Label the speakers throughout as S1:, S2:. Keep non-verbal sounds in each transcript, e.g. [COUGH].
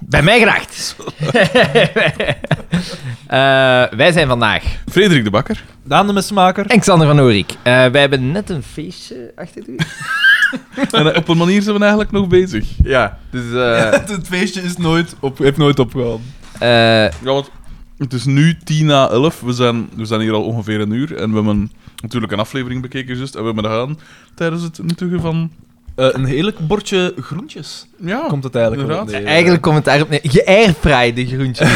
S1: Bij mij
S2: [LAUGHS]
S1: geraakt. Eh, wij zijn vandaag
S3: Frederik de Bakker.
S2: Daan de messenmaker.
S1: en Xander van Oorik. Eh, wij hebben net een feestje achter de [LAUGHS] rug.
S3: En eh, op een manier zijn we eigenlijk nog bezig.
S2: Ja.
S1: Dus, eh,
S2: Het feestje is nooit op, heeft nooit opgehouden.
S1: eh,
S3: Ja, want het is nu 10 na 11. We zijn, we zijn hier al ongeveer een uur. En we hebben natuurlijk een aflevering bekeken, juist. En we hebben gedaan tijdens het nuttigen van.
S2: Eh, een heerlijk bordje groentjes
S3: Ja,
S2: komt het eigenlijk wel op
S3: inderdaad.
S2: neer.
S1: eigenlijk komt het daarop neer. Geairfraaide
S2: [LAUGHS]
S1: groentjes.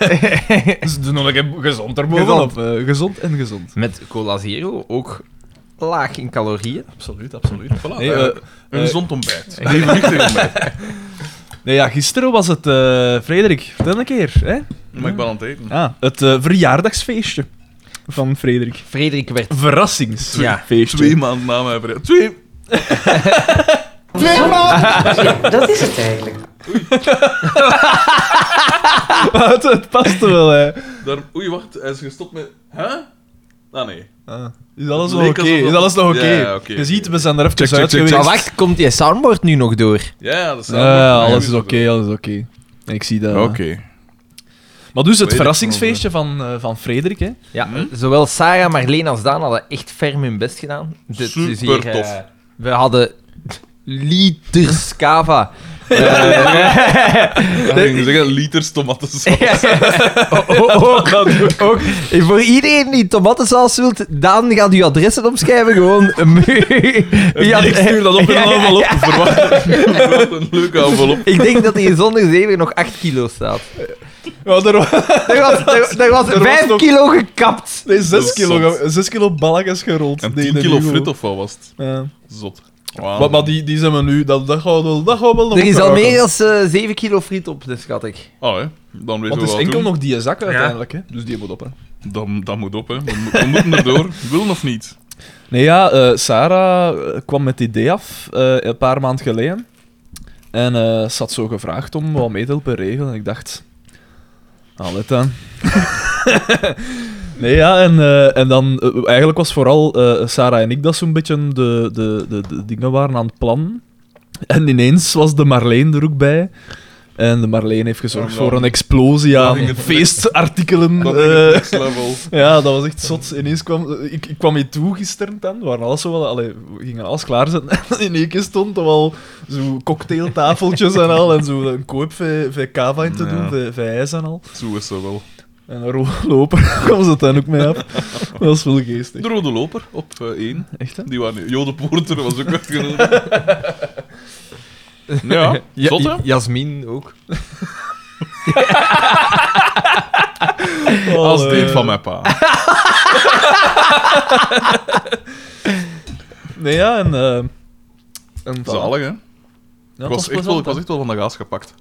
S3: [LAUGHS]
S2: Ze doen nog een gezond
S1: erbovenop.
S2: Gezond, eh, gezond en gezond.
S1: Met Cola Zero, ook laag in calorieën.
S2: Absoluut, absoluut.
S3: Voilà,
S2: Nee,
S3: eigenlijk
S2: eh,
S3: een
S2: eh,
S3: gezond
S2: [LAUGHS]
S3: ontbijt. Een evenwichtig ontbijt.
S2: nee, ja, gisteren was het, eh, Frederik, vertel een keer. Hè?
S3: Maar ik ben aan het eten.
S2: Ah, het eh, verjaardagsfeestje van Frederik.
S1: Frederik werd...
S2: Verrassingsfeestje.
S3: Twee maanden na mijn verjaardag. Twee!
S4: Dat is het eigenlijk.
S2: Maar [LAUGHS] het, het paste wel, hè.
S3: Daar, oei, wacht. Hij is gestopt met. Huh? Ah, nee.
S2: Is alles
S3: Het
S2: nog
S3: leek
S2: oké?
S3: alsof-
S2: Is alles nog oké?
S3: Ja, ja, oké,
S2: Je
S3: oké.
S2: ziet, we zijn er even
S3: Check, check,
S2: uit
S3: check,
S2: geweest.
S1: Maar wacht, komt die soundboard nu nog door?
S3: Ja, ja, dat is
S2: Ja, ja, Eh, alles is oké, alles is oké. Ik zie dat.
S3: Oké.
S2: Maar dus het
S3: Weet ik
S2: verrassingsfeestje van, eh, van Frederik, hè?
S1: Ja, zowel Sarah, Marleen als Daan hadden echt ferm hun best gedaan. Dit is hier,
S3: Super tof.
S1: eh, we hadden liters cava.
S2: [LAUGHS]
S1: Eh,
S3: Ik ging zeggen liters
S1: [LAUGHS]
S2: [LAUGHS]
S3: tomatensaus.
S1: ook,
S2: Oh,
S1: ook, ook, voor iedereen die tomatensaus wilt, Daan gaat uw adressen opschrijven. Gewoon
S2: [LAUGHS]
S1: een eh,
S2: Ja, ik stuur dat op in een
S1: [LAUGHS]
S2: envelop.
S3: [LAUGHS] Verwacht verwacht een leuke envelop.
S1: Ik denk dat hij zonder zeven nog 8 kilo staat.
S2: Ja, er wa-
S1: Er was, er, er was
S2: Er was
S1: 5
S2: nog-
S1: kilo gekapt.
S2: nee, 6
S3: is
S2: kilo,
S3: zot.
S2: ge- zes kilo balletjes gerold.
S3: En
S2: Nee,
S3: 10
S2: dat
S3: kilo
S2: niet goed.
S3: frit of wat was het?
S2: Ja.
S3: Zot. Wauw.
S2: Maar, maar die, die zijn we nu, dat, dat gaan we wel- dat gaan we wel nog
S1: Er is al
S2: opruimen.
S1: meer dan 7 kilo friet op, dus schat ik.
S3: Oh, hè. Dan weten
S2: Want
S3: we
S2: het is
S3: wat
S2: enkel
S3: doen.
S2: nog die zak uiteindelijk, hè? Dus die moet op, hè?
S3: Dan, dan moet op, hè. We, mo- we moeten
S2: [LAUGHS]
S3: erdoor. Willen of niet?
S2: Nee, ja, eh, Sarah eh, kwam met het idee af eh, een paar maanden geleden. En eh, ze had zo gevraagd om wat mee te helpen regelen. En ik dacht, allee dan. [LAUGHS] nee, ja, en, eh, en dan eh, eigenlijk was vooral eh, Sarah en ik dat zo'n beetje de, de, de, de dingen waren aan het plannen. En ineens was de Marleen er ook bij. En de Marleen heeft gezorgd
S3: Oh, nou.
S2: voor een explosie
S3: Dat
S2: aan
S3: ging het-
S2: feestartikelen.
S3: Dat
S2: eh,
S3: is het next level.
S2: ja, dat was echt zot. Ineens kwam... Ik, ik kwam hier toe gisteren dan. We, waren alles zo wel, allee, we gingen alles klaarzetten. [LAUGHS] En in één keer stond er al zo cocktailtafeltjes en al. En zo een koop van van cava in te doen,
S3: Ja.
S2: van- van ijs en al.
S3: Zo is dat wel.
S2: En een rode [LAUGHS] loper kwam ze dan ook mee af. Dat was wel geestig.
S3: De Rode Loper op eh, één.
S2: Echt, hè?
S3: Die waren... Jo, de Poorter was
S2: [LAUGHS]
S3: ook uitgenodigd. [LAUGHS] Ja, zot, hè?
S1: Jasmin ook.
S3: Als deed
S2: eh,
S3: van mijn
S2: [LAUGHS]
S3: pa.
S2: Nee, ja, en... eh, en voilà.
S3: Zalig, hè?
S2: Ja,
S3: Ik
S2: het
S3: was, echt wel,
S2: plezant,
S3: ik was echt wel van de gaas gepakt.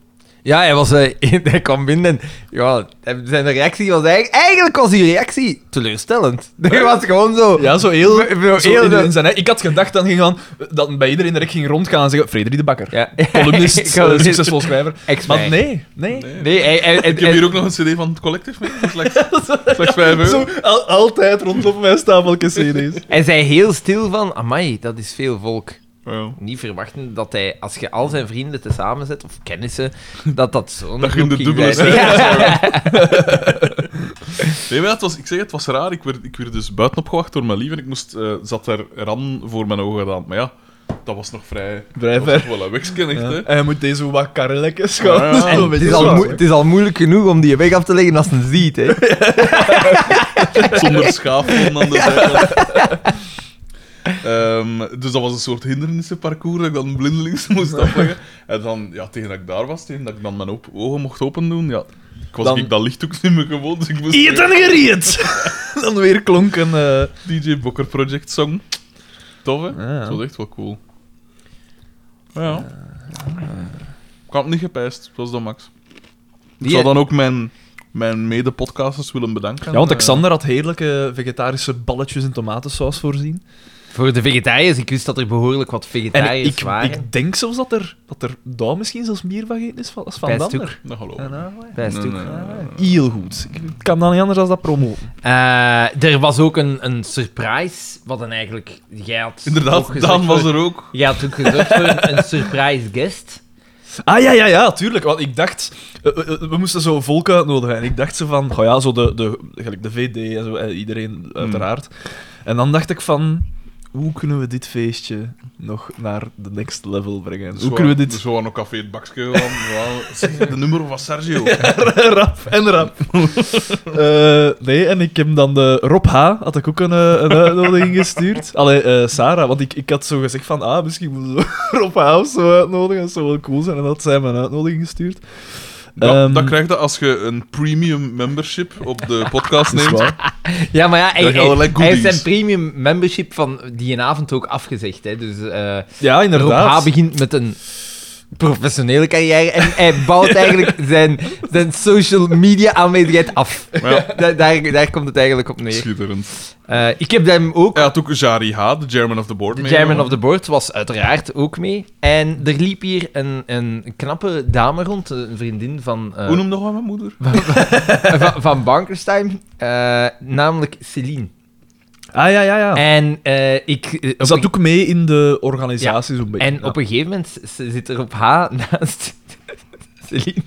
S1: Ja, hij, was, eh, [LAUGHS] hij kwam binnen en ja, zijn reactie was eigenlijk... Eigenlijk was die reactie teleurstellend. [LAUGHS] Hij was gewoon zo...
S2: hè. Ja, zo heel...
S1: We- we-
S2: zo
S1: heel
S2: in-
S1: de-
S2: in zijn- ik had gedacht dan ging gaan, dat bij iedereen direct ging rondgaan en zeggen Frederik de
S3: [LAUGHS]
S2: Bakker.
S1: Ja. [LAUGHS]
S2: Columnist,
S1: Ik had-
S2: eh, succesvol schrijver.
S1: Ex-mij.
S2: Maar nee, nee.
S3: Nee.
S1: Nee, hij... hij, hij-
S3: Ik heb hier ook nog een cd van het Collectors mee.
S2: [LAUGHS]
S3: voor Slechts, slechts 5 euro.
S2: Zo, al- altijd rondom mijn stafeltje CD's.
S1: hij zei heel stil van... Amai, dat is veel volk.
S3: Ja.
S1: Niet verwachten dat hij, als je al zijn vrienden tezamen zet, of kennissen, dat dat zo'n...
S3: Dat je in de
S1: groep
S3: dubbele
S1: ging zijn. [LAUGHS] Ja.
S3: Nee, maar ja, het was, ik zeg, het was raar. Ik werd, ik werd dus buiten opgewacht door mijn lief en ik moest, eh, zat daar ran voor mijn ogen gedaan. Maar ja, dat was nog vrij...
S2: Vrij
S3: dat was
S2: ver.
S3: nog wel een wegsken, echt, hè.
S2: En je moet deze zo wat karrelletjes gaan.
S3: Ja, ja.
S2: Zo
S3: En
S2: een
S1: Het
S2: beetje
S1: is, al
S2: zo.
S1: moe- het is al moeilijk genoeg om die weg af te leggen als ze het ziet, hè.
S3: Zonder schaafwonden aan
S2: [LAUGHS]
S3: de zijkant. Ehm, dus dat was een soort hindernissenparcours dat ik dan blindelings [LAUGHS] moest afleggen. En dan, ja, tegen dat ik daar was, tegen dat ik dan mijn op- ogen mocht open doen, ja... Ik was
S2: Dan-
S3: ik dat licht ook niet meer gewoon, dus ik moest...
S2: Eet en gereed! [LAUGHS] Dan weer klonk een... eh,
S3: DJ Bokker Project song. Tof, hè?
S2: Ja, ja.
S3: Dat was echt wel cool. Maar ja. Ik had hem niet gepijst, zoals dan Max. Ik
S1: Die-
S3: zou dan ook mijn, mijn mede-podcasters willen bedanken.
S2: Ja, want
S3: Eh,
S2: Alexander had heerlijke vegetarische balletjes in tomatensaus voorzien.
S1: Voor de vegetariërs, ik wist dat er behoorlijk wat
S2: En
S1: vegetariërs
S2: ik,
S1: waren.
S2: ik denk zelfs dat er, dat er daar misschien zelfs meer van gegeten is van, als van
S1: Bij
S2: dan.
S1: Stoek.
S3: Dat geloof ik.
S2: En, ah, ouais.
S1: Bij Stoek.
S3: Nee, nee, nee, nee.
S2: Heel goed. Ik kan dan niet anders dan dat promoten.
S1: Eh, er was ook een, een surprise, wat dan eigenlijk... Jij had ook
S3: Inderdaad,
S1: gezorgd
S3: Daan was
S1: voor-
S3: er ook.
S1: Jij had ook gezorgd voor een, een surprise guest.
S2: Ah ja, ja, ja, tuurlijk. Want ik dacht, eh, eh, we moesten zo volk uitnodigen. En ik dacht ze van, goh ja, zo de, de, gelijk de VD en zo, eh, iedereen uiteraard. En dan dacht ik van, hoe kunnen we dit feestje nog naar de next level brengen? Hoe kunnen we dit
S3: Zo aan een café het bakje. gaan, ja. Zeg, de nummer van
S2: [LAUGHS]
S3: Sergio.
S2: rap [LAUGHS] en [LAUGHS] rap? Eh, nee, en ik heb dan de Rob H. had ik ook een, eh, een uitnodiging gestuurd. Allee, eh, Sarah, want ik, ik had zo gezegd van, ah, misschien moeten we [LAUGHS] Rob H. of zo uitnodigen. Dat zou wel cool zijn. En dat had zij mijn uitnodiging gestuurd.
S3: Ja,
S2: Ehm,
S3: dat krijg je als je een premium membership op de podcast
S2: dat is
S3: neemt.
S2: waar.
S1: Ja, maar ja, hij,
S3: gaan
S1: hij-
S3: we like
S1: hij heeft zijn
S3: goodies.
S1: premium membership van die avond ook afgezegd. Hè. Dus eh
S2: Ja,
S1: Rob H.
S2: inderdaad.
S1: begint met een professionele carrière en hij bouwt
S3: [LAUGHS]
S1: eigenlijk zijn, zijn social media aanwezigheid af.
S3: Ja.
S1: Da- daar, daar komt het eigenlijk op neer.
S3: Schitterend.
S1: Eh, ik heb hem ook
S3: Hij had ook Jari H., de chairman of the board.
S1: De
S3: mee.
S1: chairman of the board was uiteraard ook mee. En er liep hier een, een knappe dame rond, een vriendin van, eh,
S3: Hoe noemde hij mijn moeder?
S1: [LAUGHS]
S3: [LAUGHS]
S1: van, van Bankerstein, eh, namelijk Celine.
S2: Ah ja, ja, ja.
S1: En eh, ik... eh, op
S2: Ze
S1: een-
S2: zat ook mee in de organisatie zo'n beetje.
S1: En op een gegeven moment z- zit er op H naast [LAUGHS] Celine.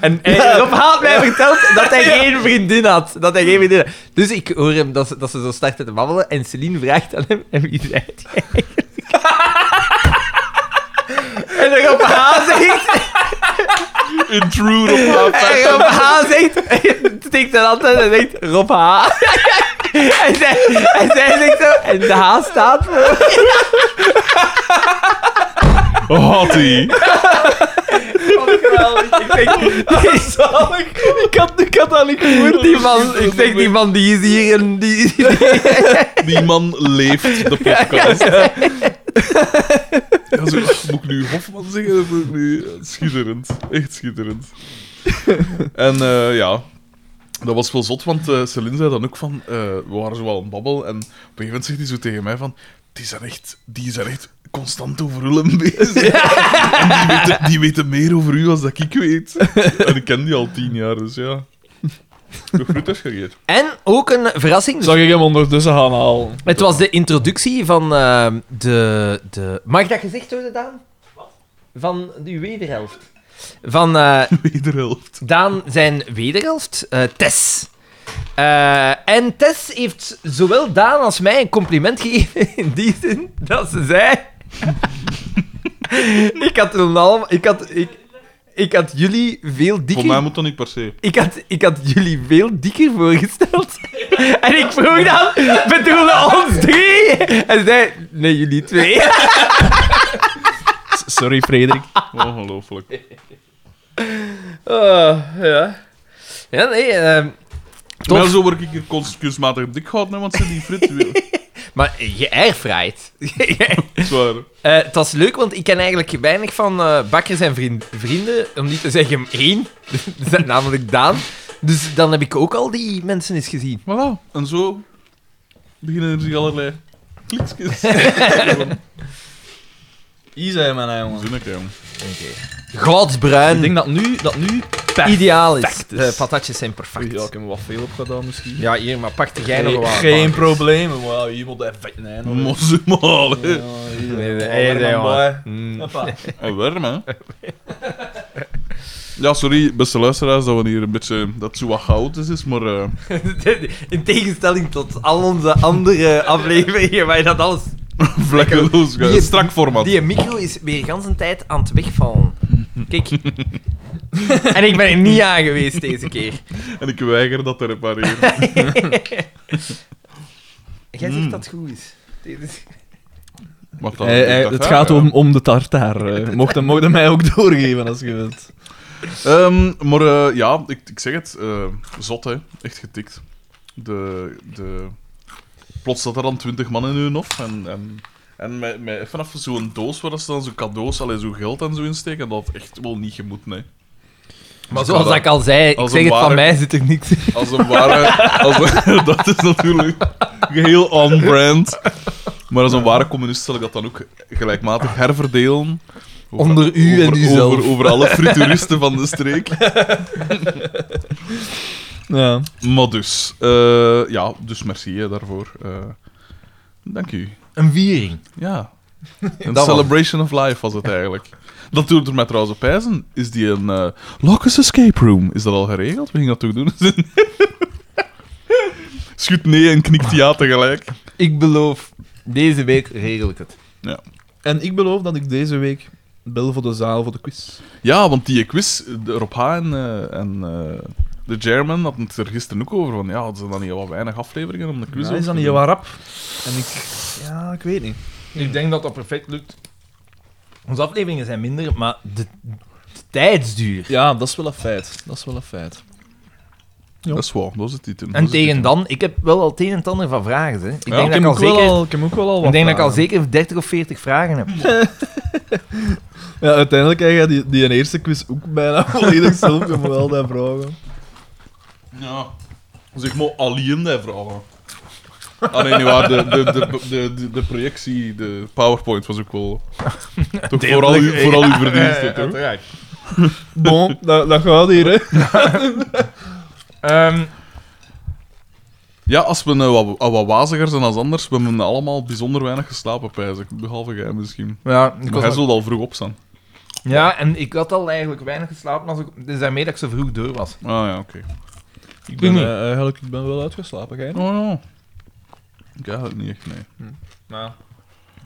S1: En, en
S2: Ja.
S1: Rob H had mij verteld dat
S2: [LAUGHS]
S1: hij geen vriendin had. Dat hij geen vriendin had. Dus ik hoor hem dat ze, dat ze zo starten te babbelen. En Celine vraagt aan hem: En wie zijt jij? [LAUGHS] eigenlijk?" en Rob H
S2: [LAUGHS]
S1: zegt:
S3: Intrude op haar
S1: en Rob H zegt. [LAUGHS] Steekt zijn hand uit en zegt: Rob H. [LAUGHS] en, zij, en zij zegt zo: En de H staat voor.
S3: Oh, Hottie.
S1: Geweldig. Ik denk,
S2: [LAUGHS] Zalig. Ik had, ik had dat niet gehoord.
S1: Die man, ik denk die man die is hier en die...
S2: [LAUGHS]
S3: Die man leeft de podcast. Ja, zo, moet ik nu Hofman zeggen? Of moet ik nu... Schitterend. Echt schitterend. En eh, ja... Dat was wel zot, want eh Celine zei dan ook van... eh, we waren zo wel aan het babbel en op een gegeven moment zegt hij zo tegen mij van... Die zijn echt, die zijn echt constant over Willem bezig. En die, weten, die weten meer over u als dat ik weet. En ik ken die al tien jaar, dus ja. Nog groetjes gegeven.
S1: En ook een verrassing.
S2: Zag ik hem ondertussen gaan halen.
S1: Het was de introductie van eh, de, de... Mag dat gezegd worden, Daan? Van uw wederhelft. Van eh,
S3: Wederhelft.
S1: Daan zijn wederhelft, eh, Tess. Eh, en Tess heeft zowel Daan als mij een compliment gegeven [LAUGHS] in die zin dat ze zei... [LAUGHS] ik had een half... Ik had, ik, ik had jullie veel
S3: Voor mij
S1: dikker...
S3: moet dat niet per se.
S1: Ik had, ik had jullie veel dikker voorgesteld. [LAUGHS] En ik vroeg dan, bedoelen ons drie? En ze zei, nee, jullie twee. [LAUGHS]
S2: S- Sorry, Frederik.
S3: Ongelooflijk.
S1: Ah. Oh, ja. Ja, nee. ehm, Tof.
S3: Maar zo word ik hier kunst- kunstmatig dik gehouden, hè, want ze die
S1: [LAUGHS]
S3: frit wil.
S1: maar je [LAUGHS] airfried.
S3: Zwaar.
S1: Eh, Het was leuk, want ik ken eigenlijk weinig van eh bakkers en vriend- vrienden. Om niet te zeggen één. [LAUGHS] Dus Dat is namelijk Daan. Dus dan heb ik ook al die mensen eens gezien.
S3: Voilà. En zo beginnen er zich allerlei kliksjes.
S2: Hier zijn mijn jongen.
S3: Zinnig, jong.
S1: Godsbruin.
S2: Ik denk dat nu... Dat nu
S1: ideaal is.
S2: perfect is.
S1: De patatjes zijn perfect.
S2: Ja, ik heb hem wat veel opgedaan misschien.
S1: Ja, hier, maar pak er jij nog wel aan.
S2: geen probleem. Wauw, hier moet even... Nee, nog even.
S3: Mosemaal, hè.
S2: Ja, hier.
S1: Nee, nee,
S2: Oh,
S1: nee, nee,
S2: dan
S1: man. [LAUGHS]
S2: bij. Hoppa.
S3: En warm, hè. Ja, sorry, beste luisteraars, dat we hier een beetje... Dat zo wat goud is, is, maar... eh,
S1: Mm. [LAUGHS] In tegenstelling tot al onze andere [LAUGHS] afleveringen, waar je dat alles...
S3: vlekkeloos.
S1: Die-
S3: Strak format.
S1: Die micro is weer gans een tijd aan het wegvallen.
S2: Mm. [LAUGHS]
S1: Kijk. en ik ben er niet aan geweest deze keer.
S3: En ik weiger dat te
S1: [LAUGHS]
S3: repareren.
S2: Mm.
S1: Jij zegt dat het goed is. Dit is-
S3: Mag dat-
S2: Hey, hey,
S3: dat
S2: het
S3: graag,
S2: gaat
S3: hè. eh,
S2: om, om de tartaar. eh. Mocht hem, mocht hem mij ook doorgeven als je wilt.
S3: Ehm, maar eh, ja, ik, ik zeg het. eh, zot, hè. Echt getikt. De, de... Plots zat er dan twintig man in hun hof. En, en, en met, met vanaf zo'n doos waar ze dan zo cadeaus, allee, zo geld en zo insteken, dat had echt wel niet gemoet, nee.
S1: Maar zoals ik al zei, ik
S3: als
S1: zeg
S3: een
S1: het, van
S3: ware-
S1: mij zit er niks in.
S3: Als een
S1: [LAUGHS]
S3: ware... Als een- [LAUGHS] dat is natuurlijk geheel on-brand. Maar als een ware communist zal ik dat dan ook gelijkmatig herverdelen. Over-
S1: Onder u en
S3: over-
S1: uzelf.
S3: Over, over
S1: [LAUGHS]
S3: alle frituuristen van de streek.
S2: Ja.
S3: Maar dus, eh, ja, dus merci hè, daarvoor. Eh, dank u.
S1: Een viering. [LAUGHS]
S3: Ja, Een
S1: Dat wel.
S3: celebration of life was het eigenlijk. Dat doet er mij trouwens op ijzen. Is die een eh Locus Escape Room? Is dat al geregeld? We gingen dat toch doen? [LAUGHS] Schud nee en knikt ja tegelijk.
S1: Ik beloof, deze week regel ik het.
S2: En ik beloof dat ik deze week bel voor de zaal voor de quiz.
S3: Ja, want die quiz, de Rob H. en, eh, en eh, de German hadden het er gisteren ook over. Van, ja, hadden ze dan niet wat weinig afleveringen om de quiz
S2: Ja,
S3: over
S2: is
S3: te
S2: dan niet
S3: doen?
S2: wat rap? En ik... Ja, ik weet niet.
S1: Ik denk dat dat perfect lukt. Onze afleveringen zijn minder, maar de, de tijdsduur.
S2: Ja, dat is wel een feit. Dat is wel een feit. Ja.
S3: Dat is waar, dat is het titel.
S1: En tegen dan, ik heb wel al het een en het ander van vragen. Hè. Ik
S3: Ja,
S1: denk, dat ik, al
S2: ook wel
S1: zeker,
S2: al, ik heb ook wel al wat
S1: ik denk dat ik al
S2: vragen.
S1: zeker 30 of 40 vragen heb.
S2: Ja, uiteindelijk krijg je die, die eerste quiz ook bijna [LAUGHS] volledig zelf. Je moet al die vragen.
S3: Ja. Dus ik moet alleen die vragen. Ah nee, niet waar. De, de, de, de, de, de projectie, de PowerPoint was ook wel... Toch vooral, uw- vooral uw verdienste, toch?
S2: Bon, dat, dat gaat hier, hè.
S1: Ehm,
S3: Ja, als we eh, wat, ah, wat waziger zijn als anders, we hebben allemaal bijzonder weinig geslapen, pijs ik. Behalve jij misschien.
S1: ja, ik
S3: Maar
S1: was
S3: jij
S1: al-
S3: zult al vroeg opstaan.
S1: ja, en ik had al eigenlijk weinig geslapen, als ik, dus daarmee dat ik zo vroeg door was.
S3: Ah ja, oké.
S2: Ik
S1: ben,
S2: ben,
S1: eh,
S2: eigenlijk, ik ben wel uitgeslapen, gij
S3: Oh ja. Ik eigenlijk niet echt, nee.
S2: Maar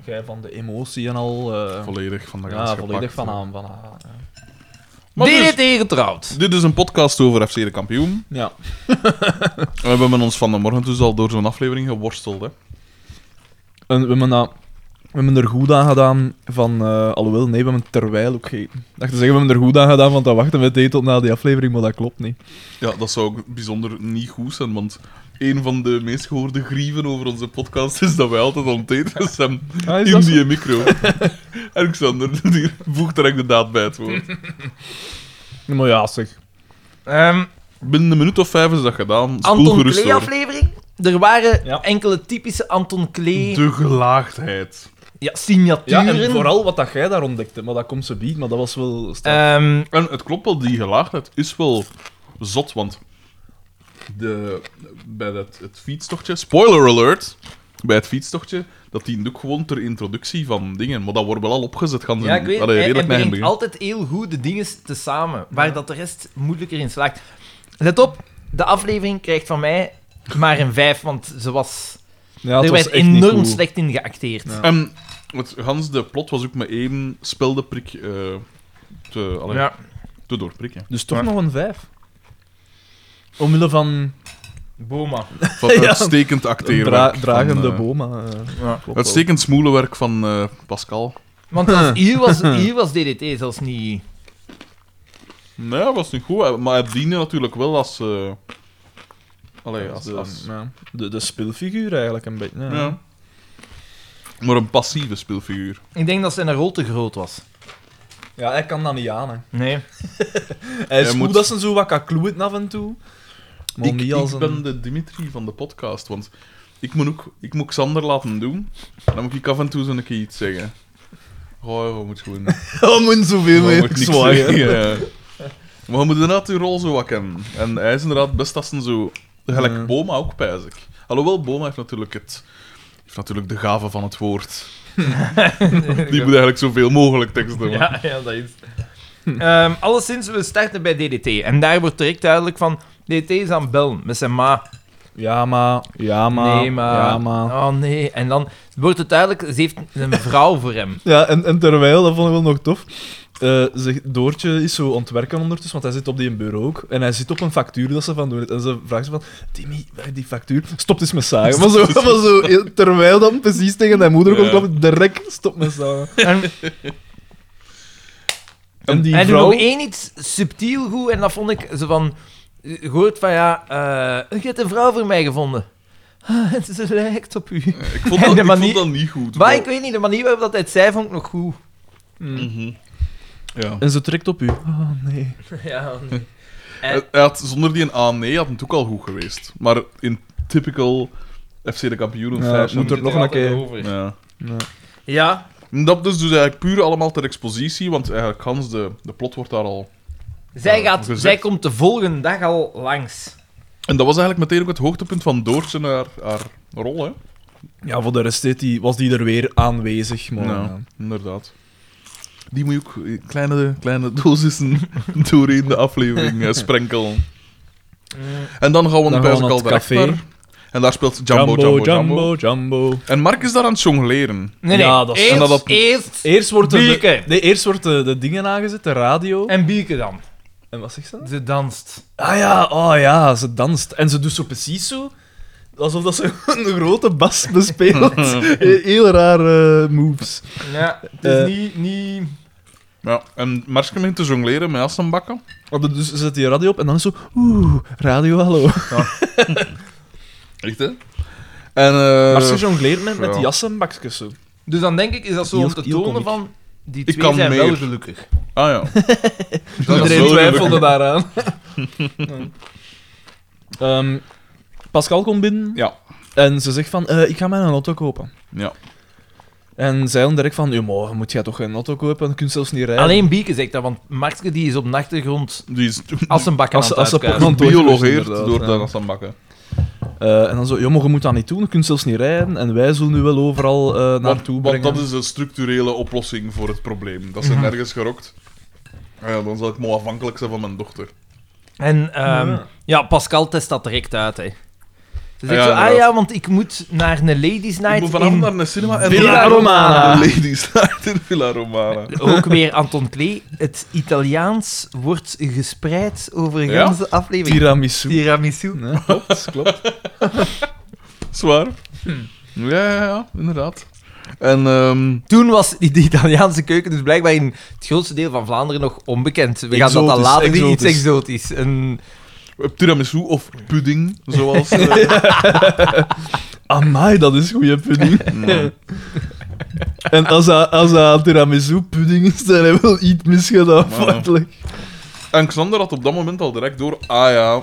S2: jij van de emotie en al... eh,
S3: Volledig van de gans
S2: ja, volledig
S3: gepakt,
S2: van
S3: hè.
S2: aan. Van eh, aan ja.
S3: Maar
S1: Dit
S3: dus,
S1: tegengetrouwd.
S3: dit is een podcast over FC de kampioen.
S2: ja.
S3: We hebben met ons vanmorgen dus al door zo'n aflevering geworsteld, hè.
S2: En we hebben, dat- we hebben er goed aan gedaan van... eh alhoewel, nee, we hebben terwijl ook gegeten. Ik dacht te zeggen, we hebben er goed aan gedaan van te wachten met eten tot na die aflevering, maar dat klopt niet.
S3: Ja, dat zou ook bijzonder niet goed zijn, want een van de meest gehoorde grieven over onze podcast is dat wij altijd aan het eten zijn
S2: Ah, is
S3: in
S2: dat zo?
S3: die micro. Alexander, die voegt er echt de daad bij het woord.
S2: Maar ja, zeg.
S1: Ehm,
S3: Binnen een minuut of vijf is dat gedaan. Spoel
S1: Anton
S3: gerust door.
S1: Klee-aflevering. Er waren
S2: Ja.
S1: enkele typische Anton Klee
S3: De gelaagdheid.
S1: ja, signaturen.
S2: Ja, en vooral wat dat jij daar ontdekte, maar dat komt zo bied, maar dat was wel... straf.
S1: Ehm,
S3: En het klopt wel, die gelaagdheid is wel zot, want de, bij dat, het fietstochtje, spoiler alert, bij het fietstochtje, dat die ook gewoon ter introductie van dingen, maar dat wordt wel al opgezet, gaan ze
S1: ja, ik weet Eh,
S3: allee,
S1: hij, hij
S3: redelijk naar hen
S1: brengt
S3: beginnen.
S1: altijd heel goed de dingen tezamen, waar dat de rest moeilijker in slaagt. Let op, de aflevering krijgt van mij maar een 5, want ze was,
S2: ja,
S1: er
S2: het was
S1: werd
S2: echt niet
S1: enorm
S2: goed.
S1: slecht in geacteerd.
S2: Ja.
S3: En het gans Ehm, de plot was ook met één speldeprik eh te, allee,
S1: Ja.
S3: te
S2: [LAUGHS]
S3: doorprikken.
S2: Dus toch nog een vijf. Omwille van
S1: Boma.
S3: Van uitstekend acteren.
S2: dra- dragende
S3: boom.
S2: boma. eh,
S1: Ja.
S2: klopt
S3: Uitstekend smoelenwerk van eh, Pascal.
S1: Want als- hier,
S2: [LAUGHS]
S1: was, hier was DDT zelfs niet...
S3: Nee, dat was niet goed, maar het diende natuurlijk wel als... eh allee,
S2: wel.
S3: als...
S2: De-
S3: als-
S2: ja. de, de speelfiguur eigenlijk een beetje. Ja.
S3: ja. Maar een passieve speelfiguur.
S1: Ik denk dat zijn rol te groot was.
S2: Ja, hij kan dat niet aan. Hè.
S1: Nee.
S2: Hij is
S3: Hij
S2: goed
S3: moet-
S2: dat ze zo wat kan kloeien af en toe. Maar
S3: Ik,
S2: niet als
S3: ik
S2: een...
S3: ben de Dimitri van de podcast, want ik moet ook ik moet Xander laten doen. Dan moet ik af en toe zo'n keer iets zeggen. Goh, wat moet je doen?
S2: [LAUGHS] Hij moet zoveel
S3: Maar
S2: meer
S3: moet niks
S2: zwaaien.
S3: zeggen, ja. [LAUGHS] Maar we moeten inderdaad die rol zo wat kennen. En hij is inderdaad best als een zo... Gelijk
S2: Ja.
S3: Boma ook, pijs ik. Alhoewel, Boma heeft natuurlijk, het, heeft natuurlijk de gave van
S1: [LAUGHS]
S3: het woord. Die moet eigenlijk zoveel mogelijk teksten doen.
S1: Ja, ja, dat is. Ehm alleszins, we starten bij DDT. En daar wordt direct duidelijk van... DDT is aan het bellen met zijn ma.
S2: Ja, maar... Ja, maar...
S1: Nee, maar...
S2: Ja, maar...
S1: Oh, nee. En dan wordt het duidelijk... Ze heeft een vrouw voor
S2: [LAUGHS]
S1: hem.
S2: Ja, en, en terwijl, dat vond ik wel nog tof. eh, zeg, Doortje is zo ontwerken ondertussen, want hij zit op die bureau ook. En hij zit op een factuur dat ze van doen. En ze vraagt ze van, Timmy, waar die factuur? Stop eens met zagen. Maar zo, maar zo, heel- terwijl dan precies tegen zijn moeder komt
S3: Ja.
S2: klappen, direct stop met zagen.
S1: En,
S2: En die
S1: hij doet
S2: vrouw...
S1: nog één iets subtiel goed. En dat vond ik zo van... je Hoort van, ja... eh je hebt een vrouw voor mij gevonden. [LAUGHS] Ah, ze lijkt op u.
S3: Ik vond
S1: En
S3: dat,
S1: [LAUGHS] de
S3: ik
S1: manier-
S3: vond dat niet goed.
S1: Maar ik weet niet, de manier waarop dat hij het zei, vond ik nog goed.
S2: Mm.
S3: Mhm. Ja.
S2: En ze trekt op u. Oh, nee.
S1: Ja, nee. Eh.
S2: Eh,
S3: Hij hij had, zonder die een A-nee had het ook al goed geweest. Maar in typical FC de kampioenen
S2: Ja,
S3: fashion...
S2: moet er nog een keer-
S3: Ja.
S2: Ja.
S1: Ja,
S3: En Dat dus, dus eigenlijk puur allemaal ter expositie, want eigenlijk gans de, de plot wordt daar al
S1: zij,
S3: Ja,
S1: gaat,
S3: gezegd.
S1: zij komt de volgende dag al langs.
S3: En dat was eigenlijk meteen ook het hoogtepunt van Doortje naar haar rol, hè?
S2: Ja, voor de rest deed die, was die er weer aanwezig. Maar,
S3: Ja,
S2: eh,
S3: inderdaad. Die moet je ook in kleine, kleine dosissen [LAUGHS] doorheen de aflevering eh, sprenkelen. En dan gaan we naar
S2: Dan gaan we
S3: Persikal
S2: naar het café.
S3: Bergpaar. En daar speelt Jumbo Jumbo, Jumbo,
S2: Jumbo.
S3: En Mark is daar aan het jongleren.
S1: Nee, nee.
S2: Ja, dat is-
S1: eerst,
S3: en dat dat-
S1: eerst
S2: Eerst wordt, er de,
S1: Bieke.
S2: nee, eerst wordt de, de dingen aangezet, de radio.
S1: en Bieke dan.
S2: En wat zegt ze dan?
S1: Ze danst.
S2: Ah ja, oh ja, ze danst. En ze doet zo precies zo, alsof dat ze [LAUGHS] een grote bas
S3: [LAUGHS]
S2: bespeelt. He- Heel raar eh, moves.
S1: Ja, het is
S2: Eh.
S1: niet, niet...
S3: Ja, en Mark begint te jongleren met assenbakken.
S2: Maar Dus ze zet die radio op en dan is zo, oeh, radio, hallo.
S3: Echt, hè? En, eh,
S2: maar ze jongleert met, met
S3: ja.
S2: die jassenbakjes zo.
S1: Dus dan denk ik, is dat zo om
S2: Heel-
S1: te
S2: heel
S1: tonen
S2: komiek.
S1: van... Die
S3: Ik
S1: twee
S3: kan
S1: zijn wel
S3: meer.
S1: gelukkig.
S3: ah
S2: [LAUGHS]
S3: ja. Dat is
S2: Iedereen
S3: wel
S2: twijfelde
S3: gelukkig.
S2: [LAUGHS] daaraan. Ehm, Pascal komt binnen
S3: Ja.
S2: en ze zegt van, eh, ik ga mij een auto kopen.
S3: Ja.
S2: En zij dan direct van, ja, maar moet jij toch geen auto kopen? Je kunt zelfs niet rijden.
S1: Alleen Bieke zegt dat, want Markske die is op de achtergrond
S3: Die is
S1: assenbakken
S2: Als-
S1: aan het
S2: als ze
S1: uitkuisen.
S2: Antwoord is
S3: biologeerd
S2: inderdaad,
S3: door
S2: ja.
S3: de assenbakken.
S2: Eh, en dan zo, jongen, je moet dat niet doen, je kunt zelfs niet rijden. En wij zullen nu wel overal eh,
S3: Want,
S2: naartoe
S3: want
S2: brengen. Mhm.
S3: dat is de structurele oplossing voor het probleem. Dat ze nergens gerokt. Ah ja, dan zal ik maar afhankelijk zijn van mijn dochter.
S1: En ehm, ja.
S2: Ja.
S1: Pascal test dat direct uit, hè. Ze zegt
S3: Ja,
S1: zo, ah
S3: inderdaad.
S1: ja, want ik moet naar een ladies
S3: Ik
S1: night
S3: moet vanavond
S1: in...
S3: naar een cinema en
S2: Villa
S3: dan- [LAUGHS]
S2: Romana.
S3: De Ladies Night in Villa Romana.
S1: Ook weer Anton Klee. Het Italiaans wordt gespreid over een
S3: Ja?
S1: ganse aflevering.
S2: Tiramisu.
S1: Tiramisu.
S2: Ja, klopt, klopt.
S3: Zwaar.
S2: Hm.
S3: Ja, ja, ja, inderdaad. En ehm
S1: Toen was die, die Italiaanse keuken dus blijkbaar in het grootste deel van Vlaanderen nog onbekend. We gaan dat dan
S2: Exotisch,
S1: later doen, iets
S2: exotisch.
S1: exotisch. Een
S3: tiramisu of pudding, zoals...
S2: [LAUGHS]
S3: eh,
S2: Amai, dat is goede
S1: [LAUGHS]
S2: pudding.
S3: mm.
S2: en als dat, als dat tiramisu pudding is, dan hebben we wel iets misgedaan,
S3: Maar-
S2: feitelijk.
S1: Ehm,
S3: En Xander had op dat moment al direct door, ah ja,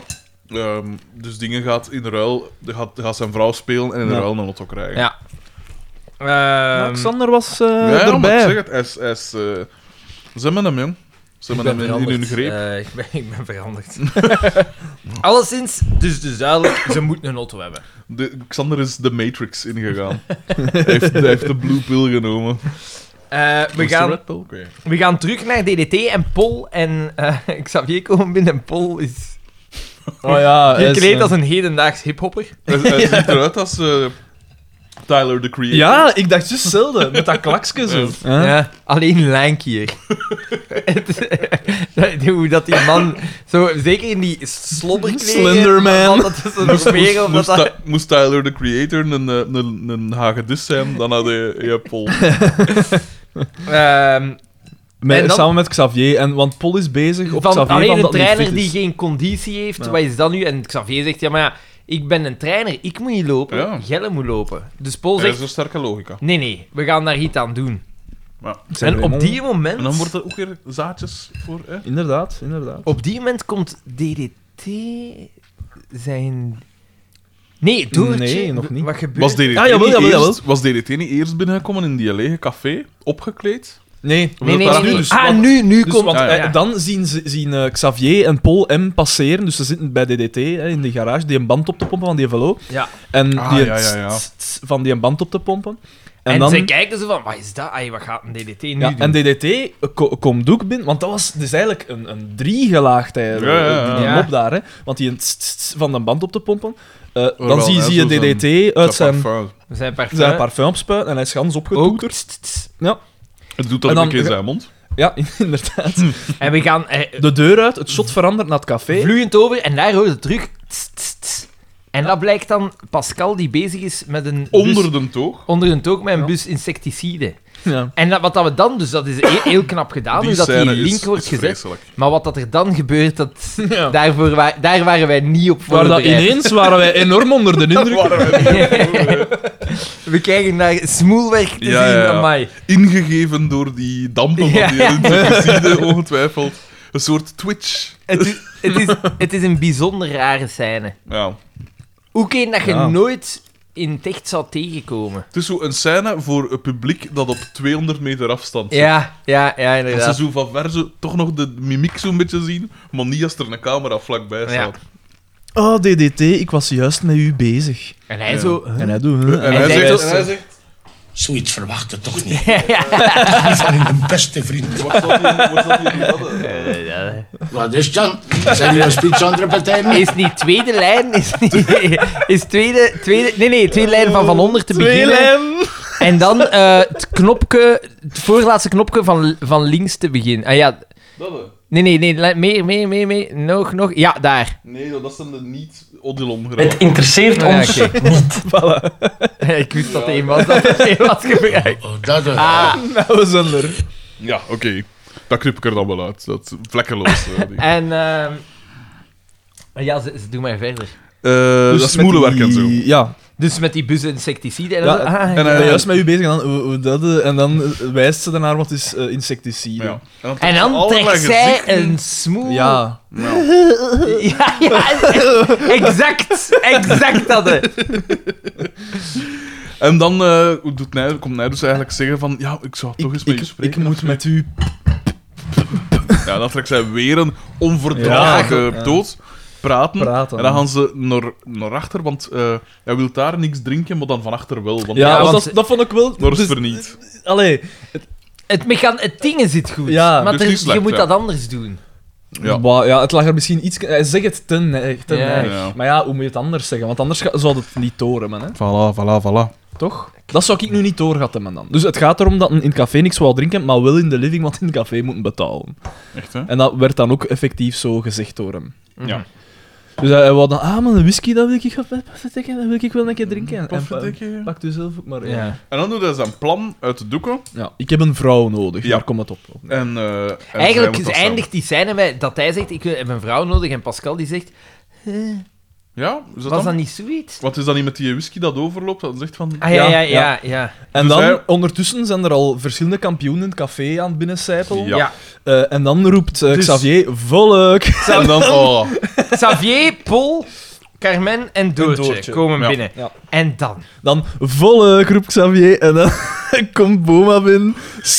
S3: ehm, dus dingen gaat in ruil, gaat, gaat zijn vrouw spelen en in
S2: Ja.
S3: ruil een auto krijgen.
S1: ja. Ehm,
S2: Alexander was eh,
S3: Ja, ja, maar ik zeg
S2: erbij.
S3: het, hij is... hij is, eh, ze hebben hem, jong. Ze hebben hem in- in, hun
S1: veranderd.
S3: greep.
S1: Eh, ik, ben, ik ben veranderd. Alleszins, dus, dus duidelijk, ze moeten een auto hebben.
S3: De, Xander is de Matrix ingegaan. [LAUGHS] hij, heeft, hij heeft de blue pill genomen.
S1: Eh, we,
S3: Was de
S1: gaan,
S3: red pill? Oké.
S1: we gaan terug naar DDT en Pol en eh, [LAUGHS] Xavier komen binnen. En Pol is [LAUGHS]
S2: Oh ja, hij is,
S1: gekleed
S2: eh,
S1: als een hedendaags hiphopper. [LAUGHS]
S3: Hij, hij ziet eruit als eh, Tyler, the Creator.
S2: Ja, ik dacht juist hetzelfde, met dat klaksje zo. Hè?
S1: Ja, alleen
S2: [LAUGHS]
S1: lankier. Het- Hoe dat die man, zo, zeker in die slobberkleren...
S2: Slenderman.
S1: want Dat is een
S3: Moest, moest,
S1: smeren, of dat
S3: moest
S1: dat...
S3: Ty- moest Tyler, the Creator, een, eh, een, een hagedis zijn, dan had hij hij had
S1: [LAUGHS]
S3: Paul.
S1: Ehm,
S2: Met-
S1: En dan-
S2: Samen met Xavier, en, want Paul is bezig op
S1: van,
S2: Xavier
S1: alleen
S2: van
S1: een
S2: dat niet
S1: trainer
S2: fit
S1: die
S2: is.
S1: geen conditie heeft,
S2: Ja.
S1: wat is dat nu? En Xavier zegt, ja maar ja, ik ben een trainer, ik moet niet lopen,
S3: Ja.
S1: Jelle moet lopen. Dus Paul
S3: Dat is
S1: zegt,
S3: een sterke logica.
S1: nee nee, we gaan daar iets aan doen.
S2: Zijn
S1: en
S2: we
S1: op
S2: helemaal-
S1: die moment...
S3: En dan wordt er ook weer zaadjes voor. Hè?
S2: Inderdaad, inderdaad.
S1: Op die moment komt DDT zijn... Nee, Doortje...
S2: Nee, nog niet.
S1: Wat gebeurt
S3: Was DDT,
S2: Ah, jawel,
S3: niet
S2: jawel, jawel.
S3: Eerst, was DDT niet eerst binnengekomen in die lege café, opgekleed?
S2: Nee,
S1: Nee, nee, nee, nee.
S2: Nu dus,
S1: ah,
S2: want-
S1: nu, nu
S2: Dus,
S1: komt...
S2: want,
S3: Ah, ja.
S2: eh, dan zien, ze- zien eh, Xavier en Paul M passeren, dus ze zitten bij DDT hè, in de garage, die een band op te pompen van die velo.
S1: Ja.
S2: En
S3: Ah,
S2: die
S3: ja, ja, ja.
S2: tss, tss, van die een band op te pompen. En,
S1: En,
S2: dan,
S1: ze kijken zo van, wat is dat? Ai, wat gaat een DDT nu
S2: ja,
S1: doen?
S2: en DDT eh, ko- komt ook binnen, want dat was dus eigenlijk een, een driegelaagd hè,
S3: Ja, ja, ja.
S2: die- die
S1: Ja.
S2: mop daar, hè, want die een tss, tss, tss van de band op te pompen. Eh, dan
S3: wel,
S2: zie,
S3: hè,
S2: zie je
S3: zo zijn-
S2: DDT uit zijn,
S3: parfum.
S1: zijn parfum.
S2: zijn parfum opspuiten en hij is gans
S1: ook.
S2: opgetoeterd.
S1: Tst, tst.
S3: Het doet dat
S2: En
S3: een
S2: dan-
S3: keer in zijn mond.
S2: Ja, [LAUGHS] inderdaad.
S1: [LAUGHS] En we gaan eh,
S2: De deur uit, het shot verandert naar het café.
S1: vloeiend over en daar hoor je terug. Tst, tst, tst. En dat blijkt dan Pascal die bezig is met een bus-
S3: Onder de toog.
S1: onder een toog met een
S2: Ja.
S1: bus insecticide.
S2: Ja.
S1: En dat, wat dat we dan, dus dat is heel, heel knap gedaan,
S3: die
S1: hoe Ah, dus dat die
S3: scène
S1: link
S3: is,
S1: wordt
S3: is
S1: gezet.
S3: vreselijk.
S1: Maar wat dat er dan gebeurt, dat,
S2: Ja.
S1: daarvoor wa- daar waren wij niet op
S2: Waar dat
S1: voorbereid.
S2: ineens waren wij enorm onder de indruk.
S1: We krijgen naar smoelwerk te
S3: Ja,
S1: zien,
S3: ja, ja.
S1: amai.
S3: Ingegeven door die dampen van die
S1: Ja. [LAUGHS]
S3: insecticide, ongetwijfeld. Een soort twitch.
S1: Het is, het, is, het is een bijzonder rare scène.
S3: Ja.
S1: Ook een dat je
S2: Ja.
S1: nooit in het echt zou tegenkomen.
S3: Het is zo een scène voor een publiek dat op 200 meter afstand zit.
S1: Ja, ja, ja,
S3: Dat ze
S1: inderdaad.
S3: zo van ver zo, toch nog de mimiek zo'n beetje zien, maar niet als er een camera vlakbij staat.
S2: Oh, DDT, ik was juist met u bezig.
S1: En hij
S3: Ja.
S1: zo... huh?
S2: En hij doet... hè.
S3: En hij
S1: zegt-
S3: zegt... En hij zegt...
S5: Zoiets verwacht je toch niet? Toch niet van hun beste vriend.
S3: Wordt dat hier- wordt dat hier niet hadden?
S5: Wat is het dan? Zijn jullie een speech aan het repeteren?
S1: Is niet tweede lijn, is niet... Is tweede... tweede nee, nee, tweede lijn van van onder te
S2: Twee
S1: beginnen.
S2: [LAUGHS] lijn.
S1: En dan eh, het knopje... Het voorlaatste knopje van, van links te beginnen. Ah ja...
S3: Dat, hè.
S1: Nee, nee, nee. la- Meer, meer, meer, meer. Nog, nog. Ja, daar.
S3: Nee, joh, dat zijn de niet-Odilon
S1: [LAUGHS]
S4: Het
S3: geraakt.
S4: interesseert
S1: Ja,
S4: ons
S1: [LAUGHS] oké.
S4: niet.
S1: Ik wist dat één was. Dat er één was gebruikt.
S5: Oh, dat eh,
S2: Nou, we zijn er.
S3: Ja, oké. Dat knip ik er dan wel uit. Dat is vlekkeloos. eh, die-
S1: En... ehm, ja, ze, ze doen maar verder.
S3: Eh, dat is
S2: met
S3: moelenwerk en zo.
S2: die- Ja.
S1: Dus met die bussen insecticiden en
S2: Ja,
S1: zo. Ah,
S2: En
S1: ja.
S2: hij is juist met u bezig en dan, eh, eh, dat, eh, en dan eh, wijst ze daarnaar wat is eh, insecticide.
S3: Ja.
S2: Ja.
S3: dan
S1: En dan
S3: allerlei
S1: trekt zij
S3: gezichten.
S1: een smoel.
S2: ja.
S1: [LAUGHS] ja, ja, [LAUGHS] exact. Exact dat. hè.
S3: En dan eh, hoe doet Nij, komt Nij dus eigenlijk zeggen van... Ja, ik zou toch
S2: Ik,
S3: eens met je
S2: ik, ik
S3: spreken.
S2: moet met u...
S3: Ja, dan trekt zij weer een onverdraaglijke
S2: Ja. Ja.
S3: dood. Praten.
S2: Praten.
S3: En dan gaan ze naar, naar achter, want eh, hij wil daar niks drinken, maar dan van achter wel. Want
S2: Ja,
S1: Ja,
S2: want
S1: want-
S2: dat, dat vond ik wel...
S3: daar is
S2: dus-
S3: het er niet.
S2: Allee,
S1: Het, mechan het ding zit goed.
S2: Ja,
S1: maar
S3: dus
S1: er-
S3: niet slecht,
S1: je moet
S3: ja.
S1: dat anders doen.
S3: Ja.
S2: Bah, ja, het lag er misschien iets... Hij zegt het ten neig, ten
S1: Ja.
S2: neig.
S3: Ja.
S2: Maar ja, hoe moet je het anders zeggen? Want anders ga- zou het niet doorhebben, hè.
S3: Voilà, voilà, voilà.
S2: Toch? Dat zou ik nu niet doorgaten hebben dan. Dus het gaat erom dat men in het café niks wou drinken, maar wel in de living, want in het café moeten betalen.
S3: Echt, hè?
S2: En dat werd dan ook effectief zo gezegd door hem.
S3: Ja.
S2: Dus hij, hij wou dan, ah man, een whisky, dat wil ik, wel- potverdikke, dat wil ik wel een keer drinken. En pa-
S3: Potverdikke, ja.
S2: pakt u zelf ook maar. Ja.
S1: Ja.
S3: En dan doet hij zijn plan uit de doeken.
S2: ja, ik heb een vrouw nodig,
S3: Ja.
S2: daar komt het op.
S3: En, eh, en
S1: Eigenlijk
S3: zij moet dat
S1: eindigt die scène met dat hij zegt: Ik eh, heb een vrouw nodig. En Pascal die zegt: "Eh,
S3: samen. Ja, is
S1: Was
S3: dat dan?
S1: dat niet sweet?
S3: Wat is dat niet met die whisky dat overloopt? Dat zegt
S2: [LAUGHS]
S3: van...
S1: Ah ja,
S2: Ja,
S1: ja,
S2: ja.
S1: ja. ja.
S2: En
S3: Dus
S2: dan,
S3: hij-
S2: ondertussen zijn er al verschillende kampioenen in het café aan het binnencijpelen.
S3: Ja.
S1: Ja.
S2: Eh, en dan roept eh,
S3: Dus-
S2: Xavier, volk!
S3: En dan... Oh,
S1: Xavier, Paul, Carmen en Doortje,
S2: En Doortje.
S1: komen
S3: Ja.
S1: binnen.
S2: Ja.
S1: En dan?
S2: Dan volk roept Xavier en dan [LAUGHS] komt Boma binnen.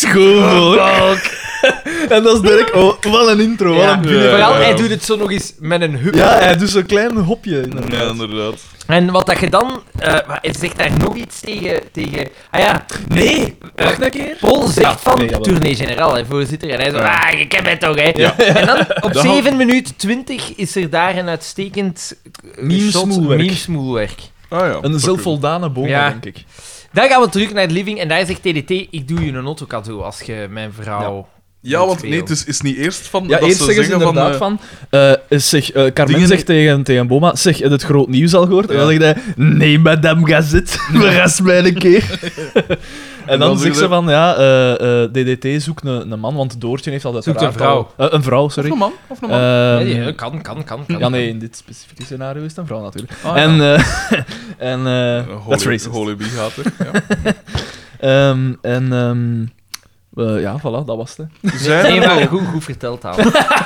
S2: Schoonvolk. [LAUGHS] en dat is direct... Oh, wat een intro, wat
S1: Ja.
S2: een binnen.
S1: Vooral,
S3: ja, ja.
S1: hij doet het zo nog eens met een hup.
S2: Ja, hij doet zo'n klein hopje.
S3: ja,
S2: Inderdaad.
S3: inderdaad.
S1: En wat dat je dan... eh, maar hij zegt daar nog iets tegen... tegen ah ja,
S2: Nee,
S1: eh,
S2: wacht een keer.
S1: Paul zegt van
S2: nee, jawel.
S1: tournee generaal, hè, voorzitter. En hij zegt,
S3: Ja.
S1: ah, je kent mij toch, hè.
S3: Ja.
S1: [LAUGHS] En dan op
S3: Dat
S1: 7 minuut 20 is er daar een uitstekend eh,
S2: Meme
S1: shot,
S2: smoelwerk.
S1: meme smoelwerk.
S3: Ah, ja.
S2: Een zelfvoldane Boma,
S1: Ja.
S2: denk ik.
S1: Dan gaan we terug naar het living en daar zegt TDT, ik doe je een auto cadeau als je mijn vrouw...
S3: Ja, want nee, het is, is niet eerst van...
S2: Ja,
S3: dat
S2: eerst
S3: ze
S2: zeggen ze
S3: van...
S2: inderdaad
S3: eh,
S2: van... eh, zeg, eh, Carmen
S3: Dingen-
S2: zegt tegen, tegen Boma, zeg, heb je het groot nieuws al gehoord? En dan
S3: Ja.
S2: zegt hij, nee, madame Gazette, [LAUGHS] verras mij een keer. en, dan,
S3: dan
S2: zegt
S3: ze-
S2: ze van, ja, eh, eh, DDT zoekt een, een man, want Doortje heeft al
S1: Zoekt een
S2: uiteraard al- eh, een vrouw, sorry.
S3: Of een man, of een man.
S2: Ehm,
S1: Nee, nee, kan, kan, kan, kan.
S2: ja, nee, in dit specifieke scenario is het een vrouw natuurlijk.
S3: Ah, ja.
S2: en, eh [LAUGHS] en, eh,
S3: Een
S2: that's
S3: holy-
S2: racist.
S3: holy bee gaat
S2: [LAUGHS]
S3: er. Ja.
S2: Ehm, en, ehm, eh, ja, voilà, dat was het.
S3: Zijn
S1: Nee,
S3: er
S1: maar
S3: al-
S1: goed, goed verteld, Haal.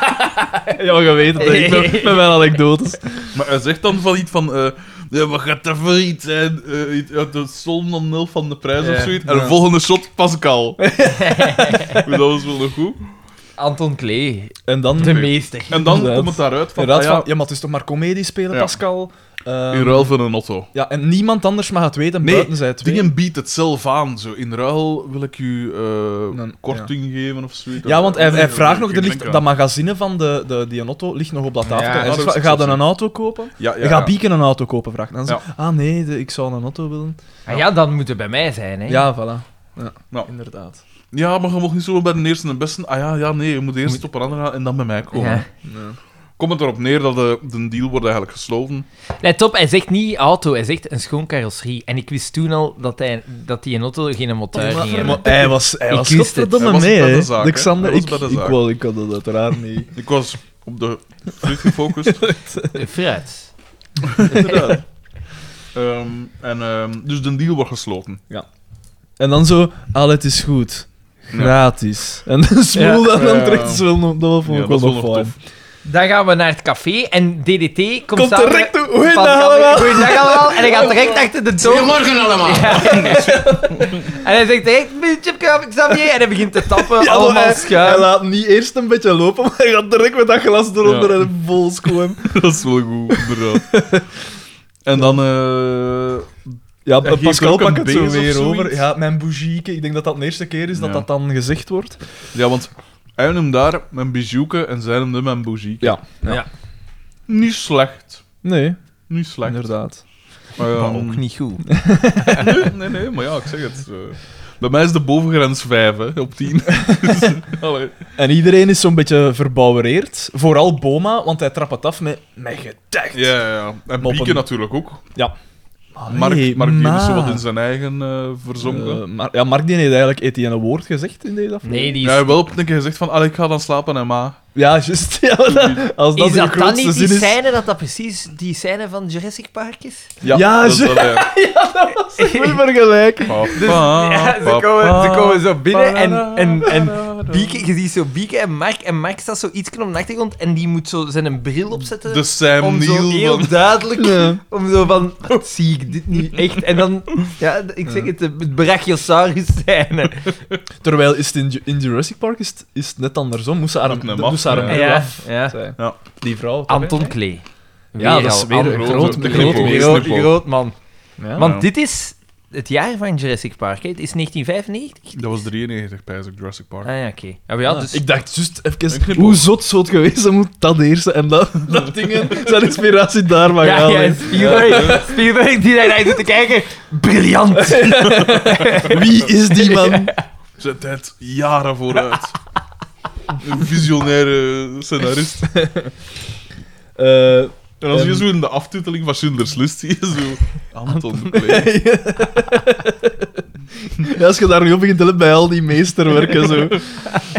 S2: hè. ja, je weet het, hè. ik ben met mijn anekdotes.
S3: Maar hij zegt dan van iets van... eh, ja, wat gaat dat voor iets zijn? Eh, iets uit de zon dan nul van de prijs of
S1: Ja.
S3: zoiets. En de
S2: Ja.
S3: volgende shot
S2: [LAUGHS]
S3: Pascal. Maar dat was wel nog goed.
S1: Anton Klee,
S2: En dan...
S1: de meester.
S3: En dan
S2: Inderdaad.
S3: komt het daaruit van...
S2: Inderdaad,
S3: ah, ja,
S2: van, ja, maar het is toch maar comedie spelen,
S3: Ja.
S2: Pascal? Ehm,
S3: in ruil voor een auto.
S2: Ja, en niemand anders mag het weten
S3: Nee,
S2: buiten zij twee.
S3: Dingen biedt het zelf aan. Zo. In ruil wil ik u eh,
S2: Dan-
S3: korting geven of zoiets.
S2: Ja, want hij, hij
S3: Nee,
S2: vraagt nog,
S3: ik
S2: er
S3: denk
S2: ligt,
S3: aan.
S2: dat magazine van de, de, die auto ligt nog op dat tafeltje.
S1: Ja,
S2: Hij
S3: dat
S2: zegt
S3: is
S2: van,
S3: zo,
S2: ga dan
S3: zo.
S2: een auto kopen?
S3: Ja, ja,
S2: Ga
S3: ja.
S2: Bieken een auto kopen, vraagt. hij. En dan
S3: Ja.
S2: zegt, ah nee, de- ik zou een auto willen.
S1: Ah ja, dan moet het bij mij zijn, hè.
S2: Ja, voilà. Ja,
S3: Nou.
S2: inderdaad.
S3: Ja, maar je mag niet zo bij de eerste en de beste. Ah ja, ja nee, je moet eerst op een andere gaan en dan bij mij komen.
S1: Ja.
S3: Komt het erop neer dat de, de deal wordt eigenlijk gesloten.
S1: Nee, top, hij zegt niet auto, hij zegt een schoon carrosserie. En ik wist toen al dat hij, dat die een auto geen motor ging
S2: Maar,
S1: hebben.
S2: hij was, hij
S1: Ik
S2: was
S1: wist het.
S2: godverdomme
S3: Hij was
S2: mee,
S3: bij de
S2: hè.
S3: zaak, hè.
S2: Alexander,
S3: Hij was
S2: ik,
S3: bij de
S2: ik,
S3: zaak.
S2: wou- ik had dat uiteraard niet.
S3: Ik was op de fruit gefocust.
S2: [LAUGHS]
S1: Eh, Fruit.
S3: Inderdaad. Ehm, en, ehm, dus de deal wordt
S2: [LAUGHS]
S3: gesloten.
S2: En dan zo, al het is goed. Gratis. En de smoel
S3: Ja.
S2: dat dan
S3: Ja.
S2: trekt, is wel nog- dat vond
S3: Ja,
S2: ik wel
S3: dat is
S2: nog
S3: wel nog
S2: fijn.
S3: tof.
S1: Dan gaan we naar het café en DDT komt,
S2: Komt
S1: samen
S2: direct
S1: met-
S2: toe. Goeiedag
S1: van- [LAUGHS]
S2: allemaal.
S1: Goeiedag allemaal. En hij gaat direct achter de toon.
S5: Goedemorgen allemaal.
S1: En hij zegt, hey, chipkaf, Xavier. En hij begint te tappen,
S2: Ja, maar
S1: allemaal
S2: hij, hij
S1: schuim.
S2: laat niet eerst een beetje lopen, maar hij gaat direct met dat glas eronder
S3: Ja.
S2: en vol schoon.
S3: Dat is wel goed, [LAUGHS] inderdaad. En dan... eh,
S2: Ja,
S3: Hij geeft
S2: Pascal
S3: ook een
S2: pakt het zo
S3: beest of
S2: weer over.
S3: zoiets.
S2: Ja, mijn bougieke. Ik denk dat dat de eerste keer is dat
S3: Ja.
S2: dat dan gezegd wordt.
S3: ja, want hij hem daar mijn bijouke en zij hem de mijn bougie.
S2: Ja.
S1: Ja.
S3: Niet slecht.
S2: Nee,
S3: Niet slecht.
S2: inderdaad.
S3: Maar, ja,
S1: Maar ook niet goed.
S3: Nee, nee, nee, maar ja, ik zeg het. eh, Bij mij is de bovengrens 5 hè, op 10. Dus, allee.
S2: En iedereen is zo'n beetje verbouwereerd. Vooral Boma, want hij trapt het af met... Met gedacht.
S3: Ja, ja, ja. En
S2: Moppen.
S3: Pieke natuurlijk ook.
S2: Allee,
S3: Mark, Mark die
S2: ma.
S3: is zo wat in zijn eigen eh verzonken.
S2: Eh, Mar- ja, Mark die heeft eigenlijk Etienne een woord gezegd in deze aflevering.
S1: Nee, die is...
S3: Ja, hij heeft wel op een keer gezegd van, "Allee, ik ga dan slapen en ma.
S2: Ja, juist. [LAUGHS] Ja, maar dat- als dat
S1: is
S2: de
S1: dat dan
S2: grootste
S1: niet die
S2: zin is...
S1: scène dat dat precies die scène van Jurassic Park is?
S2: Ja,
S3: dat is
S2: ze-
S3: wel, ja.
S2: [LAUGHS] Moet maar gelijk.
S3: Papa,
S1: ja, ze komen, ze komen zo binnen en, en, en
S3: papa.
S1: Bieke, je ziet zo Bieke en Mark. En Mark staat zo iets op de achtergrond en die moet zo zijn een bril opzetten.
S3: De Sam
S1: om zo
S3: Neill
S1: heel
S3: van...
S1: duidelijk,
S2: Ja.
S1: om zo van, wat zie ik dit niet echt? En dan, ja, ik zeg het, het brachiosaurus zijn.
S2: Terwijl is het in, Ju- in Jurassic Park is het, is het net andersom. Moest ze haar,
S3: Moet hem
S2: moest ze haar
S3: af,
S2: bril
S1: ja.
S2: af.
S1: Ja.
S2: zijn.
S3: Ja.
S2: Die vrouw. toch, hè?
S1: Anton Klee.
S2: Ja, dat is
S1: al.
S2: weer een
S1: Anton-
S2: groot-
S1: groot,
S2: groot-
S1: groot,
S3: groot-
S1: groot- groot man.
S2: Ja.
S1: Want
S3: Ja.
S1: dit is het jaar van Jurassic Park, hè. Het is 1995.
S3: Dat was 93, pijs ik, Jurassic Park.
S1: Ah ja, oké. Ah, ja,
S2: Ah,
S1: dus...
S2: Ik dacht juist
S3: Een
S2: even,
S3: knipoog.
S2: hoe zot zou het geweest zijn moet dat eerste en dat, [LAUGHS] dat dingen zijn inspiratie daar maar
S1: Ja,
S2: gaan.
S1: ja, en Spielberg, Spielberg die daar naar zit te kijken. Briljant.
S2: Wie is
S1: [LAUGHS]
S2: die man?
S3: Zet het jaren vooruit. Een visionaire scenarist.
S2: Eh,
S3: En als je
S2: En-
S3: zo in de aftiteling van Schindler's List zie je
S2: [LAUGHS]
S3: zo... Anton Klee.
S2: ja, als je daar nu op begint te letten bij al die meesterwerken, zo.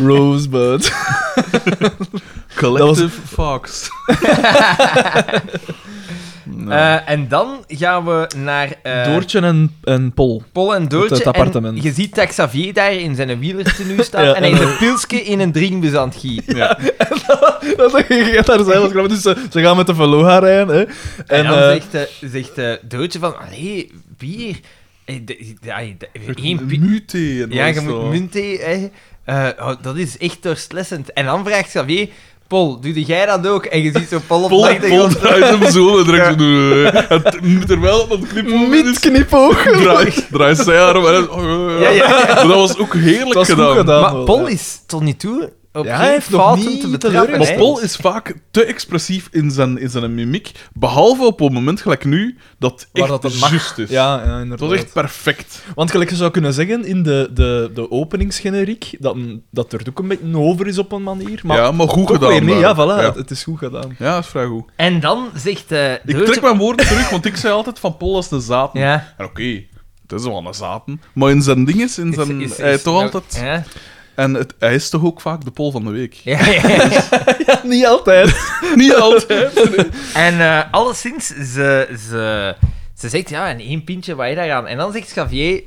S2: Rosebud.
S3: Collective Fox.
S1: Eh, en dan gaan we naar eh,
S2: Doortje en, en Pol.
S1: Paul en Doortje.
S2: het appartement.
S1: En je ziet dat Xavier daar in zijn wielertenu staat
S2: Ja,
S1: en hij is
S2: en-
S1: een pilsje in een drinkbus aan het gieten.
S3: Ja.
S2: Dat gaat daar zijn, was grappig. Dus ze, ze gaan met de Veloha rijden. Hè.
S1: En,
S2: En,
S1: dan
S2: eh,
S1: zegt, eh, zegt eh, Doortje van, allee, bier. Eh, de- de- ay, de- één pi-
S3: mute en
S1: Ja,
S3: alles
S1: je
S3: zo.
S1: moet munthee, hè. Eh, oh, dat is echt doorslessend. En dan vraagt Xavier, Paul, doe jij dat ook? En je ziet zo Paul op de
S3: Pol, pol
S1: achtergrond.
S3: draait hem zo en direct zo doen. Het moet er wel op dat knipoog
S2: Met
S3: is.
S2: knipoog.
S3: Draait, draait zij haar om en dan- oh,
S1: Ja, ja, ja.
S3: Maar Dat was ook heerlijk
S2: Het was goed
S3: gedaan.
S2: gedaan.
S1: Maar
S2: wel,
S1: Paul
S2: ja.
S1: is tot nu toe op
S2: Ja, hij
S1: geen
S2: heeft nog
S1: fouten
S2: niet
S1: te betrappen.
S2: teleurgesteld.
S1: hè.
S3: Maar Paul is vaak te expressief in zijn, in zijn mimiek, behalve op een moment gelijk nu, dat
S2: Waar
S3: echt
S2: dat het mag.
S3: juist is.
S2: Ja, ja,
S3: Het
S2: inderdaad.
S3: was echt perfect.
S2: Want gelijk je zou kunnen zeggen in de, de, de openingsgeneriek dat, dat er ook een beetje een over is op een manier. Maar
S3: ja, maar goed
S2: toch
S3: gedaan.
S2: weer niet. Ja,
S3: daar.
S2: voilà,
S3: Ja.
S2: Het, het is goed gedaan.
S3: Ja, dat is vrij goed.
S1: En dan zegt eh
S3: Ik
S1: Doortje-
S3: trek mijn woorden terug, want ik zei altijd van Paul als een zaten.
S1: Ja.
S3: En oké, het is wel een zaten. Maar in zijn ding is, in
S1: Is-
S3: zijn,
S1: is-
S3: hij
S1: is-
S3: toch
S1: nou,
S3: altijd...
S1: Ja, [LAUGHS]
S3: En het, hij is toch ook vaak de Pol van de week.
S1: ja, ja.
S2: [LAUGHS] Niet altijd.
S3: Niet altijd.
S1: En eh, alleszins, ze, ze, ze zegt, ja, en één pintje, wat je daar aan? En dan zegt
S3: [LAUGHS]
S1: Xavier...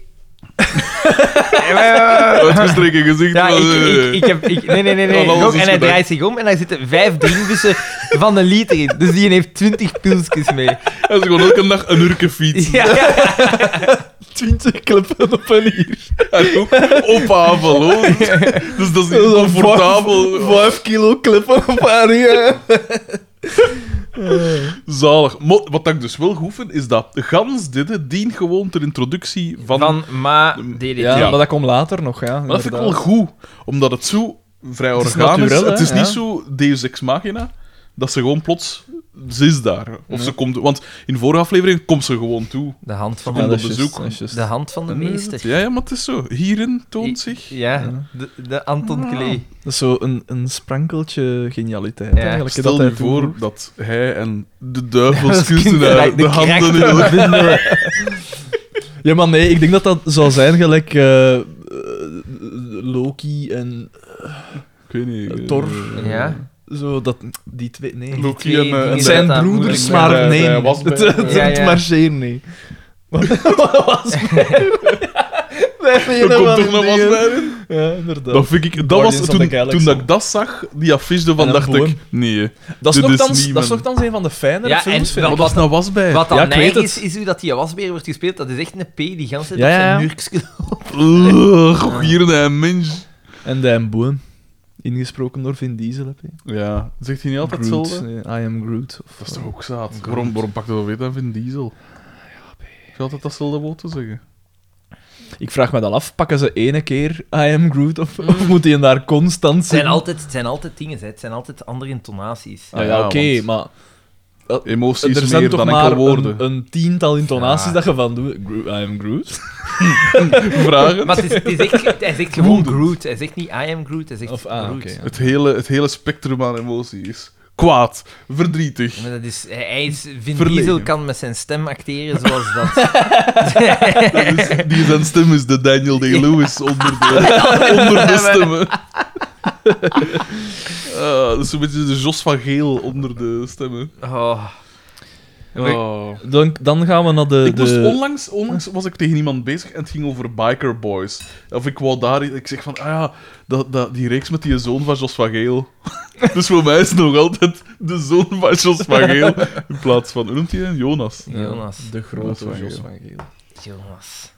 S3: Uitgestreken gezicht.
S1: Ja,
S3: van,
S1: ik, ik,
S3: eh,
S1: ik heb... Ik, nee, nee, nee. nee.
S3: Want [LAUGHS] alles
S1: Gok,
S3: is
S1: en hij
S3: gedaan.
S1: draait zich om en daar zitten vijf drinkbussen van een liter in. Dus die heeft twintig pilsjes
S3: [LAUGHS]
S1: mee.
S3: Hij is gewoon elke dag een uurke fiets.
S1: Ja,
S2: Twintig klippen op een [LAUGHS] hier.
S3: En ook op Avalo. Dus dat is niet comfortabel.
S2: Vijf kilo klippen op een hier.
S3: Zalig. Maar wat ik dus wel goed vind, is dat gans dit dient gewoon ter introductie van...
S1: van Ma DDT.
S2: Ja, maar dat komt later nog, ja.
S3: maar dat vind ik wel
S2: inderdaad.
S3: goed, omdat het zo vrij
S2: is
S3: organisch
S2: natuurlijk, hè,
S3: Het is
S2: ja.
S3: niet zo Deus Ex Machina, dat ze gewoon plots... Ze is daar. Of ze komt... Want in de vorige aflevering komt ze gewoon toe.
S1: De hand van
S3: Ja,
S1: de,
S3: dat
S2: dat
S3: is
S2: is
S3: bezoek.
S2: juist, dat is juist.
S1: de hand van de meester.
S3: Ja, ja, maar het is zo. Hierin toont zich...
S1: Ja, de, de Anton Klee.
S2: Dat is zo een, een sprankeltje genialiteit.
S1: Ja.
S2: eigenlijk,
S3: Stel
S2: dat
S3: je
S2: hij toevoegt.
S3: voor dat hij en de
S1: Dat is
S3: duivelskunstenaar
S1: kinderlijk,
S3: de,
S1: de
S3: handen in
S1: krachten
S2: [LAUGHS]
S3: elkaar...
S2: [LAUGHS] Ja, maar nee, ik denk dat dat zou zijn gelijk eh, eh, Loki en
S3: Ik weet niet.
S2: eh,
S3: eh,
S2: Thor. en
S1: Ja.
S2: Zo, dat, die twee... Nee.
S3: Loki en... eh, en
S1: Die
S2: zijn
S1: dat dat
S2: broeders,
S1: moeilijk
S2: maar
S3: bij-
S2: nee.
S3: bij
S2: Het
S3: wasbeer.
S2: [LAUGHS] het-
S1: Ja,
S2: het
S1: ja.
S2: marcheert niet. Wat was Daar ben je
S3: Er
S2: nog
S3: komt
S2: wel
S3: toch
S2: in
S3: nog wat
S2: dingen.
S3: bij in?
S2: Ja, inderdaad.
S3: Dat, vind ik, dat was,
S2: Guardians of the
S3: toen,
S2: Galaxy.
S3: toen dat ik dat zag, die affiche ervan,
S2: En een
S3: dacht ik...
S2: boom.
S3: Nee.
S2: Dat is,
S3: Dit is
S2: nogthans,
S3: niet
S2: dat
S3: mijn-
S2: is nogthans een van de fijnere
S1: Ja, en
S2: films, vind
S1: dat-
S3: Wat
S2: ik.
S3: was nou was bij?
S1: Wat dan
S2: Ja, ik weet
S1: neig
S2: het.
S1: is, is hoe dat die wasbeer wordt gespeeld. Dat is echt een P die gans tijd
S2: Ja,
S1: op zijn
S2: ja.
S1: [LAUGHS] muurtje
S3: Ugh, hier een mens.
S2: En Dan Boon. Ingesproken door Vin Diesel. Heb je.
S3: Ja. Zegt hij niet altijd
S2: Groot,
S3: hetzelfde?
S2: eh, I am Groot. Of,
S3: Dat is toch ook zaad? Waarom, waarom pakt hij dat weer aan Vin Diesel? Ik zal altijd datzelfde woord te zeggen.
S2: Ik vraag me dan af, pakken ze ene keer I am Groot of, of moet hij daar constant
S1: Het zijn
S2: Mm. zijn?
S1: altijd, het zijn altijd dingen, hè. het zijn altijd andere intonaties.
S2: Ah, ja,
S3: Ja,
S2: oké,
S3: want-
S2: maar
S3: Emoties
S2: er
S3: meer
S2: zijn toch
S3: dan
S2: maar
S3: enkel woorden.
S2: een, een tiental intonaties
S1: Ja.
S2: dat je van doet. Gro- I am Groot.
S3: Vragen?
S1: Maar het is, het is echt, hij zegt gewoon Groot. Hij zegt niet I am Groot, hij zegt
S2: Of, ah,
S1: Groot.
S2: oké, ja.
S3: [LAUGHS] Het hele, het hele spectrum aan emoties. Kwaad, verdrietig.
S1: Maar dat is, hij is, Vin
S3: Verlegen.
S1: Diesel kan met zijn stem acteren zoals
S2: [LAUGHS]
S1: dat.
S3: Dat is, dus die zijn stem is de Daniel Day-Lewis onder, de, onder de stemmen. Eh, dat is een beetje de Jos van Geel onder de stemmen.
S1: Oh.
S2: Dan, dan gaan we naar de...
S3: Ik moest
S2: de-
S3: onlangs, onlangs was ik tegen iemand bezig en het ging over Biker Boys. Of ik wou daar... Ik zeg van, ah ja, dat, dat, die reeks met die zoon van Jos van Geel. [LAUGHS] dus voor mij is het nog altijd de zoon van Jos van Geel. In plaats van, hoe noemt hij hem? Jonas.
S2: Ja,
S1: Jonas.
S2: De grote
S3: Jos van
S2: Jos
S3: Geel.
S2: van Geel.
S1: Jonas.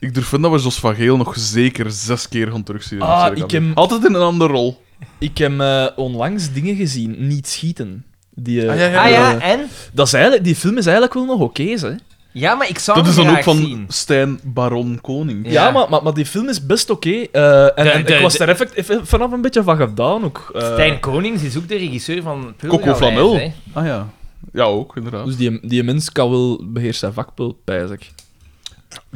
S3: Ik durf vinden dat we Jos van Geel nog zeker zes keer gaan terugzien.
S2: Ah,
S3: Sorry,
S2: ik
S3: Gabi.
S2: hem-
S3: Altijd in een andere rol.
S2: Ik heb eh, onlangs dingen gezien, niet schieten. Die, eh,
S3: Ah, ja, ja,
S1: Ah ja,
S2: eh,
S1: en?
S2: dat is eigenlijk, die film is eigenlijk wel nog oké, hè?
S1: Ja, maar ik zou
S3: Dat is
S1: hem
S3: dan ook
S1: graag
S3: van
S1: zien.
S3: Stijn Baron Koning.
S2: Ja,
S1: Ja.
S2: maar, maar, maar die film is best oké. eh, en
S1: De-
S2: en
S1: de-
S2: ik was
S1: de-
S2: daar effect, eff- vanaf een beetje van gedaan ook. eh.
S1: Stijn Konings is ook de regisseur van
S3: Coco
S1: Pulgarijs,
S3: Flamel.
S1: hè.
S3: Ah ja. Ja, ook, inderdaad.
S2: Dus die, die mens kan wel beheerst zijn vakpul, pijs ik.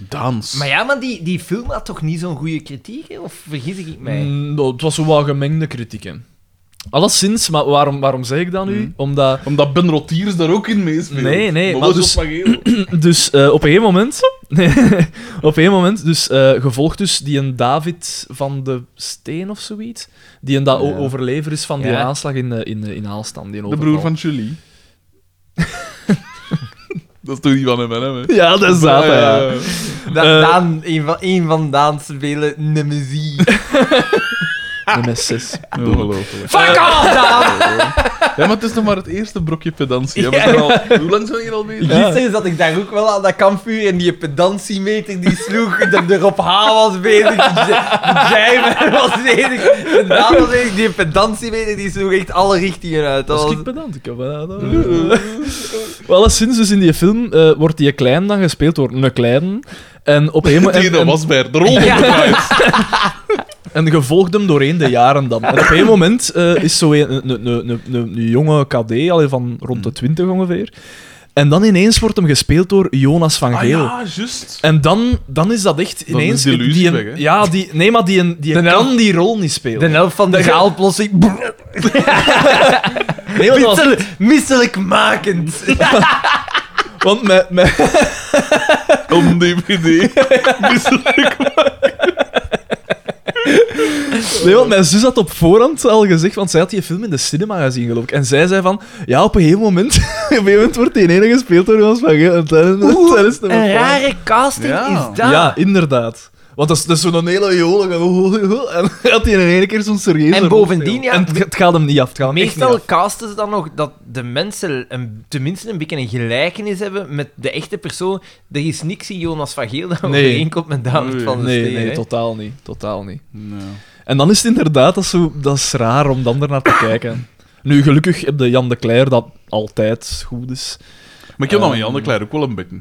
S3: Dans.
S1: Maar ja, maar die, die film had toch niet zo'n goede kritiek? hè? Of vergis ik mij?
S2: Mm, nou, het was zo wel gemengde kritiek, hè. Alleszins, maar waarom, waarom zeg ik dat nu? Omdat...
S3: Omdat Ben Rotiers daar ook in meespeelt.
S2: Nee, nee, maar
S3: wel
S2: dus-
S3: Jos van Geel.
S2: Dus eh, op een gegeven moment... [LAUGHS] Nee, op een gegeven moment, dus eh, gevolgd dus die een David van de Steen of zoiets, die een dat o-
S3: Ja.
S2: overlever is van die
S1: Ja.
S2: aanslag in, eh, in, eh, in Aalstam. Die
S3: De
S2: overval.
S3: broer van Julie. [LAUGHS] dat is toch niet van hem en hem, hè?
S2: Ja, dat is dat,
S3: Ah, ja,
S2: ja.
S3: ja.
S1: Da-
S2: Eh.
S1: Daan, een van, een van Daan's vele nemesis.
S2: Nummer 6.
S3: Ongelooflijk.
S1: [LAUGHS] Fuck [LAUGHS] off, Daan!
S3: Ja, maar het is nog maar het eerste brokje pedantie. hè. We
S1: Ja.
S3: zijn al... Hoe lang zijn we hier al bezig?
S1: Liefst is dat ik daar ook wel aan dat kampvuur en die pedantiemeter die sloeg, [LAUGHS] dat de Rob H. was bezig, de J- Jijmer was bezig, en Daan was bezig, die pedantiemeter die sloeg echt alle richtingen uit. Dat
S2: Dat is
S1: was...
S2: kijk pedant. Ik heb wel- dat-
S3: [LAUGHS]
S2: Wel, alleszins, dus in die film eh, wordt die klein dan gespeeld door een klein. En op
S3: [LAUGHS]
S2: een gegeven moment...
S3: Die
S2: en- en-
S3: dat was bij de rol.
S2: En gevolgd hem doorheen de jaren dan. En op een moment eh, is zo een, een, een, een, een, een jonge KD, allee, van rond
S3: Mm.
S2: de 20 ongeveer. En dan ineens wordt hem gespeeld door Jonas van
S3: Ah
S2: Geel.
S3: ja, juist.
S2: En dan, dan is dat echt
S3: Dan
S2: ineens...
S3: is de illusie
S2: die een-
S3: weg, hè?
S2: Ja, die, nee, maar die, een- die
S1: De
S2: kan
S1: helft-
S2: die rol niet
S1: De
S2: spelen.
S1: helft van de gaal plotseling [LAUGHS]
S2: nee, want, dat was-
S1: misselijk, misselijkmakend.
S2: want met, met,
S3: Om [LAUGHS] DVD. Misselijk.
S2: nee, want mijn zus had op voorhand al gezegd, want zij had die film in de cinema gezien, geloof ik. En zij zei van, ja, op een gegeven moment, [LAUGHS] op een gegeven moment wordt die ene gespeeld door Jonas van Geel. En tijdens- tijdens de
S1: Een rare casting
S3: Ja.
S1: is dat.
S2: Ja, inderdaad. Want dat is, dat is zo'n hele jolige... [LAUGHS] En dan had hij in één keer zo'n serieuze
S1: En
S2: rol
S1: bovendien,
S2: spelen.
S1: ja,
S2: En het, het gaat hem niet af. Het gaat hem echt niet
S1: Meestal
S2: af.
S1: casten ze dan nog dat de mensen een, tenminste een beetje een gelijkenis hebben met de echte persoon. Er is niks in Jonas van Geel dat
S2: Nee.
S1: overeenkomt met David
S3: Nee.
S1: van der
S2: Nee,
S1: Steen.
S2: nee,
S1: hè.
S2: totaal niet. Totaal niet. En dan is het inderdaad... Dat is, zo, dat is raar om dan ernaar te kijken. Nu, gelukkig heb de Jan de Cler dat altijd goed is.
S3: Maar ik heb dan met
S2: Ehm.
S3: Jan de Cler ook wel een beetje.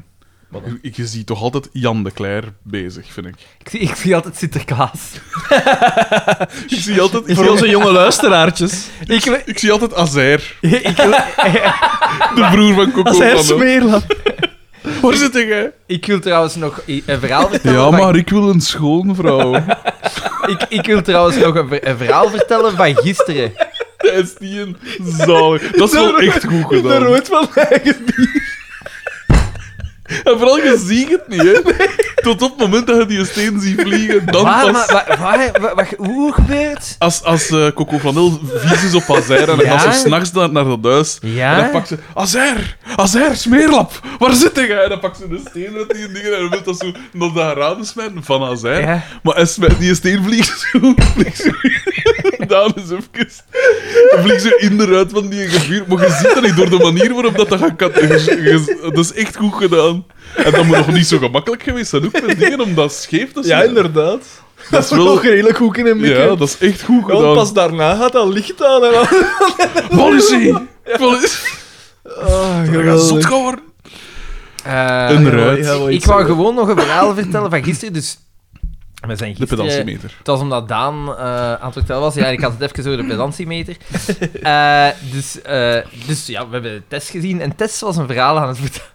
S3: Ik, je ziet toch altijd Jan de Cler bezig, vind [LAUGHS] ik.
S1: Ik, zie, ik zie altijd Sinterklaas.
S3: Ik zie altijd, ik
S2: Voor
S3: zie,
S2: onze jonge luisteraartjes.
S1: ik, wil-
S3: ik zie altijd Azair,
S1: ik, wil-
S3: de broer van Coco
S2: Als hij
S3: van hem.
S2: smeerla.
S3: Waar zit jij?
S1: ik wil trouwens nog i- een
S2: [LAUGHS]
S1: verhaal vertellen.
S3: Ja,
S1: van-
S3: maar ik wil een schoonvrouw.
S1: ik, ik wil trouwens nog een, ver- een verhaal vertellen van
S2: [LAUGHS]
S1: gisteren.
S3: Dat is niet een zalig. Dat is wel echt goed
S2: De
S3: gedaan.
S2: rood van eigen
S3: En vooral, je ziet het niet, hè. Tot op het moment dat je die steen ziet vliegen, dan
S1: Waar,
S3: pas...
S1: maar, waar, waar, waar- waar- hoe gebeurt?
S3: Als, als eh, Coco Flanel vies is op Azair en dan
S1: Ja?
S3: gaat ze s'nachts naar, naar dat huis.
S1: Ja?
S3: En dan pakt ze... Azair! Azair, smeerlap! Waar zit jij? En dan pakt ze de steen uit die dingen en dan wil dat zo naar dat raam smijten van Azair.
S1: Ja.
S3: Maar als met die steen vliegt zo... Vliegt zo [LAUGHS] Daan is even... Vliegt ze in de ruit van die gevuur. Maar je ziet dat niet door de manier waarop dat, dat gaat... je- je- Dat is echt goed gedaan. En dat moet nog niet zo gemakkelijk geweest zijn ook met dingen om dat scheef te
S2: Ja,
S3: zetten.
S2: inderdaad.
S3: Dat is
S2: Nog [LAUGHS]
S3: wel...
S2: redelijk goed in een mikken.
S3: Ja, dat is echt goed
S2: Gewoon
S3: gedaan.
S2: pas daarna gaat Ah, dat licht aan en dan...
S3: Policy! Policy!
S2: Ah,
S3: We gaan zot gaan worden.
S1: Eh,
S3: Een
S2: ja,
S3: ruit.
S2: ja, wel
S1: ik
S2: iets
S1: wou
S2: zo.
S1: gewoon nog een verhaal vertellen van gisteren. Dus we zijn
S3: De
S1: gisteren...
S3: pedantiemeter.
S1: Het was omdat Daan eh, aan het vertellen was. Ja, ik had het even over de pedantiemeter. Eh, dus, eh, dus ja, we hebben Tess gezien. En Tess was een verhaal aan het vertellen.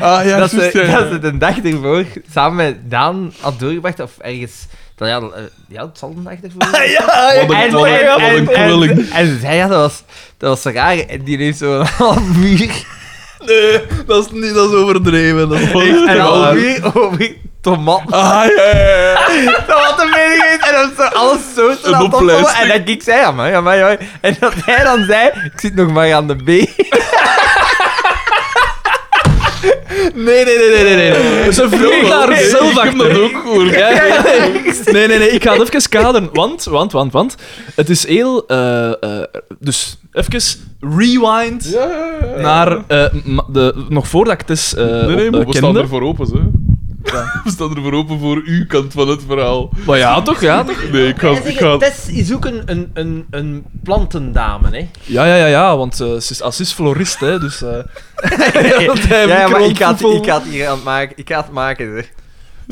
S3: Ah ja,
S1: dat, ze,
S3: juist, ja, ja.
S1: dat ze de dag ervoor samen met Daan had doorgebracht. Of ergens... Dat, ja, eh, ja, het zal de dag ervoor. zijn.
S2: Ja, ja.
S3: Wat een- wat een- wat een kwelling.
S1: en, en ze zei, ja, dat was, dat was zo raar. En die heeft zo'n half uur,
S2: Nee, dat is, niet, dat is overdreven. Dat nou is echt
S1: een half
S2: waar.
S1: uur over tomaten.
S3: eh, Ah ja, ja, ja.
S1: Dat wat een mening is. En dan zo alles zo snel
S3: Een
S1: aan het opvallen.
S3: opleisting.
S1: En dan ik zei, ja maar, ja maar, ja maar. En dat hij dan zei, ik zit nog maar aan de B.
S2: Nee, nee, nee, nee, nee, nee. Ze vroeg daar
S3: Ik
S2: zelf
S3: heb dat
S2: achter.
S3: ook gehoord.
S2: Ja, ja, nee. nee, nee, nee, ik ga het even kaderen. Want, want, want, want. Het is heel. eh, eh, dus even rewind
S3: Ja, ja, ja.
S2: naar. eh, ma- de, nog voordat ik het is. eh
S3: Nee, nee, maar
S2: op-
S3: we
S2: eh,
S3: staan
S2: kende.
S3: er voor open, hè. [LAUGHS] We staan er voor open voor uw kant van het verhaal.
S2: Maar ja, toch, ja, toch?
S3: Nee, ik ga... Ik ga...
S1: Tess is ook een, een, een, een plantendame, hè.
S2: Ja, ja, ja, ja, want eh, ze is, ah, ze is florist, hè, dus.
S1: [LAUGHS]
S2: eh
S1: Ja,
S2: ja,
S1: maar ik ga, het, ik ga het hier aan het maken. Ik ga het maken, zeg. Oh.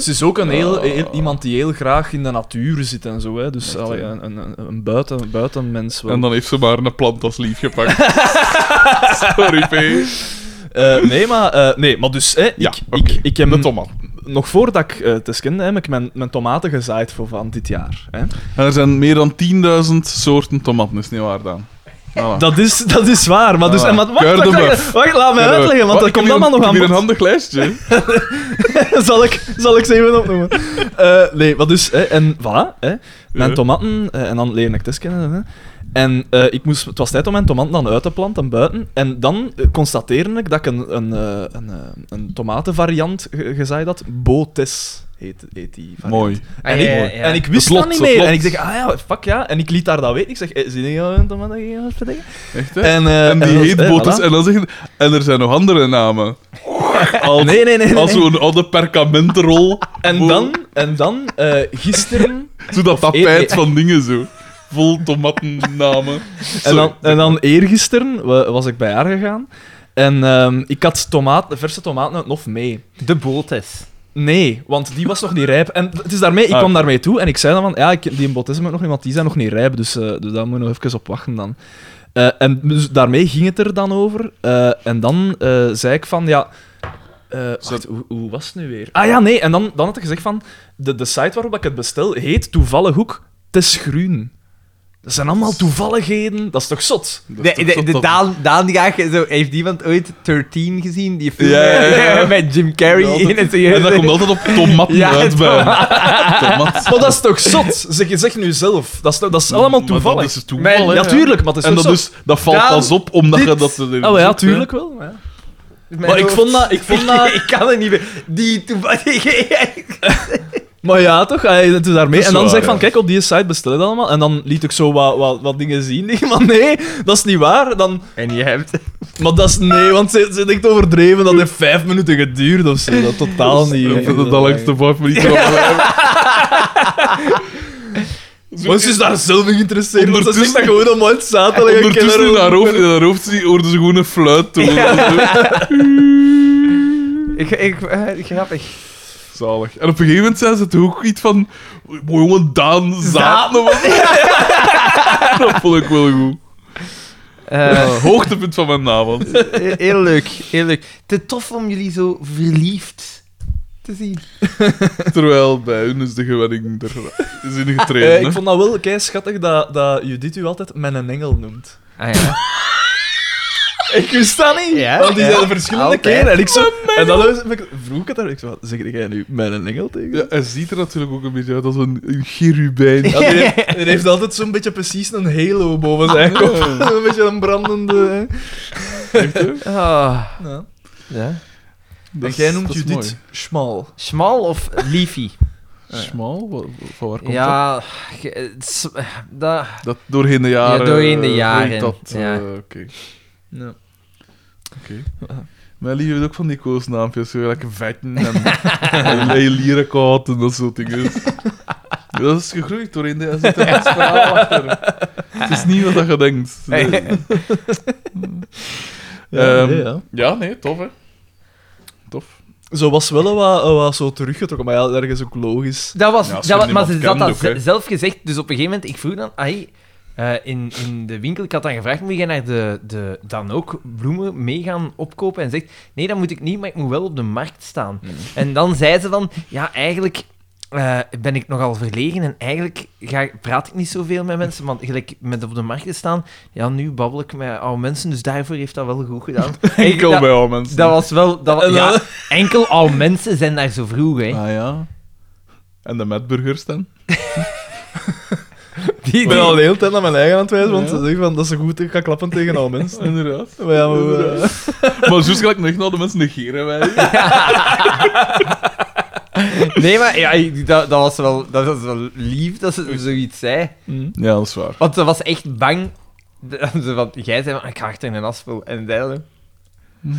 S2: Ze is ook een heel, heel- iemand die heel graag in de natuur zit en zo, hè. Dus allee, een, een, een- een buiten, een buitenmens. Wel.
S3: En dan heeft ze maar een plant als lief
S2: [LAUGHS]
S3: gepakt. Sorry, P.
S2: Eh, nee, maar, eh, nee, maar dus, hè, ik,
S3: Ja,
S2: ik, ik heb
S3: De tomaat.
S2: nog voordat ik eh, het eens kende, heb ik mijn, mijn tomaten gezaaid voor van dit jaar. Hè.
S3: En er zijn meer dan 10.000 soorten tomaten, is niet waar, Daan? Voilà.
S2: Dat, is, dat is waar, maar dus...
S3: Ah,
S2: en wat- wacht, wacht,
S3: Kuilenbuf.
S2: wacht, wacht, laat mij uitleggen, want
S3: Wat,
S2: dat
S3: ik heb
S2: komt
S3: hier
S2: allemaal
S3: een-
S2: nog
S3: ik heb hier
S2: aan bod.
S3: een handig lijstje.
S2: [LAUGHS] zal, ik, zal ik ze even opnoemen. Eh, nee, maar dus, hè, en voilà, hè, mijn
S3: Ja.
S2: tomaten, eh, en dan leer ik het eens kennen. Hè, en eh, ik moest, het was tijd om mijn tomaten dan uit te planten buiten. En dan eh, constateerde ik dat ik een, een, eh, een, eh, een tomatenvariant ge- gezaaid had. Botes heet, heet die variant.
S3: Mooi.
S1: Ah,
S2: en,
S1: ja,
S2: ik,
S1: ja, ja.
S2: en ik wist
S3: Dat klopt,
S2: dat niet
S3: dat
S2: meer.
S3: klopt.
S2: En ik zeg, ah ja, fuck ja. En ik liet daar dat weten. Ik zeg, eh, zie je een tomaten? Zie je wat verdikken?
S3: Echt, hè?
S2: En, eh,
S3: En die
S2: dat-
S3: heet
S2: eh,
S3: Botus.
S2: voilà.
S3: En dan zeggen En er zijn nog andere namen. Als,
S2: Nee, nee, nee. nee,
S3: als
S2: nee.
S3: zo'n oude perkamentrol.
S2: [LAUGHS] En
S3: vol-
S2: dan, en dan eh, gisteren...
S3: Zo dat
S2: eet-
S3: tapijt
S2: nee.
S3: van dingen zo. Vol tomatennamen.
S2: En
S3: Sorry.
S2: dan, en dan eergisteren wa- was ik bij haar gegaan. En ehm, ik had tomaat, verse tomaten uit Nof mee.
S1: De botes.
S2: Nee, want die was nog niet rijp. En het is daarmee, ik
S3: Ah.
S2: kwam daarmee toe en ik zei dan van, ja, ik, die botisme nog niet, want die zijn nog niet rijp, dus, eh, dus daar moet je nog even op wachten dan. Eh, en dus daarmee ging het er dan over. Eh, en dan eh, zei ik van, ja... eh, wacht, hoe, hoe was het nu weer? Ah ja, nee, en dan, dan had ik gezegd van, de, de site waarop ik het bestel heet toevallig ook Tes Groen. Dat zijn allemaal toevalligheden, dat is toch zot?
S3: Dat is
S1: De,
S3: toch
S1: de,
S3: zot
S1: de
S3: dat-
S1: Daan, Daan die gaat- zo, heeft iemand ooit 13 gezien? Die film
S3: Ja,
S1: [LAUGHS]
S3: ja, ja.
S1: met Jim Carrey
S3: Ja,
S1: in het
S3: En dat komt altijd op tomaten
S1: Ja,
S3: uit bij [LAUGHS] hem. Tomat.
S2: Maar dat is toch zot? Zeg, je zegt nu zelf. Dat is, toch- dat is allemaal
S3: Maar
S2: toevallig.
S3: Dat is toeval, hè.
S2: Maar- ja, tuurlijk, maar dat is
S3: En
S2: toch
S3: dat,
S2: zot?
S3: dus, dat valt
S1: Daan,
S3: pas op omdat
S1: dit-
S3: je dat...
S2: Oh ja, tuurlijk wel. maar ja. Maar ik vond [LAUGHS] dat... Ik vond dat
S1: [LAUGHS] ik kan het niet meer. Die toevallig.
S2: maar ja, toch? Hij doet
S3: Dat
S2: daarmee.
S3: is
S2: En dan
S3: waar,
S2: zeg ik
S3: ja.
S2: van, kijk, op die site bestel je dat allemaal. En dan liet ik zo wat, wat, wat dingen zien. [LAUGHS] Ik, Maar nee, dat is niet waar. Dan,
S1: En je hebt.
S2: maar dat is... Nee, want ze, ze denkt overdreven. Dat heeft vijf minuten geduurd of zo. Dat totaal niet.
S3: Dat dat langs de vijf minuten
S2: Maar ze is daar zelf in geïnteresseerd. want Ze zegt
S3: Ondertussen-
S2: dat gewoon om uit zaten.
S3: Ondertussen in haar hoofd, in haar hoofd zie- hoorde ze gewoon een fluit toe. [LAUGHS]
S1: Ik, ik, eh, grappig.
S3: Zalig. En op een gegeven moment zei ze toch ook iets van... "Mooi Jongen, Daan, zaten we." [LAUGHS] Dat vond ik wel goed.
S1: Eh,
S3: Ja, hoogtepunt van mijn avond.
S1: heel leuk, heel leuk. Te tof om jullie zo verliefd te zien.
S3: Terwijl bij hun is de gewenning er is ingetreden.
S2: Eh,
S3: hè.
S2: ik vond dat wel kei schattig dat, dat Judith u altijd mijn engel noemt.
S1: Ah ja.
S2: Ik wist dat niet.
S1: Ja,
S2: want die
S1: ja.
S2: zijn er verschillende
S1: Altijd.
S2: keren. En, ik zo, en dan luister- ik- vroeg ik het daar. Ik zo, zeg jij nu mijn engel tegen?
S3: [LAUGHS] Ja, hij ziet er natuurlijk ook een beetje uit als een, een cherubijn.
S2: Ja, die, heeft, die heeft altijd zo'n beetje precies een halo boven zijn
S3: Ah.
S2: kop. [LAUGHS] een beetje een brandende...
S1: Ah.
S2: Ja.
S1: Ja.
S2: En
S3: Dat is-
S2: jij noemt
S3: dat
S2: je
S3: is mooi.
S2: dit smal.
S1: Smal of leafy?
S3: Smal? Wa- wa- Van waar komt dat?
S1: ja, ge- het is- eh, dat...
S3: dat? Doorheen de jaren.
S1: Ja, doorheen de
S3: eh,
S1: jaren,
S3: heet Dat, eh,
S1: ja.
S3: Oké.
S2: Ja.
S3: oké. Mijn lief heeft ook van die koosnaampjes, zo lekker vetten en, [LAUGHS] en lelijrenkoud en dat soort dingen. Dat is gegroeid doorheen de... Er
S1: [LAUGHS]
S3: zit een goed verhaal achter. Het is niet wat dat je denkt. Nee.
S2: Ja,
S3: Ehm,
S2: nee, ja.
S3: Ja, nee, tof hè. Tof.
S2: Zo was wel een wat, een wat zo teruggetrokken, maar ja, ergens ook logisch.
S1: Dat was,
S3: Ja, als
S1: dat
S3: je
S1: was, maar ze
S3: niemand
S1: had
S3: kent
S1: dat
S3: ook, hè.
S1: ze- zelf gezegd. Dus op een gegeven moment, ik vroeg dan... Ai, eh, in, in de winkel, ik had dan gevraagd, moet jij naar de, de, dan ook bloemen mee gaan opkopen? En zegt, nee, dat moet ik niet, maar ik moet wel op de markt staan.
S3: Mhm.
S1: En dan zei ze van, ja, eigenlijk eh, ben ik nogal verlegen en eigenlijk ga, praat ik niet zoveel met mensen, want gelijk met op de markt te staan, ja, nu babbel ik met oude mensen, dus daarvoor heeft dat wel goed gedaan.
S3: [LAUGHS]
S1: Ik-
S3: Enkel
S1: dat-
S3: bij al mensen.
S1: Dat was wel... Dat wa-
S2: En dan-
S1: ja, enkel al mensen zijn daar zo vroeg, hè.
S3: Ah ja. En de metburgers dan?
S2: Ik
S1: Die,
S2: ben
S1: die-
S2: al de hele tijd naar mijn eigen aan het wijzen, want
S3: Ja.
S2: ze zeggen van, dat is een goed, ik ga klappen tegen al mensen. [LAUGHS]
S3: Inderdaad.
S2: Maar ja, maar, eh,
S3: Maar zo gelijk nog naar de mensen negeren wij.
S1: Nee, maar ja, ik- dat, dat, was wel, dat was wel lief dat ze zoiets zei.
S3: Ja, dat is waar.
S1: Want ze was echt bang. dat Ze van, jij zei van, ik ga achter een aspel. En dergelijke.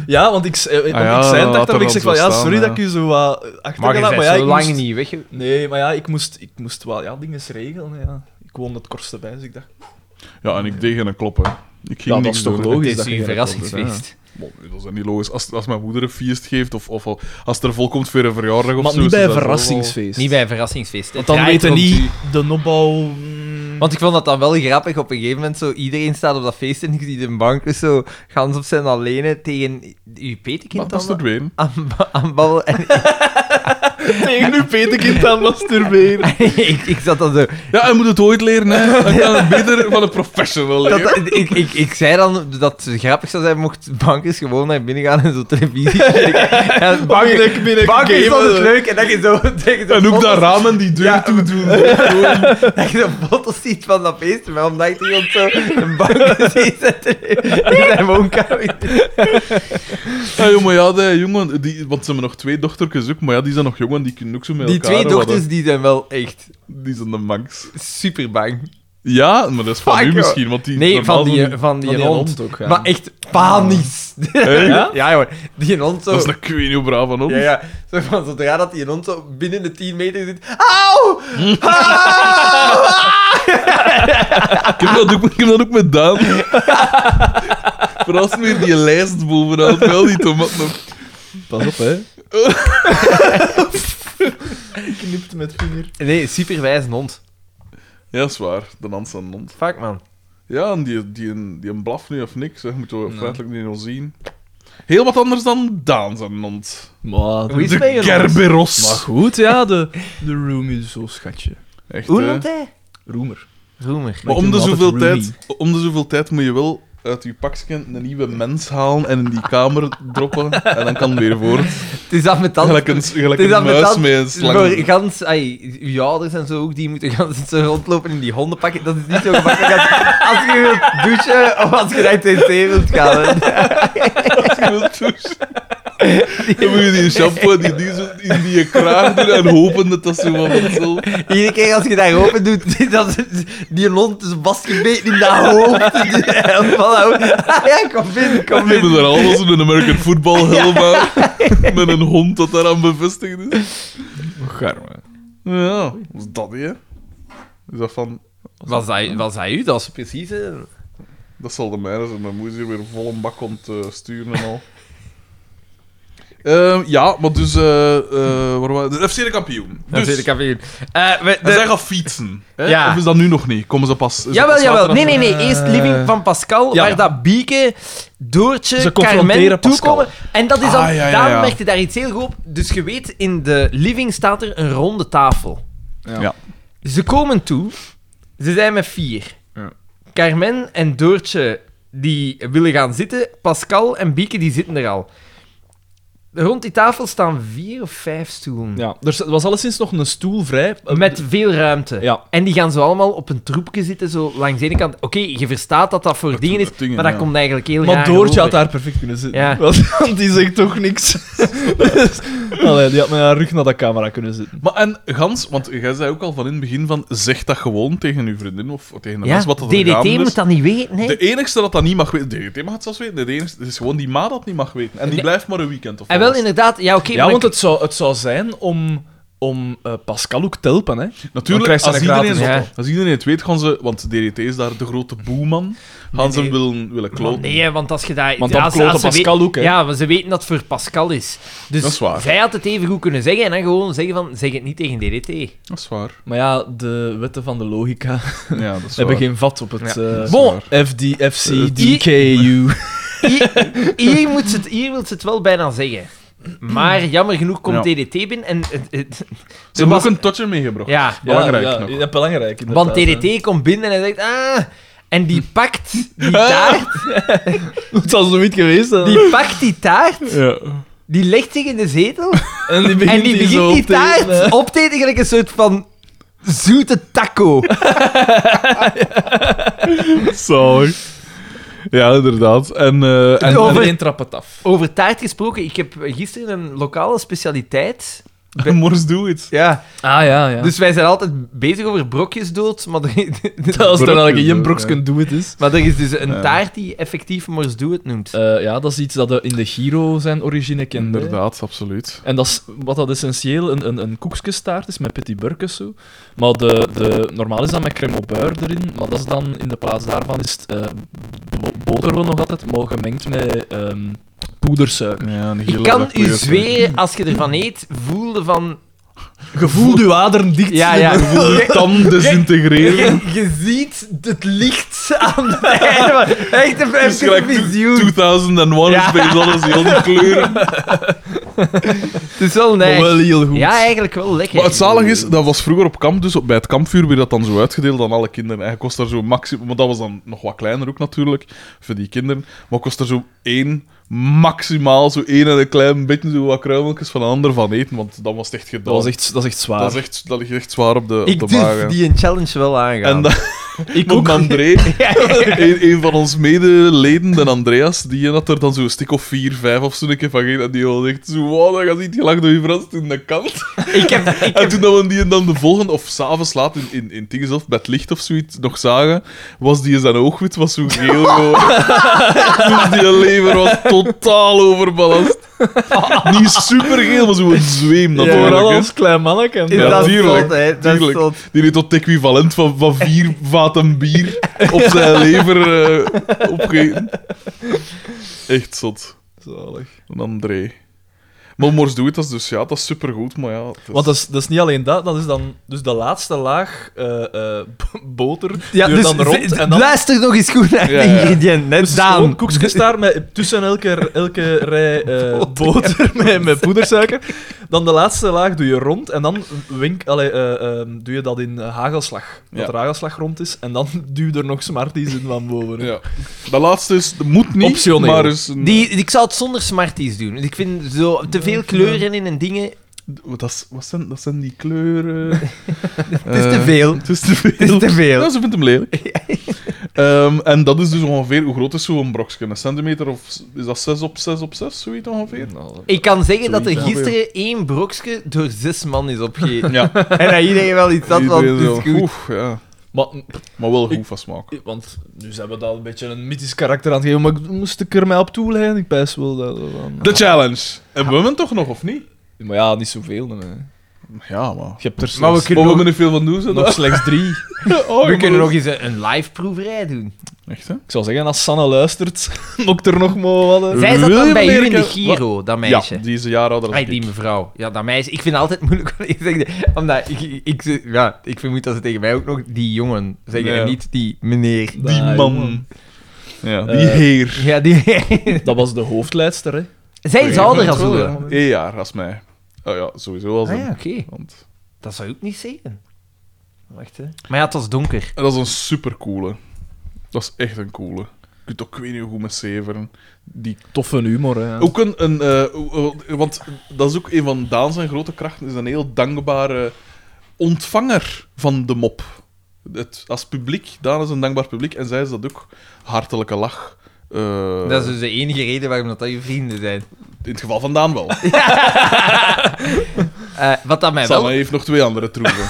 S2: ja, want ik, s- eh, want
S3: Ah ja,
S2: ik zei het
S3: laat
S2: achter,
S3: er
S2: ik zeg
S3: dan
S2: van,
S3: zo
S2: ja,
S3: staan,
S2: sorry
S3: ja.
S2: dat ik u zo wat achter
S1: Maar je
S2: laat,
S1: bent
S2: ja,
S1: zo
S2: ik
S1: lang
S2: moest-
S1: niet weg. Je
S2: Nee, maar ja, ik moest, ik moest wel ja, dingen regelen. hè, Ja. Ik woon het kortste bij, dus ik dacht...
S3: Ja, en ik deed geen kloppen. Ik ging
S2: dat
S3: niks
S2: is toch
S3: doen.
S2: logisch?
S1: het
S2: dat
S1: is
S2: je
S1: een verrassingsfeest.
S3: Bon, nee, dat is niet logisch. Als, als mijn moeder een feest geeft of, of al- als er volkomt voor een verjaardag of
S2: maar
S3: zo.
S2: niet
S3: is
S2: bij
S3: dat
S2: een
S3: wel-
S2: verrassingsfeest.
S1: Niet bij een verrassingsfeest. Het
S2: Want dan
S1: draait
S2: weten
S1: rond
S2: niet
S1: u.
S2: de opbouw... mm,
S1: Want ik vond dat dan wel grappig. Op een gegeven moment zo, iedereen staat op dat feest en ik zie de bankers zo gans op zijn alleen tegen uw
S3: Maar
S1: petekind
S3: dat is
S1: dan
S3: verdwenen.
S1: aan, aan babbelen. [LAUGHS] En
S2: tegen
S3: [LAUGHS]
S2: uw petekind aan masturberen.
S1: ik, ik zat dan zo...
S3: Ja, hij moet het ooit
S1: [LAUGHS]
S3: leren, hè. Dan kan het beter van een professional
S1: Dat,
S3: leren.
S1: dat- ik, ik, ik zei dan dat het grappig zou zijn mocht bankers gewoon naar binnen gaan en zo televisie kijken. En
S2: Binnen-
S1: Banken,
S2: binnen
S1: banken is
S2: gamen,
S1: altijd
S2: zo.
S1: leuk en dat je zo tegen de
S3: En ook
S1: foto's-
S3: dat raam en die deur
S1: Ja. [LAUGHS]
S3: toe doen.
S1: Dat je zo foto's ziet van dat feest, maar omdat je iemand zo een banken [LAUGHS] ziet zitten in zijn woonkamer.
S3: Ja, joh, maar ja, die jongen... Die, want ze hebben nog twee dochtertjes ook, maar ja, die zijn nog jong en die kunnen ook zo met
S1: Die
S3: elkaar...
S1: twee
S3: wat, hè.
S1: dochters die zijn wel echt
S3: Die zijn de max.
S1: super bang.
S3: Ja, maar dat is van
S1: Fuck,
S3: u
S1: joh.
S3: misschien, want die...
S1: Nee,
S3: normaal
S1: van die,
S3: doen
S1: van die,
S2: die
S1: hond.
S2: hond ook, ja.
S1: Maar echt panisch.
S3: Hè?
S1: [LAUGHS] Ja, hoor. Die hond zo...
S3: Dat is een queen braaf van ons.
S1: Ja, ja. Zo van, zodra dat die hond zo binnen de 10 meter zit... Auw! Auw!
S3: [LAUGHS] Ik heb dat ook, ik heb dat ook met
S1: [LAUGHS]
S3: Daan. Verrast weer die lijst bovenaan, wel die tomaten op.
S2: Pas op, hè. Knipt met vinger.
S1: Nee, superwijs hond.
S3: Ja, is waar. De Hans en Nond.
S1: Fuck, man.
S3: Ja, en die, die, die, een blaf nu of niks, hè. Moeten we feitelijk niet nog zien. Heel wat anders dan Daan zijn Nond.
S2: Maar,
S1: Wie is
S2: de-
S1: bij je
S3: Kerberos.
S2: maar goed, ja, de, de room is zo schatje.
S3: Echt,
S1: Hoe
S3: hè.
S1: noemt hij?
S2: Roemer.
S1: Roemer.
S3: Maar
S2: Ik
S3: om de,
S2: noem hem
S3: zoveel
S2: altijd
S3: tijd, om de zoveel tijd moet je wel uit je pakje een nieuwe mens halen en in die kamer droppen. En dan kan het weer voort.
S1: Het is dat met dat...
S3: Gelijk een, gelijk
S1: het is dat
S3: een
S1: met
S3: muis
S1: dat...
S3: met een
S1: Voor
S3: slang.
S1: gans... Ai, uw ouders en zo ook, die moeten gans zo rondlopen in die hondenpakken. Dat is niet zo gemakkelijk als, als je wilt douchen of als je naar tv wilt gaan. hè.
S3: Dan moet je die shampoo en die diesel in die kraag doen en hopen dat dat zo van vanzelf...
S1: Iedere keer als je daar open doet, [LAUGHS] dat is- die hond is vastgebeten in dat hoofd. En van, oh, ah ja, kom binnen, kom
S3: Die hebben
S1: binnen.
S3: er alles in een American football helm aan. Met een hond dat daaraan bevestigd is.
S2: Garme.
S3: Ja, wat is dat, hè? Is dat van...
S1: Was hij, was hij u? Dat is precies... hè.
S3: Dus- Dat zal de mijne zijn. Mijn moeder hier weer vol een bak om te sturen en al. Ehm, ja, maar dus... eh eh waar waren we? De FC de kampioen.
S1: Dat
S3: Dus,
S1: is de cafeïne. Eh, we-
S3: en
S1: de-
S3: zij gaan fietsen. Hè?
S1: Ja.
S3: Of is dat nu nog niet? Komen ze pas... is dat
S1: Jawel,
S3: pas
S1: jawel.
S3: later?
S1: Nee, nee, nee. Eerst Living van Pascal,
S2: Eh. Ja.
S1: waar dat Bieke, Doortje,
S2: Ze
S1: Carmen
S2: confronteren Pascal.
S1: toekomen. En dat is dan...
S3: Ah, ja, ja,
S1: Daan
S3: ja.
S1: merkte daar iets heel goed op. Dus je weet, in de Living staat er een ronde tafel.
S2: Ja.
S3: Ja.
S1: Ze komen toe. Ze zijn met vier.
S2: Ja.
S1: Carmen en Doortje die willen gaan zitten. Pascal en Bieke, die zitten er al. Rond die tafel staan vier of vijf stoelen.
S2: Ja, er was alleszins nog een stoel vrij.
S1: Met veel ruimte.
S2: Eh, Ja.
S1: En die gaan zo allemaal op een troepje zitten, zo langs de ene kant. Oké, je verstaat dat dat voor dingen is,
S3: dat dingen,
S1: maar dat
S3: ja.
S1: komt eigenlijk heel
S2: Maar
S1: raar
S2: Doortje had
S1: over.
S2: daar perfect kunnen zitten.
S1: Ja.
S2: [LAUGHS] Want die zegt toch
S3: [LAUGHS]
S2: niks. [LAUGHS] Dus, allee, die had met haar rug naar de camera kunnen zitten.
S3: Maar en Gans, want jij zei ook al van in het begin van zeg dat gewoon tegen uw vriendin of tegen de
S1: Ja,
S3: mens wat dat er
S1: DDT
S3: gaande
S1: moet
S3: is.
S1: dat niet weten, hè?
S3: De enigste dat dat niet mag weten, DDT mag het zelfs weten, de enigste het is gewoon die ma dat niet mag weten. En die
S1: Nee.
S3: blijft maar een weekend of
S1: En wel,
S3: wat.
S1: inderdaad. Ja, oké,
S2: Ja,
S1: maar
S2: want
S1: dan-
S2: het zou, het zou zijn om, om eh, Pascal ook te helpen, hè. Dan
S3: Natuurlijk,
S2: krijgt ze
S3: als
S2: een gratis
S3: iedereen,
S1: auto.
S3: als iedereen het weet, gaan ze, want DDT is daar de grote boeman, gaan ze
S1: nee.
S3: hem willen, willen kloten.
S1: Nee, hè, want als je daar...
S2: Want dan
S1: als,
S2: klote
S1: als ze
S2: Pascal
S1: weet-
S2: ook, hè.
S1: Ja, maar ze weten dat het voor Pascal is. Dus
S3: Dat is waar.
S1: zij had het even goed kunnen zeggen en dan gewoon zeggen van... Zeg het niet tegen DDT.
S3: Dat is
S1: [LAUGHS]
S3: waar.
S2: Maar ja, de wetten van de
S3: [LAUGHS]
S2: logica
S3: Ja, dat is
S2: hebben
S3: waar.
S2: geen vat op het... eh,
S1: Bon.
S3: waar.
S2: FD, FC,
S3: Eh,
S2: DKU.
S1: Hier, hier moet ze het, hier wil ze het wel bijna zeggen. Maar jammer genoeg komt
S3: Ja.
S1: DDT binnen en... het- het-
S3: Ze hebben
S1: was-
S3: ook een toucher meegebracht.
S1: Ja,
S3: [LAUGHS] Belangrijk
S2: ja,
S3: nog.
S2: Ja, belangrijk, inderdaad,
S1: want
S2: hè.
S1: DDT komt binnen en hij zegt... Ah, en die
S2: [LAUGHS]
S1: pakt die taart,
S2: Het zal zo niet geweest zijn.
S1: die pakt die taart,
S3: Ja.
S1: die legt zich in de zetel
S2: en die [LAUGHS] begint
S1: en die
S2: zo
S1: begint die
S2: op te eten, hè.
S1: taart op te eten gelijk een soort van zoete
S2: [LAUGHS]
S1: taco.
S3: Sorry. Ja, inderdaad. En, eh,
S1: [LAUGHS]
S3: en,
S1: Over-
S2: Iedereen trapt het af.
S1: Over taart gesproken, ik heb gisteren een lokale specialiteit.
S3: en Morse do it.
S1: Ja,
S2: Ah, ja, ja. Dus
S1: dus wij zijn altijd bezig over brokjes dood, maar er,
S2: [LAUGHS] als er
S3: Brokjes
S2: dan een
S3: ook,
S2: Jim Broks
S3: dus, ja.
S2: kunt doen, het is...
S1: [LAUGHS] maar er is dus een
S3: Ja.
S1: taart die effectief Mors Doe het noemt.
S2: Eh, ja, dat is iets dat eh, in de Giro zijn origine kende. hè.
S3: Inderdaad, absoluut.
S2: En dat is, wat dat essentieel een, een, een koekjestaart is met petit burkes zo. Maar de, de, normaal is dat met crème au beurre erin, maar dat is dan in de plaats daarvan is het eh, bo- boter wel nog altijd, maar gemengd met ehm, poedersuiker.
S3: Ja, een
S1: ik
S3: hele
S1: kan
S3: rare
S1: u
S3: kleur.
S1: zweren, als je ervan eet, voelde van...
S2: Gevoel uw aderen dicht.
S1: Ja, ja.
S3: Voel je tanden desintegreren.
S1: Je, [LAUGHS] je ziet het licht aan de einde. maar Echt een
S3: Het is
S1: perfecte
S3: gelijk
S1: visioen.
S3: 2001
S1: Ja.
S3: Space Odyssey, al die
S1: [LAUGHS]
S3: kleuren.
S1: Het is wel nice.
S2: wel heel goed.
S1: Ja, eigenlijk wel lekker.
S3: Maar het zalig is, dat was vroeger op kamp, dus op, bij het kampvuur werd dat dan zo uitgedeeld aan alle kinderen. En je kost daar zo maximum, maar dat was dan nog wat kleiner ook natuurlijk, voor die kinderen. Maar kost er zo één, maximaal zo één en een klein beetje zo wat kruimeltjes van een ander van eten, want dan was het echt gedaan.
S2: Dat, was echt, dat is echt zwaar.
S3: dat, is echt, dat ligt echt zwaar op de,
S1: Ik
S3: op de maag.
S1: durf
S3: hè.
S1: die een challenge wel aangaan.
S3: [LAUGHS] En dan,
S2: Ik
S1: [LAUGHS]
S3: Want André, een, een van ons medeleden, de Andreas, die had er dan zo'n stuk of vier, vijf of zo'n keer van gegeten. En die had echt zo, wow, dat gaat niet gelachen door je vrouw toen de kant.
S1: [LAUGHS] ik heb, ik
S3: En toen dat we die dan de volgende, of s'avonds laat in, in, in dingen zelf, bij het licht of zoiets, nog zagen, was die zijn oogwit was zo
S1: [LAUGHS]
S3: geel geworden. dus die lever was totaal overballast. Niet supergeel, maar zo'n zweem natuurlijk.
S2: Vooral
S3: hè.
S2: als klein manneke.
S1: Is
S3: Ja,
S1: dat
S3: tuurlijk,
S1: zot, hè? Dat is
S3: tuurlijk.
S1: zot.
S3: Die heeft tot equivalent van, van vier vaten bier op zijn lever eh, opgegeten. Echt zot.
S2: Zalig.
S3: Een André. Maar Mors doet dat dus, ja, dat is supergoed, maar ja... het is-
S2: Want dat is, dat is niet alleen dat, dat is dan dus de laatste laag eh, eh, [LAUGHS] b- boter.
S1: Ja,
S2: die
S1: dus
S2: dan rond
S1: ze-
S2: en dan
S1: luister nog eens goed naar
S3: Ja,
S1: de
S3: ja.
S1: ingrediënten. Hè,
S2: Dus het is
S1: Daan.
S2: gewoon koekjes daar met, tussen elke, elke rij eh, boter met, met poedersuiker. Dan de laatste laag doe je rond en dan wink, allee, eh, ehm, doe je dat in eh, hagelslag. Dat
S3: Ja.
S2: er hagelslag rond is en dan [LAUGHS] duw je er nog Smarties in van boven.
S3: Ja. De laatste is, moet niet,
S2: Optioneel.
S3: maar is... Een,
S1: Die, ik zou het zonder Smarties doen. Want Ik vind zo te veel kleuren in en dingen.
S3: Wat, dat, is- wat zijn, dat zijn die
S1: [LAUGHS]
S3: kleuren... Eh,
S1: Het is te veel.
S3: Het is te veel.
S1: Het is te veel.
S3: Ja, ze vindt hem lelijk.
S1: [LAUGHS]
S3: Ehm, en dat is dus ongeveer... Hoe groot is zo'n brokje? Een centimeter of... s- Is dat 6 op 6 op 6, zoiets ongeveer?
S1: Ik kan zeggen dat er
S3: Zoiets, ja.
S1: gisteren één brokje door zes man is
S3: [LAUGHS]
S1: opgegeten.
S3: Ja.
S1: En dat iedereen wel iets had van, het is
S3: Iedereen zo,
S1: goed.
S3: oeh, ja.
S2: Maar,
S3: Maar wel goed van smaak.
S2: want nu zijn we dat een beetje een mythisch karakter aan het geven, maar ik- moest ik er mij op toeleiden? Ik pijs wel dat... dat dan-
S3: De challenge. Hebben we hem toch nog, of niet?
S2: Maar ja, niet zoveel. hè.
S3: Ja, maar...
S2: Je hebt er slechts,
S1: Maar we
S3: Maar we
S1: kunnen nog,
S3: moeten er veel van doen, zo.
S2: nog [LAUGHS] slechts drie.
S3: Oh,
S1: we
S3: ik
S1: kunnen
S3: moet-
S1: nog eens een, een live proeverij doen.
S3: Echt, hè?
S2: Ik zou zeggen, als Sanne luistert, [LAUGHS] mocht er nog maar wat... eh,
S1: Zij zat dan
S3: William
S1: bij u in
S3: leren
S1: de
S3: kennen-
S1: Giro, dat meisje.
S3: Ja, die is een jaar ouder dan
S1: Ay,
S3: ik.
S1: die mevrouw. Ja, dat meisje. Ik vind het altijd [LAUGHS] moeilijk wat ik zeg. Omdat ik, ik, ik- ja, ik vermoed dat ze tegen mij ook nog die jongen zeggen
S3: Ja.
S1: en niet die meneer.
S3: Die
S2: Ah,
S3: man.
S2: jongen.
S3: Ja, die
S2: Eh,
S3: heer.
S1: Ja, [LAUGHS] die...
S2: Dat was de hoofdleidster, hè.
S1: Zij zou er al
S3: Wel,
S1: zo.
S3: ja. Eén jaar, als mij. Oh ja, sowieso als
S1: Ah
S3: hem.
S1: ja, oké.
S3: Want
S1: Dat zou ik niet zeggen. Wacht, hè. Maar ja, het was donker.
S3: dat is een supercoole. Dat is echt een coole. kunt ook, ik weet niet hoe goed met zeveren. Die
S2: Toffe humor, hè.
S3: ook een, een eh, o- o- want dat is ook een van Daan zijn grote krachten, is een heel dankbare ontvanger van de mop. Het, als publiek, Daan is een dankbaar publiek en zij is dat ook hartelijke lach. Eh,
S1: Dat is dus de enige reden waarom dat, dat je vrienden zijn.
S3: In het geval van Daan
S1: [LAUGHS]
S3: wel.
S1: Eh, wat dat mij wel...
S3: Sanne heeft nog twee andere troeven.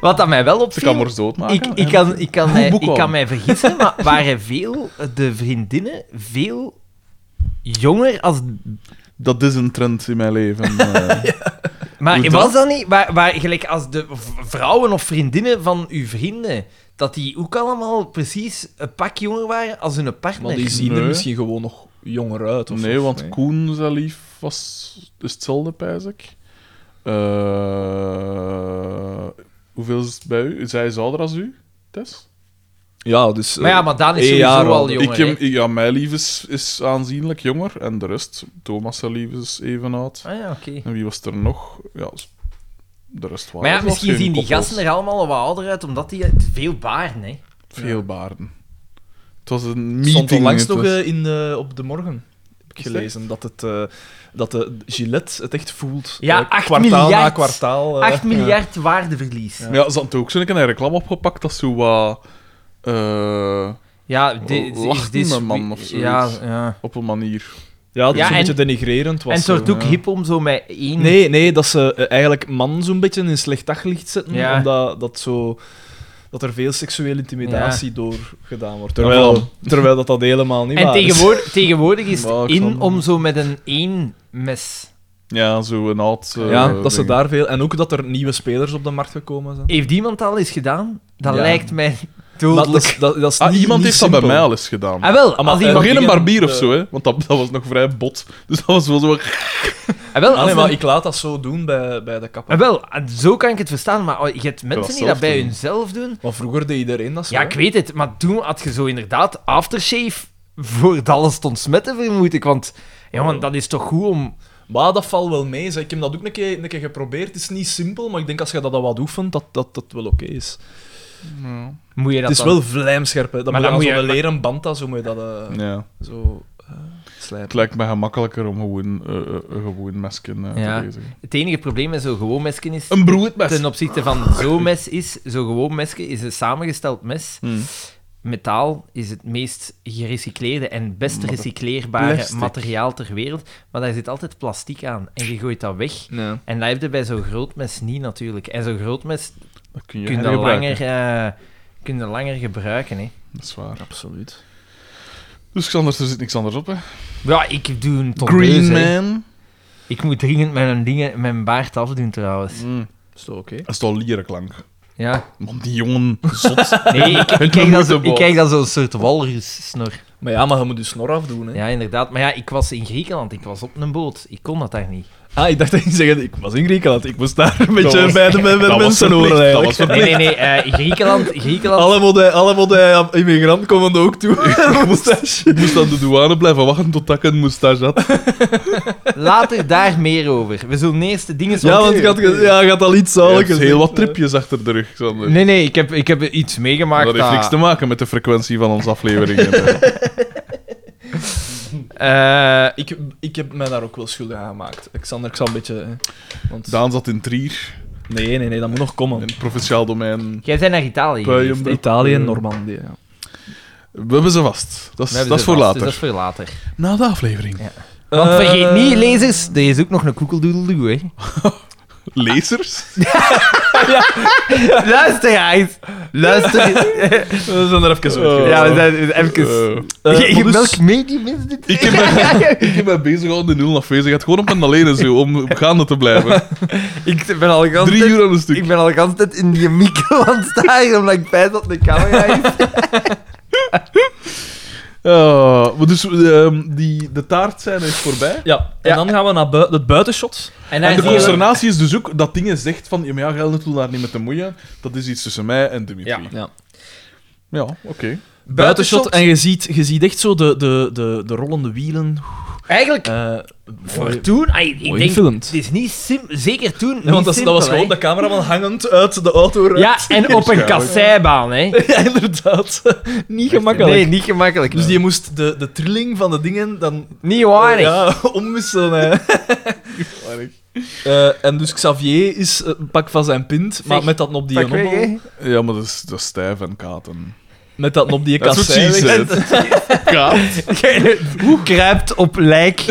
S1: Wat dat mij wel
S3: Ze kan
S1: opviel...
S3: maar doodmaken.
S1: Ik, ik,
S3: hè.
S1: kan, ik, kan
S3: Goed
S1: mij,
S3: boek
S1: ik
S3: al.
S1: kan mij vergissen, maar waren veel, de vriendinnen veel jonger als...
S3: Dat is een trend in mijn leven. eh.
S1: Maar
S3: Hoe
S1: was
S3: dat?
S1: dat, niet? Maar, maar gelijk als de v- vrouwen of vriendinnen van uw vrienden, dat die ook allemaal precies een pak jonger waren als hun partner.
S2: Maar die zien
S3: Nee.
S2: er misschien gewoon nog jonger uit. Of,
S3: nee,
S2: of-
S3: want Koen zijn lief was is hetzelfde, pijs ik. Eh, hoeveel is het bij u? Zij is ouder als u, Tess?
S2: Ja, dus...
S1: Maar ja, maar Daan is
S2: één
S1: sowieso
S2: jaar
S1: al
S2: ouder.
S1: Jonger,
S3: ik heb,
S1: hè?
S3: ja, mijn lief is, is aanzienlijk jonger. En de rest, Thomas zijn lief is even oud.
S1: Ah ja, oké.
S3: En wie was er nog? Ja, de rest waren
S1: Maar ja,
S3: het was
S1: misschien
S3: geen
S1: zien die
S3: koppels.
S1: gasten er allemaal wat ouder uit, omdat die veel baarden, hè.
S3: Veel baarden. Het was een
S2: Het
S3: meeting.
S2: stond onlangs
S3: het
S2: nog
S3: was-
S2: eh, in, eh, op de morgen. Heb ik
S3: Is het
S2: gelezen dat, het, eh, dat de Gillette het echt voelt.
S1: Ja,
S2: Eh,
S1: acht
S2: kwartaal na
S1: miljard.
S2: kwartaal. eh,
S1: 8 miljard waardeverlies. Ja,
S3: Ja, ze hadden ook zo'n keer een reclame opgepakt dat zo wat... eh,
S1: dit
S3: Lachtende
S1: is dit-
S3: man of
S1: Ja,
S3: zoiets.
S1: ja.
S3: op een manier.
S2: Ja, dat
S1: Ja,
S2: is een
S1: en-
S2: beetje denigrerend. Was
S1: en het wordt
S2: zo,
S1: ook
S2: ja.
S1: hip om zo met één...
S2: Nee, nee, dat ze eh, eigenlijk man zo'n beetje in slecht daglicht zetten,
S1: Ja.
S2: omdat dat zo... Dat er veel seksuele intimidatie door gedaan wordt.
S3: Ja,
S2: Terwijl,
S3: wel.
S2: terwijl dat, dat helemaal niet
S1: En
S2: waar is.
S1: tegenwoordig,
S2: [LAUGHS]
S1: tegenwoordig is
S3: Maar
S1: het
S3: ik
S1: in
S3: zal-
S1: om zo met een één mes.
S3: Ja, zo een oud... eh,
S2: Ja, dat ze
S3: ding.
S2: daar veel... En ook dat er nieuwe spelers op de markt gekomen zijn.
S1: Heeft iemand al eens gedaan? Dat
S2: Ja.
S1: lijkt mij
S2: Maar dat,
S1: dodelijk.
S2: is- dat, dat is
S3: Ah,
S2: niet-
S3: iemand
S2: niet
S3: heeft dat
S2: simpel.
S3: bij mij al eens gedaan.
S1: Ah, wel,
S2: Ah, maar,
S1: als
S2: eh,
S3: Maar
S1: iemand...
S3: geen een
S2: iemand-
S3: barbier of
S2: eh,
S3: zo, hè? Want dat, dat was nog vrij bot. [LAUGHS] Dus dat was wel zo.
S1: ah, wel,
S2: Ah,
S1: als
S2: nee, maar
S1: een-
S2: ik laat dat zo doen bij, bij de kapper.
S1: ah, wel, ah, zo kan ik het verstaan, maar oh, je hebt mensen
S3: dat
S1: die dat
S3: zelf
S1: bij
S3: doen.
S1: hunzelf doen.
S2: Maar vroeger deed iedereen dat zo.
S1: Ja,
S2: hè?
S1: ik weet het, maar toen had je zo inderdaad aftershave voor het alles te ontsmetten, vermoed ik. Want, jongen, dat is toch goed om...
S2: Maar dat valt wel mee. zeg. Ik heb dat ook een keer, een keer geprobeerd. Het is niet simpel, maar ik denk als je dat al wat oefent, dat dat, dat wel oké is.
S1: Moet je dat
S2: het is
S1: dan-
S2: wel vlijmscherp. Hè. Dan
S1: Maar
S2: moet je
S1: dan
S2: aan
S1: moet je-
S2: zo'n leren band, dat zo moet je dat eh,
S3: Ja.
S2: zo eh,
S3: Het
S2: slijpen.
S3: lijkt me gemakkelijker om gewoon eh, eh, een gewoon mesken eh,
S1: Ja.
S3: te lezen.
S1: Het enige probleem met zo'n gewoon mesken is...
S3: Een broedmes.
S1: Ten opzichte van zo'n mes is... Zo'n gewoon mesken is een samengesteld mes.
S3: Hmm.
S1: Metaal is het meest gerecycleerde en best recycleerbare
S3: Hm. Plastic.
S1: materiaal ter wereld. Maar daar zit altijd plastiek aan. En je gooit dat weg.
S2: Nee.
S1: En dat heb je bij zo'n groot mes niet, natuurlijk. En zo'n groot mes
S3: Dat kun je,
S1: kun je
S3: hergebruiken.
S1: langer... eh, kun je langer gebruiken, hè.
S3: Dat is waar.
S2: Absoluut.
S3: Dus Xander, er zit niks anders op, hè?
S2: Oh,
S1: Ja, ik doe een tondeus,
S3: Green
S1: hè.
S3: Man.
S1: Ik moet dringend mijn, dingen, mijn baard afdoen, trouwens.
S3: Mm.
S2: Is dat oké?
S3: Dat is toch lierenklank? [LAUGHS]
S1: Ja.
S3: Man, die jongen,
S2: [LAUGHS]
S3: zot.
S1: Nee, ik, ik, kijk,
S3: moet
S1: dat
S3: de
S1: zo, ik
S3: bal.
S1: kijk dat zo'n soort walrus-snor.
S2: Maar ja, maar je moet je snor afdoen. Hè.
S1: Ja, inderdaad. Maar ja, ik was in Griekenland. Ik was op een boot. Ik kon dat daar niet.
S2: Ah, ik dacht dat je zeggen, ik was in Griekenland. Ik moest daar een beetje
S3: was-
S2: bij de bij de
S3: [LAUGHS] dat was
S2: mensen
S3: verplicht,
S2: horen.
S3: dat
S2: eigenlijk.
S3: was verplicht.
S1: Nee, nee, nee. eh, Griekenland, Griekenland.
S2: Alle modellen, alle modellen immigranten komen er ook
S1: [LAUGHS]
S2: [LAUGHS] toe. Moustache.
S3: Ik moest aan de douane blijven wachten tot ik een moustache
S2: [LAUGHS]
S3: had.
S1: Later daar meer over. We zullen eerst de dingen...
S2: Ja, want je had, ge- ja, je had al iets
S3: Je
S2: zalig
S3: hebt
S2: gezien.
S3: heel wat tripjes achter de rug, Xander.
S1: Nee, nee. Ik heb, ik heb iets meegemaakt.
S3: dat heeft niks te maken met de frequentie van onze afleveringen.
S2: [LAUGHS]
S3: hè.
S1: Eh,
S2: Ik, ik heb mij daar ook wel schuldig aan gemaakt. Xander, ik zal een beetje... hè, Want...
S3: Daan zat in Trier,
S2: Nee, nee, nee, dat moet nog
S3: in
S2: komen.
S3: het provinciaal domein.
S1: jij bent naar Italië geweest, hè?
S3: Puienbroek.
S2: Italië en Normandië. Ja.
S3: We hebben ze vast. Dat
S1: We
S3: is,
S1: hebben
S3: dat is
S1: ze
S3: voor
S1: vast,
S3: later.
S1: dus dat is voor later.
S3: Na de aflevering.
S1: Want
S2: Eh,
S1: vergeet niet, lezers, er is ook nog een koekeldoedeldoe, hè. [LAUGHS]
S3: Lezers?
S1: Luister, guys. Luister.
S2: We zijn er even
S3: Eh,
S2: uit.
S1: [LAUGHS] ja, we zijn even...
S3: Eh,
S2: Eh,
S1: Je-
S2: maar
S1: je-
S2: dus-
S1: Welk medium is dit?
S3: ik heb mij- ik heb [LAUGHS] mij bezig gehouden in nul afwezigheid. Gewoon op en alleen zo, om gaande te
S1: [LAUGHS]
S3: blijven.
S1: Ik ben al gans
S3: Drie uur aan een stuk.
S1: Ik ben al de hele tijd in die micro aan het staren, omdat ik bij dat de camera is.
S3: Ah, maar dus ehm, die, de taart zijn is voorbij.
S2: Ja, en
S1: Ja.
S2: dan gaan we naar bui- het buitenshot.
S1: daar
S3: En de
S1: zie je-
S3: consternatie is dus ook dat dingen zegt van... Ja, maar ja, Gelder wil daar niet mee te moeien. Dat is iets tussen mij en Dimitri.
S1: Ja.
S2: Ja.
S3: Ja, oké.
S2: Buitenshot, en je ziet, je ziet echt zo de, de, de, de rollende wielen. Eh,
S1: Eigenlijk,
S2: mooi-
S1: voor toen... ai, ik
S2: mooi
S1: denk,
S2: gefilmd.
S1: het is niet sim- zeker toen
S2: Nee, want
S1: niet
S2: dat, is- dat was
S1: simpel,
S2: gewoon
S1: hè.
S2: de cameraman hangend uit de auto. eruit.
S1: Ja,
S2: [LAUGHS]
S1: en op een kasseibaan, hè.
S2: Ja, inderdaad. Niet gemakkelijk.
S1: Nee, [LAUGHS] niet gemakkelijk.
S2: Dus die moest de, de trilling van de dingen dan
S1: Niet waar, hè.
S2: ja, [LAUGHS] omwisselen. Hè. Eh, en dus Xavier is eh, een pak van zijn pint, maar met dat op die
S1: Pak weg,
S2: knobbel,
S1: hè.
S3: Ja, maar dat is, dat is stijf en katen.
S2: met
S1: [LAUGHS]
S2: dat op die
S3: Dat is
S2: kassei.
S3: precies
S2: weg-
S3: het. Kaat.
S1: Hoe kruipt op lijk?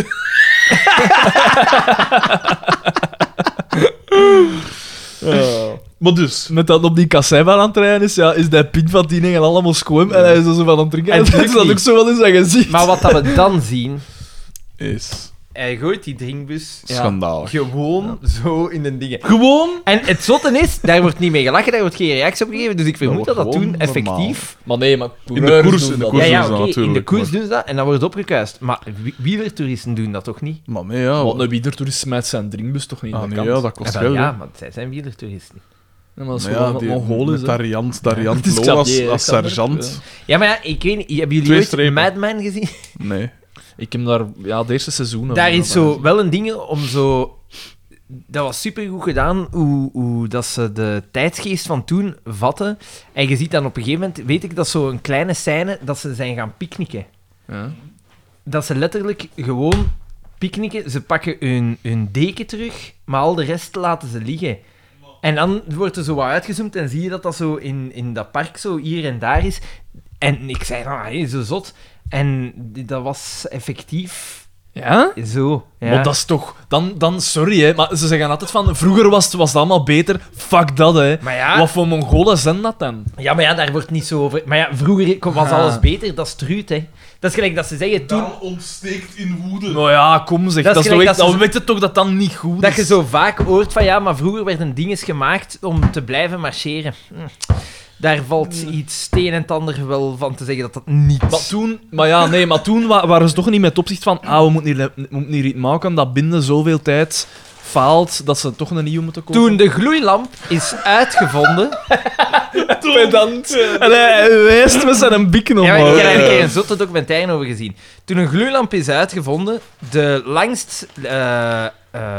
S3: Maar dus,
S2: [LAUGHS] Met dat op die kassei waar aan het rijden is, ja, is dat pint van die dingen allemaal schoon en hij is er zo van aan het drinken.
S1: En
S2: En dat
S1: drukt
S2: is dat
S1: niet.
S2: ook zo wel in zijn gezicht.
S1: Maar wat dat we dan zien...
S3: is
S1: Hij gooit die drinkbus
S3: schandalig.
S1: gewoon zo in een ding.
S3: Gewoon?
S1: En het zotte is, daar wordt niet mee gelachen, daar wordt geen reactie op gegeven, dus ik vermoed dat
S3: Dat wordt
S1: dat toen
S3: gewoon
S1: effectief...
S2: Maar nee, maar
S3: In de koers, in de koers
S1: Ja, ja,
S3: doen ze dat
S1: oké, in de
S3: natuurlijk,
S1: koers
S3: maar-
S1: doen ze dat en dan wordt het opgekuist. Maar wi- wielertoeristen doen dat toch niet?
S3: Maar nee, ja.
S2: Want een wielertourist smijt zijn drinkbus toch niet
S3: Ah,
S2: aan de
S3: nee,
S2: kant?
S3: ja, dat kost
S1: Ja, wel,
S3: geld.
S1: ja,
S3: Ja,
S1: maar zij zijn wielertouristen.
S2: Ja, maar dat is
S3: maar
S2: gewoon
S3: ja,
S2: wat
S3: die
S2: Mongool
S3: met
S2: is, hè.
S3: Dariant, Dariant [LAUGHS]
S2: Het is
S3: Lo als,
S2: Xavier, hè,
S3: als
S2: kan er-
S3: sergeant.
S1: Ja, maar ja, ik weet niet, hebben jullie
S3: Twee
S1: ooit
S3: strepen.
S1: Mad Men gezien?
S3: Nee.
S2: Ik heb daar... Ja, de eerste seizoenen.
S1: Daar
S2: van
S1: is zo wel een ding om zo... Dat was supergoed gedaan, hoe, hoe dat ze de tijdsgeest van toen vatten. En je ziet dan op een gegeven moment, weet ik, dat zo'n kleine scène, dat ze zijn gaan picknicken.
S2: Ja.
S1: Dat ze letterlijk gewoon picknicken, ze pakken hun, hun deken terug, maar al de rest laten ze liggen. En dan wordt er zo wat uitgezoomd en zie je dat dat zo in, in dat park zo hier en daar is. En ik zei, ah, hé, zo zot. En die- dat was effectief
S2: Ja?
S1: zo. Ja.
S2: Maar dat is toch... Dan, dan sorry, hè. Maar ze zeggen altijd van... Vroeger was, het- was het allemaal beter. Fuck dat, hè.
S1: Maar ja.
S2: Wat voor Mongolen zijn dat dan?
S1: ja, maar ja, daar wordt niet zo over. Maar ja, vroeger kon- was
S2: Ah.
S1: alles beter, dat is truut, hè. Dat is gelijk dat ze zeggen toen.
S3: ontsteekt in woede.
S2: Nou ja, kom zeg.
S1: Dat
S2: Dat
S1: is
S2: is toch
S1: gelijk
S2: echt-
S1: dat ze-
S2: Dan weet je toch dat dat niet goed
S1: Dat
S2: is?
S1: je zo vaak hoort van ja, maar vroeger werden dinges gemaakt om te blijven marcheren. Hm. Daar valt iets het een en het ander wel van te zeggen dat dat niet.
S2: Maar toen, maar ja, nee, maar toen wa- waren ze toch niet met opzicht van, ah, we moeten hier, we moeten hier iets maken dat binnen zoveel tijd faalt, dat ze toch een nieuwe moeten kopen.
S1: Toen de gloeilamp is uitgevonden.
S2: pedant. En hij, hij wijst met zijn
S1: Ja,
S2: bikken
S1: maar ik
S2: omhoog.
S1: heb daar een keer een zotte documentaire over gezien. Toen een gloeilamp is uitgevonden, de langst eh, eh,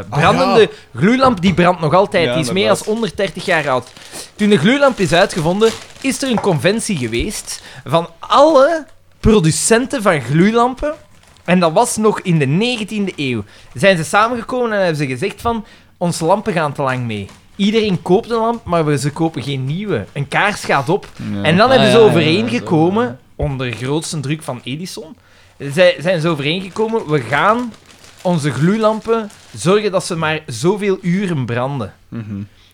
S1: brandende gloeilamp, die brandt nog altijd,
S2: Ah, Ja,
S1: die is meer dan
S2: inderdaad.
S1: 130 jaar oud. Toen de gloeilamp is uitgevonden, is er een conventie geweest van alle producenten van gloeilampen. En dat was nog in de 19e eeuw. Zijn ze samengekomen en hebben ze gezegd van, onze lampen gaan te lang mee. Iedereen koopt een lamp, maar we- ze kopen geen nieuwe. Een kaars gaat op. En dan
S2: Ah,
S1: hebben ze
S2: ja, ja,
S1: overeengekomen, onder grootste druk van Edison, zij, zijn ze overeengekomen, we gaan onze gloeilampen zorgen dat ze maar zoveel uren branden.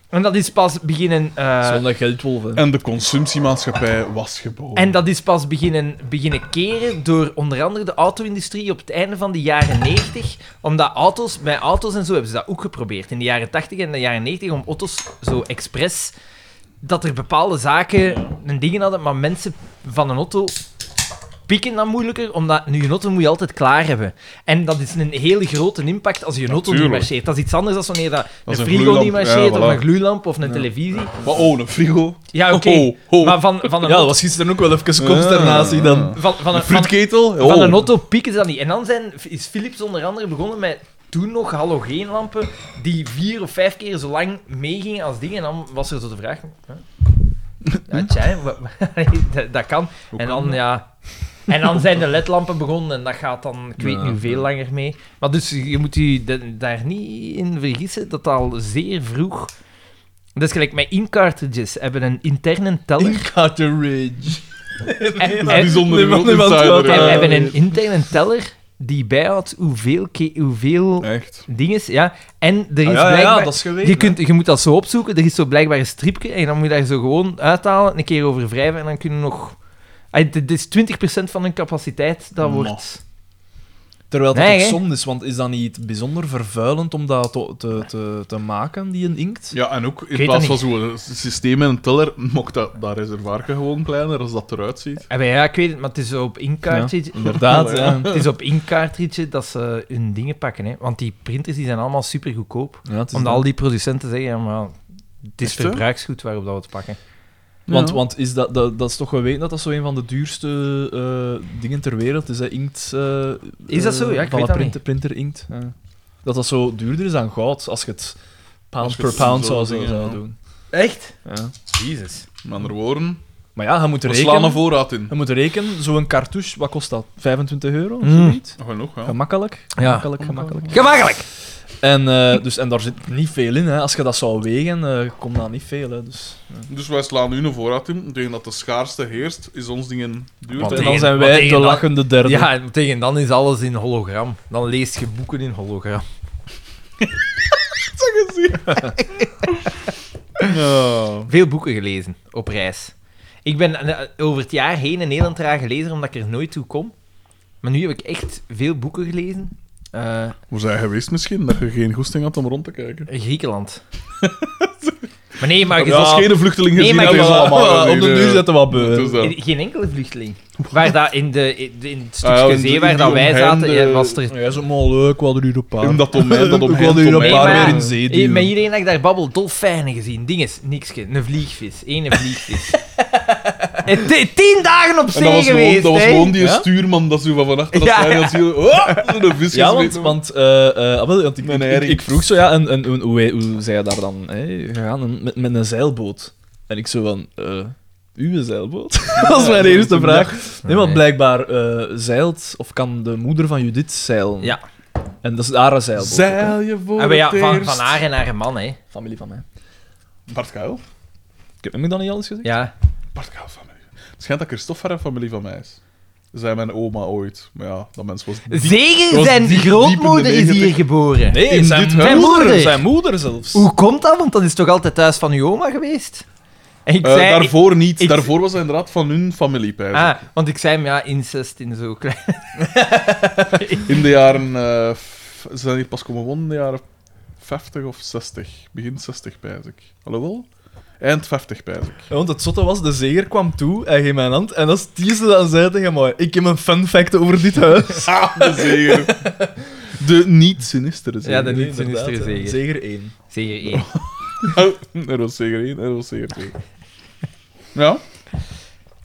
S1: En dat is pas beginnen... eh,
S2: Zonder geldwolf, hè.
S3: En de consumptiemaatschappij was geboren.
S1: en dat is pas beginnen, beginnen keren door onder andere de auto-industrie op het einde van de jaren 90. Omdat auto's, bij auto's en zo hebben ze dat ook geprobeerd. In de jaren 80 en de jaren 90 om auto's zo expres. Dat er bepaalde zaken en dingen hadden, maar mensen van een auto pikken dan moeilijker, omdat nu een auto moet je altijd klaar hebben. En dat is een hele grote impact als je een auto niet
S3: Natuurlijk.
S1: marcheert. Dat is iets anders dan wanneer dat
S3: Als
S1: een
S3: een
S1: frigo niet
S3: gloeilamp, ja,
S1: marcheert, of
S3: voilà.
S1: een gloeilamp, of een televisie.
S3: Maar oh, een frigo. Oh,
S1: Ja, oké.
S3: Ho, ho.
S1: Maar van, van een
S2: Ja, dat
S1: auto-
S2: was gisteren ook wel even consternatie dan.
S1: van, van,
S3: Een
S1: een, van,
S3: fruitketel.
S1: van
S3: Oh.
S1: een auto pieken ze dat niet. En dan zijn, is Philips onder andere begonnen met toen nog halogeenlampen die vier of vijf keer zo lang meegingen als dingen. En dan was er zo de vraag... hè? Ja, tja, wa- wa- [LAUGHS] dat, dat kan. En dan, ja... En dan zijn de ledlampen begonnen en dat gaat dan, ik weet
S2: Ja.
S1: niet hoe veel langer mee. Maar dus je moet je da- daar niet in vergissen dat dat al zeer vroeg... Dat is gelijk met incartridges, hebben een interne teller.
S2: Got the rage.
S1: En-
S3: Dat is onder de
S2: Nee, maar
S3: World
S2: niemand wil
S3: Insider.
S1: En we
S2: dat.
S3: ja.
S1: hebben een interne teller die bijhoudt hoeveel, ke- hoeveel
S3: Echt.
S1: dinges. Ja. En er is
S2: Ah, ja, ja,
S1: blijkbaar...
S2: ja, dat is geweten.
S1: je, kunt, je moet dat zo opzoeken. Er is zo blijkbaar een stripje en dan moet je daar zo gewoon uithalen, een keer over wrijven en dan kunnen nog... Ah, Dit dit is 20% van hun capaciteit, dat
S3: Ma.
S1: wordt...
S2: Terwijl dat
S1: Nee,
S2: ook
S1: hè?
S2: zonde is, want is dat niet bijzonder vervuilend om dat te, te, te, te maken, die een inkt?
S3: Ja, en ook
S1: weet
S3: in plaats van
S1: dat
S3: zo'n eh, systeem en een teller, [LAUGHS] mocht dat, dat reservoir gewoon kleiner als dat eruit ziet.
S1: Ah, maar ja, ik weet het, maar het is zo op
S2: Ja,
S1: inkaartje...
S2: [LAUGHS] inderdaad, ja.
S1: [LAUGHS] Het is op inkaartritje dat ze hun dingen pakken. Hè. Want die printers die zijn allemaal super goedkoop.
S2: Ja, het is
S1: Omdat
S2: dat.
S1: al die producenten zeggen, ja, maar het is
S3: Echt, hè?
S1: verbruiksgoed waarop dat we het pakken.
S2: Want,
S5: Ja.
S2: want is dat, dat, dat is toch geweten dat dat zo een van de duurste eh, dingen ter wereld is, hè? inkt. eh,
S1: Is dat
S2: eh,
S1: zo? Ja, ik weet
S2: van een
S1: dat
S2: printer, printer inkt. ja. Dat dat zo duurder is dan goud, als je het
S3: Als
S2: pound
S3: je
S2: per
S3: het
S2: pound
S3: zo
S2: zou,
S3: zou
S2: zou, zou
S3: doen, ja.
S2: doen.
S1: Echt?
S2: Ja.
S1: Jezus.
S3: Met andere woorden,
S2: Maar ja, je moet
S3: we slaan een
S2: rekenen,
S3: voorraad in.
S2: je moet rekenen zo'n cartouche, wat kost dat? 25 euro of
S1: Mm.
S2: zoiets?
S3: Nog genoeg, ja.
S2: Gemakkelijk. Gemakkelijk, gemakkelijk.
S1: Gemakkelijk!
S2: En, eh, dus, en daar zit niet veel in. Hè. Als je dat zou wegen, eh, komt daar niet veel. Hè. Dus,
S3: Dus wij slaan nu een voorraad in. Tegen dat de schaarste heerst, is ons dingen
S1: Want
S3: duur. En
S2: en dan
S1: tegen-
S3: als-
S2: zijn
S1: maar
S2: wij
S1: tegen
S2: de
S1: dat-
S2: lachende derde.
S1: Ja, en tegen dan is alles in hologram. Dan lees je boeken in hologram.
S3: Ja.
S1: Veel boeken gelezen op reis. Ik ben eh, over het jaar heen een heel trage lezer, omdat ik er nooit toe kom. Maar nu heb ik echt veel boeken gelezen. Eh,
S3: Hoe zijn geweest misschien, dat je geen goesting had om rond te kijken. [LAUGHS]
S1: Griekenland. maar nee, maar
S3: Ik
S1: je
S3: heb zelfs
S1: zal-
S3: geen vluchteling
S1: Nee,
S3: gezien.
S1: maar
S3: dat
S1: ik-
S3: is [LAUGHS] allemaal
S2: Om de
S3: weer,
S2: duur
S3: eh,
S2: zetten
S3: het
S2: wat beuren.
S3: is dat.
S1: geen enkele vluchteling. Waar dat in, de, in, in het
S3: Ah,
S1: stukje
S3: ja, in
S1: zee
S3: die-
S1: waar
S3: die
S1: dat wij zaten,
S3: omheinde-
S1: ja, was er
S2: Ja, is ook maar leuk, wat er hier op
S3: In dat domein,
S2: [LAUGHS]
S3: dat
S2: Ik
S3: omheen.
S2: wilde hier een
S3: domein.
S2: paar
S1: maar-
S2: weer in zee
S1: Hey,
S2: duwen.
S1: met iedereen dat ik daar babbel, dolfijnen gezien. Dinges, niksje. Een vliegvis. Ene
S3: [LAUGHS]
S1: vliegvis. en ti- tien dagen op
S3: En
S1: zee
S3: dat was, gewoon,
S1: geweest,
S3: dat was
S1: hè.
S3: gewoon die
S2: Ja?
S3: stuurman dat zo van van achter dat
S1: Ja.
S3: ja.
S1: [LAUGHS]
S3: dat zie je, oh, een vis
S2: Ja, want,
S3: gesmeten.
S2: want, eh, eh, ah, wel, want ik,
S3: Mijn
S2: ik,
S3: herrie.
S2: ik vroeg zo, ja, en, en hoe, hoe, hoe zij daar dan hè, gegaan? En met, met een zeilboot. En ik zo van, eh uw zeilboot? [LAUGHS] dat was mijn eerste vraag. Nee, want
S1: Nee.
S2: blijkbaar eh, zeilt, of kan de moeder van Judith zeilen.
S1: Ja.
S2: En dat is haar zeilboot. ook, hè.
S3: Zeil je voor
S1: Ah, maar ja,
S3: het
S1: van,
S3: eerst.
S1: van haar en haar man, hè.
S2: Familie van mij.
S3: Bart Kuil.
S2: Ik heb, heb ik dat niet alles gezegd?
S1: Ja.
S3: Bart Kuil familie. Het schijnt dat Christopher een familie van mij is. Zij mijn oma ooit. Maar ja, dat mens was...
S1: Zeker
S3: was
S1: zijn
S3: diep-
S1: grootmoeder
S3: diep in
S1: is
S3: de
S1: hier
S3: 90.
S1: geboren.
S2: Nee,
S3: In
S2: zijn,
S3: dit
S2: moeder,
S1: huis? Moeder.
S2: Zijn moeder zelfs.
S1: Hoe komt dat? Want dat is toch altijd thuis van uw oma geweest? En ik
S3: Eh,
S1: zei...
S3: daarvoor niet.
S1: ik-
S3: daarvoor was hij inderdaad van hun familie, pijs ik.
S1: Ah, want ik zei hem, ja, incest in zo klein... [LAUGHS]
S3: In de jaren... eh, f- ze zijn hier pas komen wonen in de jaren 50 of 60. Begin 60, pijs ik. Alhoewel? Eind 50, pijs ik.
S2: Ja, want het zotte was, de zeger kwam toe, hij ging mijn hand, en dat is het eerste dat hij zei tegen mij, ik heb een fun fact over dit
S1: [LAUGHS]
S2: huis.
S3: Ah, de zeger. De niet-sinistere zeger.
S1: Ja, de niet
S2: Inderdaad,
S1: sinistere
S2: ja.
S1: zeger.
S2: Zeger 1.
S1: Zeker één.
S3: Oh, er was zeker één, er was zeker twee. Ja,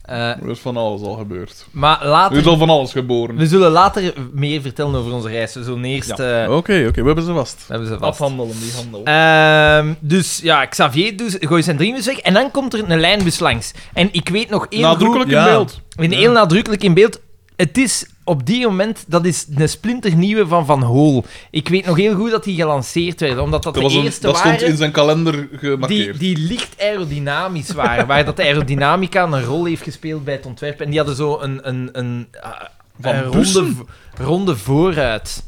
S1: Eh,
S3: er is van alles al gebeurd.
S1: maar
S3: Er is
S1: later...
S3: al van alles geboren.
S1: We zullen later meer vertellen over onze reis. We zullen eerst... eh,
S3: Oké, oké, we hebben ze vast.
S1: hebben ze vast.
S2: Afhandelen, die handel.
S1: Ehm, dus ja, Xavier dus, gooit zijn driewiels weg en dan komt er een lijnbus langs. En ik weet nog heel
S3: Nadrukkelijk in
S2: Ja.
S3: beeld.
S1: goed, en heel nadrukkelijk in beeld, het is op die moment, dat is een splinternieuwe van Van Hol. Ik weet nog heel goed dat die gelanceerd werden, omdat dat,
S3: Dat,
S1: de
S3: was een-
S1: eerste
S3: dat stond
S1: waren
S3: in zijn kalender
S1: die,
S3: gemarkeerd.
S1: die licht aerodynamisch waren. waar dat de aerodynamica een rol heeft gespeeld bij het ontwerp. En die hadden zo een, een, een, eh,
S3: Van
S1: een ronde,
S3: bussen?
S1: v- ronde vooruit.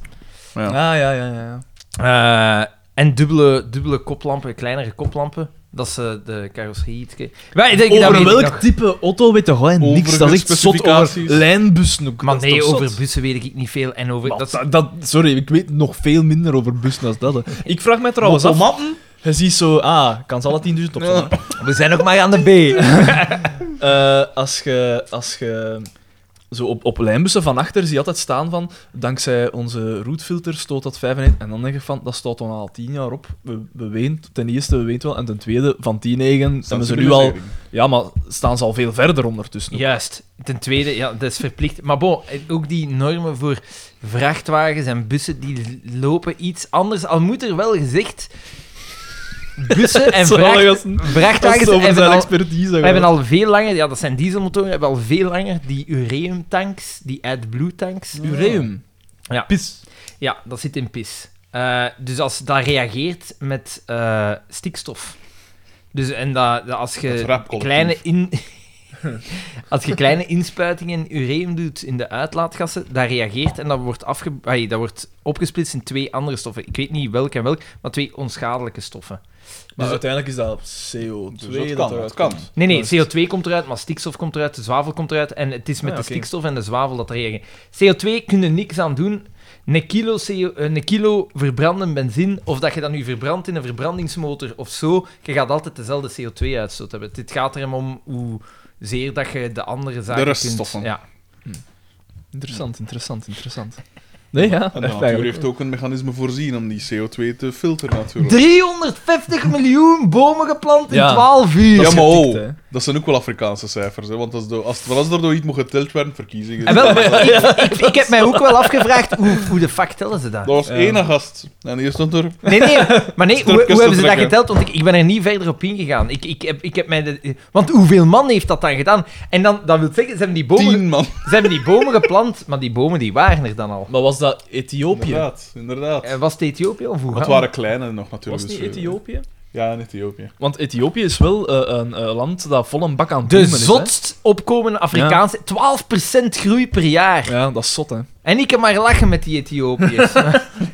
S3: Ja.
S2: Ah, ja, ja, ja. ja.
S1: Eh, en dubbele, dubbele koplampen, kleinere koplampen. Dat is eh, de carrosserie. ietske. Maar ik denk, dat
S2: Over
S1: weet ik
S2: welk
S1: nog.
S2: type auto weet toch gewoon
S3: Over
S2: niks? Dat is echt zot over
S3: specificaties.
S2: lijnbusnoek.
S1: Maar
S2: dat is
S1: nee,
S2: toch zot?
S1: over bussen weet ik niet veel. En over...
S2: Maar
S1: Dat is-
S2: dat, dat- sorry, ik weet nog veel minder over bussen dan dat. hè. Ik vraag mij trouwens af... Je ziet zo... Ah, kan ze alle 10.000 op zijn, hè.
S1: We zijn nog maar aan de
S2: [LAUGHS]
S1: B.
S2: Eh, als je als je zo op, op lijnbussen van achter zie je altijd staan van dankzij onze routefilter stoot dat 95 en dan denk je van dat staat dan al 10 jaar op. We, we weent ten eerste we weent wel en ten tweede van 10 eigen zijn we ze nu al ja maar staan ze al veel verder ondertussen.
S1: Juist. Ten tweede, ja, dat is verplicht. Maar bon, eh, ook die normen voor vrachtwagens en bussen, die lopen iets anders. Al moet er wel gezegd...
S2: [LAUGHS]
S1: Bussen en
S2: Zalig
S1: vracht-
S2: als een- Dat is
S1: vrachtwagens
S2: over
S1: hebben
S2: zijn
S1: al,
S2: expertise.
S1: We hebben al veel langer, ja, dat zijn dieselmotoren, we hebben al veel langer die ureumtanks, die AdBlue-tanks.
S2: ureum.
S1: Ja.
S2: Pis.
S1: Ja, dat zit in pis. Eh, dus als dat reageert met eh, stikstof. Dus en dat, dat als
S3: Het
S1: je
S3: rapcollectief.
S1: kleine in... [LAUGHS] Als je kleine inspuitingen in ureum doet in de uitlaatgassen, dat reageert en dat wordt, afge... ai, dat wordt opgesplitst in twee andere stoffen. Ik weet niet welke en welk, maar twee onschadelijke stoffen.
S2: Maar
S1: Dus-
S2: uiteindelijk is dat CO2
S3: Dus dat
S2: dat
S3: kan,
S2: eruit
S3: dat kan.
S2: komt.
S1: Nee, nee,
S2: Dat is-
S1: CO2 komt eruit, maar stikstof komt eruit, de zwavel komt eruit. En het is met
S2: Ah,
S1: de
S2: oké.
S1: stikstof en de zwavel dat er reageert. CO2 kun je niks aan doen. Een kilo, CO, eh, een kilo verbranden benzine, of dat je dat nu verbrandt in een verbrandingsmotor of zo, je gaat altijd dezelfde CO2-uitstoot hebben. Dit gaat er hem om hoe zeer dat je de andere zaken
S3: reststoffen.
S1: kunt... Ja.
S2: Hm. Interessant, interessant, interessant. Nee
S3: [LAUGHS] En
S2: ja.
S3: de
S2: echt
S3: natuur
S2: eigenlijk.
S3: heeft ook een mechanisme voorzien om die CO2 te filteren, natuurlijk.
S1: 350 miljoen bomen geplant in
S2: Ja.
S1: 12 uur.
S3: Ja, maar
S2: getikt,
S3: oh,
S2: hè.
S3: dat Dat zijn ook wel Afrikaanse cijfers, hè, want als, do, als, als er door iets mocht geteld werden, verkiezingen.
S1: En wel, maar ik, ik, ik heb mij ook wel afgevraagd, hoe, hoe de fuck tellen ze dat?
S3: Er was één gast. En die stond er...
S1: Nee, nee, maar nee, hoe,
S3: Stukjes
S1: hoe
S3: te
S1: hebben ze dat
S3: trekken.
S1: geteld? Want ik, ik ben er niet verder op ingegaan. Ik, ik, heb, ik heb mij de- want hoeveel man heeft dat dan gedaan? En dan, dat wil zeggen, ze hebben die bomen,
S3: Tien man.
S1: ze hebben die bomen geplant, maar die bomen die waren er dan al.
S2: Maar was dat Ethiopië?
S3: Inderdaad, inderdaad.
S1: Eh, Was het Ethiopië of hoe?
S3: Maar het waren kleine nog natuurlijk.
S2: was het niet
S3: dus, eh,
S2: Ethiopië?
S3: Ja, in Ethiopië.
S2: Want Ethiopië is wel eh, een eh, land dat vol een bak aan het
S1: De
S2: boomen is, dus, hè.
S1: zotst opkomende Afrikaanse... 12% groei per jaar.
S2: Ja, dat is zot, hè.
S1: En ik kan maar lachen met die Ethiopiërs.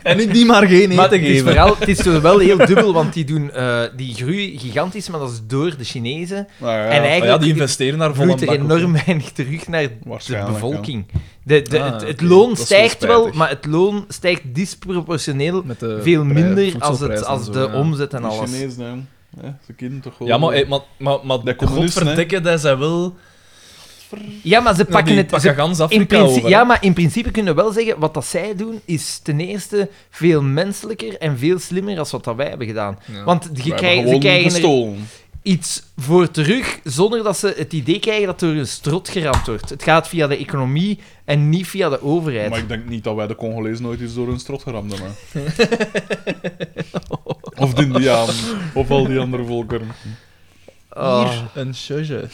S6: En ik die maar geen
S1: maar
S6: eten
S1: het is,
S6: geven.
S1: vooral, het is wel heel dubbel, want die doen eh, die groei gigantisch, maar dat is door de Chinezen.
S3: Maar ja,
S1: en
S2: Maar ja,
S1: eigenlijk
S2: die investeren daar vol een
S1: vloeit
S2: bak
S1: er
S2: op.
S1: enorm weinig terug naar de
S3: Waarschijnlijk,
S1: bevolking. De, de,
S2: Ah,
S1: het, het
S2: oké.
S1: loon
S2: Dat is wel
S1: stijgt wel,
S2: spijtig.
S1: maar het loon stijgt disproportioneel
S2: Met de
S1: veel
S2: prij-
S1: minder als, het,
S2: voedselprijzen
S1: als
S2: en
S1: de
S2: zo, ja.
S1: omzet en
S3: Die
S1: alles.
S3: Chinezen, hè. Hè, Ze kennen toch wel...
S2: Ja, maar, eh, maar, maar, maar
S3: De communisten,
S2: godverdikke, dat zijn wel...
S1: Ja, maar ze pakken
S2: die
S1: het...
S2: pakken
S1: ze-
S2: gans
S1: in
S2: Afrika
S1: principe,
S2: over.
S1: ja, maar in principe kunnen we wel zeggen, wat dat zij doen, is ten eerste veel menselijker en veel slimmer dan wat dat wij hebben gedaan.
S2: Ja.
S1: Want je
S3: Wij hebben
S1: krijgt- ze
S3: gewoon
S1: krijgen er
S3: gestolen.
S1: iets voor terug, zonder dat ze het idee krijgen dat er een strot geramd wordt. Het gaat via de economie en niet via de overheid.
S3: Maar ik denk niet dat wij de Congolezen nooit eens door hun strot
S1: [LAUGHS]
S3: geramd hebben. of de Indianen. Of al die andere volkeren.
S1: Oh,
S2: Een charge.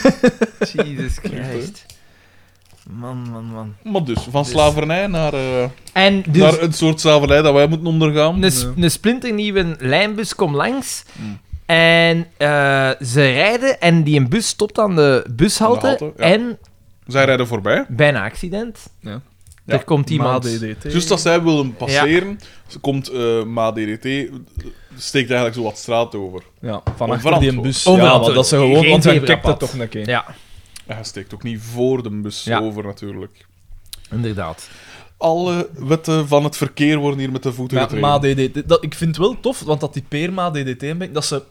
S1: [LAUGHS] Jesus Christ. Man, man, man.
S3: Maar dus, van slavernij naar, eh,
S1: En dus
S3: naar een soort slavernij dat wij moeten ondergaan.
S1: een,
S2: eh,
S1: sp- een splinternieuwe lijnbus komt langs.
S2: Hmm.
S1: En eh, ze rijden en die een bus stopt aan de bushalte.
S3: Aan de halte, ja.
S1: En
S3: Zij rijden voorbij.
S1: bijna accident.
S2: Ja.
S1: Er komt iemand.
S3: Dus als zij willen passeren, ze komt eh Ma DDT, steekt eigenlijk zo wat straat over.
S2: Ja, van achter
S3: Onverantwoord.
S2: die bus. Ja,
S1: Onverantwoord.
S2: want dat is gewoon...
S1: Geen
S2: Want hij
S1: zebrapad.
S2: kijkt er toch een keer.
S1: Ja,
S3: En hij steekt ook niet voor de bus
S1: Ja.
S3: over, natuurlijk.
S1: inderdaad.
S3: Alle wetten van het verkeer worden hier met de voeten
S2: Ja,
S3: getreden.
S2: Ma DDT. Dat, ik vind het wel tof, want dat die peer Ma DDT een beetje- dat ze...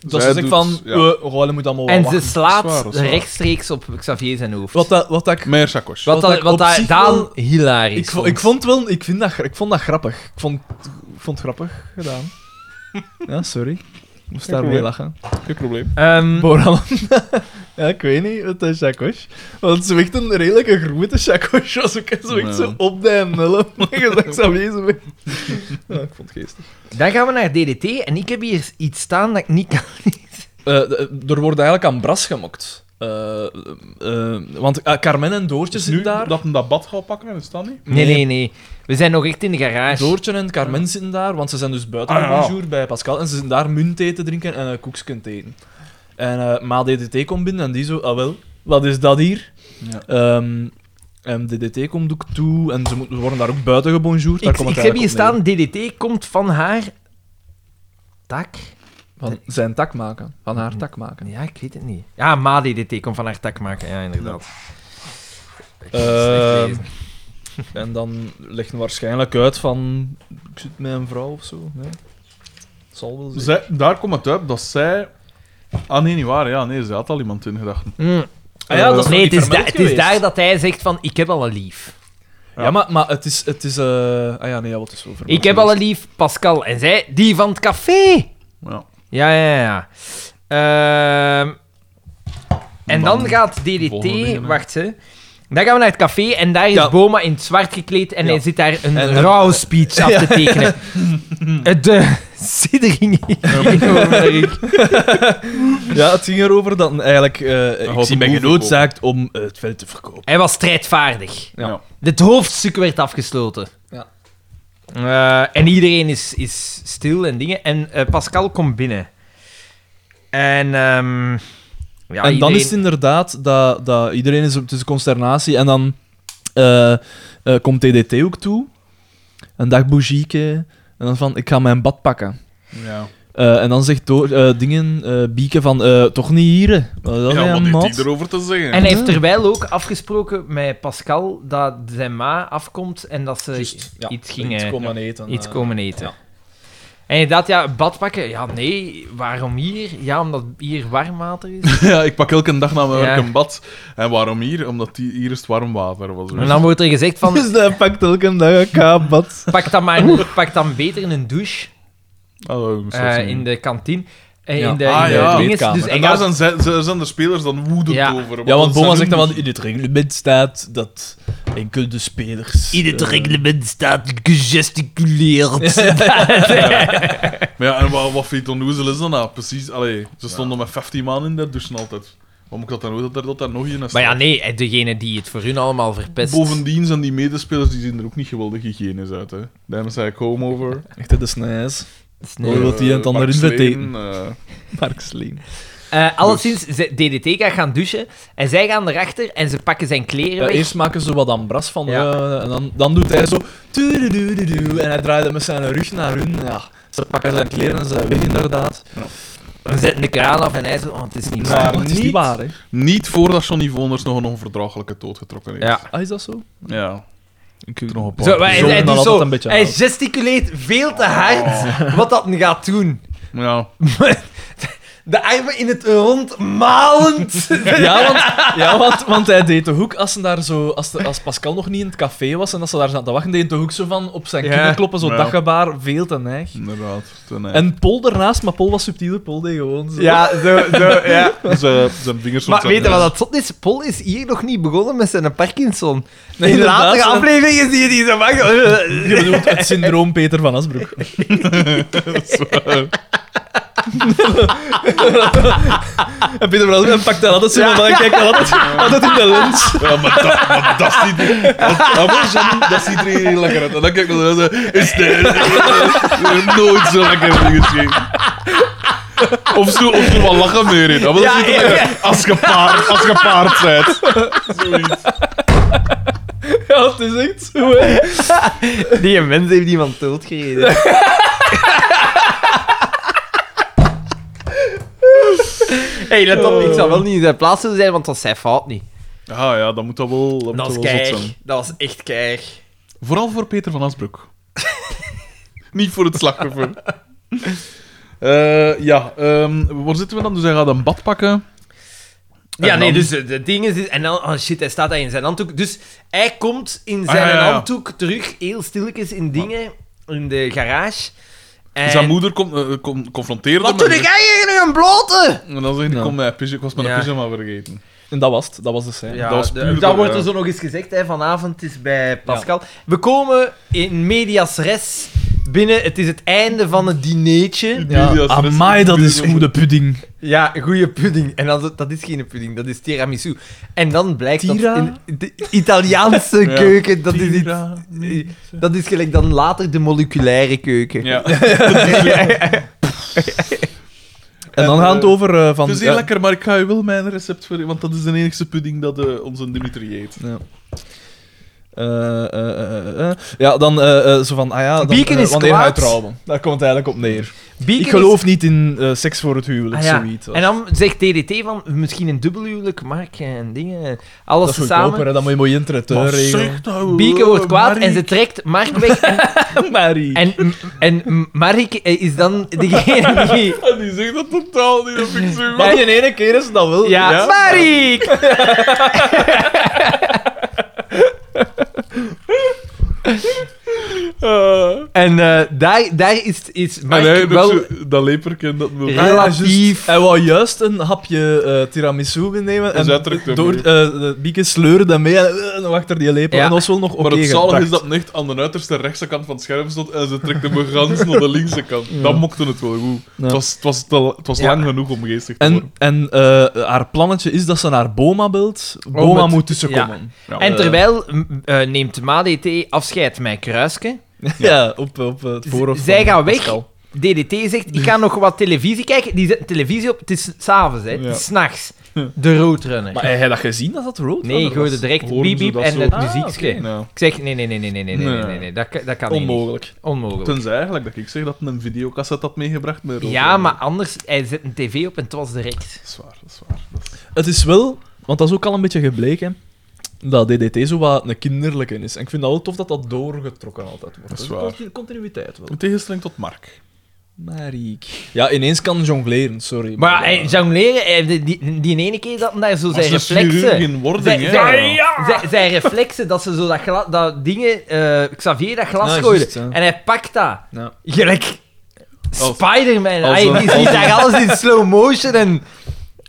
S2: Dat
S3: Zij
S2: ze zegt
S3: doet-
S2: van,
S3: ja.
S2: eh we moeten allemaal wel
S1: en ze
S2: wachten.
S1: slaat
S3: Zwaar, zwaar.
S1: rechtstreeks op Xavier zijn hoofd.
S2: Wat, dat, wat dat ik
S3: Meer sakos.
S1: wat,
S2: wat
S1: dat-
S2: ik
S1: wat
S2: op
S1: daar
S2: zich
S1: Daan
S2: wel-
S1: hilarisch
S2: Ik, vond, ik vond wel, ik, vind dat, gra- ik vond dat grappig. Ik vond, ik vond het grappig
S3: [LAUGHS]
S2: gedaan. Ja, sorry. Ik moest
S3: Geen
S2: daarmee
S3: probleem.
S2: lachen.
S3: Geen probleem.
S1: Ehm,
S2: [LAUGHS] Boran. ja, ik weet niet, het is Chakos. Want ze weegt een redelijke grote Chakos. Als ik zo echt
S3: Ja.
S2: zo op de [LAUGHS] nullen. Je zag ze wezen. Ja, ik vond het geestig.
S1: dan gaan we naar DDT. En ik heb hier iets staan dat ik niet kan lezen.
S2: Eh, d- er wordt eigenlijk aan bras gemokt. Eh, eh, want eh, Carmen en Doortje
S3: Dus Nu
S2: zitten daar.
S3: dat een dat bad gaat pakken en is dat niet?
S1: Nee,
S2: Nee.
S1: nee, nee. We zijn nog echt in de garage.
S2: Doortje en Carmen zitten daar, want ze zijn dus buiten
S3: Ah,
S2: op
S3: ja.
S2: bonjour bij Pascal. En ze zitten daar muntthee te drinken en eh koekjes te eten. En eh Ma DDT komt binnen en die zo, ah wel, wat is dat hier?
S3: Ja.
S2: Ehm, en DDT komt ook toe en ze, moeten- ze worden daar ook buiten gebonjourd. Daar
S1: Ik,
S2: komt
S1: ik
S2: het
S1: heb hier
S2: eigenlijk op
S1: staan, DDT komt van haar tak.
S2: neer. Van zijn tak maken, van haar tak maken.
S1: Ja, ik weet het niet. Ja, Ma DDT komt van haar tak maken. Ja, inderdaad. Ik kan het slecht
S2: Ehm,
S1: lezen.
S2: en dan legt hij waarschijnlijk uit van, ik zit met een vrouw of zo. Nee. Zal wel zijn.
S3: Zij, daar komt het uit dat zij... Ah nee, niet waar. Ja, nee, ze had al iemand in gedachten.
S1: Mm.
S2: Ah ja, dat is
S1: nee,
S2: nog
S1: het
S2: niet
S1: is, da-
S2: vermeld
S1: het is daar
S2: geweest.
S1: dat hij zegt van, ik heb al een lief.
S2: Ja, maar, maar het is... Het is eh, Ah ja, nee, ja, wat is zo
S1: Ik heb al een lief, Pascal. En zij, die van het café.
S3: Ja.
S1: Ja, ja, ja. Ehm, en dan
S3: Man,
S1: gaat
S3: volgende
S1: DDT...
S3: dingen, hè.
S1: Wacht, hè. Dan gaan we naar het café en daar is
S2: Ja.
S1: Boma in het zwart gekleed en
S2: Ja.
S1: hij zit daar een
S2: En- en-
S1: rouwspeech
S2: [LAUGHS]
S1: af te tekenen. Het, De [LAUGHS] siddering ging
S2: Ja, het ging erover dat eigenlijk... eh, ik
S3: gaat
S2: zie
S3: een
S2: ben
S3: boel
S2: genoodzaakt om eh, het veld te verkopen.
S1: Hij was strijdvaardig.
S2: Ja.
S1: Het hoofdstuk werd afgesloten.
S2: Ja.
S1: Eh, en iedereen is, is stil en dingen. En eh, Pascal komt binnen. En... ehm, ja,
S2: en dan
S1: iedereen-
S2: is het inderdaad dat, dat iedereen is op tussen consternatie en dan eh, eh, komt TDT ook toe. Een dag bougieke. En dan van, ik ga mijn bad pakken.
S3: Ja.
S2: Eh, en dan zegt door, eh, dingen, eh Bieke van, eh, toch niet hier. hè? Wat is dat
S3: Ja,
S2: ja,
S3: wat
S2: een
S3: heeft
S2: mat?
S3: hij erover te zeggen?
S1: En hij heeft terwijl ook afgesproken met Pascal dat zijn ma afkomt en dat ze
S2: Ja,
S1: iets gingen
S2: komen eten.
S1: iets
S2: eh.
S1: komen eten.
S2: ja.
S1: En inderdaad, ja, badpakken. Ja, nee, waarom hier? Ja, omdat hier warm water
S2: [LAUGHS]
S1: is.
S3: [LAUGHS] Ja, ik pak elke dag na mijn
S1: Ja.
S3: werk een bad. En waarom hier? Omdat die, hier is het warm water. Was
S1: en dan wordt er gezegd van,
S2: [LAUGHS] Dus hij pakt elke dag een kaapbad. [LAUGHS]
S1: pak dan, maar, pak dan beter een douche
S3: Oh, dat is
S1: eh,
S3: niet.
S1: in de kantine. Eh, In
S2: Ja.
S1: de, in de
S3: Ah, ja.
S1: dinges.
S2: Tweede
S1: Dus
S2: Kamer.
S3: En daar
S1: Engeland
S3: zijn, zij- zij- zijn de spelers dan woedend
S1: Ja.
S3: over.
S2: Ja, want Boma zegt dan,
S3: wel
S2: want in het reglement staat dat enkele de spelers...
S1: In het
S2: eh,
S1: reglement staat gesticuleerd.
S3: Maar ja, en wat, wat Phaeton Noezel is dan nou? Precies, allee, ze stonden met 15 man in de douche altijd. Waarom ik dat dan nooit dat er, dat daar nog een
S1: [LAUGHS]
S3: is?
S1: maar ja, nee, eh, degene die het voor hun allemaal verpest.
S3: Bovendien zijn die medespelers die zien er ook niet geweldig hygiënisch uit. Hè. Daarom zei ik home over.
S2: Echt, dat is nice.
S1: is
S2: Hoe wil die
S3: Eh,
S2: het dan
S3: Mark
S2: erin
S3: Sleen,
S2: verteten?
S3: eh,
S2: [LAUGHS] Mark Sleen.
S1: Eh alleszins, ze- DDT gaat gaan douchen en zij gaan erachter en ze pakken zijn kleren
S2: Ja,
S1: weg.
S2: eerst maken ze wat ambras van,
S1: Ja.
S2: eh, en dan, dan doet hij zo... tududududu, En hij draait met zijn rug naar hun. Ja, ze pakken zijn kleren en ze weg inderdaad.
S1: We zetten de kraan af en hij zo, oh, het is niet waar.
S3: Maar
S2: Maar het is
S3: niet-
S2: niet waar, hè.
S3: Niet voordat Johnny Voners nog een onverdraaglijke dood getrokken heeft.
S1: Ja.
S2: Ah, is dat zo?
S3: ja.
S2: Ik
S3: Nog een paar.
S1: Zo, hij,
S2: Zo,
S1: hij,
S2: dan
S1: doet
S2: had
S1: zo,
S2: het een beetje
S1: hij
S2: hard.
S1: gesticuleert veel te hard wat dat nu gaat doen.
S3: Ja.
S7: De armen in het rond, malend.
S2: Ja, want, ja want, want hij deed de hoek als, ze daar zo, als, de- als Pascal nog niet in het café was en als ze daar zaten te wachten, deed de hoek zo van op zijn
S7: Ja.
S2: knieën kloppen, zo
S3: Ja.
S2: daggebaar, veel te neig.
S3: Inderdaad. Ten, eh,
S2: En Paul daarnaast, maar Paul was subtieler, Paul deed gewoon zo.
S7: Ja, zo, zo, ja.
S3: Ze, zijn vingers
S7: Maar
S3: soms
S7: weet je
S3: aan-
S7: wat dat zot is? Paul is hier nog niet begonnen met zijn Parkinson.
S2: Nee,
S7: in de
S2: inderdaad,
S7: latere
S2: hè.
S7: afleveringen zie je die zo vaak...
S2: Je bedoelt het syndroom Peter van
S1: [LAUGHS]
S2: Asbroek. en Peter van Asbroek pakt daar altijd zo van, kijk, altijd, altijd in de lens.
S3: Ja, maar dat, maar dat ziet er... dat- dat was hem, Dat ziet er hier heel lekker uit. En dan kijk ik naar de rest en is de- is de- nooit zo lekker gezien. Of zo, of zo wat lachen meer in. Dat
S7: Ja,
S3: ziet er
S7: ja,
S3: lekker uit. Als je paard, als je paard bent. Zoiets.
S2: Ja, het is echt zo, hè.
S7: [LAUGHS] Die mens heeft iemand
S1: [LAUGHS]
S7: doodgereden. hey, let op. Ik
S1: Oh.
S7: zou wel niet in zijn plaats willen zijn, want dat is zijn fout niet.
S3: Ah, Ja, ja, dat moet dat wel, dat moet
S7: Dat
S3: dat
S7: was
S3: wel zot
S7: keig.
S3: zijn.
S7: Dat was echt keig.
S3: Vooral voor Peter van Asbroek. [LAUGHS] Niet voor het slachtoffer. Eh, ja, ehm, waar zitten we dan? Dus hij gaat een bad pakken. En
S1: Ja, nee,
S3: dan-
S1: dus eh, de ding is... En dan, oh shit, hij staat daar in zijn handdoek. Dus hij komt in
S3: Ah,
S1: zijn
S3: ja, ja, ja.
S1: handdoek terug, heel stilletjes in dingen, in de garage. En...
S3: Zijn moeder komt eh, con- confronteert hem.
S7: Wat doe
S3: en-
S7: jij hier nu een blote?
S3: En dan zegt hij,
S2: Ja.
S3: kom, mijn pyja- ik was mijn
S1: Ja.
S3: pyjama vergeten.
S2: En dat was het, dat was de scène.
S1: Ja,
S3: Dat was
S1: de-
S3: puur
S1: dat
S3: de-
S1: wordt er
S2: eh,
S1: zo nog eens gezegd. Hè, vanavond is bij Pascal. We komen in medias res binnen. Het is het einde van het dinertje.
S2: Ja,
S3: Julius, dat is-
S2: amai, dat is
S3: Julius-
S2: goede pudding.
S7: Ja, goede pudding. En dan, zo- dat is geen pudding, dat is tiramisu. En dan blijkt
S2: Tira?
S7: dat in de
S2: [LAUGHS]
S7: Italiaanse
S3: Ja.
S7: keuken, dat is, iets, dat is gelijk dan later de moleculaire keuken.
S3: [LAUGHS] Ja.
S2: En dan
S3: En,
S2: gaat het
S3: eh,
S2: over eh, van...
S3: Het is heel
S2: ja,
S3: lekker, maar ik ga je wel mijn recept voor... Want dat is de enige pudding dat eh, onze Dimitri eet.
S2: eh, eh, eh, eh, eh. ja, dan eh, eh, zo van, ah ja, dan,
S1: Bieken
S2: eh,
S1: is
S2: wanneer
S1: kwaad.
S2: ga je trouwen? Daar komt het eigenlijk op neer.
S1: Beacon
S2: ik geloof niet in eh, seks voor het huwelijk,
S1: Ah, ja.
S2: zoiets.
S1: En dan zegt DDT van misschien een dubbelhuwelijk, Mark en dingen. Alles
S2: dat is
S1: samen.
S2: goedkoper, hè, dan moet je mooi internet regelen.
S3: nou...
S1: Bieke wordt kwaad en ze trekt Mark weg. En,
S2: [LAUGHS] Marie.
S1: en, en Mark is dan degene die.
S3: Die zegt dat totaal niet, dat vind ik zo
S2: Maar die ene keer is dat wel.
S1: Ja, Mark!
S7: En eh, daar, daar is, is
S3: Maar
S7: Mark
S3: hij
S7: wel
S3: wel... Ah, dat leperken, dat wil...
S7: Ja. relatief-
S2: Hij wou juist een hapje eh, tiramisu nemen en
S3: Dus hij drukt hem
S2: door,
S3: mee.
S2: eh, de bieken sleuren dat mee en eh, nog achter die lepel.
S1: Ja.
S2: En dat was wel nog oké
S3: Maar het zalig
S2: gebracht.
S3: is dat het nicht aan de uiterste rechtse kant van het scherm stond en ze trekt hem gans naar de linkse kant. Dan mokte het wel goed. Het was, het was, te- het was
S1: Ja.
S3: lang genoeg om geestig te
S2: En,
S3: worden.
S2: en eh, haar plannetje is dat ze naar Boma belt. Boma
S1: Oh, met-
S2: moet tussenkomen.
S3: Ja.
S1: En terwijl m, eh, neemt MaDT afscheid met Kruiske.
S2: Ja, op, op eh, het voorhoofd.
S1: zij
S2: van
S1: gaan weg.
S2: Pascal.
S1: DDT zegt, ik ga nog wat televisie kijken. Die zet televisie op. Het is s'avonds, hè. Het is s'nachts. De roadrunner.
S2: Maar heb je dat gezien dat dat rood
S1: nee, gooi er direct
S3: Horen
S1: biep
S3: ze
S1: biep
S3: dat
S1: en
S3: zo?
S1: het
S3: Ah,
S1: muziekje.
S3: Ja.
S1: Ik zeg, nee, nee, nee, nee, nee, nee, nee, nee,
S3: Nee.
S1: nee, nee. Dat, kan- dat kan niet.
S2: Onmogelijk.
S1: Onmogelijk.
S3: Tenzij eigenlijk dat ik zeg dat een videocassette had meegebracht met rood.
S1: Ja, maar anders, hij zet een tv op en het was direct.
S3: Dat is waar, dat is waar. Dat is-
S2: Het is wel, want dat is ook al een beetje gebleken, dat DDT zo wat een kinderlijke is. En ik vind dat wel tof dat dat doorgetrokken altijd wordt.
S3: Dat is
S2: Dus
S3: waar.
S2: continu- Continuïteit wel.
S3: In tegenstelling tot Mark.
S2: Mariek. Ja, ineens kan jongleren, sorry.
S1: Maar hij jongleren, hij- die, die, die ene keer dat hem daar zo zijn
S3: een chirurg
S1: reflexen...
S3: in wording,
S1: Zijn,
S3: hè.
S1: zijn, zijn- zijn reflexen, dat ze zo dat, gla- dat dingen... eh Xavier dat glas
S2: Ja,
S1: gooide.
S2: juist, ja.
S1: En hij pakt dat.
S2: Ja.
S1: Gelijk
S3: Als-
S1: Spider-Man.
S3: als
S1: Ay,
S3: een-
S1: die ziet daar alles in slow motion en...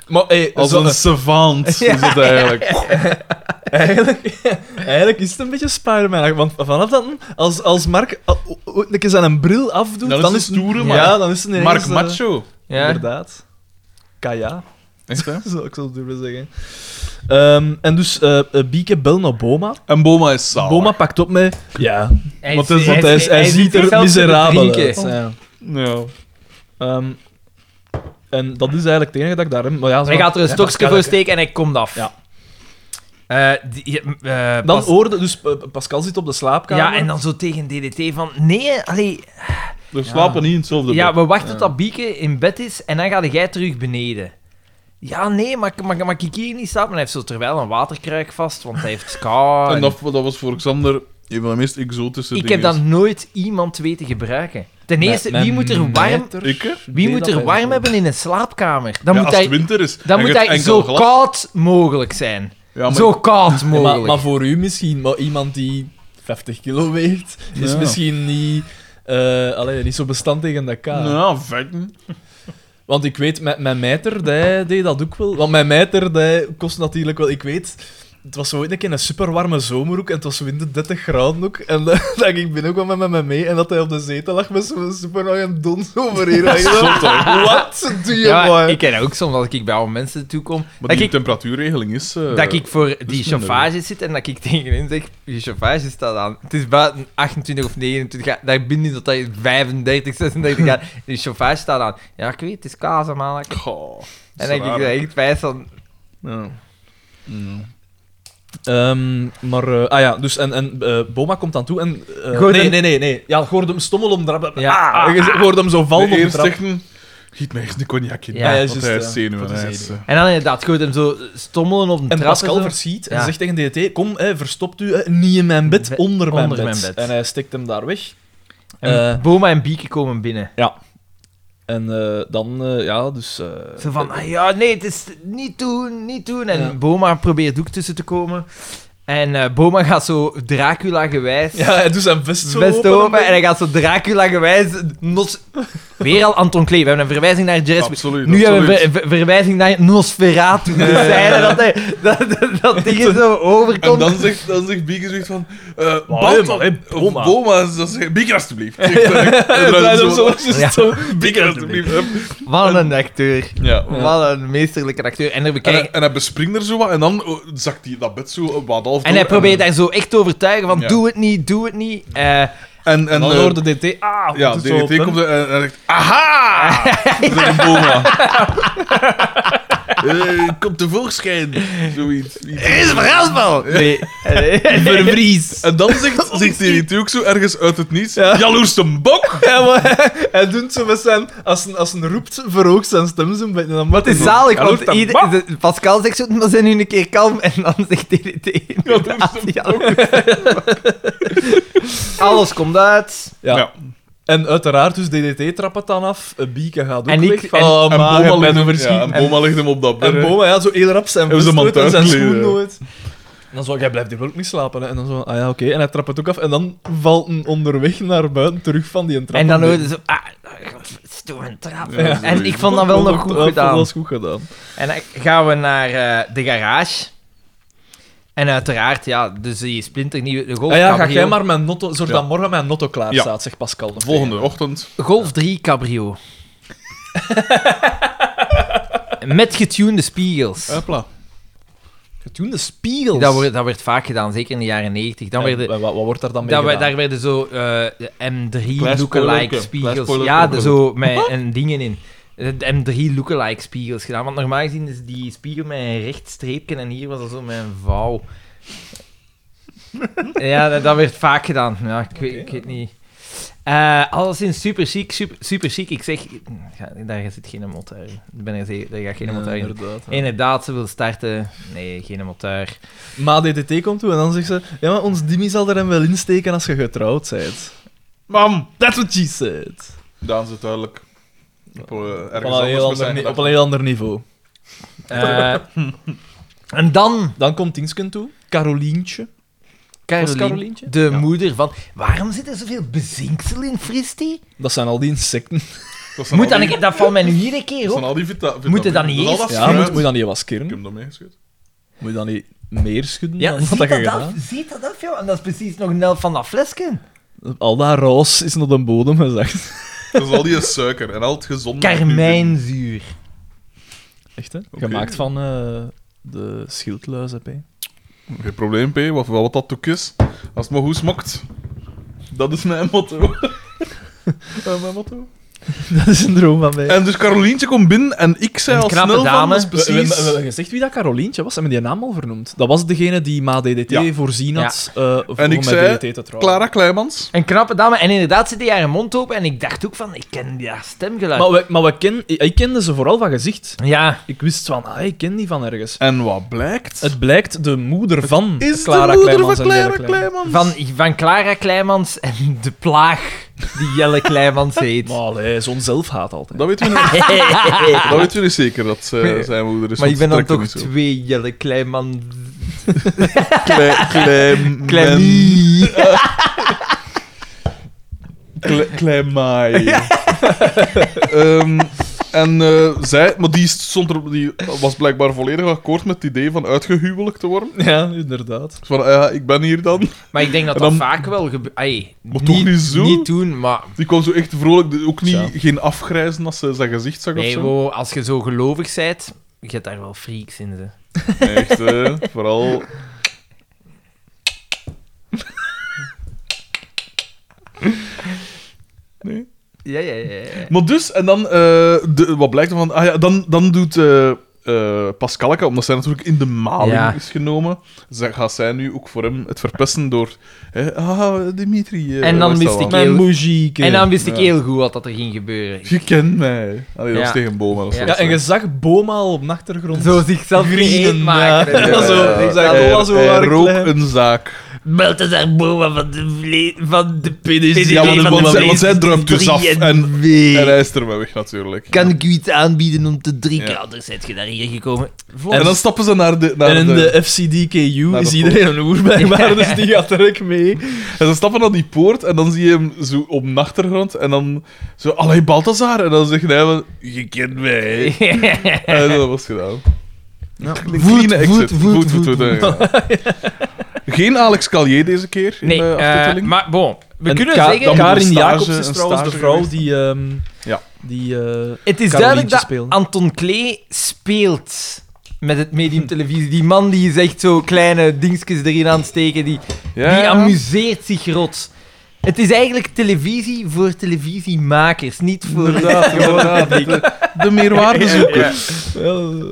S2: Maar hey,
S3: Als
S2: zo-
S3: een savant is het eigenlijk.
S2: [LAUGHS] Eigenlijk, eigenlijk is het een beetje Spider-Man. Want vanaf dat, als, als Mark o- o- ooit een keer zijn bril afdoet,
S3: Dan is
S2: dan
S3: het
S2: is een
S3: stoere, maar-
S2: Ja, dan is het ineens,
S3: Mark
S2: eh,
S3: Macho.
S1: Ja.
S2: Inderdaad. Kaya, [LAUGHS]
S3: Echt, hè?
S2: zou ik zo durven zeggen. Ehm, en dus eh eh, Bieke bel naar Boma.
S3: En Boma is zalig.
S2: Boma pakt op met... Ja,
S1: Hij
S2: want,
S1: is-
S2: hij, want hij, is- hij
S1: hij
S2: ziet er
S1: zichzelf te
S2: miserabel uit.
S1: bedrinken.
S2: Ja.
S3: Ja.
S2: Ehm, en dat is eigenlijk het enige dat ik daar heb. Maar ja, zo-
S1: Hij gaat er een
S2: Ja,
S1: stokje voor steken en hij komt af.
S2: Ja.
S1: Eh, die, eh, eh,
S2: Dan
S1: Pas-
S2: hoorde... Dus eh, Pascal zit op de slaapkamer.
S1: Ja, en dan zo tegen DDT van... Nee, allee,
S3: We slapen niet in hetzelfde
S1: ja,
S3: bed.
S1: we wachten tot dat Bieke in bed is en dan ga jij terug beneden. Ja, nee, maar, maar, maar ik hier niet slapen. Hij heeft zo terwijl een waterkruik vast, want hij heeft
S3: [LAUGHS]
S1: ska.
S3: En
S1: en-
S3: dat, dat was voor Xander een van de meest exotische
S1: ik heb
S3: dingen.
S1: dat nooit iemand weten gebruiken. Ten eerste,
S2: Mijn-
S1: wie moet er
S2: mijn
S1: warm,
S2: meter
S3: Ik, hè? Ja,
S1: wie moet er warm hebben in een slaapkamer? Dan moet
S3: als het
S1: hij,
S3: winter is.
S1: dan
S3: en
S1: moet
S3: je hebt
S1: hij
S3: enkel
S1: zo
S3: glas.
S1: koud mogelijk zijn.
S3: Ja, maar
S1: zo koud
S2: Ja,
S1: mogelijk.
S2: maar, maar voor u misschien, maar iemand die 50 kilo weegt, is
S3: Ja.
S2: misschien niet, eh, allee, niet zo bestand tegen dat K.
S3: Ja, vetten.
S2: Want ik weet, mijn, mijn mijter die deed dat ook wel. Want mijn mijter die kost natuurlijk wel, ik weet. Het was zo ooit een keer een superwarme zomer ook, en het was zo in de 30 graden ook. En eh, [LAUGHS] dan dat ik ben ook wel met me mee, en dat hij op de zetel lag met zo'n superwarme dons
S1: [LAUGHS]
S2: over hier. En ik dacht, Wat doe je,
S1: Ja,
S2: man?
S1: ik ken dat ook soms dat ik bij oude mensen toekom.
S3: Maar
S1: Dat
S3: die
S1: ik,
S3: temperatuurregeling is... eh,
S1: dat ik voor die
S3: minder.
S1: chauffage zit en dat ik tegen hen zeg: Je chauffage staat aan. Het is buiten 28 of 29 graden. Daar binnen dat hij 35, 36
S3: [LAUGHS]
S1: graden. Die chauffage staat aan. Ja, ik weet, het is kaas, man.
S3: Goh,
S1: En dan denk ik
S3: zwaar.
S1: dat echt wijs van.
S2: Ja.
S3: Mm.
S2: Ehm, maar, eh, ah ja, dus en, en eh, Boma komt aan toe en... eh,
S1: Gooi
S2: nee,
S1: hem-
S2: nee, nee, nee. Ja, hoorde hem stommel omdrap.
S1: Ja.
S2: Ah, je hoorde hem zo vallen
S3: de
S2: op de
S3: eerste
S2: trap.
S3: zeggen, giet mij echt een cognac in.
S1: Ja, ja,
S3: want
S2: juist,
S3: hij
S2: ja.
S3: is zenuwen.
S2: Voor de
S3: Hij is,
S2: zenuwen.
S3: eh,
S1: En dan inderdaad, gooit hem zo stommelen op de
S2: En
S1: trap.
S2: Pascal
S1: zo.
S2: verschiet en
S1: Ja.
S2: zegt tegen DDT, kom, hè, verstopt u hè, niet in mijn bed,
S1: Be-
S2: onder, mijn,
S1: onder
S2: bed.
S1: mijn bed.
S2: En hij stikt hem daar weg.
S1: En
S2: Eh,
S1: Boma en Bieke komen binnen.
S2: en eh, dan, eh, ja, dus... eh,
S1: [LAUGHS] Zo van, ah ja, nee, het is niet doen, niet doen. En
S2: Ja.
S1: Boma probeert ook tussen te komen. En eh, Boma gaat zo Dracula-gewijs...
S2: ja, hij doet zijn vest zo
S1: best
S2: open.
S1: open, en hij gaat zo Dracula-gewijs... Nos... Weer al Anton Klee. We hebben een verwijzing naar Jazz.
S3: Absoluut.
S1: Nu hebben we
S3: absoluut.
S1: een ver- ver- verwijzing naar Nosferatu. De scène dat, hij, dat, dat, dat
S3: [LAUGHS]
S1: ding zo
S3: En
S1: overkomt.
S3: dan zegt, dan zegt Bieke zoiets van... eh
S2: hè,
S3: Balt
S2: maar, hè,
S3: dat... Of
S2: Boma.
S3: Boma, dat zegt...
S1: [LAUGHS]
S3: Bieke, alstublieft. Zegt [LAUGHS] hij. En
S2: [LAUGHS] En
S3: dan
S2: hij
S3: zo-
S2: hem zo, zo-
S1: Ja.
S2: zo-
S3: Bieke, alstublieft.
S1: Wat een acteur.
S3: Ja.
S1: Wat een meesterlijke acteur. En er
S3: En,
S1: bekijken...
S3: hij- en hij bespringt er zo wat en dan oh, zakt hij dat bed zo eh, wat
S1: En
S3: half door
S1: hij probeert daar zo echt te overtuigen van
S3: Ja.
S1: doe het niet, doe het niet. Eh,
S3: En, en,
S2: En dan
S3: eh,
S2: hoorde DDT, ah,
S3: ja,
S2: doet zo op
S3: DDT
S2: hem.
S3: komt er en hij zegt... Aha!
S1: [LAUGHS]
S3: Dat is een [LAUGHS] Boma. Eh, Kom tevoorschijn. Zoiets.
S1: is verhaal Nee. Vervries.
S3: En
S1: [LAUGHS]
S3: dan zegt, zegt hij natuurlijk ook zo ergens uit het niets: Jaloers een bok!
S2: [LAUGHS] Ja, maar hij- hij doet zo met zijn... Als een, als een roept, verhoogt zijn stem zo'n beetje. en dan-
S1: Wat is zalig,
S3: Hallo,
S1: want
S3: tabak.
S1: ieder- de- Pascal zegt zo, maar zijn nu een keer kalm. En dan zegt DDT inderdaad, ja. [LAUGHS] Alles komt uit.
S2: Ja.
S3: Ja.
S2: En uiteraard, dus DDT trapt het dan af. eh, Bieke gaat ook
S1: En ik-
S2: weg.
S1: en-
S2: oh,
S3: en
S2: maar,
S3: Boma
S2: ik ben
S3: ligt, hem,
S2: overschieten.
S3: ja, en Boma ligt hem op dat bed.
S2: En
S3: hè.
S2: Boma, ja, zo heel rap zijn
S3: Hebben ze
S2: vest
S3: hem
S2: uit en zijn
S3: aan het
S2: schoen
S3: uitkleden?
S2: nooit. En dan zo, jij blijft hier wel ook niet slapen. Hè? En dan zo, ah ja, oké. En hij trapt het ook af. En dan valt hij onderweg naar buiten terug van die trap.
S1: En dan hoorde ze, ah, stoer trap.
S3: Ja, dat is
S1: En
S3: een
S1: ik vond dat wel nog goed
S2: Dat
S1: gedaan.
S2: was goed gedaan.
S1: En dan gaan we naar eh, de garage. En uiteraard, ja, dus die splinternieuwe de golf.
S2: Ah ja, ga
S1: cabrio.
S2: jij maar mijn notto... Zorg
S3: Ja.
S2: dat morgen mijn notto klaar
S3: Ja.
S2: staat, zegt Pascal. nog
S3: Volgende ochtend.
S1: Golf 3
S2: [LAUGHS]
S1: Cabrio. Met getunede spiegels.
S3: Hopla.
S2: tegen. Toen de spiegels.
S1: Dat werd, dat werd vaak gedaan, zeker in de jaren 90. Dan
S2: En
S1: werden,
S2: wat, wat wordt daar dan mee
S1: dat we,
S2: gedaan?
S1: daar werden zo eh, M3
S3: Klein
S1: lookalike
S3: spoilerke, klein
S1: spiegels.
S3: spoilerke.
S1: Ja, de- zo met een dingen in. De M3 lookalike spiegels gedaan. Want normaal gezien is die spiegel met een recht streepje en hier was dat zo met een vouw.
S2: [LAUGHS]
S1: ja, dat, dat werd vaak gedaan. Ja, ik, weet, ik weet niet. Eh alleszins super chic, super, super chic. Ik zeg, ja, daar zit geen motor. Ik ben er zeker, daar gaat geen motor
S2: Ja,
S1: in.
S2: inderdaad. ja.
S1: Inderdaad, ze wil starten. Nee, geen
S2: [LAUGHS]
S1: motor.
S2: Maar DDT komt toe en dan zegt ze... Ja, maar ons Dimmy zal er hem wel insteken als je getrouwd bent.
S3: Mam!
S2: That's what she said.
S3: Daan is het duidelijk. Op, eh,
S2: Op
S3: ergens
S2: een,
S3: anders met
S2: heel ander,
S3: zijn
S2: ni- op
S3: gedachten.
S2: een heel ander niveau.
S1: Eh, en dan
S2: Dan komt Dingsken toe. Carolientje.
S1: Caroline,
S2: Carolientje?
S1: de moeder van... Waarom zit er zoveel bezinksel in Fristie?
S2: Dat zijn al die insecten.
S3: Dat zijn
S1: Moet
S3: al
S1: dan,
S3: die-
S1: ik, dat valt mij nu hier een keer
S3: Dat
S1: op.
S3: zijn al die vita- vitamine.
S1: Moet je dat niet
S3: is al
S1: eerst-
S3: dat
S2: Ja, moet,
S3: fruit.
S2: moet je dat niet
S3: Ik
S2: waskeren?
S3: heb dat meegeschud.
S2: Moet je dat niet meer schudden
S1: Ja,
S2: dan wat
S1: ziet
S2: dat je
S1: dat, af,
S2: gedaan
S1: ziet dat af, joh. En dat is precies nog een helft van dat flesje.
S2: hebt? Al dat roos is naar de bodem gezakt.
S3: Dat is al die suiker en al het gezonde.
S1: Karmijnzuur.
S2: Echt, hè?
S3: Oké.
S2: Gemaakt van eh, de schildluis, hè, P.
S3: Geen probleem, P. Wat, wat dat ook is. Als het maar goed smaakt. Dat is mijn motto. Eh, mijn motto.
S2: [LAUGHS] Dat is een droom van mij.
S3: En dus Carolientje komt binnen en ik zei
S1: Een
S3: al
S1: knappe
S3: snel van...
S1: dame.
S3: dat is
S2: Eh, We- We, we, we
S3: precies...
S2: hebben gezegd wie dat Carolientje was. Hebben we die naam al vernoemd? Dat was degene die Ma DDT
S3: Ja.
S2: voorzien had eh voor
S3: En ik
S2: met
S3: zei,
S2: DDT te trouwen.
S3: Clara Kleimans.
S1: Een knappe dame. En inderdaad zit hij haar mond open. En ik dacht ook van, ik ken die haar stemgeluid.
S2: Maar, we, maar we ken, ik, ik kende ze vooral van gezicht.
S1: ja.
S2: Ik wist van, ah, ik ken die van ergens.
S3: En wat blijkt?
S2: Het blijkt de moeder van
S3: is
S2: Clara
S3: de moeder
S2: Kleimans
S3: van
S2: en Jelle
S3: Clara
S2: Kleimans.
S3: Kleimans.
S1: Van, van Clara Kleimans en de plaag die Jelle Kleimans heet.
S2: Maar allee, zo'n zelfhaat altijd.
S3: Dat weten we niet. dat weten we niet zeker, dat ze- zijn moeder
S1: [LAUGHS]
S3: is.
S1: maar ik ben dan
S3: want
S1: toch
S3: het trekt er niet
S1: twee Jelle Kleinman...
S3: zo. Klei- Kleim...
S1: Kleimie.
S3: Kle-
S1: [LAUGHS]
S3: Kleinmaai. Ehm, en eh, zij, maar die, stond er, die was blijkbaar volledig akkoord met het idee van uitgehuwelijk te worden.
S2: Ja, inderdaad.
S3: Dus van, eh, ik ben hier dan.
S1: Maar ik denk dat
S3: En
S1: dat
S3: dan-
S1: vaak wel gebeurt. Niet,
S3: Maar toch niet zo?
S1: niet doen, maar...
S3: Die kwam zo echt vrolijk, de- ook niet,
S2: Tja.
S3: geen afgrijzen als ze zijn gezicht zag of
S1: Nee,
S3: zo.
S1: wow, als je zo gelovig bent, je hebt daar wel freaks in. Ze.
S3: Nee, Echt, eh, vooral... Nee.
S1: Ja, ja, ja. ja.
S3: Maar dus, en dan, eh, de, wat blijkt ervan? Ah ja, dan, dan doet eh eh Pascalke, omdat zij natuurlijk in de maling
S1: Ja.
S3: is genomen, zij, gaat zij nu ook voor hem het verpesten door. hè, ah, Dimitri. eh,
S1: En dan
S3: wat is dat
S1: wist ik
S3: wel?
S1: Heel-
S2: Mijn muziek.
S1: En dan wist ik heel goed wat dat er ging gebeuren.
S3: Je kent mij. Allee, dat
S1: Ja.
S3: was tegen Boma.
S1: Ja,
S2: Ja, en je zag Boma al op de achtergrond.
S1: Zo zichzelf gereed maken.
S2: ja. Zo,
S3: zo,
S2: ik zag
S3: eh,
S2: Boma zo waar
S3: hij rook
S2: klein.
S3: een zaak.
S1: Balthazar Boma van de, vle- van de PDC.
S3: Ja, want,
S1: van
S3: want,
S1: de
S3: zij- want zij
S1: vlees-
S3: druipt dus af en, en
S1: Wee.
S3: hij is er wel weg natuurlijk.
S1: Kan ik u iets aanbieden om te drinken?
S3: Ja.
S1: Anders zit je naar hier gekomen. [LAUGHS]
S3: En dan stappen ze naar de... Naar
S2: En in
S3: de,
S2: de FCDKU
S3: naar de
S2: is iedereen een
S3: [LAUGHS]
S2: oerbijwaar, dus die gaat er ook mee.
S3: En ze stappen naar die poort en dan zie je hem zo op de achtergrond en dan zo... Allee, Balthazar! En dan zegt hij van... Je kent mij.
S1: eh,
S3: en dat was gedaan. Ja. Clean exit. Voet, voet, voet, voet,
S2: [LAUGHS]
S3: ja. Geen Alex Calier deze keer in
S1: Nee,
S3: de
S1: eh,
S3: aftiteling.
S1: maar bon, we
S2: En
S1: kunnen
S2: Ka-
S1: zeggen...
S3: dan-
S2: Karin
S3: een stage-
S2: Jacobs is
S3: een
S2: trouwens de
S3: stage
S2: vrouw
S3: geweest.
S2: die... ehm,
S3: Ja.
S2: die eh,
S1: Het is
S2: Carolientje
S1: duidelijk dat
S2: spelen.
S1: Anton Klee speelt met het medium televisie. Die man die is echt zo kleine dingetjes erin aan het steken. Die,
S3: Ja,
S1: die
S3: ja.
S1: amuseert zich rot. Het is eigenlijk televisie voor televisiemakers, niet
S3: [LAUGHS]
S1: voor...
S3: Inderdaad, inderdaad. De, de meerwaardezoeker. Ja,
S2: wel,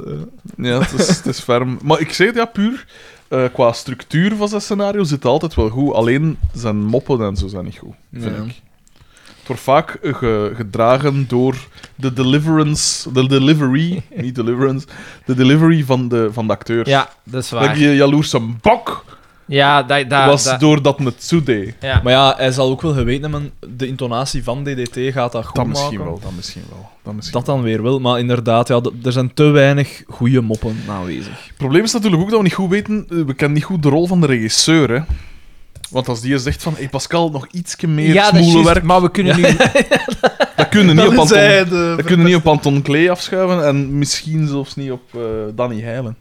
S2: eh,
S3: het, is, het is ferm. Maar ik zeg het, ja, puur... eh, qua structuur van zijn scenario zit het altijd wel goed. Alleen zijn moppen en zo zijn niet goed, vind ik. Het wordt vaak eh, ge- gedragen door de deliverance, de delivery,
S1: [LAUGHS]
S3: niet deliverance, de delivery van de, van de acteurs.
S1: Ja, dat is
S3: Dat
S1: waar.
S3: je jaloerse bok
S1: Ja, dat... dat,
S3: was
S1: dat-
S3: doordat het zo deed.
S1: ja.
S2: Maar ja, hij zal ook wel geweten hebben, de intonatie van DDT gaat dat goed
S3: Dat
S2: maken.
S3: misschien wel, dat misschien wel. Dat misschien.
S2: Dat dan weer wel, maar inderdaad, ja, d- er zijn te weinig goede moppen aanwezig.
S3: Het probleem is natuurlijk ook dat we niet goed weten, eh, we kennen niet goed de rol van de regisseur, hè. Want als die zegt van, hey Pascal, nog ietsje meer
S1: ja, dat is
S3: smoele
S1: juist,
S3: werk,
S1: maar we kunnen nu...
S3: dat kunnen niet op
S2: Dan is hij
S3: Anton,
S2: de-
S3: dat kunnen niet op Anton Klee afschuiven en misschien zelfs niet op eh, Danny Heilen.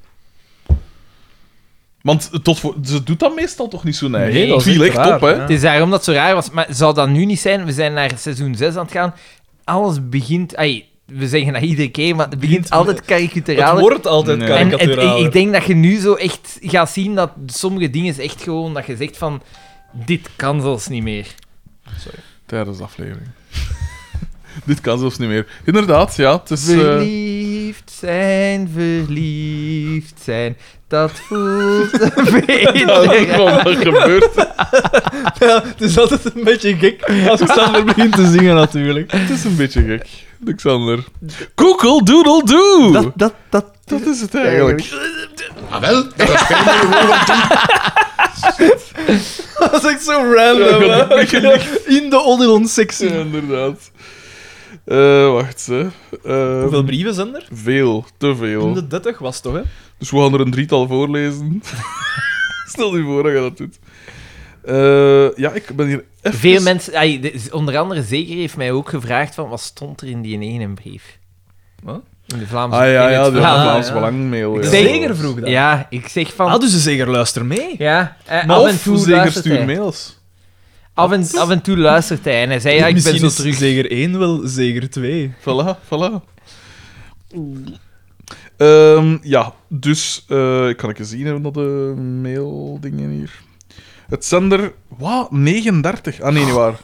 S3: Want tot voor, ze doet dat meestal toch niet zo neig.
S2: Nee, dat is
S3: Het viel
S2: echt
S3: echt
S2: raar,
S3: op, hè.
S2: ja.
S1: Het is daarom dat het zo raar was. Maar zou dat nu niet zijn? We zijn naar seizoen 6 aan het gaan. Alles begint... Ai, we zeggen dat iedere keer, maar het begint altijd
S2: Het
S1: karikaturaal.
S2: wordt altijd
S3: Nee.
S1: En het, ik,
S2: karikaturaal.
S1: ik denk dat je nu zo echt gaat zien dat sommige dingen echt gewoon... Dat je zegt van... Dit kan zelfs niet meer.
S3: Tijdens de aflevering. [LAUGHS] Dit kan zelfs niet meer. Inderdaad, ja. Het is, eh, [LAUGHS]
S1: Verliefd zijn, verliefd zijn. Dat voelt [LAUGHS] een beetje...
S3: ja, wat er gebeurt.
S2: Ja, het is altijd een beetje gek [LAUGHS] als ik [LAUGHS] Sander begint te zingen, natuurlijk.
S3: Het is een beetje gek. Alexander. Google doodle doo. Dat,
S1: dat, dat,
S3: is het eigenlijk.
S5: Ah, wel, dat is bijna gewoon wat doen.
S2: Dat is echt zo random.
S3: Ja, dat
S2: hè.
S3: is een beetje
S2: [LAUGHS] In de Odilon-sectie.
S3: Ja, inderdaad. Eh, wacht, hè. Eh,
S2: Hoeveel brieven zijn er?
S3: Veel. Te
S2: In
S3: veel.
S2: de 30 was het toch, hè? [LAUGHS]
S3: Dus we gaan er een drietal voorlezen. Stel je voor dat je dat doet. Eh, ja, ik ben hier even...
S1: Veel mensen, ai, de- onder andere Zeker heeft mij ook gevraagd van wat stond er in die ene brief.
S2: Wat?
S1: In de Vlaamse
S3: Ah ja,
S1: in
S3: ja,
S1: het
S3: de
S1: Vlaams-
S3: Vlaams
S2: ja.
S3: Belang mail.
S1: Ik
S3: ja.
S1: zeg-
S2: Zeker vroeg dat.
S1: Ja, ik zeg van.
S2: Ah, dus de zeger luister mee.
S1: ja, eh,
S3: Maar
S1: af
S3: of
S1: en toe
S3: zeker
S1: luistert
S3: stuur
S1: hij.
S3: mails.
S1: Af en, af en toe luistert hij en hij zei ja, ik ben
S2: Misschien
S1: zo
S2: is
S1: terug.
S2: zeger 1 wel zeger 2.
S3: Voilà, voilà. Ehm, ja, dus eh, ik kan even zien hè, naar de maildingen hier. Het zender, wat? 39? Ah nee, niet waar.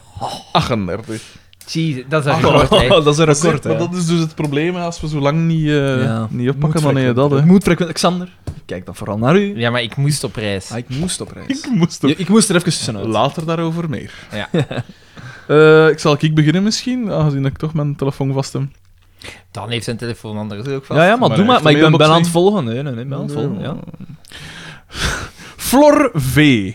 S3: 38.
S1: Jeez, dat
S2: Ah.
S1: is een groot
S2: [LAUGHS] dat is een record, hè.
S3: Maar dat is dus het probleem hè, als we zo lang niet, eh,
S2: Ja.
S3: niet oppakken,
S2: Moet
S3: dan heb je dat. Hè.
S2: frequent- Moet frequent. Xander, kijk dan vooral naar u.
S1: Ja, maar ik moest op reis.
S2: Ah, ik moest op reis.
S3: Ik moest er
S2: Ja, ik moest er even tussenuit.
S3: later daarover meer.
S1: Ja.
S3: [LAUGHS] Eh, ik zal ik beginnen misschien, aangezien ik toch mijn telefoon vast heb.
S1: Dan heeft zijn telefoon anders ook vast.
S2: Ja, ja, maar,
S3: Maar
S2: doe
S3: echt
S2: maar. Maar
S3: de
S2: ik ben, ben
S3: mailbox
S2: aan het
S3: niet.
S2: volgen. Nee, nee, nee, ben aan het volgen. Ja.
S3: [LAUGHS] Flor V.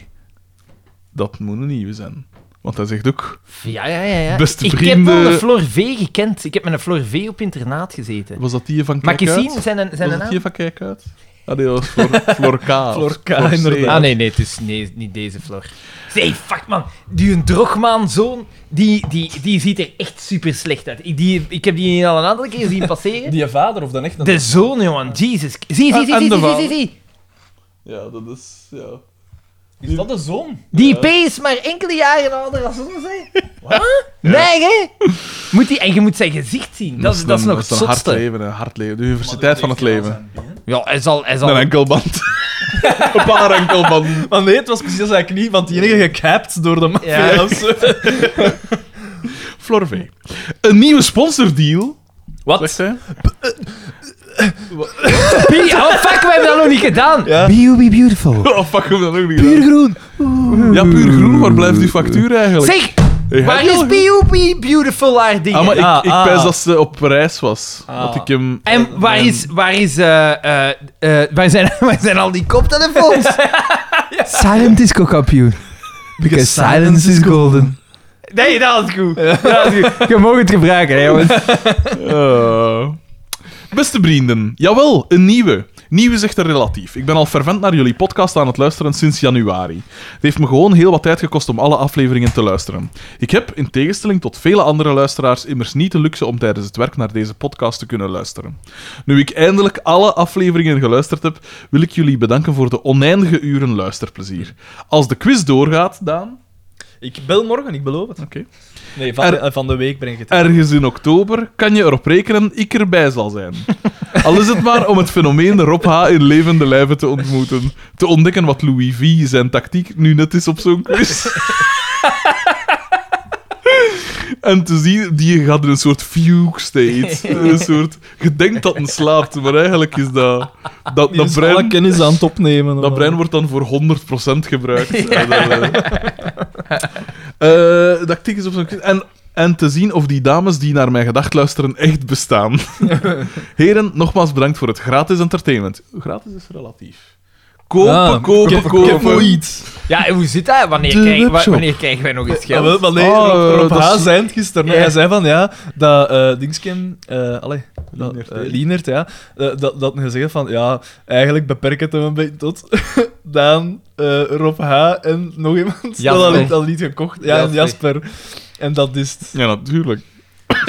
S3: Dat moet een nieuwe zijn. Want hij zegt ook...
S1: Ja, ja, ja. ja.
S3: Beste
S1: Ik heb
S3: vrienden-
S1: wel de Flor V gekend. Ik heb met een Flor V op internaat gezeten.
S3: Was dat die van
S1: Mag
S3: Kijk
S1: ik eens
S3: Uit?
S1: zien? Zijn, een- zijn
S3: was
S1: een
S3: dat
S1: naam?
S3: hier van Kijk Uit? Ah, nee, dat was
S1: [LAUGHS]
S3: Flor, Flor K.
S2: Flor K,
S3: C.
S2: inderdaad.
S1: Ah, nee, nee, het is nee, niet deze Flor. Nee, fuck man. Die een drogmaanzoon, die, die, die ziet er echt super slecht uit. Ik, die, ik heb die al een aantal keer
S3: [LAUGHS]
S1: zien passeren.
S2: Die je vader of dan echt een...
S1: De zoon, jongen, Jesus. Zie, zie, zie,
S3: Ah,
S1: zie,
S3: en de
S1: zie, zie, zie,
S3: vader.
S1: zie.
S3: Ja, dat is... Ja.
S2: Is dat de zoon?
S1: Die P is maar enkele jaren ouder dan ons, hè? [LAUGHS] Nee, hè? [LAUGHS] Moet die, en je moet zijn gezicht zien. Dat, is- dat is
S3: een-
S1: nog het
S3: dat een hard
S1: zotste.
S3: leven, een hard leven. De universiteit van het leven.
S1: Ja, hij zal... Hij zal...
S3: Een
S1: [LAUGHS]
S3: enkelband. een paar enkelbanden.
S2: Maar nee, het was precies als zijn knie, want die enige gecapt door de
S3: [LAUGHS]
S2: maffia.
S1: Ja.
S2: of
S1: [LAUGHS]
S2: zo.
S3: Flor V. Een nieuwe sponsordeal. Zegt
S2: Wat?
S3: hij.
S1: Pie- oh, fuck, we hebben dat nog niet gedaan. Be, be beautiful.
S3: Oh, fuck, hem dat ook niet Puur groen. Ja, puur groen. Waar blijft die factuur eigenlijk?
S1: Zeg,
S3: Hey, heb
S1: waar
S3: je al
S1: is
S3: groen?
S1: Be, be beautiful haar ding?
S3: Ah, maar
S2: Ah,
S3: ik, ik
S2: ah.
S3: pijs dat ze op reis was. Dat ik hem...
S1: En waar is, waar is, eh, eh, eh, waar zijn, [LAUGHS] waar zijn al die koptelefoons?
S3: [LAUGHS]
S1: Silent disco kampioen. Because silence is golden. Nee, dat is goed. Dat is goed. Je mag het gebruiken, hè, jongens.
S3: Eh, Beste vrienden, jawel, een nieuwe. Nieuw is echter relatief. Ik ben al fervent naar jullie podcast aan het luisteren sinds januari. Het heeft me gewoon heel wat tijd gekost om alle afleveringen te luisteren. Ik heb, in tegenstelling tot vele andere luisteraars, immers niet de luxe om tijdens het werk naar deze podcast te kunnen luisteren. Nu ik eindelijk alle afleveringen geluisterd heb, wil ik jullie bedanken voor de oneindige uren luisterplezier. Als de quiz doorgaat, Daan...
S2: Ik bel morgen, ik beloof het.
S3: Oké.
S2: Nee, van,
S3: Er-
S2: de, eh, van de week breng ik het.
S3: Ergens in oktober kan je erop rekenen ik erbij zal zijn. [LAUGHS] Al is het maar om het fenomeen Rob H. in levende lijven te ontmoeten. Te ontdekken wat Louis V. zijn tactiek nu net is op zo'n quiz. [LAUGHS] En te zien, die gaat in een soort fugue
S2: [LAUGHS]
S3: state. Een soort, je denkt dat een slaapt, maar eigenlijk is dat... Dat,
S2: Die
S3: dat
S2: is alle
S3: brein
S2: kennis aan het opnemen.
S3: dat brein wordt dan voor 100% gebruikt. En dan, eh, eh, dat ik tik eens op zo'n... En, en te zien of die dames die naar mijn gedacht luisteren echt bestaan. Heren, nogmaals bedankt voor het gratis entertainment. Gratis is relatief. Kopen,
S2: Ah,
S3: kopen, kopen.
S2: iets.
S1: Ja, en hoe zit dat? Wanneer,
S3: De
S1: krijgen- wa-
S3: webshop.
S1: wanneer krijgen wij nog eens
S2: Ja,
S1: geld?
S2: wel, maar nee,
S3: Ah,
S2: Rob, Rob
S3: dat
S2: H.
S3: is-
S2: zei het gisteren.
S1: Ja.
S2: Hij zei van, ja, dat eh Dingsken... eh allee, dat,
S3: Lienert,
S2: eh,
S3: hè.
S2: Lienert, ja. eh, dat, dat hij gezegd van, ja, eigenlijk beperk het hem een beetje tot [LAUGHS] Daan, eh, Rob H. en nog iemand. Dat had ik al niet gekocht. Ja, en Jasper. En dat is het.
S3: Ja, natuurlijk.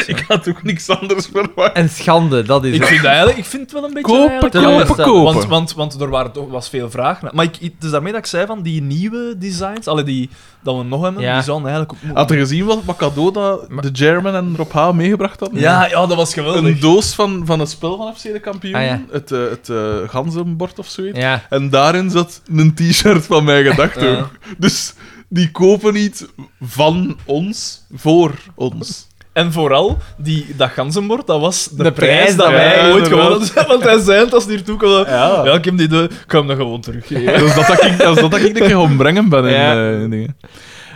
S3: ik had ook niks anders verwacht.
S1: En schande, dat is
S2: Ik
S1: het.
S2: vind, dat eigenlijk, ik vind het wel een beetje...
S3: Kopen,
S2: eigenlijk wel-
S1: Ja,
S3: kopen,
S1: dat-
S3: kopen.
S2: Want, want, want er waren toch, was veel vraag naar. Maar ik, het is daarmee dat ik zei van die nieuwe designs, alle die dat we nog hebben,
S1: Ja.
S2: die zouden eigenlijk ook
S3: Had
S2: moeten.
S3: je gezien wat, wat cadeau dat de German en Rob H. meegebracht hadden?
S2: Ja, ja, dat was geweldig.
S3: Een doos van, van een spel van FC de kampioen.
S1: Ah, ja.
S3: Het, eh, het eh, ganzenbord of zoiets.
S1: Ja.
S3: En daarin zat een t-shirt van mijn gedachten. Dus die kopen iets van ons, voor ons.
S2: En vooral, die, dat ganzenbord, dat was de,
S1: De
S2: prijs,
S1: prijs
S2: dat
S1: dat
S2: wij
S3: wij-
S2: ooit
S3: inderdaad.
S2: gewonnen hebben. Want hij zei het als hij hier toe kwam. Ja. ik heb die de, ik ga hem dat gewoon teruggeven.
S3: Dat is dat, dat ik, dat is dat, dat ik de keer gaan brengen ben. In,
S1: Ja.
S3: eh, in dingen.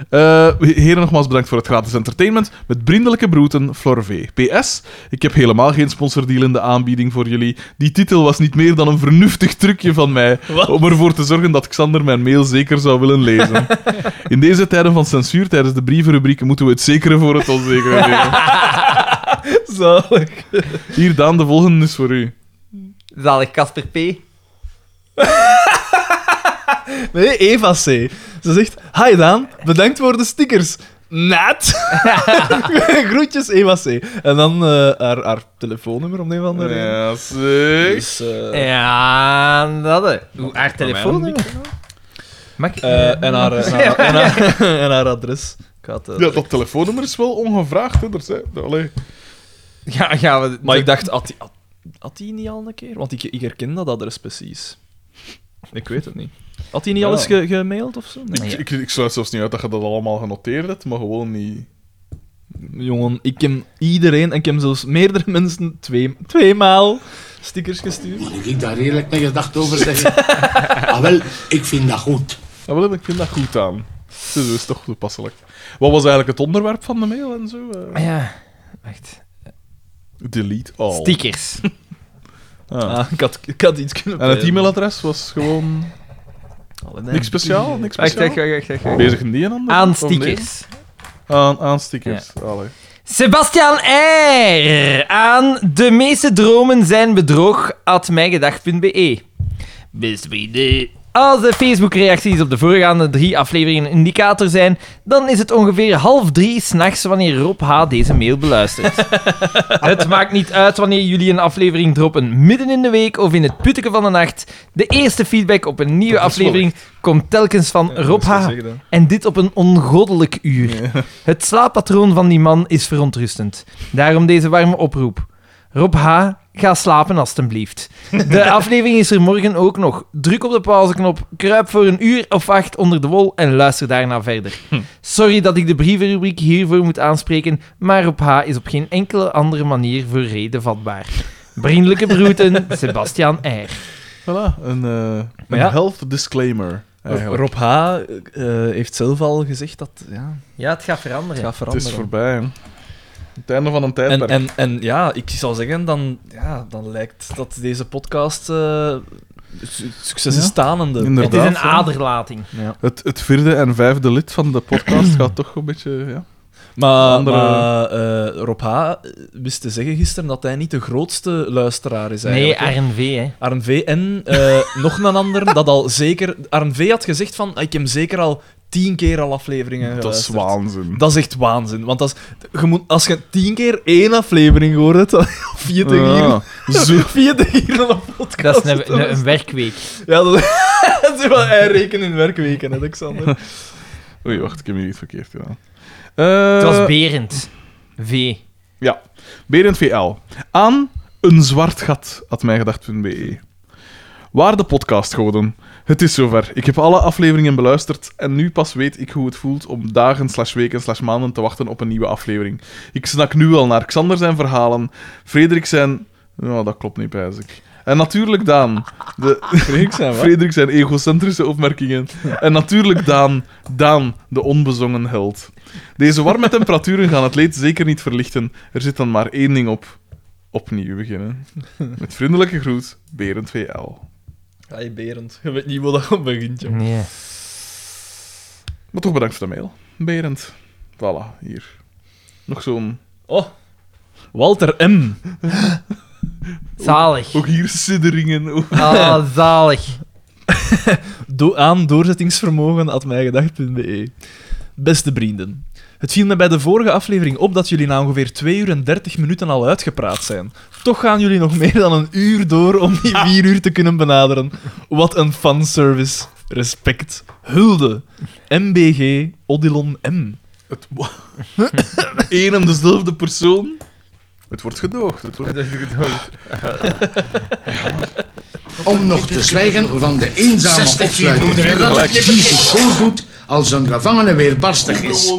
S3: Eh, heren, nogmaals bedankt voor het gratis entertainment. Met vriendelijke broeten, Flor V. PS, ik heb helemaal geen sponsordeal in de aanbieding voor jullie. Die titel was niet meer dan een vernuftig trucje van mij
S2: Wat?
S3: om ervoor te zorgen dat Xander mijn mail zeker zou willen lezen. In deze tijden van censuur tijdens de brievenrubrieken moeten we het zekere voor het onzekere nemen.
S2: [LAUGHS] Zalig.
S3: Hier, Daan, de volgende is voor u.
S2: Eh.
S1: Zalig Casper P.
S2: Nee, Eva C. Ze zegt: Hi Daan, bedankt voor de stickers.
S1: [LAUGHS]
S2: Nat! [LAUGHS] Groetjes, Eva C. En dan eh, haar, haar telefoonnummer om de een of andere reden.
S3: Ja, zeg.
S2: Dus, eh,
S1: Ja, dat hè. Hoe haar telefoon? Mag ik?
S2: eh, en, haar, en, haar, en, haar, [LAUGHS] en haar adres. Ik ga het, eh,
S3: Ja, dat telefoonnummer is wel ongevraagd, hè. daar zijn- Allee.
S1: [LAUGHS] Ja, gaan we...
S2: Maar ik dacht, had die, had, had die niet al een keer? Want ik, ik herken dat adres precies. Ik weet het niet. Had hij niet al eens ge- gemaild of zo? Nee.
S3: Ik, ik, ik sluit zelfs niet uit dat je dat allemaal genoteerd hebt, maar gewoon niet...
S2: Jongen, ik heb iedereen, en ik heb zelfs meerdere [LAUGHS] mensen twee, tweemaal stickers gestuurd.
S5: Moet ik daar eerlijk mijn gedacht over zeggen? ah, wel, ik vind dat goed.
S3: Ja, wel, ik vind dat goed aan. Dus dat is toch toepasselijk. Wat was eigenlijk het onderwerp van de mail en zo? eh?
S1: Ja, wacht.
S3: Delete
S2: Oh.
S3: all.
S2: [LAUGHS]
S1: Stickers.
S3: Ah.
S2: Ah, ik, had, ik had iets kunnen
S3: En het
S2: plannen.
S3: e-mailadres was gewoon
S2: Allee, nee.
S3: niks speciaal, niks
S1: Wacht,
S3: speciaal.
S1: wacht, wacht, wacht, wacht.
S3: Bezig in die en ander?
S1: Aan
S3: Of nee?
S1: stickers.
S3: Aan, aan stickers. Allee.
S1: Sebastian R. Aan de meeste dromen zijn bedrog at mijgedacht.be. Best vrienden. Als de Facebook-reacties op de voorgaande drie afleveringen een indicator zijn, dan is het ongeveer half drie s'nachts wanneer Rob H. deze mail beluistert. het maakt niet uit wanneer jullie een aflevering droppen midden in de week of in het putteken van de nacht. De eerste feedback op een nieuwe aflevering komt telkens van Rob H. En dit op een ongoddelijk uur. Het slaappatroon van die man is verontrustend. Daarom deze warme oproep. Rob H., ga slapen alstublieft. De aflevering is er morgen ook nog. Druk op de pauzeknop, kruip voor een uur of acht onder de wol en luister daarna verder. Sorry dat ik de brievenrubriek hiervoor moet aanspreken, maar Rob H. is op geen enkele andere manier voor reden vatbaar. Vriendelijke groeten, Sebastian R.
S3: Voilà, een, eh, een
S2: ja.
S3: health disclaimer. Eigenlijk.
S2: Rob H. eh, heeft zelf al gezegd dat ja,
S1: Ja, het gaat
S2: het
S1: veranderen.
S2: gaat
S3: Het
S2: veranderen.
S3: is voorbij. hè. Het einde van een
S2: En,
S3: tijdperk.
S2: en, en ja, ik zou zeggen, dan, ja, dan lijkt dat deze podcast eh, su- succes is
S3: Ja.
S2: stanende.
S1: Het is
S3: Inderdaad.
S1: een aderlating.
S3: Het, het vierde en vijfde lid van de
S2: [CLEARS THROAT]
S3: podcast gaat toch een beetje... Ja.
S2: Maar,
S3: Andere-
S2: maar eh, Rob H. wist te zeggen gisteren dat hij niet de grootste luisteraar is
S1: Nee,
S2: eigenlijk. hè.
S1: RNV, hè.
S2: RNV en eh, [LAUGHS] nog een ander dat al zeker... RNV had gezegd van, ik heb zeker al tien keer al afleveringen
S3: Dat is
S2: geluisterd.
S3: waanzin.
S2: Dat is echt waanzin. Want als je, moet, als je tien keer één aflevering gehoord hebt, [LAUGHS] dan 40
S3: Ja.
S2: uur...
S3: Zo.
S2: 40 uur al een
S1: Dat
S2: [LAUGHS] podcast.
S1: is een, een, een werkweek.
S2: Ja, dat [LAUGHS] dat is wel hij rekenen in werkweken, hè, Alexander.
S3: Oei, wacht, ik heb hier iets verkeerd gedaan. Eh,
S1: Het was Berend. V.
S3: Ja, Berend VL. Aan een zwart gat, had mijgedacht.be. E. Waar de podcast goden. Het is zover. Ik heb alle afleveringen beluisterd en nu pas weet ik hoe het voelt om dagen, slash weken, slash maanden te wachten op een nieuwe aflevering. Ik snak nu al naar Xander zijn verhalen, Frederik zijn... Nou, dat klopt niet, pijs ik. En natuurlijk Daan. De... Frederik zijn Frederik zijn egocentrische opmerkingen. En natuurlijk Daan. Daan, de onbezongen held. Deze warme temperaturen gaan het leed zeker niet verlichten. Er zit dan maar één ding op. Opnieuw beginnen. Met vriendelijke groet, Berend VL.
S2: Hi Berend, je weet niet wat dat begint, joh.
S1: Nee.
S3: Maar toch bedankt voor de mail, Berend. Voilà, hier. Nog zo'n...
S2: Oh, Walter M.
S1: Zalig.
S3: Ook hier sidderingen. Oeh.
S1: Ah, zalig.
S2: Do aan doorzettingsvermogen at mijgedacht.be. Beste vrienden, het viel me bij de vorige aflevering op dat jullie na ongeveer 2 uur en 30 minuten al uitgepraat zijn. Toch gaan jullie nog meer dan een uur door om die 4 uur te kunnen benaderen. Wat een fanservice. Respect. Hulde. MBG Odilon M.
S3: Het... Eén en dezelfde persoon. Het wordt gedoogd. Het wordt...
S5: Om nog te zwijgen van de eenzame
S8: 60 keer
S5: opsluiting. Dat Jezus goed doet als een gevangene weerbarstig is.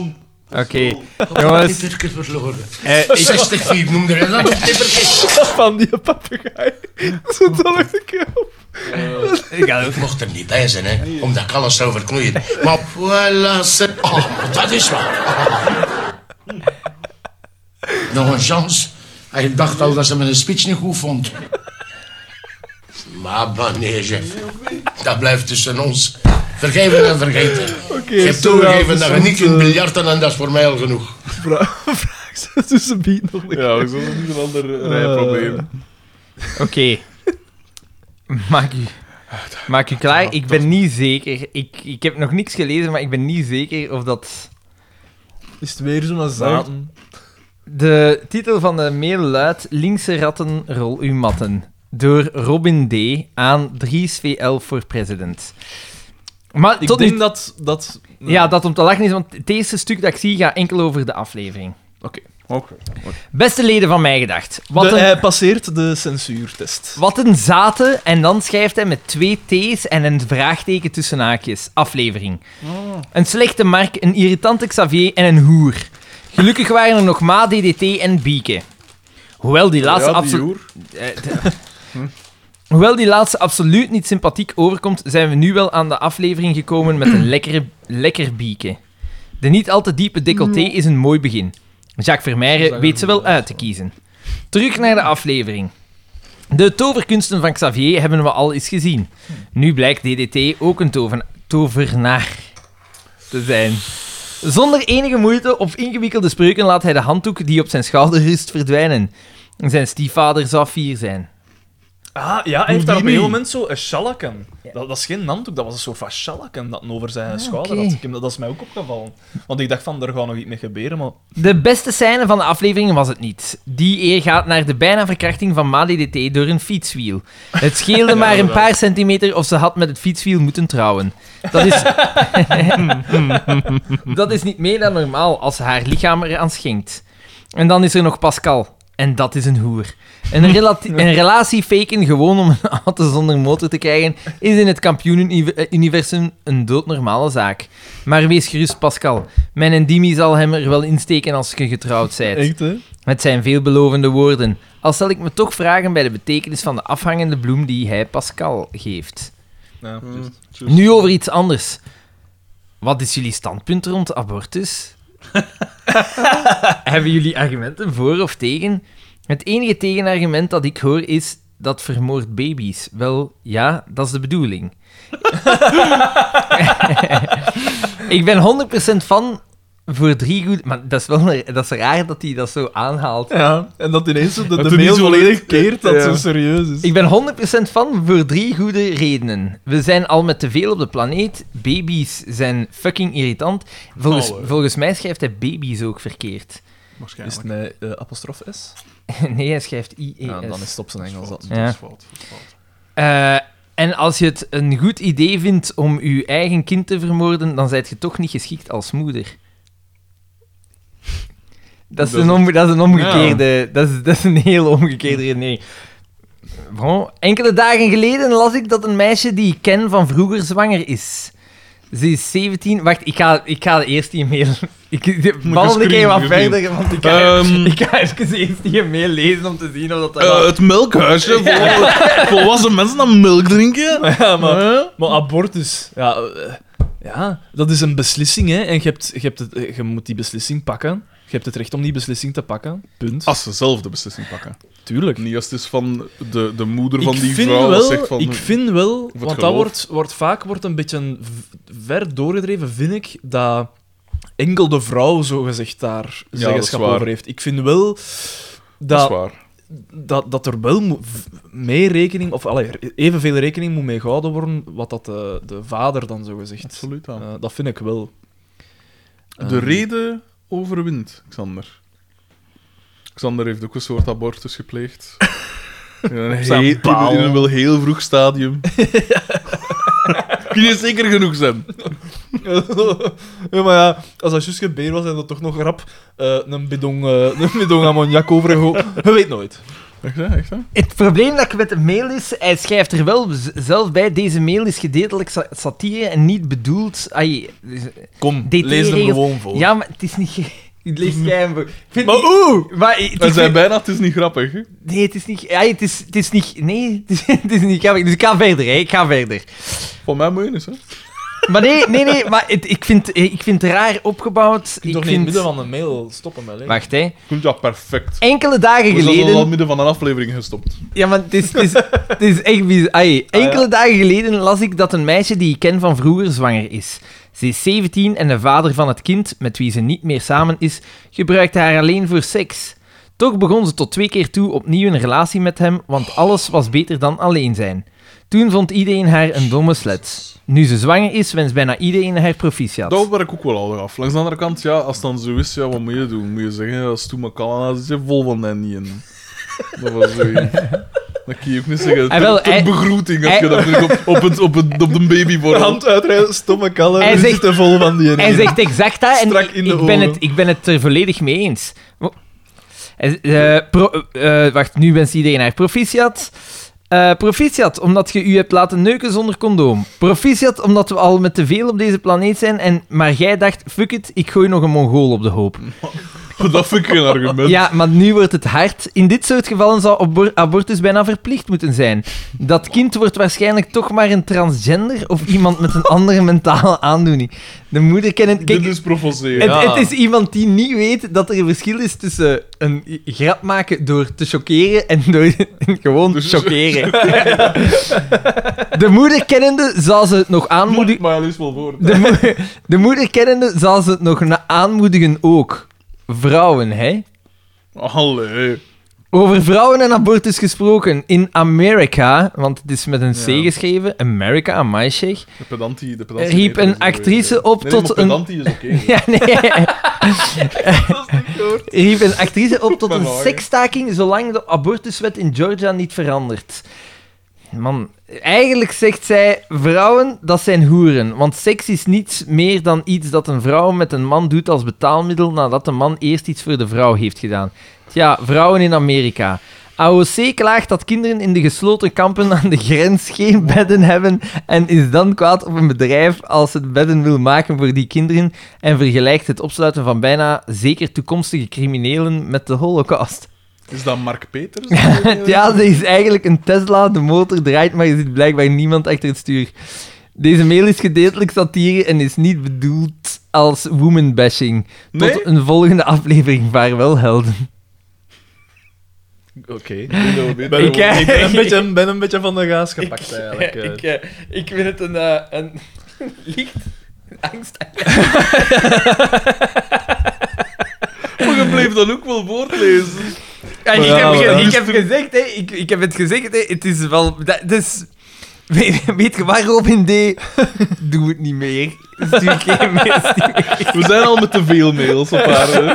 S1: Oké. Jongens,
S5: Turkers verloren.
S1: eh, ik-
S5: 60 vier noemde hij dat op nippertjes.
S2: [LAUGHS] Van die papegaai. Zit dat nog een keer [LAUGHS] op?
S5: Ik mocht er niet bij zijn, hè, omdat ik alles zou verknoeien. Maar voilà, ze... Oh, maar dat is waar. Nog een chance. Hij dacht al dat ze mijn speech niet goed vond. Maar meneer chef, dat blijft tussen ons. Vergeven en vergeten. je hebt
S2: sorry,
S5: toegegeven
S2: dat
S5: dat
S2: is
S5: je niet kunt biljarten en dat is voor mij al genoeg.
S2: Tussen beat nog een keer.
S3: Ja, dat is eh, een ander rijprobleem.
S1: Oké. Maak u. Maak je klaar? Ik ben niet zeker. Ik, ik heb nog niks gelezen, maar ik ben niet zeker of dat...
S2: Is het weer zo'n zaten?
S1: De titel van de mail luidt Linkse ratten, rol uw matten. Door Robin D. aan 3SVL voor president. Maar
S2: Ik
S1: tot
S2: denk
S1: nu...
S2: dat... dat
S1: Ja, dat om te lachen is, want het eerste stuk dat ik zie gaat enkel over de aflevering.
S3: Oké.
S1: Beste leden van mij gedacht. Wat
S2: de-
S1: een...
S2: Hij passeert de censuurtest.
S1: Wat een zaten. En dan schrijft hij met twee T's en een vraagteken tussen haakjes. Aflevering.
S3: Ah.
S1: Een slechte Mark, een irritante Xavier en een hoer. Gelukkig waren er nog Ma, DDT en Bieke. Hoewel die laatste
S3: Ja, die
S1: absoluut...
S3: hoer.
S1: Hoewel die laatste absoluut niet sympathiek overkomt, zijn we nu wel aan de aflevering gekomen met een lekkere, lekker bieken. De niet al te diepe decolleté is een mooi begin. Jacques Vermeijren weet ze wel uit te kiezen. Terug naar de aflevering. De toverkunsten van Xavier hebben we al eens gezien. Nu blijkt DDT ook een toven- tovenaar te zijn. Zonder enige moeite of ingewikkelde spreuken laat hij de handdoek die op zijn schouder rust verdwijnen. Zijn stiefvader zou fier zijn.
S2: Ah, ja, hij heeft daar op een heel moment zo een shalakan. Dat, dat is geen handdoek, dat was een soort van shalakan dat hij over zijn schouder
S1: oké.
S2: had. Ik heb, dat is mij ook opgevallen. Want ik dacht van, er gaat nog iets mee gebeuren, maar...
S1: De beste scène van de aflevering was het niet. Die eer gaat naar de bijna verkrachting van Mali DT door een fietswiel. Het scheelde maar een paar centimeter of ze had met het fietswiel moeten trouwen. Dat is... dat is niet meer dan normaal als ze haar lichaam eraan schenkt. En dan is er nog Pascal. En dat is een hoer. Een, relati- een relatie faken gewoon om een auto zonder motor te krijgen, is in het kampioenuniversum een doodnormale zaak. Maar wees gerust, Pascal. Mijn Endimi zal hem er wel insteken als je getrouwd bent.
S2: hè?
S1: Het zijn veelbelovende woorden. Al zal ik me toch vragen bij de betekenis van de afhangende bloem die hij Pascal geeft.
S2: Ja, juist.
S1: Nu over iets anders. Wat is jullie standpunt rond abortus? [LAUGHS] Hebben jullie argumenten voor of tegen? Het enige tegenargument dat ik hoor is dat vermoord baby's. Wel, ja, dat is de bedoeling. [LAUGHS] ik ben 100% van voor drie goed... Maar dat is wel dat is raar dat hij dat zo aanhaalt.
S2: Ja, en dat ineens zo de,
S3: Dat
S2: de
S3: doet
S2: mail
S3: niet zo
S2: volledig keert, dat
S3: Ja.
S2: zo serieus is.
S1: Ik ben 100% van voor drie goede redenen. We zijn al met te veel op de planeet. Baby's zijn fucking irritant. Volgens,
S2: Oh, eh.
S3: Alle.
S1: volgens mij schrijft hij baby's ook verkeerd. [LAUGHS]
S2: Is
S3: Waarschijnlijk.
S2: het een eh, apostrof S?
S1: nee, hij schrijft E IES.
S2: Ja, dan is het op zijn Engels dat.
S1: Ja.
S3: Dat is fout. dat is fout.
S1: Eh, en als je het een goed idee vindt om je eigen kind te vermoorden, dan zijt je toch niet geschikt als moeder. Dat is,
S3: Dat is
S1: een, omge- dat is een omgekeerde... Dat, is, dat is een heel omgekeerde redenering. Bon, enkele dagen geleden las ik dat een meisje die ik ken van vroeger zwanger is. Ze is 17... Wacht, ik ga, ik ga eerst die mail... [LAUGHS] Ik bal een keer
S3: screen-
S1: wat
S3: screen.
S1: verder, want ik ga,
S3: Ehm.
S1: [LAUGHS] ik ga even eerst die mail lezen om te zien of dat... dat
S3: Eh, het melkhuisje. Vol, volwassen mensen dan melk drinken.
S2: Ja, maar, maar abortus, ja, eh, ja, dat is een beslissing, hè. En je, hebt, je, hebt het, eh, je moet die beslissing pakken. Je hebt het recht om die beslissing te pakken. Punt.
S3: Als ze zelf de beslissing pakken.
S2: Tuurlijk.
S3: Niet als het is van de, de moeder van
S2: ik
S3: die
S2: vind
S3: vrouw dat
S2: wel,
S3: zegt van...
S2: Ik vind wel,
S3: het
S2: want dat
S3: geloof.
S2: wordt, wordt vaak wordt een beetje v- ver doorgedreven, vind ik, dat enkel de vrouw zogezegd daar
S3: dat
S2: zeggenschap
S3: is waar.
S2: over heeft. Ik vind wel
S3: dat is
S2: dat,
S3: waar.
S2: dat, dat er wel moet v- mee rekening, of allee, evenveel rekening moet mee gehouden worden wat dat de, de vader dan zogezegd...
S3: Absoluut aan.
S2: Eh, dat vind ik wel.
S3: De
S2: Eh,
S3: reden overwint, Xander. Xander heeft ook een soort abortus
S2: [LAUGHS]
S3: gepleegd. In een,
S2: zijn
S3: heel,
S2: paal.
S3: in een wel heel vroeg
S2: [LAUGHS]
S3: stadium. Kun je zeker genoeg zijn?
S2: [LAUGHS] ja, maar ja, als dat juist gebeurd was en dat toch nog rap eh, een, bidon, eh, een bidon ammoniak overgegooid. Je weet nooit.
S3: Echt, hè? Echt, hè?
S1: Het probleem dat ik met de mail is, hij schrijft er wel z- zelf bij, deze mail is gedeeltelijk sa- satire en niet bedoeld... Ai, dus-
S2: Kom,
S1: DT
S2: lees hem
S1: regels.
S2: gewoon voor.
S1: ja, maar het is niet... ge- [LAUGHS] Het leest jij hem voor. Ik vind
S2: Mm. Maar
S1: niet-
S2: oeh!
S1: maar het is
S3: Wij zijn
S1: niet-
S3: bijna, het is niet grappig. Hè?
S1: Nee, het is niet... ai, het, is, het is niet... Nee, [LAUGHS] het is, het is niet grappig. Dus ik ga verder, hè. Ik ga verder.
S3: Van mij moet je eens, hè?
S1: Maar nee, nee, nee. Maar het- ik, vind, ik vind het raar opgebouwd.
S2: Ik
S1: ik
S2: toch niet in
S1: vind...
S2: het midden van de mail stoppen met lezen.
S1: Wacht, hè.
S3: Komt ja, perfect.
S1: Enkele dagen
S3: We zijn al
S1: geleden...
S3: midden van een aflevering gestopt.
S1: Ja, maar het is, het is, het is echt bizar. Ai, enkele dagen geleden las ik dat een meisje die ik ken van vroeger zwanger is. Ze is 17 en de vader van het kind, met wie ze niet meer samen is, gebruikte haar alleen voor seks. Toch begon ze tot twee keer toe opnieuw een relatie met hem, want alles was beter dan alleen zijn. Toen vond iedereen haar een domme slet. Nu ze zwanger is, wenst bijna iedereen haar proficiat.
S3: Daar ben ik ook wel ouder af. Langs de andere kant, ja, als het dan zo is, ja, wat moet je doen? Moet je zeggen, als Toe McCallan is, je Ah, vol van hen niet in. Dat was zoiets. Dat kun je ook niet zeggen.
S1: Ah, wel,
S3: Ter- ter
S1: hij-
S3: begroeting had
S1: hij-
S3: je dat terug op, op, het, op, het, op de baby voor
S9: Hand uitrijden, stomme kallen,
S1: Hij
S9: hij
S1: zegt-
S9: zit te vol van die
S1: Hij
S9: ene.
S1: zegt exact dat en
S9: Strak
S1: ik,
S9: in de
S1: ik ben
S9: ogen.
S1: het, ik ben het er volledig mee eens. Wo- Hij z- eh, pro- eh, eh, wacht, nu wenst iedereen haar proficiat. Eh, proficiat, omdat je u hebt laten neuken zonder condoom. Proficiat, omdat we al met te veel op deze planeet zijn. En, maar jij dacht, fuck it, ik gooi nog een Mongool op de hoop.
S3: [LAUGHS] Dat vind ik geen argument.
S1: Ja, maar nu wordt het hard. In dit soort gevallen zou abor- abortus bijna verplicht moeten zijn. Dat kind wordt waarschijnlijk toch maar een transgender of iemand met een andere mentale aandoening. De moeder kennen... Kijk,
S3: Dit is provoceren.
S1: het, het is iemand die niet weet dat er een verschil is tussen een grap maken door te chockeren en door [LAUGHS] gewoon te
S3: Dus-
S1: chockeren. De moeder kennende zal ze het nog aanmoedigen.
S3: Maar ja, dat is wel voor.
S1: De, moeder- de moeder kennende zal ze het nog na- aanmoedigen ook. Vrouwen, hè?
S3: Allee.
S1: Over vrouwen en abortus gesproken. In Amerika, want het is met een C geschreven, America, amai zeg.
S3: De pedantie, de pedantie
S1: Er riep een
S3: is wel
S1: actrice
S3: weer, hè.
S1: op
S3: Nee,
S1: tot
S3: maar
S1: een-
S3: pedantie is oké. hè.
S1: [LAUGHS] Ja, nee. Riep een actrice op tot
S3: Maar
S1: een
S3: nou, hè.
S1: seksstaking zolang de abortuswet in Georgia niet verandert. Man, eigenlijk zegt zij, vrouwen, dat zijn hoeren. Want seks is niets meer dan iets dat een vrouw met een man doet als betaalmiddel nadat de man eerst iets voor de vrouw heeft gedaan. Tja, vrouwen in Amerika. AOC klaagt dat kinderen in de gesloten kampen aan de grens geen bedden hebben en is dan kwaad op een bedrijf als het bedden wil maken voor die kinderen en vergelijkt het opsluiten van bijna zeker toekomstige criminelen met de holocaust. [LAUGHS]
S3: Is dat Mark Peters?
S1: Ja, ze is eigenlijk een Tesla, de motor draait, maar er zit blijkbaar niemand achter het stuur. Deze mail is gedeeltelijk satire en is niet bedoeld als woman-bashing. Tot
S3: Nee?
S1: een volgende aflevering, vaarwel helden.
S3: Oké. Ik denk dat we weten
S9: ben,
S1: Ik, eh,
S9: ik
S1: [LAUGHS]
S9: ben, een beetje, ben een beetje van de gaas gepakt, eigenlijk. eh.
S1: Ik, eh, ik vind het een, eh, een [LAUGHS] licht angst.
S3: Maar je bleef dan ook wel voortlezen.
S1: Ja, ik,
S9: ja,
S1: heb, ge-
S9: maar dat
S1: ik heb gezegd, hè, ik, ik heb het gezegd, hè, het is wel... Dat, dus, [LAUGHS] weet, weet je waar, Robin D? [LAUGHS] Doe het niet meer. Stuur geen mails.
S3: We zijn al met te veel mails op haar. hè.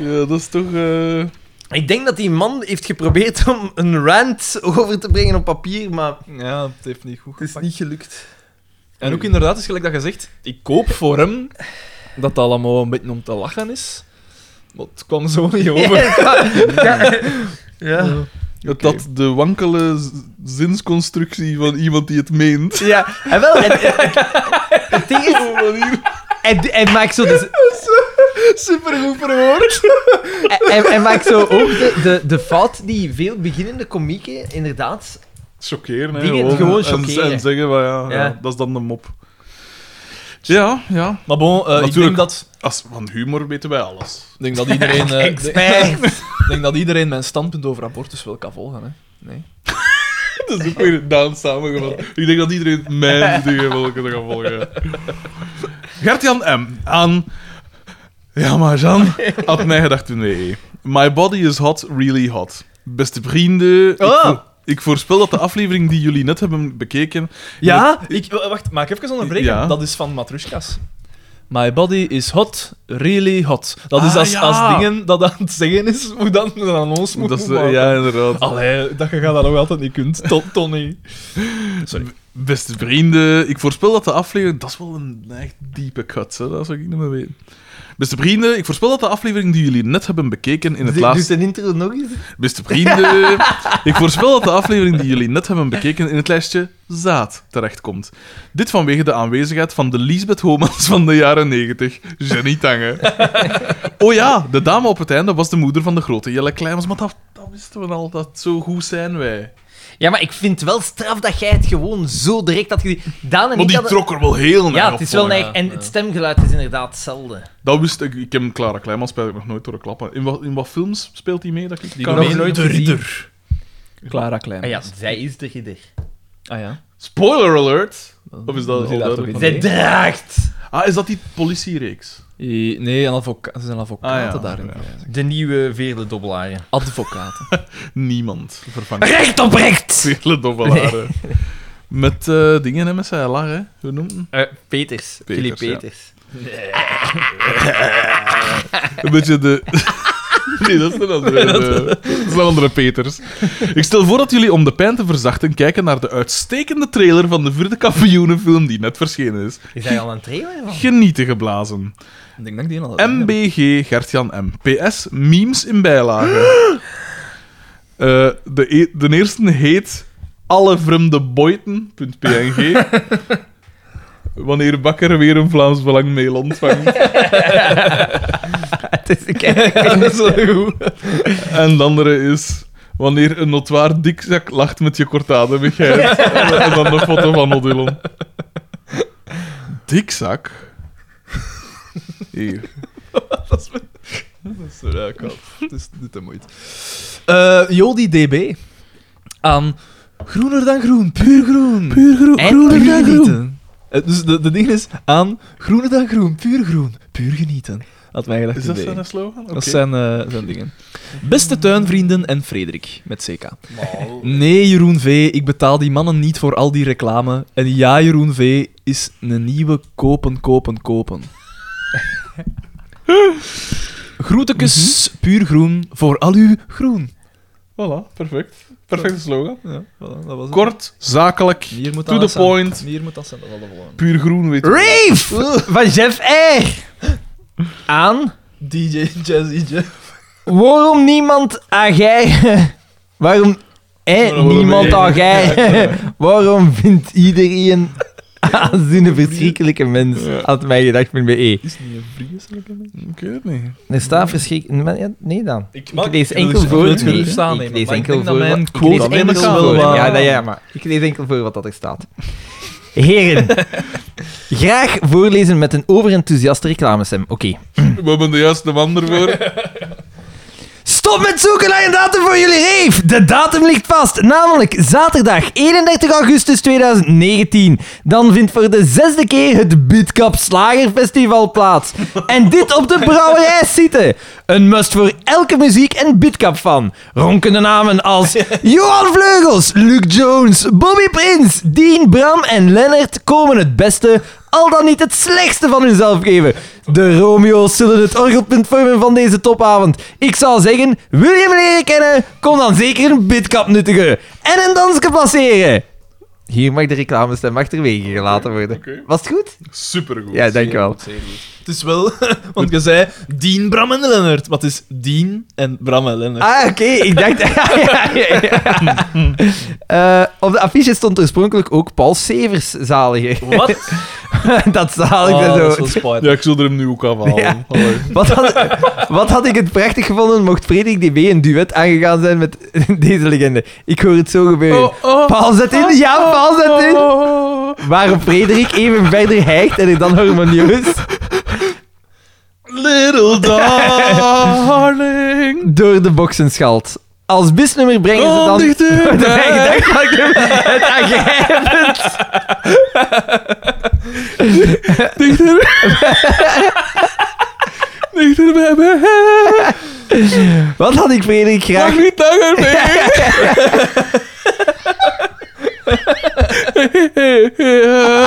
S3: Ja, dat is toch... eh,
S1: Ik denk dat die man heeft geprobeerd om een rant over te brengen op papier, maar
S9: Ja, het heeft niet goed
S1: het is
S9: gepakt.
S1: niet gelukt.
S2: En ook inderdaad, is gelijk dat je zegt, ik koop voor hem dat dat allemaal een beetje om te lachen is. Maar het kwam zo niet [LAUGHS] over.
S1: Ja.
S3: dat Dat de wankele z- zinsconstructie van iemand die het meent.
S1: Ja, en wel. En,
S3: [LAUGHS]
S1: en- het ding is-
S3: Oh,
S1: en, en maakt zo. De,
S9: Supergoed verwoord.
S1: en, en maakt zo ook de, de, de fout die veel beginnende komieken inderdaad.
S3: Chockeren, hè.
S1: Dingen gewoon
S3: En-
S1: chockeren.
S3: En, zeggen, van, ja, ja.
S1: Ja.
S3: dat is dan de mop. Ja, ja.
S2: Maar bon, eh, ik
S3: Natuurlijk.
S2: denk dat,
S3: Als, van humor weten wij alles.
S2: ik denk dat iedereen... eh, ik
S3: [LAUGHS]
S2: denk-
S1: Expert.
S2: ik denk dat iedereen mijn standpunt over abortus wel kan volgen, hè.
S3: Dat is ook weer Daan samengevat. Ik denk dat iedereen mijn dingen wil kunnen gaan volgen. Gert-Jan M. Aan... Ja, maar Jan. Had mij gedacht toen nee. My body is hot, really hot. Beste vrienden... Ik,
S2: Oh.
S3: vo- ik voorspel dat de aflevering die jullie net hebben bekeken...
S2: Ja, ik, eh, wacht, maak even onderbreken.
S3: Ja.
S2: Dat is van Matrushkas. My body is hot, really hot. Dat is
S3: Ah,
S2: als,
S3: ja.
S2: als dingen dat aan het zeggen is, hoe dan aan ons moet
S3: Dat is,
S2: maken.
S3: ja, inderdaad.
S2: Allee, dat je gaat dat nog altijd niet kunt. Tot Tony.
S3: Beste vrienden, ik voorspel dat de aflevering... Dat is wel een echt diepe cut, hè? dat zou ik niet meer weten. Beste vrienden, ik voorspel dat de aflevering die jullie net hebben bekeken in het
S1: Doe- Doet
S3: laatste...
S1: Dus- een intro nog eens?
S3: Beste
S1: [LAUGHS]
S3: vrienden, ik voorspel dat de aflevering die jullie net hebben bekeken in het lijstje Zaad terechtkomt. Dit vanwege de aanwezigheid van de Lisbeth Homans van de jaren 90, Jenny Tange. Oh ja, de dame op het einde was de moeder van de grote Jelle Kleimers, maar dat, dat wisten we al, dat zo goed zijn wij.
S1: Ja, maar ik vind wel straf dat jij het gewoon zo direct had gezien. Daan en
S3: Maar
S1: ik
S3: die
S1: hadden-
S3: trok er wel heel naar
S1: Ja,
S3: op,
S1: het is wel
S3: vond ik.
S1: neig. En het stemgeluid is inderdaad hetzelfde.
S3: Dat wist ik. Ik heb Clara Kleinman spijtig nog nooit door klappen. In wat, in wat films speelt hij mee? Dat ik die
S1: Nog
S2: Carmen
S1: nooit
S2: de
S1: gezien.
S2: Ridder. Clara Klein.
S1: Ah ja, zij is de ridder.
S2: Ah ja.
S3: Spoiler alert! Of is dat
S2: Moet je
S3: al
S2: daar toch
S3: duidelijk?
S2: in-
S1: Zij draagt.
S3: Ah, is dat die politiereeks?
S2: I- Nee, een advoca- ze zijn advocaten
S3: Ah, ja.
S2: daarin.
S3: Ja.
S1: De nieuwe veerle dobbelaren.
S2: Advocaten.
S3: Niemand vervangt
S1: Recht op
S3: [LAUGHS]
S1: recht!
S3: vele dobbelaren. Met eh, dingen, hè, met zijn lar, hè. Hoe noemt hem?
S1: Eh, Peters.
S3: Peters,
S1: Philip
S3: ja.
S1: Peters.
S3: Een beetje de... [LAUGHS] Nee, [LAUGHS] dat is een andere, eh, dat is een andere Peters. Ik stel voor dat jullie om de pijn te verzachten kijken naar de uitstekende trailer van de vierde kampioenenfilm die net verschenen is.
S1: Is hij al een trailer van?
S3: Genieten geblazen.
S2: Ik denk dat ik die al had.
S3: MBG Gertjan M. PS, memes in bijlage. [GASPS] Eh, de, e- de eerste heet Alle vreemde [LAUGHS] boyten.png. Wanneer Bakker weer een Vlaams Belang mail [LAUGHS] ontvangt.
S1: [LAUGHS]
S2: dat is wel goed.
S3: en de andere is Wanneer een notwaar dikzak lacht met je [LAUGHS] kortademigheid. en dan de foto van Odilon. Dikzak? [LAUGHS] Hier.
S2: Sorry, ik had. Het is niet de moeite. Eh, Jody DB. Aan groener dan groen, puur groen. Puur groen, groener dan groen. dus de, de ding is aan groener dan groen, puur groen, puur genieten. Had mij gedacht
S3: Is dat
S2: idee.
S3: zijn slogan? Oké.
S2: Dat zijn, eh, zijn dingen. Beste tuinvrienden en Frederik, met CK. Nee, Jeroen V, ik betaal die mannen niet voor al die reclame. En ja, Jeroen V is een nieuwe kopen, kopen,
S3: [LAUGHS]
S2: kopen. Groetekes,
S3: Mhm.
S2: puur groen, voor al uw groen.
S3: Voilà, perfect. Perfecte slogan.
S2: Ja, dat was
S3: Kort, zakelijk,
S2: Hier moet
S3: to
S2: dat
S3: the
S2: zijn.
S3: point.
S2: Hier moet dat zijn, dat was de volgende.
S3: Puur groen, weet je.
S1: Rave! Van Jeff R. Aan.
S2: DJ Jazzy Jeff.
S1: Waarom niemand aan gij... [LAUGHS] Waarom... Eh,
S3: Waarom
S1: niemand
S3: wij-
S1: aan gij... [LAUGHS] Waarom vindt iedereen aan zo'n verschrikkelijke mens?
S3: Ja.
S1: Had mij gedacht met BE.
S3: Ik weet het niet.
S1: E. Er staat verschrikkelijk... Nee dan.
S2: Ik,
S1: Ik lees enkel voor.
S2: het
S1: Nee,
S2: gerust staan, nee,
S1: Ik lees
S2: maar ik
S1: enkel
S2: denk dat
S1: voor. wat-
S2: mijn
S1: ik
S2: quote
S1: lees
S2: wel
S1: enkel
S2: is wel eh,
S1: voor-
S2: waar.
S1: Ja, nee, ja, maar ik lees enkel voor wat dat er staat. [LAUGHS] Heren, graag voorlezen met een overenthousiaste reclamestem. Oké.
S3: We hebben de juiste man ervoor.
S1: Stop met zoeken naar een datum voor jullie reef. De datum ligt vast, namelijk zaterdag 31 augustus 2019. Dan vindt voor de zesde keer het Bidkap Slagerfestival plaats. En dit op de brouwerij zitten. Een must voor elke muziek- en Bidkap fan. Ronkende namen als Johan Vleugels, Luc Jones, Bobby Prins, Dean Bram en Lennart komen het beste, al dan niet het slechtste van hunzelf geven. De Romeo's zullen het orgelpunt vormen van deze topavond. Ik zou zeggen, wil je me leren kennen? Kom dan zeker een bidkap nuttigen en een dansje placeren. Hier mag de reclamestem achterwege gelaten worden.
S3: oké.
S1: Was het goed?
S3: Supergoed.
S1: Ja, dankjewel.
S2: Het is
S10: [LAUGHS]
S2: wel, want je zei Dien, Bram en Lennart. Wat is Dien en Bram en Lennart?
S1: Ah, oké, ik dacht... [LAUGHS] Ja, ja, ja, ja. Eh, op de affiche stond oorspronkelijk ook Paul Severs zaliger.
S10: Oh,
S2: Wat?
S1: [LAUGHS] dat zalig
S2: Oh,
S1: Ah, zo.
S2: dat is wel spijtig.
S1: [LAUGHS]
S3: Ja, ik zal er hem nu ook afhalen.
S1: Ja. [LAUGHS]
S3: Allee.
S1: Wat had, wat had ik het prachtig gevonden mocht Frederik DB een duet aangegaan zijn met [LAUGHS] deze legende. Ik hoor het zo gebeuren. Paul zet in, ja, Paul zet
S3: oh,
S1: in. Waarop Frederik even verder hijgt en ik dan harmonieus
S3: Little darling.
S1: door de boksen schalt. Als bisnummer brengen ze
S3: Kom
S1: dan... [LAUGHS]
S3: dichterbij.
S1: Nee, ik dacht dat ik hem het aangrijpend.
S3: Dichterbij mij.
S1: Wat had ik Frederik graag...
S3: Mag niet langer mee.
S1: [LAUGHS]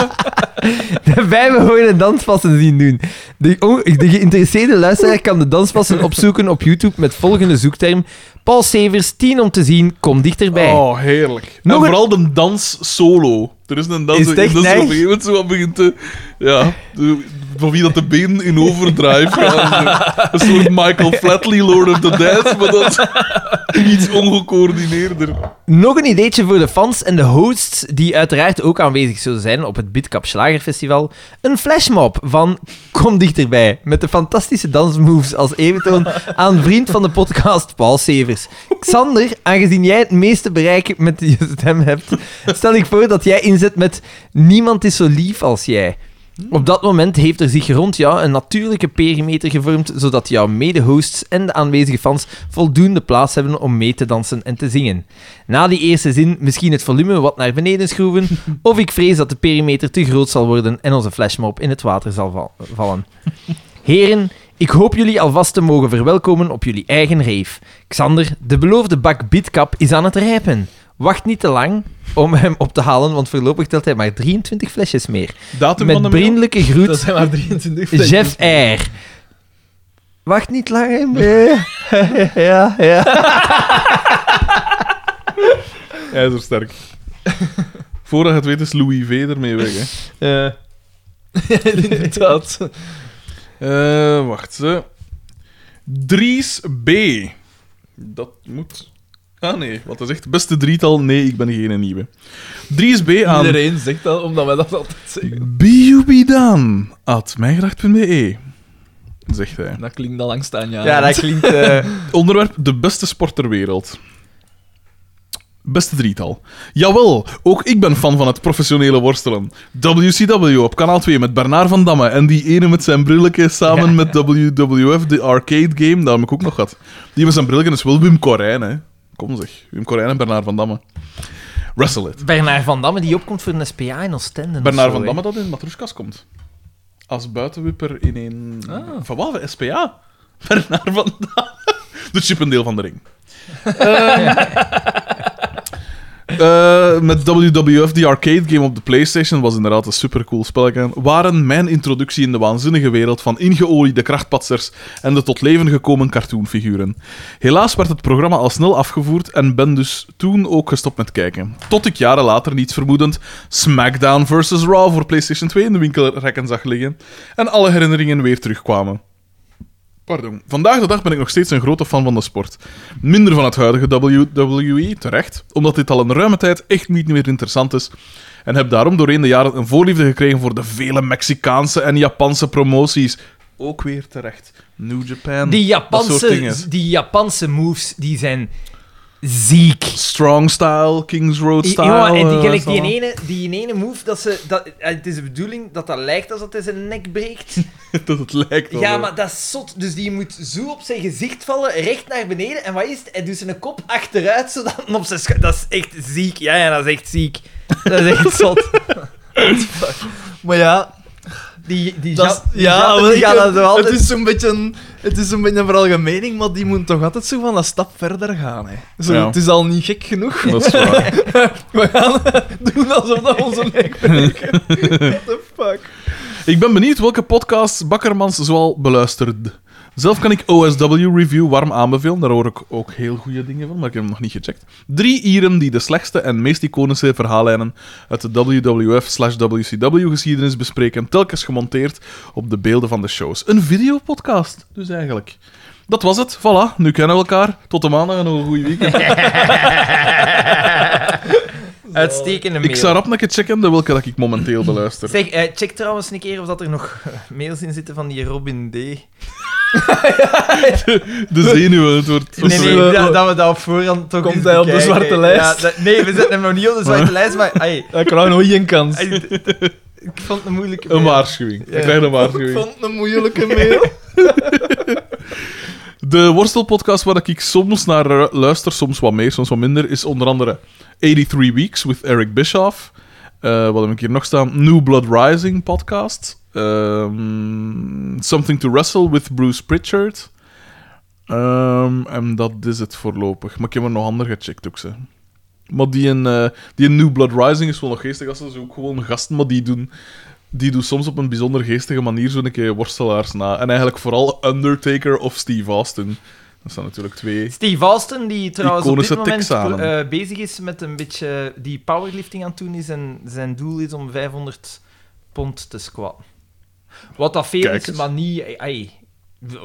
S1: de bijbehorende danspassen zien doen. De, on- de geïnteresseerde luisteraar kan de danspassen opzoeken op YouTube met volgende zoekterm. Paul Severs, 10 om te zien, kom dichterbij.
S3: Oh, heerlijk.
S1: Nog
S3: en
S1: een-
S3: vooral de dans solo. Er is een dans
S1: Is het echt
S3: dat op een
S1: neig?
S3: gegeven moment zo wat begint te... Ja, de- van wie dat de benen in overdrive gaan.
S1: [LAUGHS]
S3: Een soort Michael Flatley, Lord of the Dance, maar dat iets ongecoördineerder.
S1: Nog een ideetje voor de fans en de hosts, die uiteraard ook aanwezig zullen zijn op het Bidkap Slagerfestival. Een flashmob van Kom Dichterbij, met de fantastische dansmoves als eventoon aan vriend van de podcast Paul Severs. Xander, aangezien jij het meeste bereik met je stem hebt, stel ik voor dat jij inzet met Niemand is zo lief als jij. Op dat moment heeft er zich rond jou een natuurlijke perimeter gevormd, zodat jouw mede-hosts en de aanwezige fans voldoende plaats hebben om mee te dansen en te zingen. Na die eerste zin misschien het volume wat naar beneden schroeven, of ik vrees dat de perimeter te groot zal worden en onze flashmob in het water zal val- vallen. Heren, ik hoop jullie alvast te mogen verwelkomen op jullie eigen reef. Xander, de beloofde bak bitkap is aan het rijpen. Wacht niet te lang om hem op te halen, want voorlopig telt hij maar 23 flesjes meer.
S3: Datum van de
S1: Met
S3: mail?
S1: vriendelijke
S2: Dat
S1: groet,
S2: zijn maar 23.
S1: Jeff R. Wacht niet lang meer. [LAUGHS] ja, ja.
S3: Hij is er sterk. Voordat je het weet is Louis V ermee weg, hè.
S11: Eh,
S2: Ja. Inderdaad.
S3: Eh, wacht. eh. Dries B. Dat moet... Ah, nee. Wat hij zegt, beste drietal, nee, ik ben geen nieuwe. Dries B aan...
S2: Iedereen zegt dat, omdat wij dat altijd zeggen.
S3: Biubidaan, at mijngedacht.be, E, zegt hij.
S2: Dat klinkt al lang staan, ja.
S11: Ja, dat klinkt... eh,
S3: Onderwerp: de beste sport ter wereld. Beste drietal. Jawel, ook ik ben fan van het professionele worstelen. WCW op kanaal 2 met Bernard van Damme en die ene met zijn brilletje samen met WWF, de arcade game, daar heb ik ook nog gehad. Die met zijn brilletje is wel Wim Corijn, hè. Kom zeg, Wim Corijn en Bernard van Damme. Wrestle it.
S1: Bernard van Damme die opkomt voor een SPA in Oostende. of
S3: Bernard
S1: zo,
S3: van
S1: hè.
S3: Damme dat in Matroeskas komt. Als buitenwipper in een... Van wat? SPA? [LAUGHS] Bernard van Damme. De chippendeel van de ring. Ehm, eh, met WWF, die arcade game op de Playstation, was inderdaad een supercool spelletje. Waren mijn introductie in de waanzinnige wereld van ingeoliede krachtpatsers en de tot leven gekomen cartoonfiguren. Helaas werd het programma al snel afgevoerd en ben dus toen ook gestopt met kijken. Tot ik jaren later, niets vermoedend, SmackDown vs. Raw voor PlayStation 2 in de winkelrekken zag liggen en alle herinneringen weer terugkwamen. Pardon. Vandaag de dag ben ik nog steeds een grote fan van de sport. Minder van het huidige WWE, terecht, omdat dit al een ruime tijd echt niet meer interessant is. En heb daarom doorheen de jaren een voorliefde gekregen voor de vele Mexicaanse en Japanse promoties. Ook weer terecht. New Japan.
S1: Die
S3: dat soort dingen.
S1: Japanse, die Japanse moves, die zijn ziek.
S3: Strong style, Kings Road style.
S1: Jongen, en die,
S3: eh,
S1: gelijk die,
S3: zo.
S1: ene, die ene move, dat ze, dat, eh, het is de bedoeling dat dat lijkt alsof hij zijn nek
S3: [LAUGHS]
S1: breekt.
S3: [LAUGHS] dat het lijkt wel,
S1: Ja,
S3: hè.
S1: maar dat is zot. Dus die moet zo op zijn gezicht vallen, recht naar beneden. En wat is het? Hij doet zijn kop achteruit, zodat hij op zijn schu- Dat is echt ziek. Ja, ja, dat is echt ziek. Dat is echt zot.
S10: Maar ja,
S1: Die, die,
S10: dat is-
S1: ja, die
S10: ja,
S1: gaten,
S10: wel,
S1: die
S10: ik-
S1: gaan dat
S3: [LAUGHS]
S1: zo altijd...
S10: het is een beetje een, het is een beetje een veralgemening, maar die moet toch altijd zo van een stap verder gaan. Hè. Zo,
S3: Ja.
S10: Het is al niet gek genoeg.
S3: Dat is waar.
S10: We gaan [LAUGHS] doen alsof dat
S1: [LAUGHS]
S10: onze nek breken. [LAUGHS] What the fuck?
S3: ik ben benieuwd welke podcast Bakkermans zoal beluistert. Zelf kan ik OSW Review warm aanbevelen. Daar hoor ik ook heel goede dingen van, maar ik heb hem nog niet gecheckt. Drie Ieren die de slechtste en meest iconische verhaallijnen uit de WWF slash WCW geschiedenis bespreken, telkens gemonteerd op de beelden van de shows. Een videopodcast, dus eigenlijk. Dat was het. Voilà, nu kennen we elkaar. Tot de maandag en nog een goede
S1: [LAUGHS]
S3: weekend. [LAUGHS]
S1: Uitstekende mail.
S3: Ik zou rap een keer checken de welke dat ik momenteel beluister.
S1: Zeg, eh, check trouwens een keer of dat er nog eh, mails in zitten van die Robin D. Nee,
S3: De zenuwen, het wordt...
S1: nee,
S10: zullen we-
S1: dat, dat we dat op voorhand toch
S10: Komt
S1: eens
S10: hij op de
S1: bekijken.
S10: zwarte lijst?
S1: Ja, dat- nee, we zetten hem nog
S10: [LAUGHS]
S1: niet op de zwarte lijst, maar... ai,
S10: Ik krijg nooit geen kans.
S1: ai, d- d-
S10: [LAUGHS]
S1: ik vond het een moeilijke
S10: Oh,
S3: Een
S1: mail.
S3: waarschuwing. Ik krijg een
S10: Ik
S3: waarschuwing.
S10: vond het een
S1: [LAUGHS]
S10: moeilijke mail.
S3: De worstelpodcast waar ik soms naar eh, luister, soms wat meer, soms wat minder, is onder andere 83 Weeks with Eric Bischoff. Eh, wat heb ik hier nog staan? New Blood Rising podcast. Ehm, Something to Wrestle with Bruce Pritchard. Ehm, en dat is het voorlopig. Maar ik heb er nog ander gecheckt ook, ze. Maar die in, eh, die in New Blood Rising is wel nog geestig. als ze is ook gewoon gasten, maar die doen, die doen soms op een bijzonder geestige manier zo'n keer worstelaars na. En eigenlijk vooral Undertaker of Steve Austin. Dat zijn natuurlijk twee.
S1: Steve Austin, die trouwens op dit
S3: Iconische
S1: moment
S3: Texanen.
S1: eh, bezig is met een beetje... eh, Die powerlifting aan het doen is en zijn doel is om 500 pond te squatten. Wat dat veel
S3: Kijk
S1: is,
S3: eens.
S1: maar niet... ai, ai,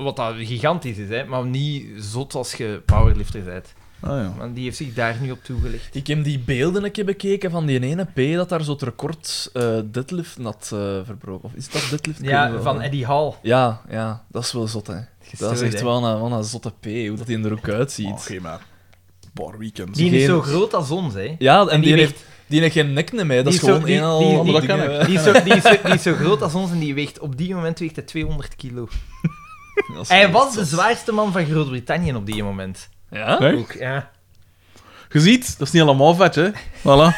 S1: wat dat gigantisch is, hè, maar niet zot als je powerlifter bent.
S3: Ah, ja.
S1: Want die heeft zich daar nu op toegelegd.
S2: Ik heb die beelden een keer bekeken van die ene P dat daar zo het record eh deadlift had eh, verbroken. Of is dat deadlift? Ik weet
S1: Ja,
S2: het
S1: van
S2: wel.
S1: Eddie Hall.
S2: Ja, ja, dat is wel zot, hè. Dat is
S1: Gestoord,
S2: echt
S1: hè.
S2: wel een, wel een zotte P, hoe dat hij er ook uitziet.
S3: Oh, geen maar. Een paar weekends.
S1: Die is
S2: geen-
S1: zo groot als ons, hè.
S2: Ja, en,
S1: En
S2: die,
S1: die
S2: heeft, die heeft geen nek meer, dat
S1: die
S2: is
S1: is zo-
S2: gewoon
S1: die-
S2: een al...
S1: die- die-
S2: allemaal
S1: die-
S2: dingen.
S1: Die is, zo, die, is zo, die is
S2: [LAUGHS]
S1: zo groot als ons en die weegt... Op die moment weegt hij 200 kilo.
S2: Dat is
S1: Hij
S2: echt
S1: was de
S2: zot.
S1: zwaarste man van Groot-Brittannië op die moment.
S2: Ja?
S3: Nee?
S1: Ook, ja.
S3: Je ziet, dat is niet allemaal vet, hè. Voilà.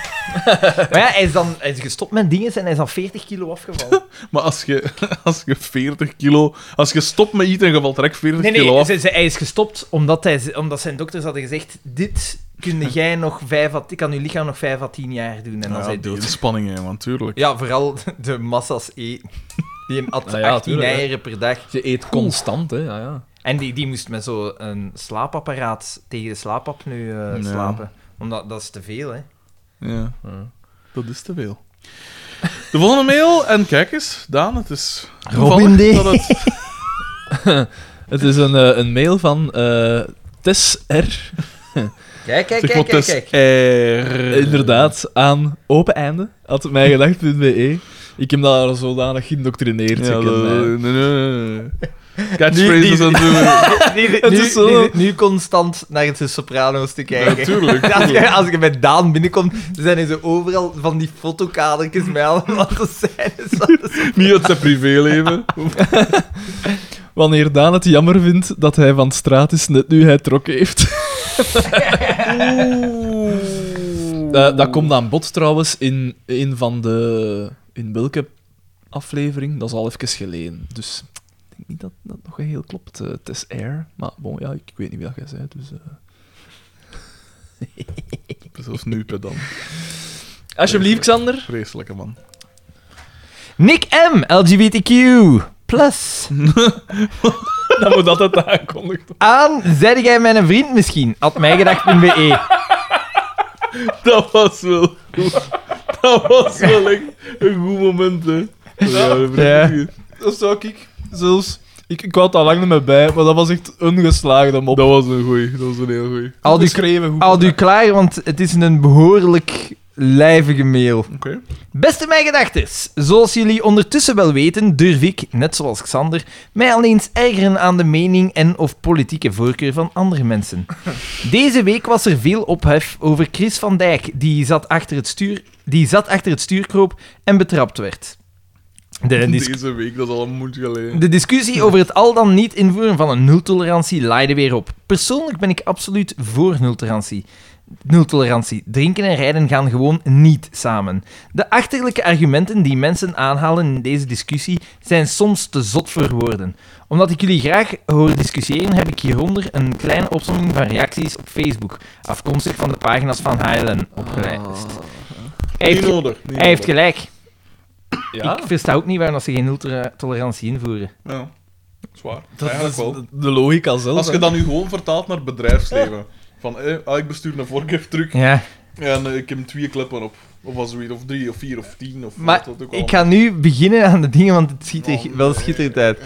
S1: Maar ja, hij is dan hij is gestopt met dingen en hij is dan 40 kilo
S2: [LAUGHS]
S1: afgevallen.
S3: Maar als je, [LAUGHS] als je 40 kilo... Als je stopt met iets en je valt direct 40
S1: Nee,
S3: kilo
S1: nee,
S3: af...
S1: ze, ze- hij is gestopt omdat, hij, omdat zijn dokters hadden gezegd: Dit
S2: [LAUGHS]
S1: kun jij nog vijf à- kan je lichaam nog 5 à 10 jaar doen. En dan
S3: Ja,
S1: is hij
S3: die
S1: dood.
S3: inspanningen, man, tuurlijk.
S1: Ja, vooral de massa's E. [LAUGHS] Die had
S2: Ah ja,
S1: 18
S2: tuurlijk, hè.
S1: eieren per dag.
S2: Je eet constant, hè. Ja, ja.
S1: En die, die moest met zo'n slaapapparaat tegen de slaapapneu eh,
S3: Ja.
S1: slapen. Omdat dat is te veel, hè.
S3: Ja. Dat is te veel. [LAUGHS] De volgende mail, en kijk eens, Daan, het is...
S12: Robin
S3: toevallig
S12: D.
S3: dat
S1: [LAUGHS]
S3: het-
S2: Het is een, eh, een mail van eh Tess R.
S1: Kijk, kijk,
S3: Zeg
S1: kijk,
S3: maar,
S1: kijk,
S3: het is
S1: kijk.
S3: [LAUGHS]
S1: Eh.
S3: er-
S2: Inderdaad, aan open einde. Had mijgedacht.be. E. Ik heb dat al zodanig geïndoctrineerd.
S3: Ja,
S2: ik
S3: dat-
S2: ken mij.
S3: nee, nee, nee. [LAUGHS] Catchphrases
S1: die-
S3: en zo.
S1: Nu,
S2: Het
S1: nu-
S2: is zo-
S1: nu- nu constant naar het Soprano's te kijken.
S3: Natuurlijk.
S1: [LAUGHS] Als je, als je met Daan binnenkomt, zijn er zo overal van die fotokadertjes met allemaal te zijn.
S3: [LAUGHS] Niet uit zijn [LAUGHS] privéleven.
S2: Wanneer Daan het jammer vindt dat hij van straat is net nu hij trok heeft. [LAUGHS] Eh, dat komt aan bod trouwens in een van de... In welke aflevering? Dat is al even geleden. Dus ik denk niet dat dat nog heel klopt. eh, Het is Air. Maar bon, ja, ik weet niet wie dat jij zei. Dus, eh.
S3: Zelfs nu pedant.
S2: Alsjeblieft, Xander.
S3: Vreselijke man.
S1: Nick M, LGBTQ. Plus.
S2: [LAUGHS] Dan moet dat het aankondigen.
S1: Aan, zei jij mijn vriend misschien? At mijgedacht.be.
S3: [LAUGHS] Dat was wel goed. [LAUGHS] Dat was wel echt een goed moment, hè. Ja, dat
S1: Ja.
S2: Dat zou ik zelfs... Ik, ik wou daar lang niet meer bij, maar dat was echt een geslaagde mop.
S3: dat was een goeie. Dat was een heel goeie.
S1: Al
S2: die
S1: die
S2: schreven goed.
S1: Houd u klaar, want het is een behoorlijk lijvige mail.
S3: Oké.
S1: Beste mijn gedachters, zoals jullie ondertussen wel weten, durf ik, net zoals Xander, mij al eens ergeren aan de mening en of politieke voorkeur van andere mensen. Deze week was er veel ophef over Chris van Dijk, die zat achter het stuur, die zat achter het stuur kroop en betrapt werd. De, dis-
S3: Deze week, dat is al een moed geleden.
S1: de discussie over het al dan niet invoeren van een nultolerantie laaide weer op. Persoonlijk ben ik absoluut voor nultolerantie. Nultolerantie. Drinken en rijden gaan gewoon niet samen. De achterlijke argumenten die mensen aanhalen in deze discussie zijn soms te zot voor woorden. Omdat ik jullie graag hoor discussiëren, heb ik hieronder een kleine opsomming van reacties op Facebook, afkomstig van de pagina's van HLN opgelijst. Hij heeft-
S3: Niet nodig. Niet
S1: hij heeft
S3: nodig.
S1: gelijk.
S2: Ja?
S1: Ik versta ook niet waarom dat ze geen nultolerantie invoeren.
S3: Ja. Zwaar.
S2: Dat
S3: Eigenlijk
S2: is
S3: wel.
S2: de- de logica zelf.
S3: Als je
S2: hè.
S3: dat nu gewoon vertaalt naar bedrijfsleven. Van, eh, ah, ik bestuur een vorkef truck
S1: Ja.
S3: en eh, ik heb twee kleppen op. Of als zoiets, of drie, of vier, of tien, of
S1: Maar
S3: wat dat
S1: ik
S3: ook allemaal.
S1: ga nu beginnen aan de dingen, want het ziet er
S3: Oh,
S1: wel schitterend uit.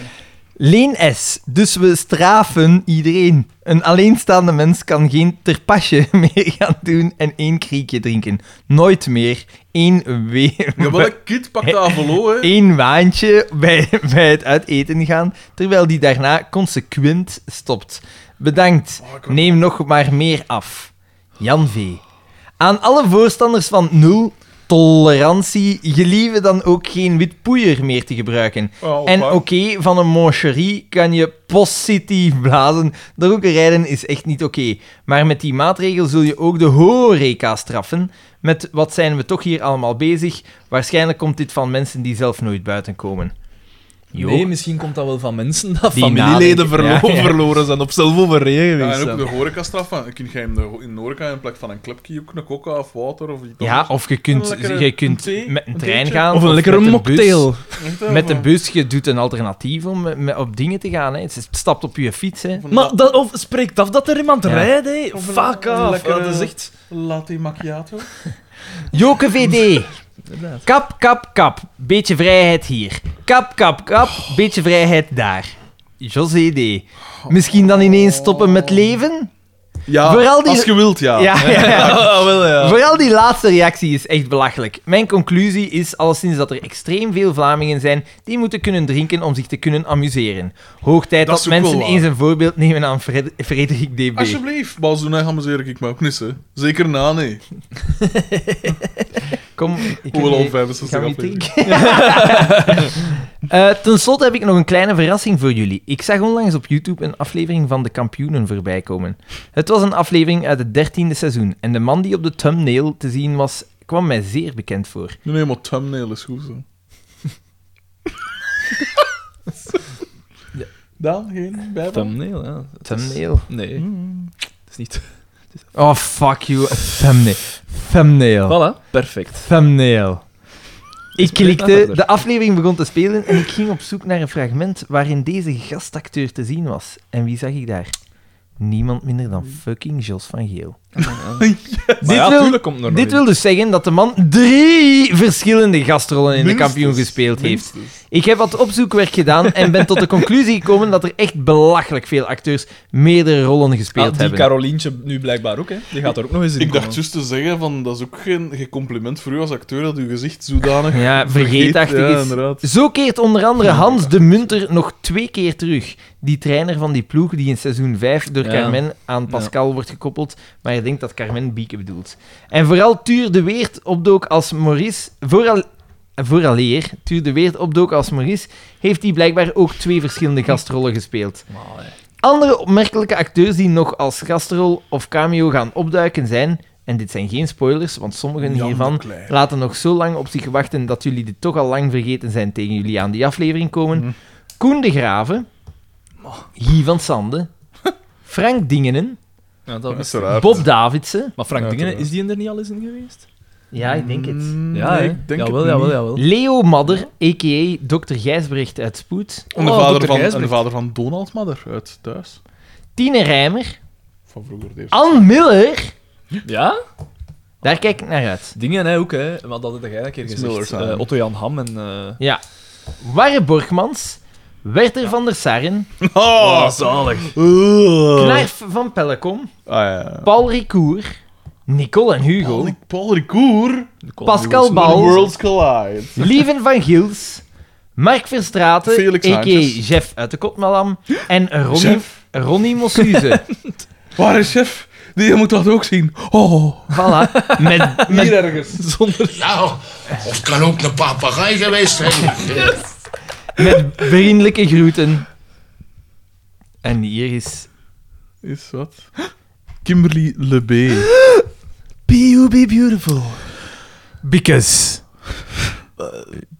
S1: Leen S. Dus we straffen iedereen. Een alleenstaande mens kan geen terpasje [LAUGHS] meer gaan doen en één kriekje drinken. Nooit meer. Eén, we- [LAUGHS]
S3: Ja, wel een kid pakt de avalo, hè.
S1: één waantje bij, bij het uiteten gaan, terwijl die daarna consequent stopt. Bedankt. Neem nog maar meer af. Jan V. Aan alle voorstanders van nul tolerantie gelieven dan ook geen wit poeier meer te gebruiken.
S3: Ja,
S1: En
S3: waar.
S1: oké, van een mancherie kan je positief blazen. Dronken rijden is echt niet oké. Maar met die maatregel zul je ook de horeca straffen. Met wat zijn we toch hier allemaal bezig? Waarschijnlijk komt dit van mensen die zelf nooit buiten komen. Jo.
S2: Nee, misschien komt dat wel van mensen dat
S1: Die
S2: familieleden
S1: nadenken,
S2: verlo-
S1: ja, ja.
S2: verloren zijn, op zelf overreden
S3: Ja,
S2: geweest
S3: en ook
S2: zijn.
S3: de horecastraf. van, Kun jij hem de- in de horeca in plek van een klepje ook een coca of water of iets
S1: Ja, of je kunt,
S3: Een lekkere
S1: je kunt
S3: thee,
S1: met een
S3: een
S1: trein
S3: theetje.
S1: gaan.
S2: Of een lekkere
S1: met bus.
S2: mocktail.
S3: anders?
S1: Met de bus, je doet een alternatief om eh, met- op dingen te gaan. Hè. Het stapt op je fiets. Hè.
S2: Maar dat, of spreekt af dat er iemand
S1: Ja.
S2: rijdt, hé.
S3: Of een- eh,
S2: Fuck
S3: een
S2: off. eh.
S3: lekkere-
S2: Dat is echt...
S3: Latte macchiato.
S1: Joke
S3: [LAUGHS]
S1: VD. Kap, kap, kap. Beetje vrijheid hier. Kap, kap, kap.
S3: Oh.
S1: Beetje vrijheid daar. José D. Misschien dan ineens stoppen met leven?
S3: Ja,
S1: Vooral die-
S3: als je wilt, ja.
S1: Ja, ja.
S2: [LAUGHS] Ah, wel,
S1: [LAUGHS]
S2: ja.
S1: Vooral die laatste reactie is echt belachelijk. Mijn conclusie is alleszins dat er extreem veel Vlamingen zijn die moeten kunnen drinken om zich te kunnen amuseren. Hoog tijd
S3: Dat
S1: dat,
S3: is ook wel
S1: mensen
S3: waar.
S1: eens een voorbeeld nemen aan Fred- Frederik DB.
S3: Alsjeblieft. Maar zo nee, gaan we zeker ik me ook niet, hè. Zeker na, nee.
S1: Kom, ik
S3: Hoewel al
S1: ik-
S3: 65
S1: ik ga
S3: afleveringen.
S1: niet [LAUGHS] denken. Eh, Ten slotte heb ik nog een kleine verrassing voor jullie. Ik zag onlangs op YouTube een aflevering van De Kampioenen voorbij komen. Het was een aflevering uit het dertiende seizoen en de man die op de thumbnail te zien was, kwam mij zeer bekend voor.
S3: Nee, nee, maar thumbnail is goed zo. Daan, geen bijbel?
S2: Thumbnail, ja. Hmm.
S1: Thumbnail?
S2: Nee. Het is niet...
S12: Oh, fuck you. Thumbnail. Thumbnail.
S2: Voilà. Oh, Perfect.
S12: Thumbnail.
S1: Ik
S12: klikte-
S1: de aflevering begon te spelen en ik ging op zoek naar een fragment waarin deze gastacteur te zien was. En wie zag ik daar? Niemand minder dan fucking Jos van Geel.
S2: Maar ja,
S1: wil-
S2: tuurlijk komt er nog
S1: Dit
S2: in.
S1: wil dus zeggen dat de man drie verschillende gastrollen in de kampioen gespeeld
S3: Dus,
S1: heeft. Ik heb wat opzoekwerk gedaan en ben tot de conclusie gekomen dat er echt belachelijk veel acteurs meerdere rollen
S2: Ah,
S1: gespeeld
S2: die
S1: hebben.
S2: Carolientje nu blijkbaar ook, hè. Die gaat er ook nog eens in
S3: Ik dacht
S2: komen.
S3: juist te zeggen, van, dat is ook geen, geen compliment voor u als acteur, dat uw gezicht zodanig
S1: Ja, vergeetachtig
S3: Ja,
S1: is.
S3: inderdaad.
S1: Zo keert onder andere Hans de Munter nog twee keer terug. Die trainer van die ploeg die in seizoen 5 door
S2: Ja.
S1: Carmen aan Pascal wordt gekoppeld. Maar je denkt dat Carmen Bieke bedoelt. En vooral Tuur de Weert opdook als Maurice. Vooral, vooraleer Tuur de Weert opdook als Maurice. Heeft hij blijkbaar ook twee verschillende gastrollen gespeeld.
S2: eh,
S1: Andere opmerkelijke acteurs die nog als gastrol of cameo gaan opduiken zijn, en dit zijn geen spoilers, want sommigen hiervan laten nog zo lang op zich wachten dat jullie dit toch al lang vergeten zijn tegen jullie aan die aflevering komen. Koen de Graven, Guy van Sande, Frank Dingenen,
S2: Ja, dat
S3: Dat is
S2: wist
S3: te
S2: ik.
S3: raar.
S1: Bob Davidsen.
S2: Maar Frank
S3: Ja,
S2: Dingen,
S3: tuurlijk.
S2: is die er niet al eens in geweest?
S1: Ja, ik denk
S3: Mm.
S1: het.
S2: Ja,
S3: nee,
S2: hè.
S3: ik denk
S2: jawel,
S3: het
S2: jawel,
S3: niet.
S2: jawel.
S1: Leo Madder, a.k.a. Dr. Gijsbrecht uit Spoed.
S3: En de,
S2: Oh,
S3: vader
S2: Dr.
S3: van, en de
S2: Gijsbrecht.
S3: vader van Donald Madder uit Thuis.
S1: Tine Rijmer,
S3: Van vroeger de eerste.
S1: Ann Miller.
S2: Ja?
S1: Daar kijk ik naar uit.
S2: Dingen, hè, ook, hè. Want dat had jij een keer
S3: Miller
S2: gezegd.
S3: samen.
S2: Eh, Otto Jan Ham en... eh
S1: Ja. Warre Borgmans, Werther van der Sarren,
S3: Oh,
S2: Oh, zalig.
S3: Eh.
S1: Knarf van Pellekom,
S3: Ah, ja, ja.
S1: Paul Ricoeur, Nicole en Hugo,
S3: Paul, Paul Ricoeur.
S1: Pascal
S3: When the
S1: Bal,
S3: Worlds Collide.
S1: Lieven van Giels, Mark Verstraten,
S3: Felix
S1: a.k.a.
S3: Sanchez.
S1: Jeff uit de Kotmalam, en Ronnie,
S3: Jeff.
S1: Ronnie
S3: [LAUGHS]
S1: Mossuze.
S3: Waar is chef? Die moet dat ook zien. Oh,
S1: voilà. Met,
S3: hier
S1: met,
S3: ergens. Zonder...
S5: Ja, of het kan ook een papegaai geweest zijn.
S1: met vriendelijke groeten. En hier is...
S3: Is wat? Kimberly Lebe.
S12: Be beautiful. Because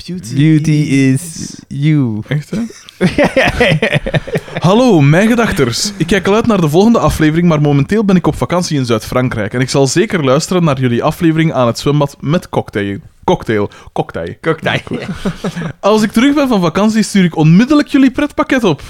S2: Beauty.
S12: beauty is you.
S3: Echt, [LAUGHS] hè? Hallo, mijn gedachters. Ik kijk al uit naar de volgende aflevering, maar momenteel ben ik op vakantie in Zuid-Frankrijk. En ik zal zeker luisteren naar jullie aflevering aan het zwembad met cocktail. Cocktail. Cocktail.
S1: Cocktail.
S3: Als ik terug ben van vakantie, stuur ik onmiddellijk jullie pretpakket op.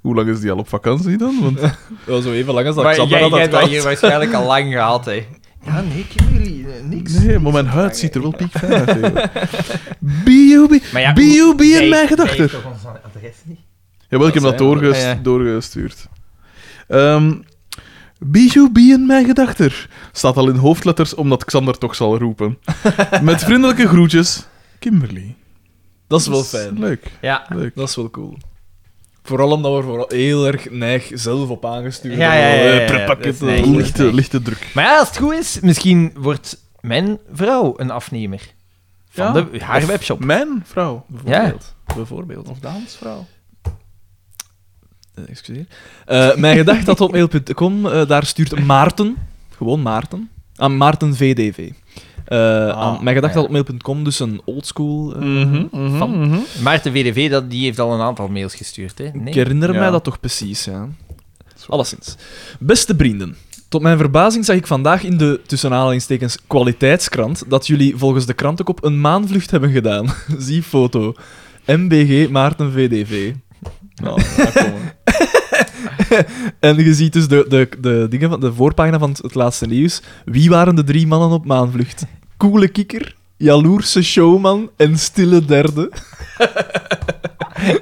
S3: Hoe lang is die al op vakantie dan? Want...
S2: [LAUGHS] Ja, zo even lang als dat
S1: Maar jij,
S2: Xander
S1: jij
S2: had
S1: hebt dat
S2: uitgehaald.
S1: hier [LAUGHS] waarschijnlijk al lang gehad, hè. Ja, nee, jullie niks.
S3: Nee, maar mijn huid ziet er wel piekfijn uit. eigenlijk.
S2: [LAUGHS]
S3: B.U.B.
S1: Maar ja,
S3: B.U.B. in
S1: Jij-
S3: mijn
S1: jij
S3: gedachten.
S1: hebt toch ons adres niet?
S3: Jawel, ik heb dat
S2: zei je,
S3: doorges-
S1: Ah, ja, ja.
S3: doorgestuurd. Ehm B.U.B. in mijn gedachten staat al in hoofdletters, omdat Xander toch
S1: [LAUGHS]
S3: zal roepen. Met vriendelijke groetjes, Kimberly.
S2: Dat is wel fijn.
S3: Leuk,
S1: Ja.
S3: leuk.
S2: Dat is wel cool. Vooral omdat we vooral heel erg neig zelf op aangestuurd
S1: Ja, ja, ja, ja, ja.
S2: Eh, pretpakket.
S1: Dat is neig,
S3: Eh,
S1: dat is
S3: lichte,
S1: neig.
S3: lichte druk.
S1: Maar ja, als het goed is, misschien wordt mijn vrouw een afnemer. Van
S3: Ja.
S1: de, haar
S3: Of
S1: webshop.
S3: Mijn vrouw,
S1: Bijvoorbeeld.
S3: bijvoorbeeld. Of Daans vrouw.
S2: Eh, excuseer. Eh, mijn gedacht dat op mail.com, eh, daar stuurt Maarten, gewoon Maarten, aan Maarten VDV. Eh,
S3: Ah,
S2: aan mijn gedacht dat op mail.com, dus een oldschool.
S3: Mm.
S2: eh,
S3: Mhm,
S2: Van-
S1: Maarten VDV, dat, die heeft al een aantal mails gestuurd, hè?
S2: Ik
S1: Nee.
S2: herinner
S3: Ja.
S2: mij dat toch precies, ja. Alleszins. Beste vrienden, tot mijn verbazing zag ik vandaag in de, tussen aanhalingstekens, kwaliteitskrant dat jullie volgens de krantenkop een maanvlucht hebben gedaan. [LAUGHS] Zie foto. MBG Maarten VDV.
S3: Nou, [LAUGHS] daar komen we.
S2: En je ziet dus de, de, de, dingen van, de voorpagina van het, het laatste nieuws. Wie waren de drie mannen op maanvlucht? Koele kikker, jaloerse showman en stille derde.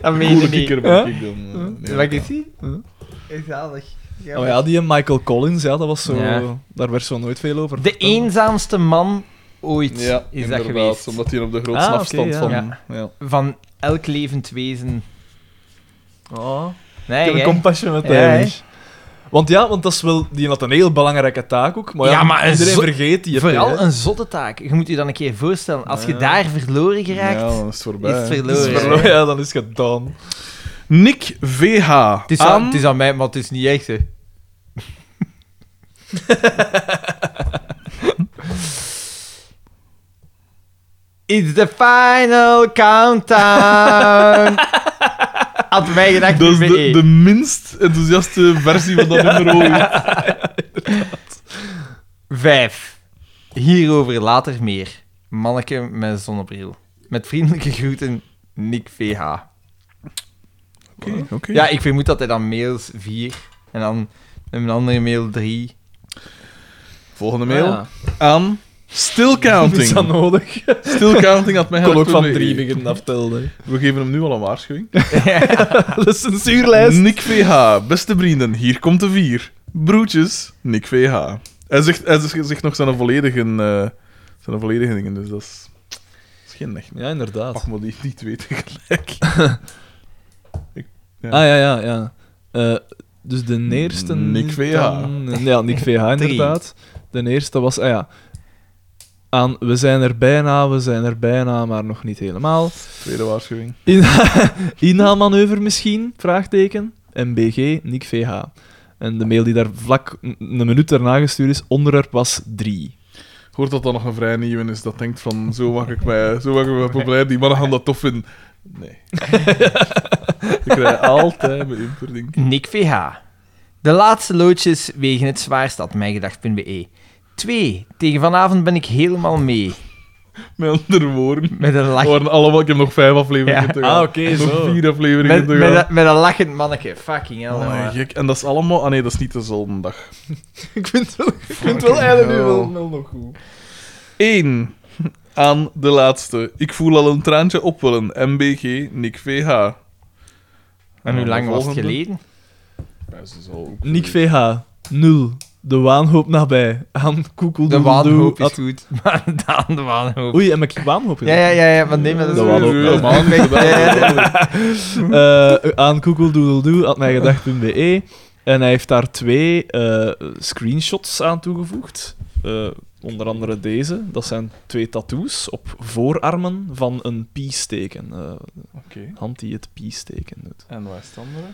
S1: dat meen
S3: Coole
S1: je niet.
S3: kikker ben ik dan. eh, nee.
S1: Wat is die? Zalig.
S2: Oh ja, die en Michael Collins, ja, dat was zo,
S1: Ja.
S2: daar werd zo nooit veel over
S1: De
S2: verteld.
S1: eenzaamste man ooit
S3: Ja,
S1: is dat
S3: inderdaad,
S1: geweest.
S3: omdat hij op de grootste
S2: Ah, oké,
S3: afstand
S2: ja.
S3: van... Ja.
S1: Van elk levend wezen.
S2: Oh.
S1: Nee,
S2: Ik heb
S3: Oh.
S1: hè?
S2: een compassion met
S1: Ja, hè?
S2: Irish. Want ja, want dat is wel, die had een heel belangrijke taak ook. Maar ja,
S1: Ja, maar een
S2: iedereen
S1: zo-
S2: vergeet die.
S1: Vooral een zotte taak. Je moet je dan een keer voorstellen. Als je daar verloren geraakt,
S3: Ja, dan is het voorbij.
S1: is het
S3: hè.
S1: verloren.
S2: Dus Ja, dan is het gedaan.
S3: Nick VH.
S1: Het is, aan,
S3: aan...
S1: het is aan mij, maar het is niet
S3: [LAUGHS]
S1: echt, hè. It's the final
S3: [LAUGHS]
S1: countdown. Had mij gedacht,
S3: Dat is
S1: nummer
S3: de,
S1: één.
S3: de minst enthousiaste versie [LAUGHS] van dat nummer ooit.
S1: Vijf. Hierover later meer. Manneke met zonnebril. Met vriendelijke groeten, Nick VH.
S3: Oké, oké.
S1: Ja, ik vermoed dat hij dan mails vier en dan een andere mail drie.
S3: Volgende mail.
S2: Ah,
S3: Aan [LAUGHS]
S2: Is dat
S3: stillcounting.
S2: nodig?
S3: Stillcounting had mij
S2: Ik kon ook van drie beginnen aftellen.
S3: We geven hem nu al een waarschuwing.
S2: Dat is een zuurlijst.
S3: Nick VH, beste vrienden, hier komt de vier. Broertjes, Nick VH. Hij zegt, hij zegt zegt nog zijn volledige, eh, zijn volledige dingen, dus dat is, dat is geen echt.
S2: Ja, inderdaad.
S3: Mag maar die niet weten
S1: [LAUGHS]
S3: gelijk.
S2: Ah ja, ja, ja. Eh, dus de eerste.
S3: Nick
S2: is
S3: VH.
S2: dan- Ja, Nick VH
S1: [LAUGHS]
S2: inderdaad. De eerste was. Ah ja. Aan we zijn er bijna, we zijn er bijna, maar nog niet helemaal.
S3: Tweede waarschuwing.
S2: In inhaalmanoeuvre misschien? Vraagteken. MBG, Nick VH. En de mail die daar vlak n- een minuut daarna gestuurd is, onderwerp was 3.
S3: Hoort dat dan nog een vrij nieuwe is dat denkt van zo mag ik mij, zo mag ik mij populair, die mannen gaan dat tof vinden.
S1: [LAUGHS]
S3: Nee. ik krijg altijd mijn imperding.
S1: Nick VH. De laatste loodjes wegen het zwaarst had mijgedacht.be. Twee. Tegen vanavond ben ik helemaal mee.
S3: Met andere woorden.
S1: Met een,
S3: We
S1: lach,
S3: waren allemaal, ik heb nog vijf afleveringen
S1: Ja. Ah,
S3: te gaan.
S2: oké,
S3: nog vier afleveringen
S1: met,
S3: te
S1: met,
S3: gaan.
S1: een- met een lachend manneke. Fucking hell.
S3: Oh,
S1: [LAUGHS] jongen.
S3: gek. En dat is allemaal... Ah nee, dat is niet dezelfde dag.
S2: ik vind het wel, ik vind het wel eigenlijk nu wel,
S3: hell.
S2: wel nog goed.
S3: Eén. [LAUGHS] Aan de laatste. Ik voel al een traantje opwellen. MBG, Nick VH.
S1: en hoe lang was het
S3: Volgende.
S1: geleden?
S3: Ja, ze zal ook-
S2: Nick VH, 0. De waanhoop nabij. Aan
S1: De waanhoop is
S2: koekeldoedeldoe.
S1: goed. [LAUGHS] Maar Daan, de waanhoop.
S2: Oei, heb ik waanhoop
S1: Ja,
S2: gedaan?
S1: ja, ja, ja, maar nee, maar dat is...
S2: De waanhoop.
S3: Ja, [LAUGHS] maar aan de-
S2: Eh, aan koekeldoedeldoe had mij gedacht.be. En hij heeft daar twee eh, screenshots aan toegevoegd. Eh, onder andere deze. Dat zijn twee tattoos op voorarmen van een peace-teken. Eh,
S3: Oké.
S2: hand die het peace-teken doet.
S3: En waar is het andere?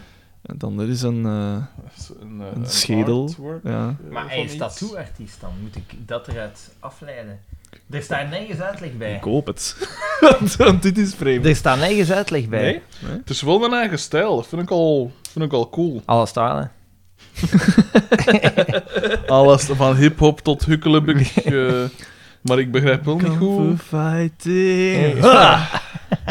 S2: En dan er is een... eh,
S3: Dat is Een, eh,
S2: Een schedel.
S3: artwork,
S2: ja.
S3: eh,
S1: [LAUGHS] Maar hij
S3: van
S1: is
S3: iets.
S1: tattooartiest dan, moet ik dat eruit afleiden? Er staat nergens uitleg bij.
S2: Ik hoop het. [LAUGHS] want, want dit is vreemd.
S1: Er staat nergens uitleg bij.
S3: Nee? Het is wel mijn eigen stijl. Dat vind ik al, vind ik al cool.
S1: Alles talen.
S3: Alles van hip-hop tot hukkelebukkig. eh maar ik begrijp wel niet goed.
S2: fighting.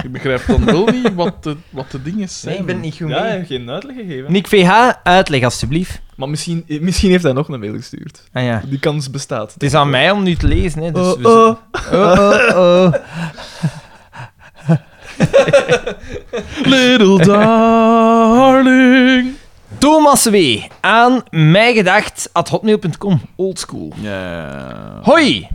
S3: Ik begrijp dan wel niet wat de, wat de dingen zijn.
S1: Nee, ik ben het niet goed
S2: Ja, hij
S1: mee.
S2: heeft geen uitleg gegeven.
S1: Nick VH, uitleg alstublieft.
S2: Maar misschien, eh, misschien heeft hij nog een mail gestuurd.
S1: Ah ja.
S2: Die kans bestaat.
S1: Het is aan mij om nu te lezen, hè. Dus
S2: Oh,
S1: we z-
S2: oh.
S1: Oh, oh, oh.
S3: Little darling.
S1: Thomas W. aan mijgedacht.hotmail.com. Oldschool.
S3: Ja.
S1: Hoi!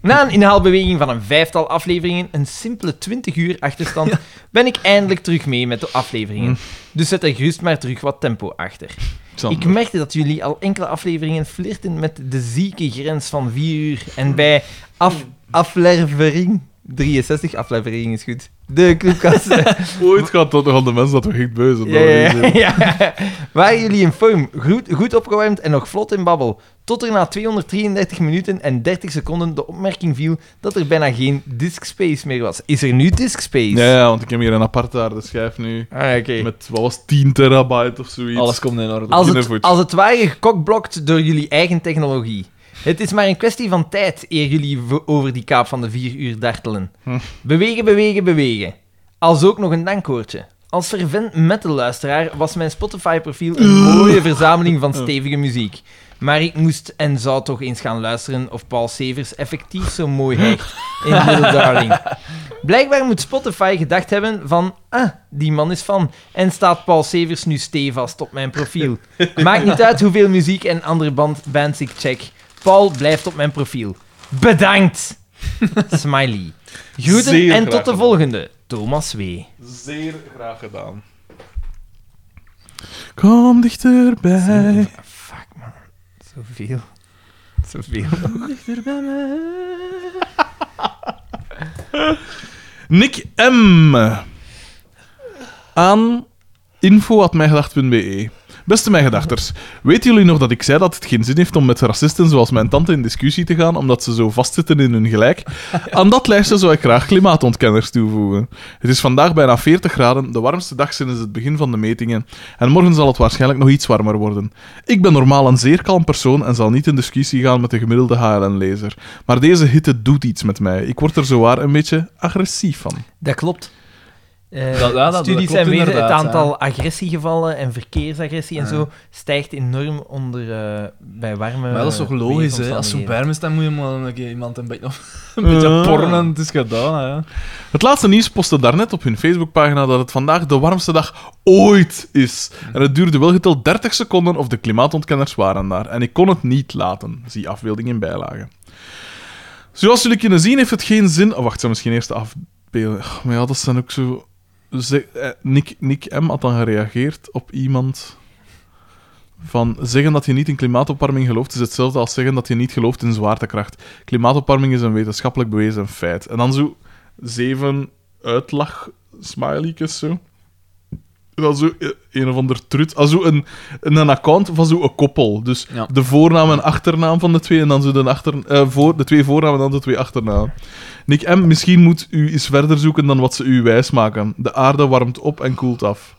S1: Na een inhaalbeweging van een vijftal afleveringen, een simpele 20 uur achterstand, ben ik eindelijk terug mee met de afleveringen. Dus zet er gerust maar terug wat tempo achter. Ik merkte dat jullie al enkele afleveringen flirten met de zieke grens van 4 uur. En bij af, aflevering 63, aflevering is goed, de koelkast.
S3: Ooit gaat dat nog aan de mensen dat we echt beu zijn.
S1: ja, ja, [LAUGHS] ja, ja. Waren jullie in foam, goed, goed opgewarmd en nog vlot in babbel. Tot er na 233 minuten en 30 seconden de opmerking viel dat er bijna geen disk space meer was. Is er nu disk space?
S3: Ja, ja, want ik heb hier een aparte harde schijf nu.
S1: Ah, oké.
S3: Met, wat was het, 10 terabyte of zoiets.
S2: eh. Alles komt in orde.
S1: Als het,
S3: Kindervoet.
S1: als het ware gekokblokt door jullie eigen technologie. Het is maar een kwestie van tijd eer jullie vo- over die kaap van de vier uur dartelen. Bewegen, bewegen, bewegen. Als ook nog een dankwoordje. Als fervent metalluisteraar was mijn Spotify-profiel een mooie verzameling van stevige muziek. Maar ik moest en zou toch eens gaan luisteren of Paul Severs effectief zo mooi hecht in Little Darling. Blijkbaar moet Spotify gedacht hebben van... Ah, die man is van. En staat Paul Severs nu stevast op mijn profiel.
S2: [LAUGHS]
S1: Maakt niet uit hoeveel muziek en andere band, bands ik check. Paul blijft op mijn profiel.
S2: [LAUGHS]
S1: Bedankt! Smiley. Groeten
S3: Zeer
S1: en
S3: graag
S1: tot de
S3: gedaan.
S1: volgende. Thomas W.
S3: Zeer graag gedaan. Kom dichterbij.
S1: Fuck. Zoveel. Zoveel.
S3: Nick M. Aan info.mijgedacht.be. E. Beste mijgedachters, weten jullie nog dat ik zei dat het geen zin heeft om met racisten zoals mijn tante in discussie te gaan, omdat ze zo vastzitten in hun gelijk? Aan dat lijstje zou ik graag klimaatontkenners toevoegen. Het is vandaag bijna 40 graden, de warmste dag sinds het begin van de metingen, en morgen zal het waarschijnlijk nog iets warmer worden. Ik ben normaal een zeer kalm persoon en zal niet in discussie gaan met de gemiddelde HLN-lezer. Maar deze hitte doet iets met mij. Ik word er zowaar een beetje agressief van.
S1: Dat klopt. Eh,
S2: Dat- ja, dat- dat
S1: studies
S2: klopt
S1: en weer het
S2: inderdaad,
S1: aantal agressiegevallen en verkeersagressie en zo stijgt enorm onder, eh, bij warme
S2: Maar dat is toch logisch, hè? Als zo
S1: weersomstandigheden.
S2: warm is, dan moet je maar een keer iemand een beetje, [LAUGHS] een beetje
S3: Ah.
S2: pornen en het is gedaan, hè.
S3: Het laatste nieuws postte daarnet op hun Facebookpagina dat het vandaag de warmste dag ooit is. En het duurde wel geteld 30 seconden of de klimaatontkenners waren daar. En ik kon het niet laten. Zie afbeelding in bijlage. Zoals jullie kunnen zien heeft het geen zin... Oh, wacht, zou misschien eerst de afbeelding... Oh, maar ja, dat zijn ook zo... Ze- eh, Nick, Nick M. had dan gereageerd op iemand... Van zeggen dat je niet in klimaatopwarming gelooft is hetzelfde als zeggen dat je niet gelooft in zwaartekracht. Klimaatopwarming is een wetenschappelijk bewezen feit. En dan zo zeven uitlach smiley's zo. En dan zo eh, een of ander trut. Ah, zo een, een een account van zo'n koppel. Dus
S2: Ja.
S3: de voornaam en achternaam van de twee. En dan zo de, achter, eh, voor, de twee voornamen en dan de twee achternaam. Nick M., misschien moet u eens verder zoeken dan wat ze u wijsmaken. De aarde warmt op en koelt af.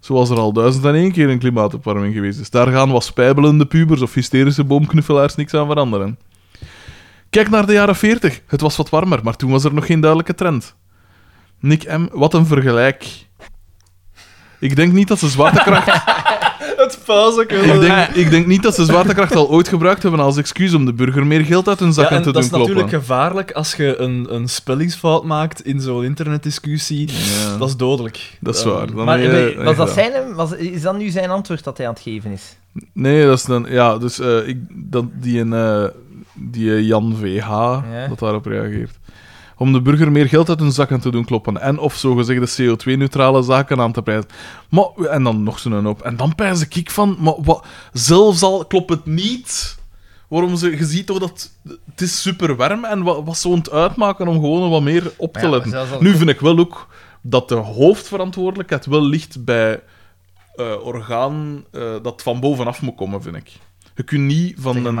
S3: Zoals er al duizend en één keer een klimaatopwarming geweest is. Daar gaan wat spijbelende pubers of hysterische boomknuffelaars niks aan veranderen. Kijk naar de jaren 40. Het was wat warmer, maar toen was er nog geen duidelijke trend. Nick M., wat een vergelijk. Ik denk niet dat ze
S2: [LAUGHS]
S3: zwaartekracht...
S2: Het pauzeke.
S3: ik, denk, ik denk niet dat ze zwaartekracht al ooit gebruikt hebben als excuus om de burger meer geld uit hun
S2: Ja,
S3: zakken
S2: en
S3: te
S2: dat is
S3: doen kloppen.
S2: natuurlijk gevaarlijk als je een, een spellingsfout maakt in zo'n internetdiscussie.
S3: Ja.
S2: Dat is dodelijk.
S3: Dat is
S2: Ehm,
S3: waar. Dan
S1: Maar
S3: heb je-
S1: was dat
S3: ja.
S1: zijn, was, is dat nu zijn antwoord dat hij aan het geven is?
S3: Nee, dat is dan... Ja, dus eh, ik, dat, die, een, eh, die eh, Jan VH, dat daarop reageert. Om de burger meer geld uit hun zakken te doen kloppen. En of zogezegde CO2-neutrale zaken aan te prijzen. Maar, en dan nog zo'n op. En dan pijs ik van... Maar wat, zelfs al klopt het niet... Waarom ze... Je ziet toch dat... Het is super warm. En wat, wat zou het uitmaken om gewoon wat meer op te letten? Nu vind ik wel ook dat de hoofdverantwoordelijkheid wel ligt bij eh, orgaan eh, dat van bovenaf moet komen, vind ik. Je kunt niet van een...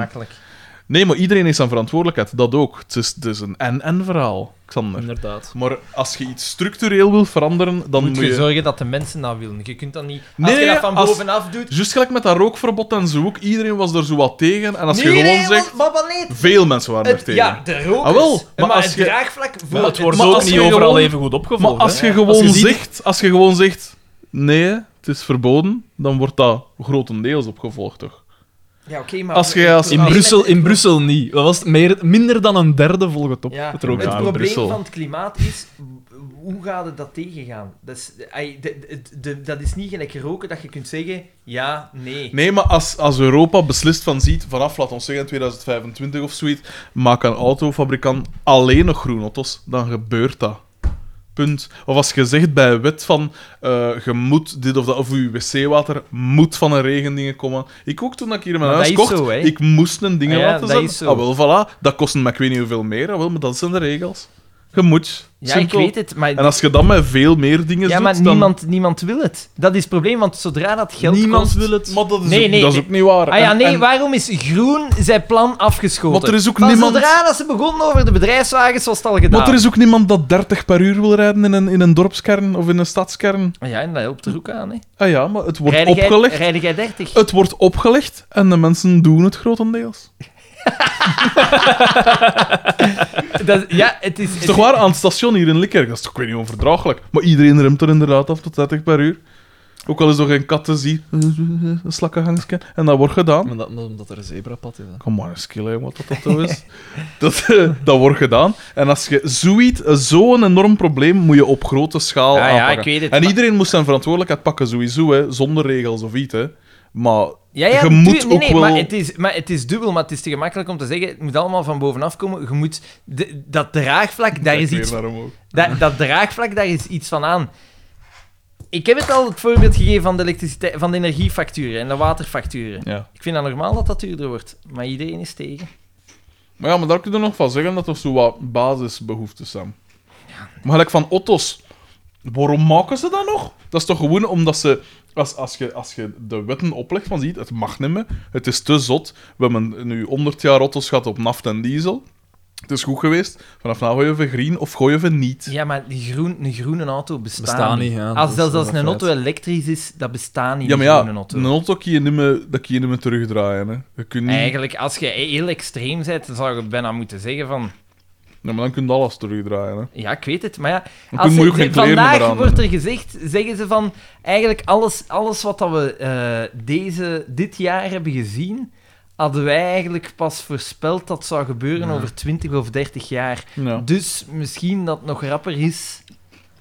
S3: Nee, maar iedereen is aan verantwoordelijkheid. Dat ook. Het is, het is een en-en verhaal, Xander.
S2: Inderdaad.
S3: Maar als je iets structureel wil veranderen, dan
S1: Moet
S3: moet
S1: je
S3: je...
S1: zorgen dat de mensen dat willen. Je kunt dat niet...
S3: Nee,
S1: als je dat van
S3: als-
S1: bovenaf doet...
S3: Juist gelijk met dat rookverbod en zo ook. Iedereen was er zo wat tegen. En als je
S1: Nee,
S3: gewoon
S1: nee,
S3: zegt...
S1: want- maar wel niet.
S3: Veel mensen waren er
S1: Het,
S3: tegen.
S1: ja, de rook
S3: Ah, wel,
S1: maar,
S3: maar als
S1: het
S3: je-
S1: draagvlak voor
S2: Maar het wordt
S3: Maar
S2: ook
S3: als
S2: niet
S3: je
S2: overal
S3: gewoon-
S2: even goed
S3: Maar
S2: opgevolgd.
S3: als
S2: hè.
S3: je, gewoon
S2: je ziet-
S3: zegt, als je gewoon zegt... Nee, het is verboden. Dan wordt dat grotendeels opgevolgd, toch?
S1: Ja, oké, maar...
S3: Als je als...
S2: In, Brussel, in Brussel niet. Dat was het meer, minder dan een derde volg het op.
S1: Ja,
S2: het
S1: het,
S2: rook.
S3: Ja, in
S1: probleem
S3: Brussel.
S1: van het klimaat is, w- hoe gaat het dat tegengaan? Dat is, ai, de- de- de- dat is niet gelijk roken dat je kunt zeggen, ja, nee.
S3: Nee, maar als, als Europa beslist van ziet, vanaf, laat ons zeggen, 2025 of zoiets, maak een autofabrikant alleen nog groen auto's, dan gebeurt dat. Punt. Of als je zegt bij wet van, eh, je moet dit of dat, of je wc-water moet van een regendingen komen. Ik ook toen ik hier mijn
S1: Maar
S3: huis
S1: dat is
S3: kocht,
S1: zo, hè?
S3: ik moest een ding
S1: Ah ja,
S3: laten
S1: dat
S3: zetten.
S1: is zo.
S3: Ah, wel, voilà. Dat kost me, ik weet niet hoeveel meer, ah, wel, maar dat zijn de regels. Je moet.
S1: Ja,
S3: Simpel.
S1: ik weet het, maar...
S3: En als je dan met veel meer dingen
S1: ja,
S3: doet,
S1: maar
S3: dan...
S1: niemand, niemand wil het. Dat is het probleem, want zodra dat geld
S2: Niemand
S1: kost...
S2: wil het.
S3: Maar dat is,
S1: Nee,
S3: ook,
S1: nee,
S3: dat is
S1: nee.
S3: ook niet waar.
S1: Ah ja,
S3: En-
S1: nee,
S3: en-
S1: waarom is groen zijn plan afgeschoten?
S3: Want er is ook
S1: Van
S3: niemand-
S1: zodra dat ze begonnen over de bedrijfswagens, was het al gedaan.
S3: Maar er is ook niemand dat 30 per uur wil rijden in een, in een dorpskern of in een stadskern.
S1: Ah Ja, en dat helpt er ook aan, hè.
S3: Ah ja, maar het wordt
S1: Rijden jij-
S3: opgelegd.
S1: rijden jij 30?
S3: Het wordt opgelegd en de mensen doen het grotendeels.
S1: [LAUGHS] Dat, ja, het is...
S3: Is toch waar? Aan het station hier in Likkerk, dat is toch ik weet niet onverdraaglijk. Maar iedereen remt er inderdaad af tot 30 per uur. Ook al is er geen kat te zien, een slakkengangske. En dat wordt gedaan.
S2: Maar dat, omdat er een zebrapad is. hè.
S3: Kom maar, een skill, hè, wat dat dat zo is. [LAUGHS] dat, eh, dat wordt gedaan. En als je zoiets, eh, zo'n enorm probleem, moet je op grote schaal
S1: Ah ja,
S3: aanpakken.
S1: ik weet het,
S3: en
S1: maar-
S3: iedereen moest zijn verantwoordelijkheid pakken, sowieso, hè, zonder regels of iets. Hè. Maar
S1: Ja, ja,
S3: je
S1: natuurlijk.
S3: moet
S1: nee,
S3: ook
S1: nee,
S3: wel...
S1: maar, het is, maar het is dubbel, maar het is te gemakkelijk om te zeggen, het moet allemaal van bovenaf komen. Je moet... de- dat draagvlak, daar is
S3: Kijk
S1: iets...
S3: weer naar omhoog.
S1: Dat, dat draagvlak, daar is iets van aan. Ik heb het al het voorbeeld gegeven van de, elektriciteit, van de energiefacturen en de waterfacturen.
S3: Ja.
S1: Ik vind dat normaal dat dat duurder wordt, maar iedereen is tegen.
S3: Maar ja, maar daar kun je nog van zeggen dat er zo wat basisbehoeftes zijn. Maar gelijk van auto's. Waarom maken ze dat nog? Dat is toch gewoon omdat ze... Als, als, je, als je de wetten oplegt van ziet, het mag niet meer, het is te zot. We hebben nu 100 jaar auto's gehad op naft en diesel. Het is goed geweest. Vanaf nou nu gooien we green of gooien we niet.
S1: Ja, maar die groen, een groene auto bestaat
S2: Bestaan
S1: niet.
S2: niet, ja, dat
S1: als,
S2: is
S1: zelfs als
S2: wel
S1: een
S2: een
S1: auto elektrisch is, dat bestaat niet,
S3: Ja, maar
S1: een
S3: ja,
S1: groene auto.
S3: een auto kun je niet meer, dat kun je niet meer terugdraaien. Hè. Je kunt niet,
S1: Eigenlijk, als je heel extreem bent, dan zou je bijna moeten zeggen van...
S3: Ja, maar dan kun je alles terugdraaien. Hè.
S1: Ja, ik weet het, maar ja...
S3: Dan
S1: Als
S3: moet je
S1: ze-
S3: ook geen kleren meer
S1: vandaag
S3: aan
S1: wordt er gezegd, zeggen ze van... Eigenlijk alles, alles wat dat we eh, deze, dit jaar hebben gezien... hadden wij eigenlijk pas voorspeld dat zou gebeuren over 20 of 30 jaar.
S3: Ja.
S1: Dus misschien dat het nog rapper is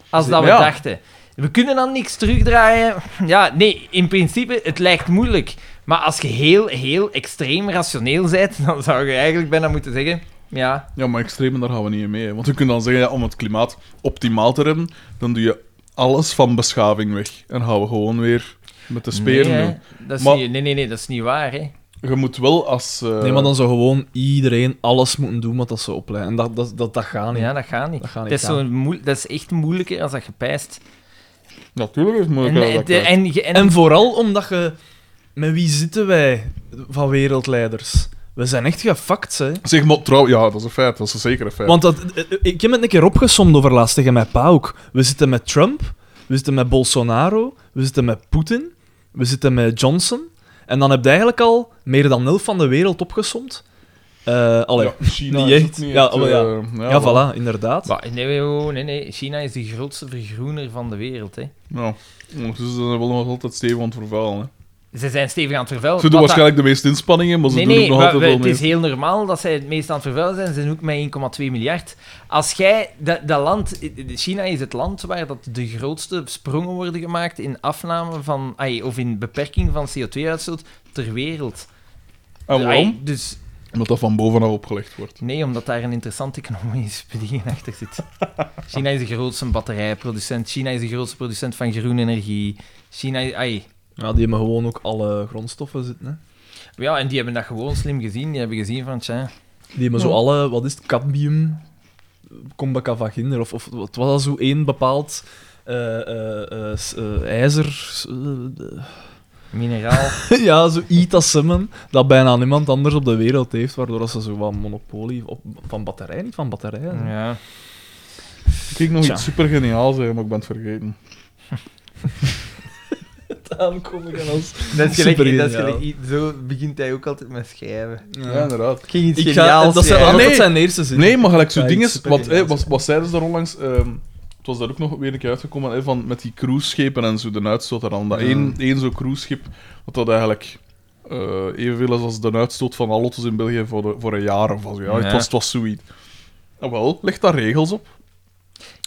S1: als dat we
S3: Ja.
S1: dachten. We kunnen dan niks terugdraaien. Ja, nee, in principe, het lijkt moeilijk. Maar als je heel, heel extreem rationeel bent, [LAUGHS] dan zou je eigenlijk bijna moeten zeggen... Ja,
S3: Ja, maar extremen, daar gaan we niet in mee. hè. Want je kunt dan zeggen, ja, om het klimaat optimaal te hebben, dan doe je alles van beschaving weg. En gaan we gewoon weer met de speer
S1: nee, hè,
S3: doen.
S1: dat is
S3: Maar-
S1: niet, nee, nee, nee, dat is niet waar, hè.
S3: Je moet wel als... eh,
S2: Nee, maar dan zou gewoon iedereen alles moeten doen wat dat ze opleiden. En dat, dat, dat, dat gaat niet.
S1: Ja, dat gaat niet.
S2: Dat
S1: Dat,
S2: gaat niet
S1: is, zo moe- dat is echt moeilijker als dat gepijst.
S3: Natuurlijk is het
S1: En,
S3: moeilijk. als
S1: de,
S3: dat krijgt.
S1: en, ge- en,
S2: En vooral omdat je... Met wie zitten wij van wereldleiders? We zijn echt gefakt, hè.
S3: Zeg maar, trouw, ja, dat is een feit. Dat is een zekere feit.
S2: Want dat, eh, eh, ik heb het een keer opgesomd over laatst tegen mijn pa ook. We zitten met Trump, we zitten met Bolsonaro, we zitten met Poetin, we zitten met Johnson. En dan heb je eigenlijk al meer dan elf van de wereld opgesomd. Eh allee,
S3: ja, China
S2: niet
S3: is ook
S2: echt. Ja,
S3: echt,
S2: oh, ja.
S3: eh,
S2: ja,
S3: ja, wel.
S2: voilà, inderdaad.
S1: Wa- nee, oh, nee, nee, China is de grootste vergroener van de wereld, hè.
S3: Ja. Ondertussen zijn ze wel nog altijd stevig aan het vervuilen. hè.
S1: Ze zijn stevig aan het vervuilen.
S3: Ze doen
S1: wat dat-
S3: waarschijnlijk de meeste inspanningen, maar ze
S1: nee,
S3: doen
S1: nee,
S3: ook nog
S1: wa-
S3: altijd
S1: wa-
S3: wel
S1: het
S3: mee.
S1: is heel normaal dat zij het meest aan het vervuilen zijn. Ze zijn ook met 1,2 miljard. Als jij dat, dat land... China is het land waar dat de grootste sprongen worden gemaakt in afname van... ai, of in beperking van CO2-uitstoot ter wereld.
S3: En waarom?
S1: Ai, dus
S3: Omdat dat van bovenaf opgelegd wordt.
S1: Nee, omdat daar een interessante economische bediening achter zit. China is de grootste batterijproducent. China is de grootste producent van groene energie. China is... ai.
S2: Ja, die hebben gewoon ook alle grondstoffen zitten. Hè.
S1: Ja, en die hebben dat gewoon slim gezien. Die hebben gezien van, tja...
S2: Die hebben zo alle, wat is het, cadmium, combacavaginder, of, of wat was dat zo één bepaald eh, eh, eh, s- eh, ijzer... eh,
S1: Mineraal.
S2: [LAUGHS] ja, zo itasummen dat bijna niemand anders op de wereld heeft, waardoor dat ze zo wat monopolie op, van batterijen, niet van batterijen.
S1: ja.
S3: Ik kreeg nog
S2: Tja.
S3: iets super geniaals, hè, maar ik ben het vergeten.
S2: Aankomen als...
S1: Dat is gelijk,
S2: Super
S1: dat is
S2: geniaal.
S1: gelijk- zo begint hij ook altijd met schrijven.
S3: Ja, inderdaad.
S1: Ging iets
S2: Ik ga,
S1: geniaals
S2: dat zijn,
S3: ja.
S2: dat
S3: Ah, nee.
S2: zijn eerste zin.
S3: Nee, maar gelijk zo'n
S2: Ja,
S3: ding
S2: iets
S3: is... Wat,
S2: supergeniaals.
S3: eh, was, was zeiden ze daar onlangs... ehm, het was daar ook nog weer een keer uitgekomen, hè, van met die cruiseschepen en zo, de uitstoot daarvan. Dat één, één zo'n cruiseschip, dat dat eigenlijk eh evenveel is als de uitstoot van alle auto's in België voor, de- voor een jaar of zo. Ja,
S1: Ja.
S3: Het, was, het was zoiets. Ah, wel, leg daar regels op.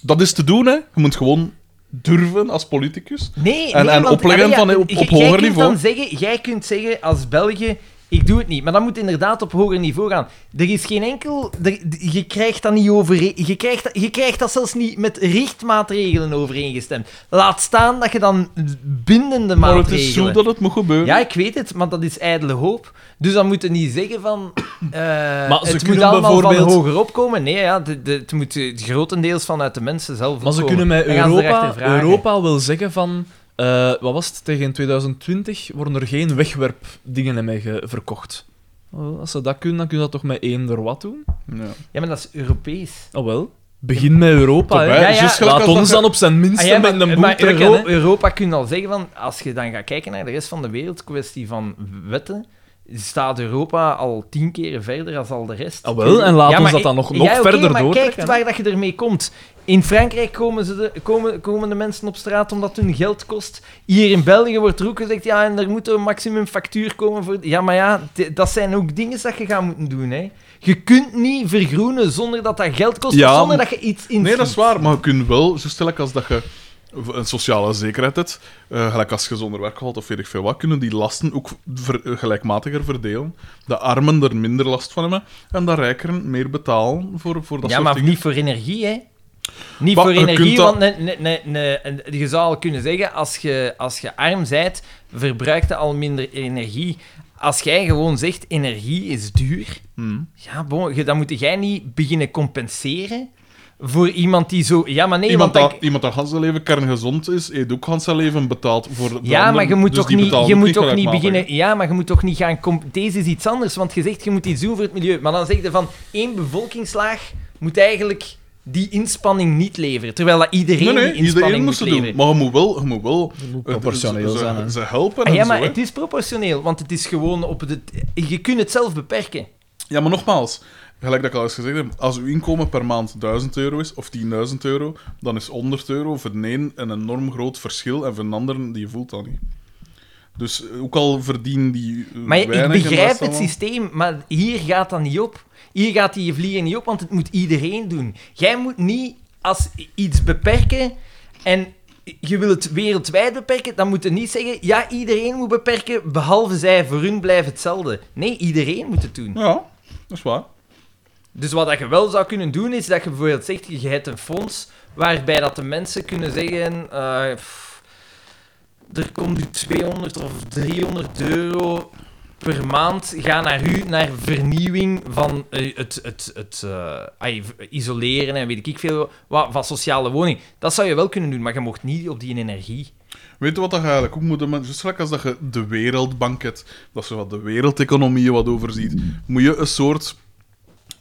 S3: Dat is te doen, hè. Je moet gewoon durven als politicus.
S1: Nee,
S3: En-
S1: nee,
S3: en
S1: want-
S3: opleggen
S1: ah, maar
S3: van, hè, op-
S1: j-
S3: op
S1: jij
S3: hoger
S1: kunt
S3: niveau.
S1: Dan zeggen, jij kunt zeggen als België, ik doe het niet. Maar dat moet inderdaad op hoger niveau gaan. Er is geen enkel... er- d- je krijgt dat niet over... Je krijgt, dat- je krijgt dat zelfs niet met richtmaatregelen overeengestemd. Laat staan dat je dan bindende
S3: Maar het
S1: maatregelen...
S3: is zo dat het moet gebeuren.
S1: Ja, ik weet het, maar dat is ijdele hoop. Dus dan moeten niet zeggen van... [CLEARS THROAT] eh,
S2: ze
S1: het moet
S2: kunnen
S1: allemaal van
S2: bijvoorbeeld-
S1: hoger opkomen. Nee, ja, de, de- het moet eh, grotendeels vanuit de mensen zelf
S2: Maar ze
S1: opkomen.
S2: kunnen met
S1: Dan gaan ze
S2: Europa,
S1: erachter vragen.
S2: Europa wil zeggen van... eh, wat was het? Tegen 2020 worden er geen wegwerpdingen meer ge- verkocht. Oh, Als ze dat kunnen, dan kun je dat toch met één er wat doen?
S3: Ja.
S1: Ja, maar dat is Europees.
S2: Oh wel. Begin met
S3: Top,
S2: Europa, hè.
S3: hè.
S1: Ja, ja.
S3: Juist gelijk
S2: Laat
S3: als
S2: ons
S3: dat
S2: dan op zijn minst
S1: Ah, ja,
S2: met een boel
S1: maar
S2: trekken,
S1: Euro-
S2: hè.
S1: Europa kun je al zeggen van, als je dan gaat kijken naar de rest van de wereld, kwestie van wetten, staat Europa al tien keer verder als al de rest.
S2: Ah, wel, en laat
S1: Ja,
S2: ons
S1: maar
S2: dat
S1: ik-
S2: dan nog,
S1: ja,
S2: nog
S1: oké,
S2: verder
S1: maar
S2: doortrekken.
S1: kijk waar dat je ermee komt. In Frankrijk komen, ze de, komen, komen de mensen op straat omdat het hun geld kost. Hier in België wordt er ook gezegd, ja, en er moet een maximum factuur komen voor... Ja, maar ja, t- dat zijn ook dingen dat je gaat moeten doen, hè. Je kunt niet vergroenen zonder dat dat geld kost,
S3: Ja,
S1: of zonder
S3: maar-
S1: dat je iets in.
S3: Nee, dat is waar, maar je kunt wel, zo stel ik als dat je een sociale zekerheid hebt, eh, gelijk als je zonder werk valt of weet ik veel wat, kunnen die lasten ook ver- eh, gelijkmatiger verdelen. De armen er minder last van hebben en de rijkeren meer betalen voor, voor dat
S1: Ja,
S3: soort
S1: maar
S3: dingen.
S1: niet voor energie, hè. Niet
S3: Maar
S1: voor
S3: je
S1: energie,
S3: kunt dat-
S1: want ne, ne, ne, ne- en je zou al kunnen zeggen, als je, als je arm zijt, verbruikt je al minder energie. Als jij gewoon zegt, energie is duur,
S3: Hmm.
S1: ja, bon, je- dan moet jij niet beginnen compenseren voor iemand die zo... Ja, maar nee,
S3: iemand,
S1: want
S3: dat,
S1: dan-
S3: iemand dat gans zijn leven kerngezond is, heeft ook gans zijn leven betaald voor de
S1: Ja,
S3: anderen,
S1: maar je moet
S3: dus
S1: toch
S3: die
S1: niet,
S3: betalen
S1: je
S3: ook
S1: moet toch niet
S3: gelijkmatig.
S1: beginnen. Ja, maar je moet toch niet gaan. comp- Deze is iets anders, want je zegt je moet iets doen voor het milieu. Maar dan zeg je van één bevolkingslaag moet eigenlijk die inspanning niet leveren. Terwijl dat iedereen
S3: Nee, nee,
S1: die inspanning
S3: iedereen
S1: moet
S3: moest het doen.
S1: leveren.
S3: Maar je moet wel... Je moet wel eh,
S13: proportioneel
S3: ze- ze-
S13: zijn, hè.
S3: Ze helpen
S1: Ah,
S3: en
S1: ja,
S3: zo,
S1: maar
S3: hè.
S1: het is proportioneel, want het is gewoon op de. Je kunt het zelf beperken.
S3: Ja, maar nogmaals, gelijk dat ik al eens gezegd heb, als uw inkomen per maand 1000 euro is of 10.000 euro, dan is 100 euro voor de een een enorm groot verschil en voor de ander die voelt dat niet. Dus eh, ook al verdient die. eh,
S1: Maar je- ik
S3: weinig en dat
S1: begrijp
S3: is
S1: het
S3: allemaal-
S1: systeem, maar hier gaat dat niet op. Hier gaat die vlieger niet op, want het moet iedereen doen. Jij moet niet als iets beperken en je wil het wereldwijd beperken, dan moet je niet zeggen, ja, iedereen moet beperken, behalve zij, voor hun blijft hetzelfde. Nee, iedereen moet het doen.
S3: Ja, dat is waar.
S1: Dus wat dat je wel zou kunnen doen, is dat je bijvoorbeeld zegt, je hebt een fonds waarbij dat de mensen kunnen zeggen, eh, pff, er komt u 200 of 300 euro per maand gaan naar u, naar vernieuwing van eh, het, het, het eh, ai, v- isoleren en weet ik veel, wat, van sociale woning. Dat zou je wel kunnen doen, maar je mocht niet op die energie.
S3: Weet je wat dat je eigenlijk ook moet doen? Juist gelijk als dat je de wereldbank hebt, dat ze wat de wereldeconomie wat overziet, moet je een soort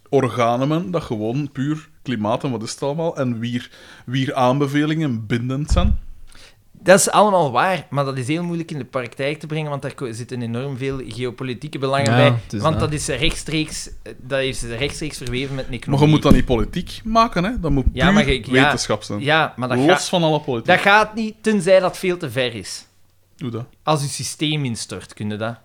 S3: orgaan hebben dat gewoon puur klimaat en wat is het allemaal, en wier, wier aanbevelingen bindend zijn.
S1: Dat is allemaal waar, maar dat is heel moeilijk in de praktijk te brengen, want daar ko- zitten enorm veel geopolitieke belangen
S13: Ja,
S1: bij.
S13: het is
S1: Want
S13: dat.
S1: dat is rechtstreeks, dat is rechtstreeks verweven met een
S3: Maar
S1: economie.
S3: je moet dat niet politiek maken, hè? Dat moet puur
S1: Ja, maar ik- ja.
S3: wetenschap zijn.
S1: Ja, maar dat,
S3: Los
S1: gaat-
S3: van alle politiek.
S1: dat gaat niet, tenzij dat veel te ver is.
S3: Doe dat.
S1: Als je systeem instort, kun je dat.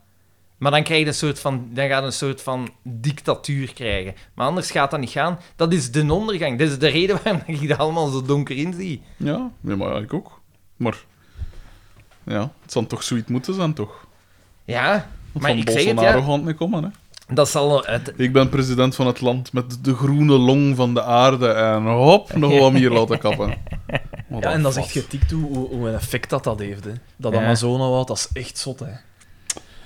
S1: Maar dan, krijg je een soort van, dan gaat een soort van dictatuur krijgen. Maar anders gaat dat niet gaan. Dat is de ondergang. Dat is de reden waarom ik dat allemaal zo donker in zie.
S3: Ja, nee, maar ja, ik ook. Maar ja, het zal toch zoiets moeten zijn, toch?
S1: Ja,
S3: Want
S1: maar
S3: van
S1: ik zeg het,
S3: Bolsonaro
S1: ja.
S3: gaat het niet komen, hè?
S1: Dat zal... Het,
S3: Ik ben president van het land met de groene long van de aarde en hop, nog wat meer laten
S1: [LAUGHS]
S3: kappen. Wat
S2: Ja, en
S3: een
S2: dat is echt
S3: vat.
S2: getikt hoe, hoe, hoe een effect dat dat heeft. Hè. Dat
S1: Ja.
S2: Amazonewoud, dat is echt zot. Hè.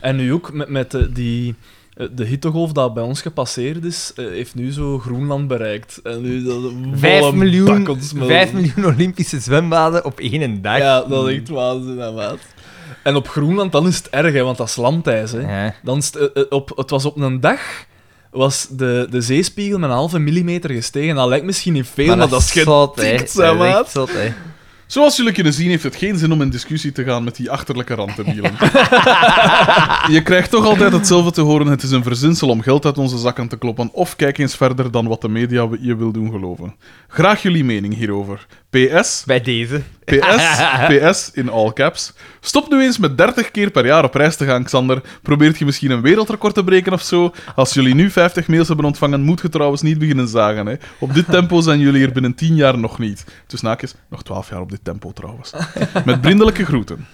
S2: En nu ook met, met eh, die, eh, de hittegolf dat bij ons gepasseerd is, eh, heeft nu zo Groenland bereikt. En nu dat een
S1: 5
S2: volle
S1: miljoen,
S2: bak ontsmelten.
S1: 5 miljoen Olympische zwembaden op één dag.
S2: Ja, dat is echt waanzin, hè, maat. En op Groenland, dan is het erg, hè, want dat is landijs. Hè.
S1: Ja.
S2: Dan is het, eh, eh, op, het was op een dag was de, de zeespiegel met een halve millimeter gestiegen. Dat lijkt misschien niet veel, maar, dat, is getikt,
S1: zot, hè.
S2: hè,
S1: Dat is
S2: maat.
S1: echt zot, hè.
S3: Zoals jullie kunnen zien, heeft het geen zin om in discussie te gaan met die achterlijke randdebielen. Je krijgt toch altijd hetzelfde te horen: het is een verzinsel om geld uit onze zakken te kloppen. Of kijk eens verder dan wat de media je wil doen geloven. Graag jullie mening hierover. PS,
S1: Bij deze.
S3: PS, [LAUGHS] PS in all caps. Stop nu eens met 30 keer per jaar op reis te gaan, Xander. Probeert je misschien een wereldrecord te breken of zo? Als jullie nu 50 mails hebben ontvangen, moet je trouwens niet beginnen zagen. Hè. Op dit tempo zijn jullie er binnen 10 jaar nog niet. Dus naakjes, nog 12 jaar op dit tempo trouwens. Met vriendelijke groeten.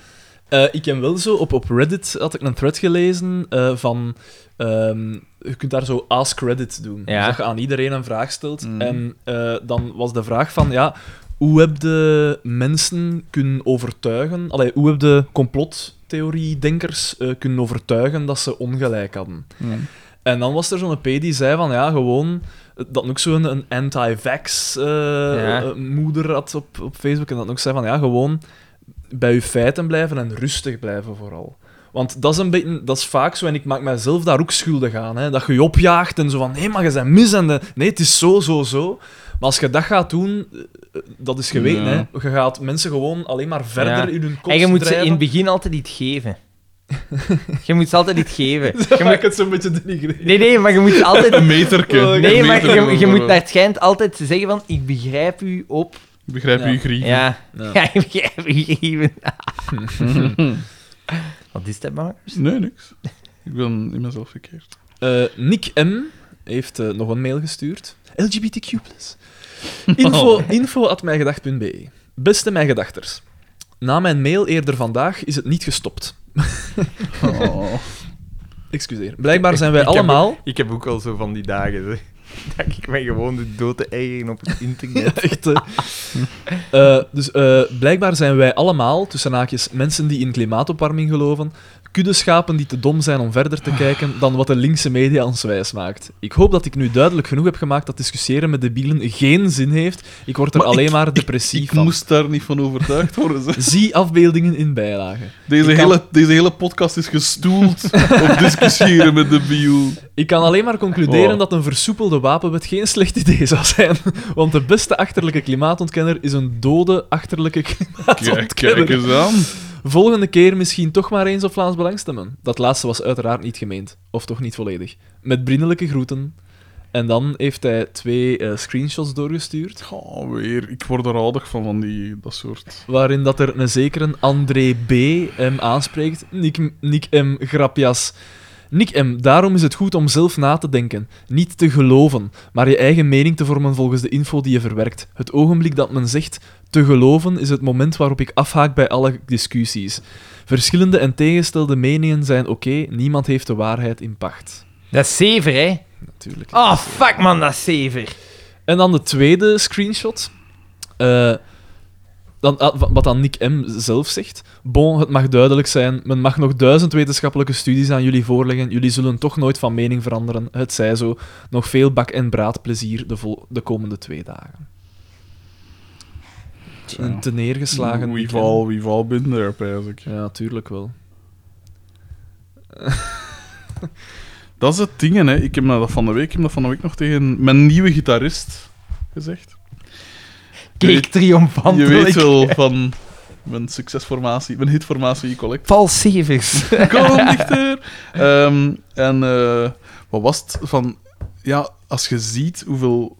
S2: Eh, ik ken wel zo, op, op Reddit had ik een thread gelezen eh, van... ehm, je kunt daar zo ask Reddit doen.
S1: Ja.
S2: Dus dat je aan iedereen een vraag stelt. En eh, dan was de vraag van, ja, hoe heb je mensen kunnen overtuigen... Allee, hoe heb je complottheorie-denkers eh, kunnen overtuigen dat ze ongelijk hadden? En dan was er zo'n P die zei van, ja, gewoon... Dat ook zo'n een anti-vax eh,
S1: Ja.
S2: eh, moeder had op, op Facebook. En dat ook zei van, ja, gewoon bij je feiten blijven en rustig blijven vooral. Want dat is, een beetje, dat is vaak zo, en ik maak mezelf daar ook schuldig aan, hè, dat je je opjaagt en zo van, nee, maar je bent mis en de- nee, het is zo, zo, zo. Maar als je dat gaat doen, eh, eh, dat is geweten,
S3: Ja.
S2: hè. Je gaat mensen gewoon alleen maar verder
S1: Ja.
S2: in hun kop
S1: En je moet ze
S2: drijven.
S1: in
S2: [LAUGHS]
S1: het begin altijd iets geven. je moet ze altijd iets geven. [LAUGHS]
S2: Dan
S1: Je
S2: maak ik
S1: moet...
S2: het zo'n beetje denigrerend.
S1: Nee, nee, maar je moet [LAUGHS] altijd...
S3: Een meterke.
S2: Oh,
S1: Nee,
S3: Een
S1: maar
S3: meterke
S1: je, je moet
S3: bijvoorbeeld.
S1: naar het schijnt altijd zeggen van... Ik begrijp u op...
S3: Ik Begrijp je,
S2: Ja.
S3: Griek?
S1: Ja, [LAUGHS]
S2: Ja.
S1: ja ik begrijp u geven. Wat is dat, maar?
S3: [LAUGHS] Nee, niks. Ik ben in mezelf verkeerd.
S2: Eh, Nick M. heeft eh, nog een mail gestuurd. LGBTQ+. Info, info at mijngedacht.be. E. Beste mijn gedachters. Na mijn mail eerder vandaag is het niet gestopt.
S3: Oh.
S2: Oh. Excuseer. Blijkbaar zijn wij allemaal...
S14: Ik heb ook al zo van die dagen. Zeg.
S1: [LAUGHS] dat ik mij gewoon de dood te eigen op het internet.
S2: [LAUGHS] Echt, hè. Eh, dus eh, blijkbaar zijn wij allemaal, tussen haakjes, mensen die in klimaatopwarming geloven, kuddeschapen die te dom zijn om verder te kijken dan wat de linkse media ons wijs maakt. Ik hoop dat ik nu duidelijk genoeg heb gemaakt dat discussiëren met debielen geen zin heeft. Ik word er
S3: Maar ik-
S2: alleen maar depressief
S3: Ik
S2: van.
S3: moest daar niet van overtuigd worden. Zeg.
S2: Zie afbeeldingen in bijlagen.
S3: Deze,
S2: Ik kan-
S3: hele, deze hele podcast is gestoeld op discussiëren met de bio.
S2: Ik kan alleen maar concluderen
S3: Oh.
S2: dat een versoepelde wapenwet geen slecht idee zou zijn. [LAUGHS] Want de beste achterlijke klimaatontkenner is een dode achterlijke
S3: Kijk, kijk
S2: klimaatontkenner.
S3: eens aan.
S2: Volgende keer misschien toch maar eens op Vlaams Belang stemmen. Dat laatste was uiteraard niet gemeend. Of toch niet volledig. Met vriendelijke groeten. En dan heeft hij twee eh, screenshots doorgestuurd.
S3: Ga weer. Ik word er aardig van, van die, dat soort.
S2: Waarin dat er een zekere André B. hem aanspreekt. Nick, M- Nick M. Grapjas. Nick M., daarom is het goed om zelf na te denken, niet te geloven, maar je eigen mening te vormen volgens de info die je verwerkt. Het ogenblik dat men zegt te geloven is het moment waarop ik afhaak bij alle discussies. Verschillende en tegenstelde meningen zijn oké, niemand heeft de waarheid in pacht.
S12: Dat is zever, hè?
S2: Natuurlijk.
S12: Oh, fuck man, dat is zever.
S2: En dan de tweede screenshot. Eh, dan, ah, wa- wat dan Nick M. zelf zegt. Bon, het mag duidelijk zijn. Men mag nog duizend wetenschappelijke studies aan jullie voorleggen. Jullie zullen toch nooit van mening veranderen. Het zij zo. Nog veel bak- en braadplezier de, vol- de komende twee dagen. Een teneergeslagen Nick M.
S3: We've all, we've all been there, pijs ik.
S2: Ja, natuurlijk wel.
S3: Dat is het ding, hè. Ik heb dat van de week, ik heb dat van de week nog tegen mijn nieuwe gitarist gezegd.
S12: Keek
S3: Je
S12: triomfantelijk.
S3: weet wel van mijn succesformatie, mijn hitformatie Collect.
S12: Vals zevers.
S3: [LAUGHS] Kom dichter! Ehm, en eh, wat was het? Van, ja, als je ziet hoeveel,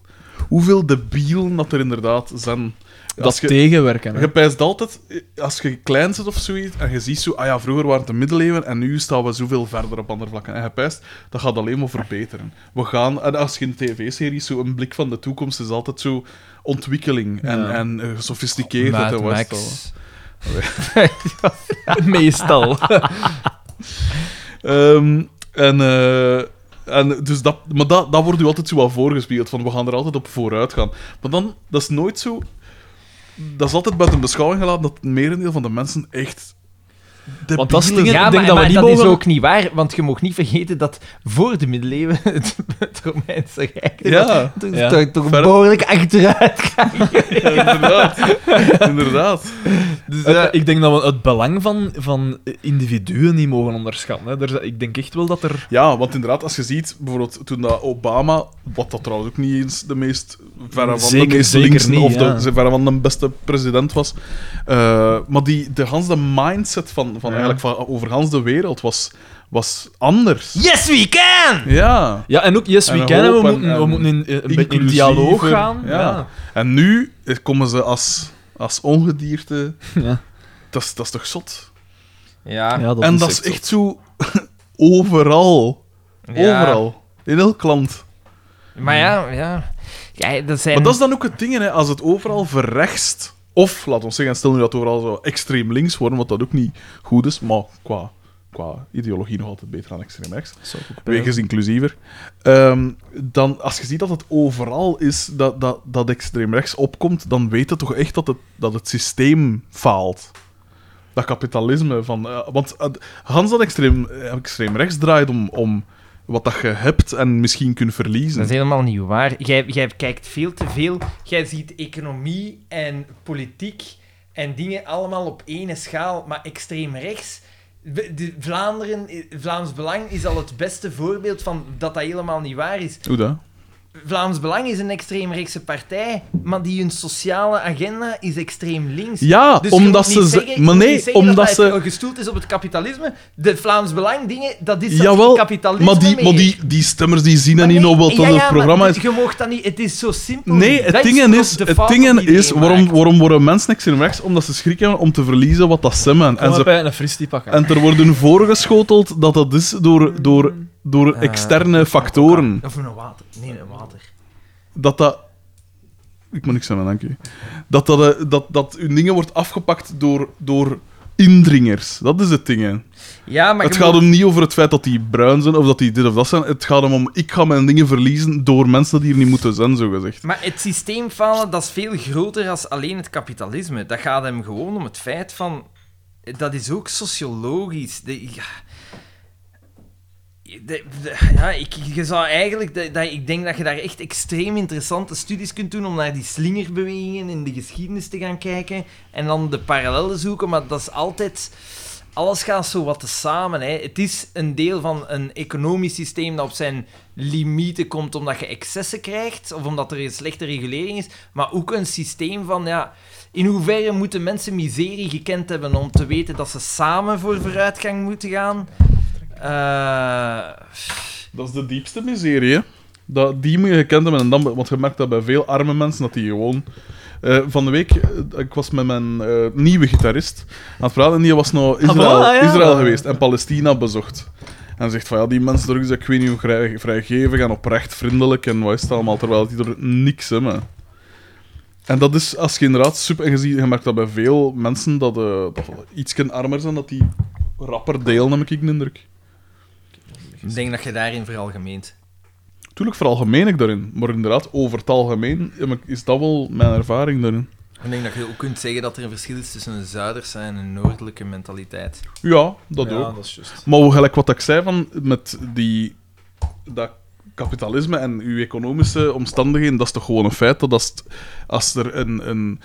S3: hoeveel debielen dat er inderdaad zijn.
S2: Dat
S3: Als je-
S2: tegenwerken. hè.
S3: Je pijst altijd, eh, als je klein zit of zoiets, en je ziet zo, ah ja, vroeger waren het de middeleeuwen en nu staan we zoveel verder op andere vlakken. En je pijst, dat gaat alleen maar verbeteren. We gaan, en als je in tv-series zo een blik van de toekomst is altijd zo ontwikkeling en, en eh, gesofisticeerdheid en
S12: Mad
S3: wat is
S12: Max.
S2: [LAUGHS] Meestal.
S3: dat wel. Ehm, en, eh, en dus dat, maar dat, dat wordt u altijd zo wat voorgespiegeld, van we gaan er altijd op vooruit gaan. Maar dan, dat is nooit zo... Dat is altijd buiten beschouwing gelaten dat het merendeel van de mensen echt...
S2: Want dat is
S1: [LAUGHS]
S3: debielen
S2: dingen-
S12: Ja,
S2: Ik denk
S12: maar,
S2: dat we
S12: maar
S2: niet
S12: dat is
S2: mogen-
S12: ook niet waar, want je mag niet vergeten dat voor de middeleeuwen [LAUGHS] het, het Romeinse Rijk er
S3: Ja.
S12: toch-
S2: Ja.
S12: toch- toch
S3: Verder-
S12: behoorlijk achteruit gaat.
S3: Ja, inderdaad. inderdaad.
S12: Dus,
S2: Het-
S12: eh,
S2: ik denk dat we het belang van, van individuen niet mogen onderschatten. Hè. Er, zijn- ik denk echt wel dat er...
S3: Ja, want inderdaad, als je ziet, bijvoorbeeld toen dat Obama, wat dat trouwens ook niet eens de meest verre van
S2: Zeker-
S3: de meest
S2: zeker
S3: linkse
S2: niet,
S3: of de,
S2: ja.
S3: ze- verre van de beste president was, eh, maar die, de ganse mindset van, van eigenlijk van, over gans de wereld was, was anders.
S12: yes, we can!
S3: Ja.
S2: Ja, en ook Yes
S3: En
S2: We
S3: een
S2: Can, hè, we
S3: hoop en-
S2: moeten, we
S3: en
S2: moeten in, in- een beetje in
S3: inclusiever,
S2: dialoog gaan. Ja.
S3: En nu eh, komen ze als, als ongedierte.
S2: [LAUGHS] Ja.
S3: Dat is- dat is toch zot?
S12: Ja,
S2: Ja,
S3: en dat is
S2: echt
S3: echt zo [LAUGHS] overal.
S12: Ja.
S3: Overal. In elk land.
S12: maar ja, ja. ja dat zijn...
S3: Maar dat is dan ook het ding, hè, als het overal verrechtst. Of, laat ons zeggen, stel nu dat het overal zo extreem links worden, wat dat ook niet goed is, maar qua, qua ideologie nog altijd beter dan extreem rechts. Wegens inclusiever. Ehm, dan, als je ziet dat het overal is dat, dat, dat extreem rechts opkomt, dan weet je toch echt dat het, dat het systeem faalt. Dat kapitalisme van... eh, want eh, Hans dat extreem, eh, extreem rechts draait om, om wat dat je hebt en misschien kunt verliezen.
S12: Dat is helemaal niet waar. Jij, jij kijkt veel te veel. Jij ziet economie en politiek en dingen allemaal op ene schaal, maar extreem rechts. we- De Vlaanderen, Vlaams Belang is al het beste voorbeeld van dat dat helemaal niet waar is.
S3: Hoe dat?
S12: Vlaams Belang is een extreemrechtse partij, maar die hun sociale agenda is extreem links.
S3: Ja,
S12: Dus je
S3: omdat
S12: moet niet
S3: ze.
S12: zeggen- je
S3: maar
S12: moet
S3: nee,
S12: niet zeggen
S3: omdat
S12: dat
S3: ze.
S12: dat gestoeld is op het kapitalisme. De Vlaams Belang dingen, dat is dat
S3: Jawel,
S12: kapitalisme
S3: maar, die,
S12: meer.
S3: maar die, die stemmers die zien
S12: Maar
S3: en niet nou,
S12: nee,
S3: op
S12: ja,
S3: wat dat
S12: ja,
S3: het
S12: maar
S3: programma
S12: dat-
S3: is.
S12: Je mag dat niet, het is zo simpel.
S3: Nee,
S12: Dat
S3: het ding
S12: toch
S3: is,
S12: de
S3: het
S12: fout
S3: ding
S12: die iedereen
S3: is waarom,
S12: maakt.
S3: waarom worden mensen niks in rechts? Omdat ze schrik hebben om te verliezen wat dat stemmen. En,
S2: En
S3: ze,
S2: een fristie pakken.
S3: en er worden voorgeschoteld dat dat is
S12: Mm.
S3: door, door, door externe factoren.
S12: Of een water. Nee, een water.
S3: Dat dat. Ik moet niks zeggen, dank je. Dat, dat, eh, dat, dat hun dingen wordt afgepakt door, door indringers. Dat is het ding, hè.
S1: Ja, maar
S3: het
S1: je
S3: gaat
S1: moet-
S3: hem niet over het feit dat die bruin zijn of dat die dit of dat zijn. Het gaat hem om, ik ga mijn dingen verliezen door mensen die hier niet moeten zijn, zogezegd.
S1: Maar het systeem falen, dat is veel groter dan alleen het kapitalisme. Dat gaat hem gewoon om het feit van... Dat is ook sociologisch. De, ja. De- de- ja, ik, je zou eigenlijk... Dat, dat- ik denk dat je daar echt extreem interessante studies kunt doen om naar die slingerbewegingen in de geschiedenis te gaan kijken. En dan de parallellen zoeken, maar dat is altijd... Alles gaat zo wat tezamen. Hè. Het is een deel van een economisch systeem dat op zijn limieten komt omdat je excessen krijgt of omdat er een slechte regulering is, maar ook een systeem van ja, in hoeverre moeten mensen miserie gekend hebben om te weten dat ze samen voor vooruitgang moeten gaan. Eh,
S3: Dat is de diepste miserie, hè. Dat, die moet je gekend hebben. En dan, want je merkt dat bij veel arme mensen, dat die gewoon... eh, van de week, eh, ik was met mijn eh, nieuwe gitarist aan het praten en die was nou Israël,
S2: Ah, voilà, ja.
S3: Israël geweest en Palestina bezocht. En zegt van ja, die mensen daar is, ik weet niet hoe vrij, vrijgevig en oprecht vriendelijk en wat is het allemaal, terwijl die er niks hebben. En dat is, als je inderdaad super... En je, ziet, je merkt dat bij veel mensen dat, eh dat iets armer zijn, dat die rapper delen, heb ik de indruk.
S1: ik denk dat je daarin veralgemeent.
S3: Tuurlijk veralgemeen ik daarin, maar inderdaad, over het algemeen ja, maar is dat wel mijn ervaring daarin.
S1: Ik denk dat je ook kunt zeggen dat er een verschil is tussen een zuiderse en een noordelijke mentaliteit.
S3: Ja, dat ook.
S2: is juist.
S3: Maar hoe gelijk wat ik zei van met die dat kapitalisme en uw economische omstandigheden, dat is toch gewoon een feit dat als, het- als er een, een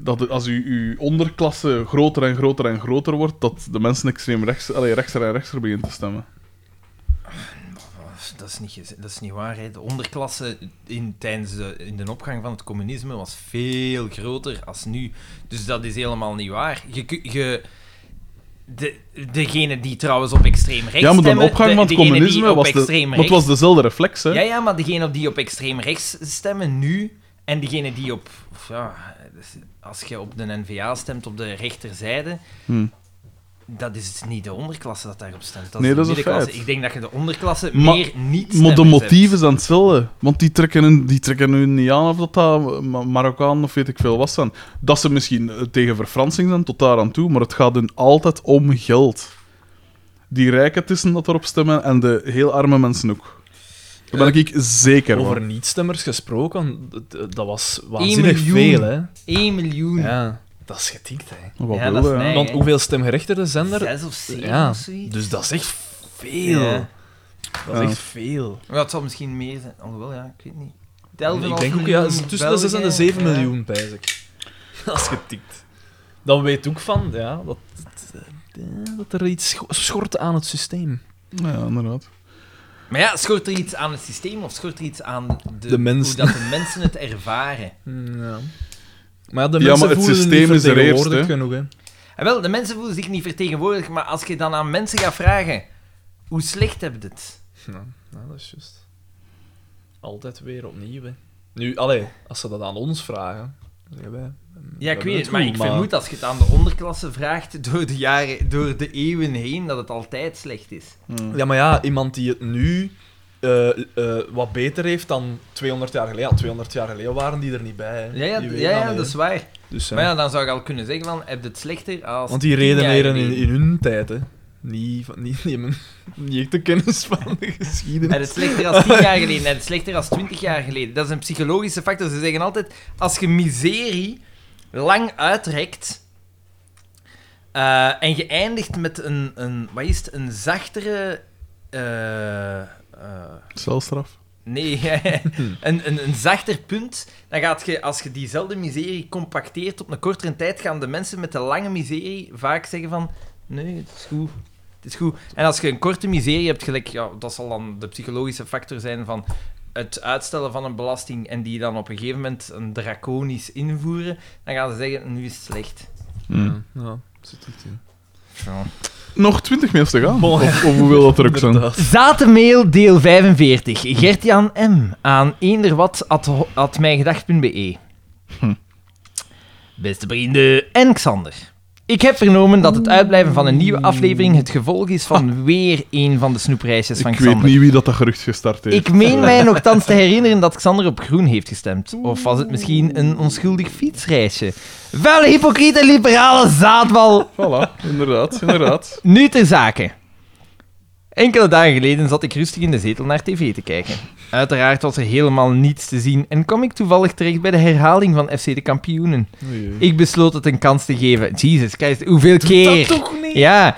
S3: dat als uw, uw onderklasse groter en groter en groter wordt, dat de mensen extreem rechts, allee, rechtser en rechtser beginnen te stemmen.
S1: Oh, Dat is niet, gez- dat is niet waar. Hè. De onderklasse in, tijdens de, in de opgang van het communisme was veel groter als nu. Dus dat is helemaal niet waar. Je, ku- je, de, degene die trouwens op extreem rechts
S3: Ja, maar dan
S1: stemmen,
S3: opgang
S1: de-
S3: van het
S1: degene die
S3: communisme
S1: op
S3: was, de,
S1: extreem
S3: maar het
S1: rechts-
S3: was dezelfde reflex, hè?
S1: Ja, ja, maar degene die op extreem rechts stemmen nu en degene die op... of Ja, dus als je op de N-VA stemt, op de rechterzijde...
S3: Hmm.
S1: Dat is niet de onderklasse dat daarop stemt. Dat
S3: Nee,
S1: is de
S3: dat is een
S1: middenklasse.
S3: feit.
S1: Ik denk dat je de onderklasse
S3: Maar-
S1: meer niet
S3: Maar de
S1: stemmers hebt.
S3: motieven zijn hetzelfde. Want die trekken, hun, die trekken hun niet aan of dat, dat Ma- Marokkaan of weet ik veel wat zijn. Dat ze misschien eh, tegen verfransing zijn, tot daar aan toe. Maar het gaat hun altijd om geld. Die rijken tussen dat erop stemmen en de heel arme mensen ook. Daar
S1: Eh,
S3: ben ik zeker van.
S2: Over niet-stemmers gesproken, d- d- dat was
S1: Eén
S2: waanzinnig
S1: miljoen.
S2: veel, hè.
S1: 1 miljoen.
S2: Ja, dat is getikt, hè.
S3: Wat
S1: Ja,
S3: wil
S1: dat is
S3: je, hè?
S1: Nee,
S2: Want
S1: hè.
S2: hoeveel stemgerechtigden zijn er?
S1: Zes of zeven
S2: Ja,
S1: of zoiets.
S2: dus dat is echt veel.
S1: Ja.
S2: Dat is echt veel.
S1: Maar dat zal misschien meer zijn. Alhoewel, ja, ik weet niet. Delft
S2: Ik
S1: half
S2: denk ook, ja,
S1: miljoen,
S2: tussen de 6 en de
S1: België,
S2: 7
S1: ja.
S2: miljoen, pijs ik. [LAUGHS] Dat is getikt. Dan weet ook van, ja, dat, dat- dat er iets scho- schort aan het systeem.
S3: Ja, inderdaad.
S1: Maar ja, schort er iets aan het systeem of schort er iets aan de,
S2: De mensen.
S1: hoe dat de mensen het ervaren?
S2: Ja. Maar ja, de
S3: Ja,
S2: mensen
S3: maar het
S2: voelen
S3: systeem is
S2: niet
S3: er eerst,
S2: vertegenwoordigd
S3: hè.
S2: genoeg, hè.
S1: En Ah, wel, de mensen voelen zich niet vertegenwoordigd, maar als je dan aan mensen gaat vragen hoe slecht heb je het?
S2: Ja, dat is juist. Altijd weer opnieuw, hè. Nu, allee, als ze dat aan ons vragen, zeggen wij...
S1: Ja, ik
S2: hebben
S1: weet
S2: het
S1: het, maar
S2: goed,
S1: ik
S2: maar-
S1: vermoed als je het aan de onderklasse vraagt [LAUGHS] door de, jaren, door de eeuwen heen, dat het altijd slecht is.
S2: Ja, maar ja, iemand die het nu eh, eh, wat beter heeft dan 200 jaar geleden. Ja, 200 jaar geleden waren die er niet bij, hè.
S1: Ja, ja,
S2: Die
S1: d-
S2: weten
S1: ja, ja
S2: niet,
S1: dat
S2: hè.
S1: is waar.
S2: Dus, ja.
S1: Maar ja, dan zou je al kunnen zeggen van, heb je het slechter als...
S2: Want die
S1: tien jaar
S2: redeneren in,
S1: geleden?
S2: in hun tijd, hè. Niet, van, niet, die hebben niet echt de kennis van de [LAUGHS] geschiedenis.
S1: En het slechter als 10 jaar geleden, en het slechter als 20 jaar geleden. Dat is een psychologische factor. Ze zeggen altijd: als je miserie lang uitrekt. eh, en je eindigt met een, een, wat is het, een zachtere. eh, eh,
S3: Celstraf.
S1: nee, [LAUGHS] een, een, een zachter punt. Dan gaat je, als je diezelfde miserie compacteert op een kortere tijd, gaan de mensen met de lange miserie vaak zeggen van. Nee, het is goed. Het is goed. En als je een korte miserie hebt, gelijk, ja, dat zal dan de psychologische factor zijn van het uitstellen van een belasting en die dan op een gegeven moment een draconisch invoeren, dan gaan ze zeggen, nu is het slecht. Hmm.
S2: Ja, ja, zit echt
S3: [LAUGHS]
S2: in.
S1: Ja.
S3: Nog twintig mails te gaan. Of, of hoeveel dat er
S1: [LAUGHS]
S3: ook zijn.
S2: Inderdaad.
S1: Zatenmail deel 45. Gertjan M. aan
S3: Hm.
S1: eenderwat.mijgedacht.be Beste vrienden en Xander. Ik heb vernomen dat het uitblijven van een nieuwe aflevering het gevolg is van weer een van de snoepreisjes van
S3: Ik weet
S1: Xander.
S3: niet wie dat, dat gerucht gestart heeft.
S1: Ik meen
S3: [LAUGHS]
S1: mij nogthans te herinneren dat Xander op groen heeft gestemd. Of was het misschien een onschuldig fietsreisje? Vuile hypocriete liberale zaadbal!
S3: Voilà, inderdaad,
S1: [LAUGHS]
S3: inderdaad.
S1: Nu ter zake. Enkele dagen geleden zat ik rustig in de zetel naar tv te kijken. Uiteraard was er helemaal niets te zien en kwam ik toevallig terecht bij de herhaling van FC de Kampioenen. Ik besloot het een kans te geven. Jesus Christ, hoeveel keer?
S2: toch niet?
S1: Ja.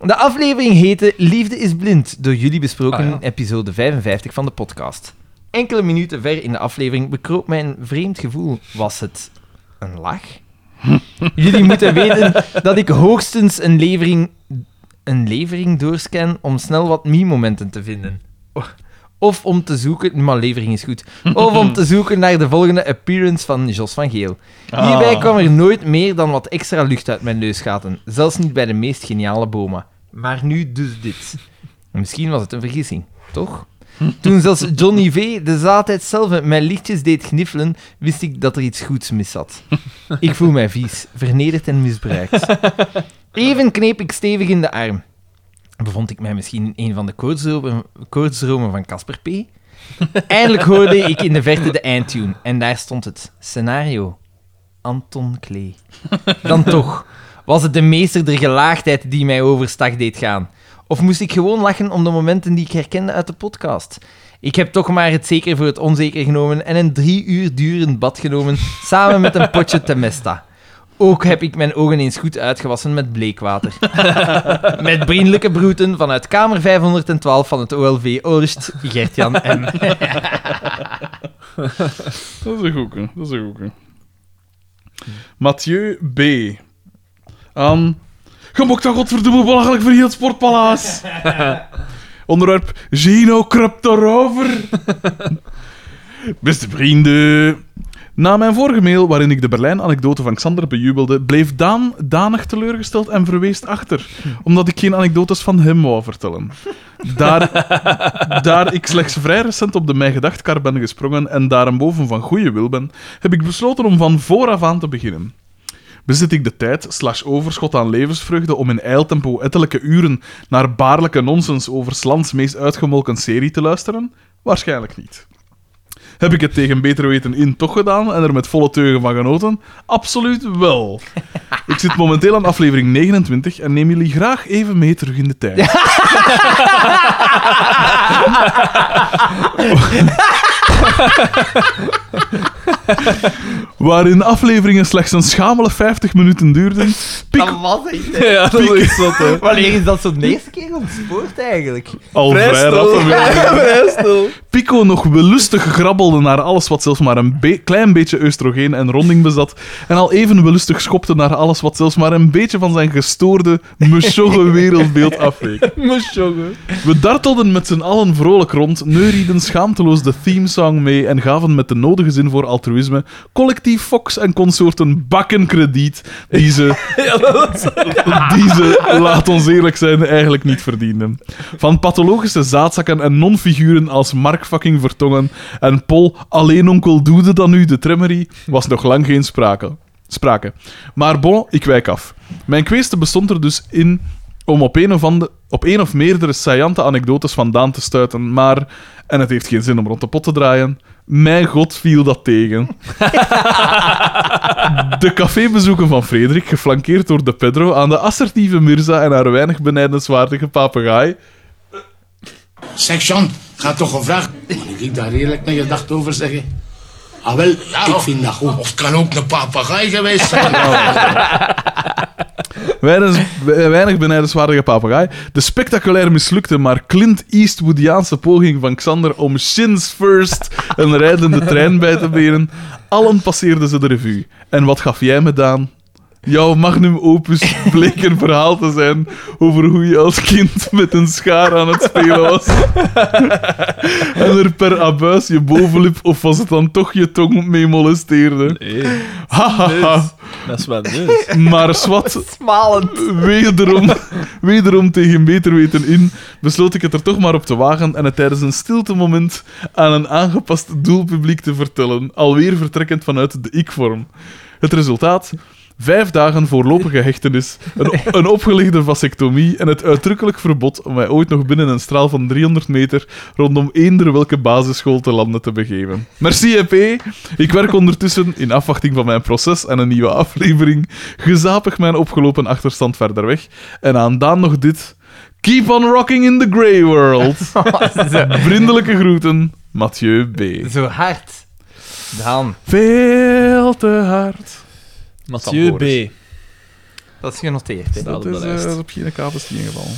S1: De aflevering heette Liefde is blind, door jullie besproken
S2: Ah, ja.
S1: in episode 55 van de podcast. Enkele minuten ver in de aflevering bekroop mij een vreemd gevoel. Was het een
S2: [LAUGHS]
S1: lach? jullie moeten weten dat ik hoogstens een levering, een levering doorscan om snel wat meme-momenten te vinden. Of om te zoeken... Maar levering is goed. Of om te zoeken naar de volgende appearance van Jos van Geel. Hierbij kwam er nooit meer dan wat extra lucht uit mijn neusgaten. Zelfs niet bij de meest geniale bomen. Maar nu dus dit. Misschien was het een vergissing, toch? Toen zelfs Johnny V. de zaadheid zelf met mijn lichtjes deed gniffelen, wist ik dat er iets goeds mis zat. Ik voel mij vies, vernederd en misbruikt. Even kneep ik stevig in de arm. Bevond ik mij misschien in een van de koortsdromen, koortsdromen van Casper P.? Eindelijk hoorde ik in de verte de eindtune. En daar stond het. Scenario. Anton Klee. Dan toch, was het de meester der gelaagdheid die mij overstag deed gaan? Of moest ik gewoon lachen om de momenten die ik herkende uit de podcast? Ik heb toch maar het zeker voor het onzeker genomen en een drie uur durend bad genomen samen met een potje Temesta. Ook heb ik mijn ogen eens goed uitgewassen met bleekwater. [LAUGHS] Met vriendelijke broeten vanuit kamer 512 van het OLV Oost, Gertjan M.
S3: Dat is een goeie, dat is een goeie. Mathieu B. Aan... Je mocht dat godverdomme belachelijk voor heel het sportpaleis. Onderwerp Gino kruipt erover. Beste vrienden. Na mijn vorige mail, waarin ik de Berlijn-anekdote van Xander bejubelde, bleef Daan danig teleurgesteld en verweest achter, omdat ik geen anekdotes van hem wou vertellen. Daar daar ik slechts vrij recent op de Mijn Gedachtkar ben gesprongen en daarboven van goede wil ben, heb ik besloten om van vooraf aan te beginnen. Bezit ik de tijd slash overschot aan levensvreugde om in ijltempo ettelijke uren naar baarlijke nonsens over 's lands meest uitgemolken serie te luisteren? Waarschijnlijk niet. Heb ik het tegen beter weten in toch gedaan en er met volle teugen van genoten? Absoluut wel. Ik zit momenteel aan aflevering 29 en neem jullie graag even mee terug in de tijd. waarin afleveringen slechts een schamele 50 minuten duurden, piek,
S15: Dat was echt... hè.
S2: Ja, dat is dat,
S15: [LAUGHS]
S2: hè.
S15: Wanneer is dat zo'n eerste keer ontspoord eigenlijk?
S3: al vrij rap
S2: [LAUGHS] stil. Vrij stil.
S3: Pico nog wellustig grabbelde naar alles wat zelfs maar een be- klein beetje oestrogeen en ronding bezat, en al even wellustig schopte naar alles wat zelfs maar een beetje van zijn gestoorde, mechogge wereldbeeld afweek. We dartelden met z'n allen vrolijk rond, neurieden schaamteloos de themesong mee en gaven met de nodige zin voor altruïsme collectief Fox en consorten bakken krediet die ze, [LAUGHS] die ze, laat ons eerlijk zijn, eigenlijk niet verdienden. Van pathologische zaadzakken en non-figuren als Mark fucking Vertongen en Paul alleen onkel Doede dan nu de Tremmery was nog lang geen sprake. sprake. Maar bon, ik wijk af. Mijn kweeste bestond er dus in om op een of, ande- op een of meerdere saillante anekdotes vandaan te stuiten, maar... En het heeft geen zin om rond de pot te draaien. Mijn god viel dat tegen. De cafébezoeken van Frederik, geflankeerd door de Pedro, aan de assertieve Mirza en haar weinig benijdenswaardige papegaai.
S5: Zeg, Jean, ga toch een vraag. Moet ik daar eerlijk mijn gedachten over zeggen? Ah, wel, ik vind dat goed. Of het kan ook een papegaai geweest zijn.
S3: Weinig, dus weinig benijdenswaardige papegaai. De spectaculair mislukte, maar Clint Eastwoodiaanse poging van Xander om shins first een rijdende trein bij te benen. Allen passeerden ze de revue. En wat gaf jij me, Daan? Jouw magnum opus bleek een verhaal te zijn over hoe je als kind met een schaar aan het spelen was. En er per abuis je bovenlip of was het dan toch je tong mee molesteerde. Ha, ha, ha.
S2: Ah. Dat is dus. wel neus.
S3: Maar zwart, wederom, wederom tegen beter weten in, besloot ik het er toch maar op te wagen en het tijdens een stiltemoment aan een aangepast doelpubliek te vertellen, alweer vertrekkend vanuit de ik-vorm. Het resultaat? Vijf dagen voorlopige hechtenis, een, een opgelegde vasectomie en het uitdrukkelijk verbod om mij ooit nog binnen een straal van 300 meter rondom eender welke basisschool te landen te begeven. Merci, EP. Ik werk ondertussen, in afwachting van mijn proces en een nieuwe aflevering, gezapig mijn opgelopen achterstand verder weg. En aan Daan nog dit. Keep on rocking in the grey world. [LAUGHS] Vriendelijke groeten, Mathieu B.
S1: Zo hard. Daan,
S3: Veel te hard.
S2: Mathieu B.
S1: dat is genoteerd. Hè?
S2: Staat
S3: Dat
S2: op de
S3: is
S2: lijst.
S3: eh, op geen kabels in ieder geval.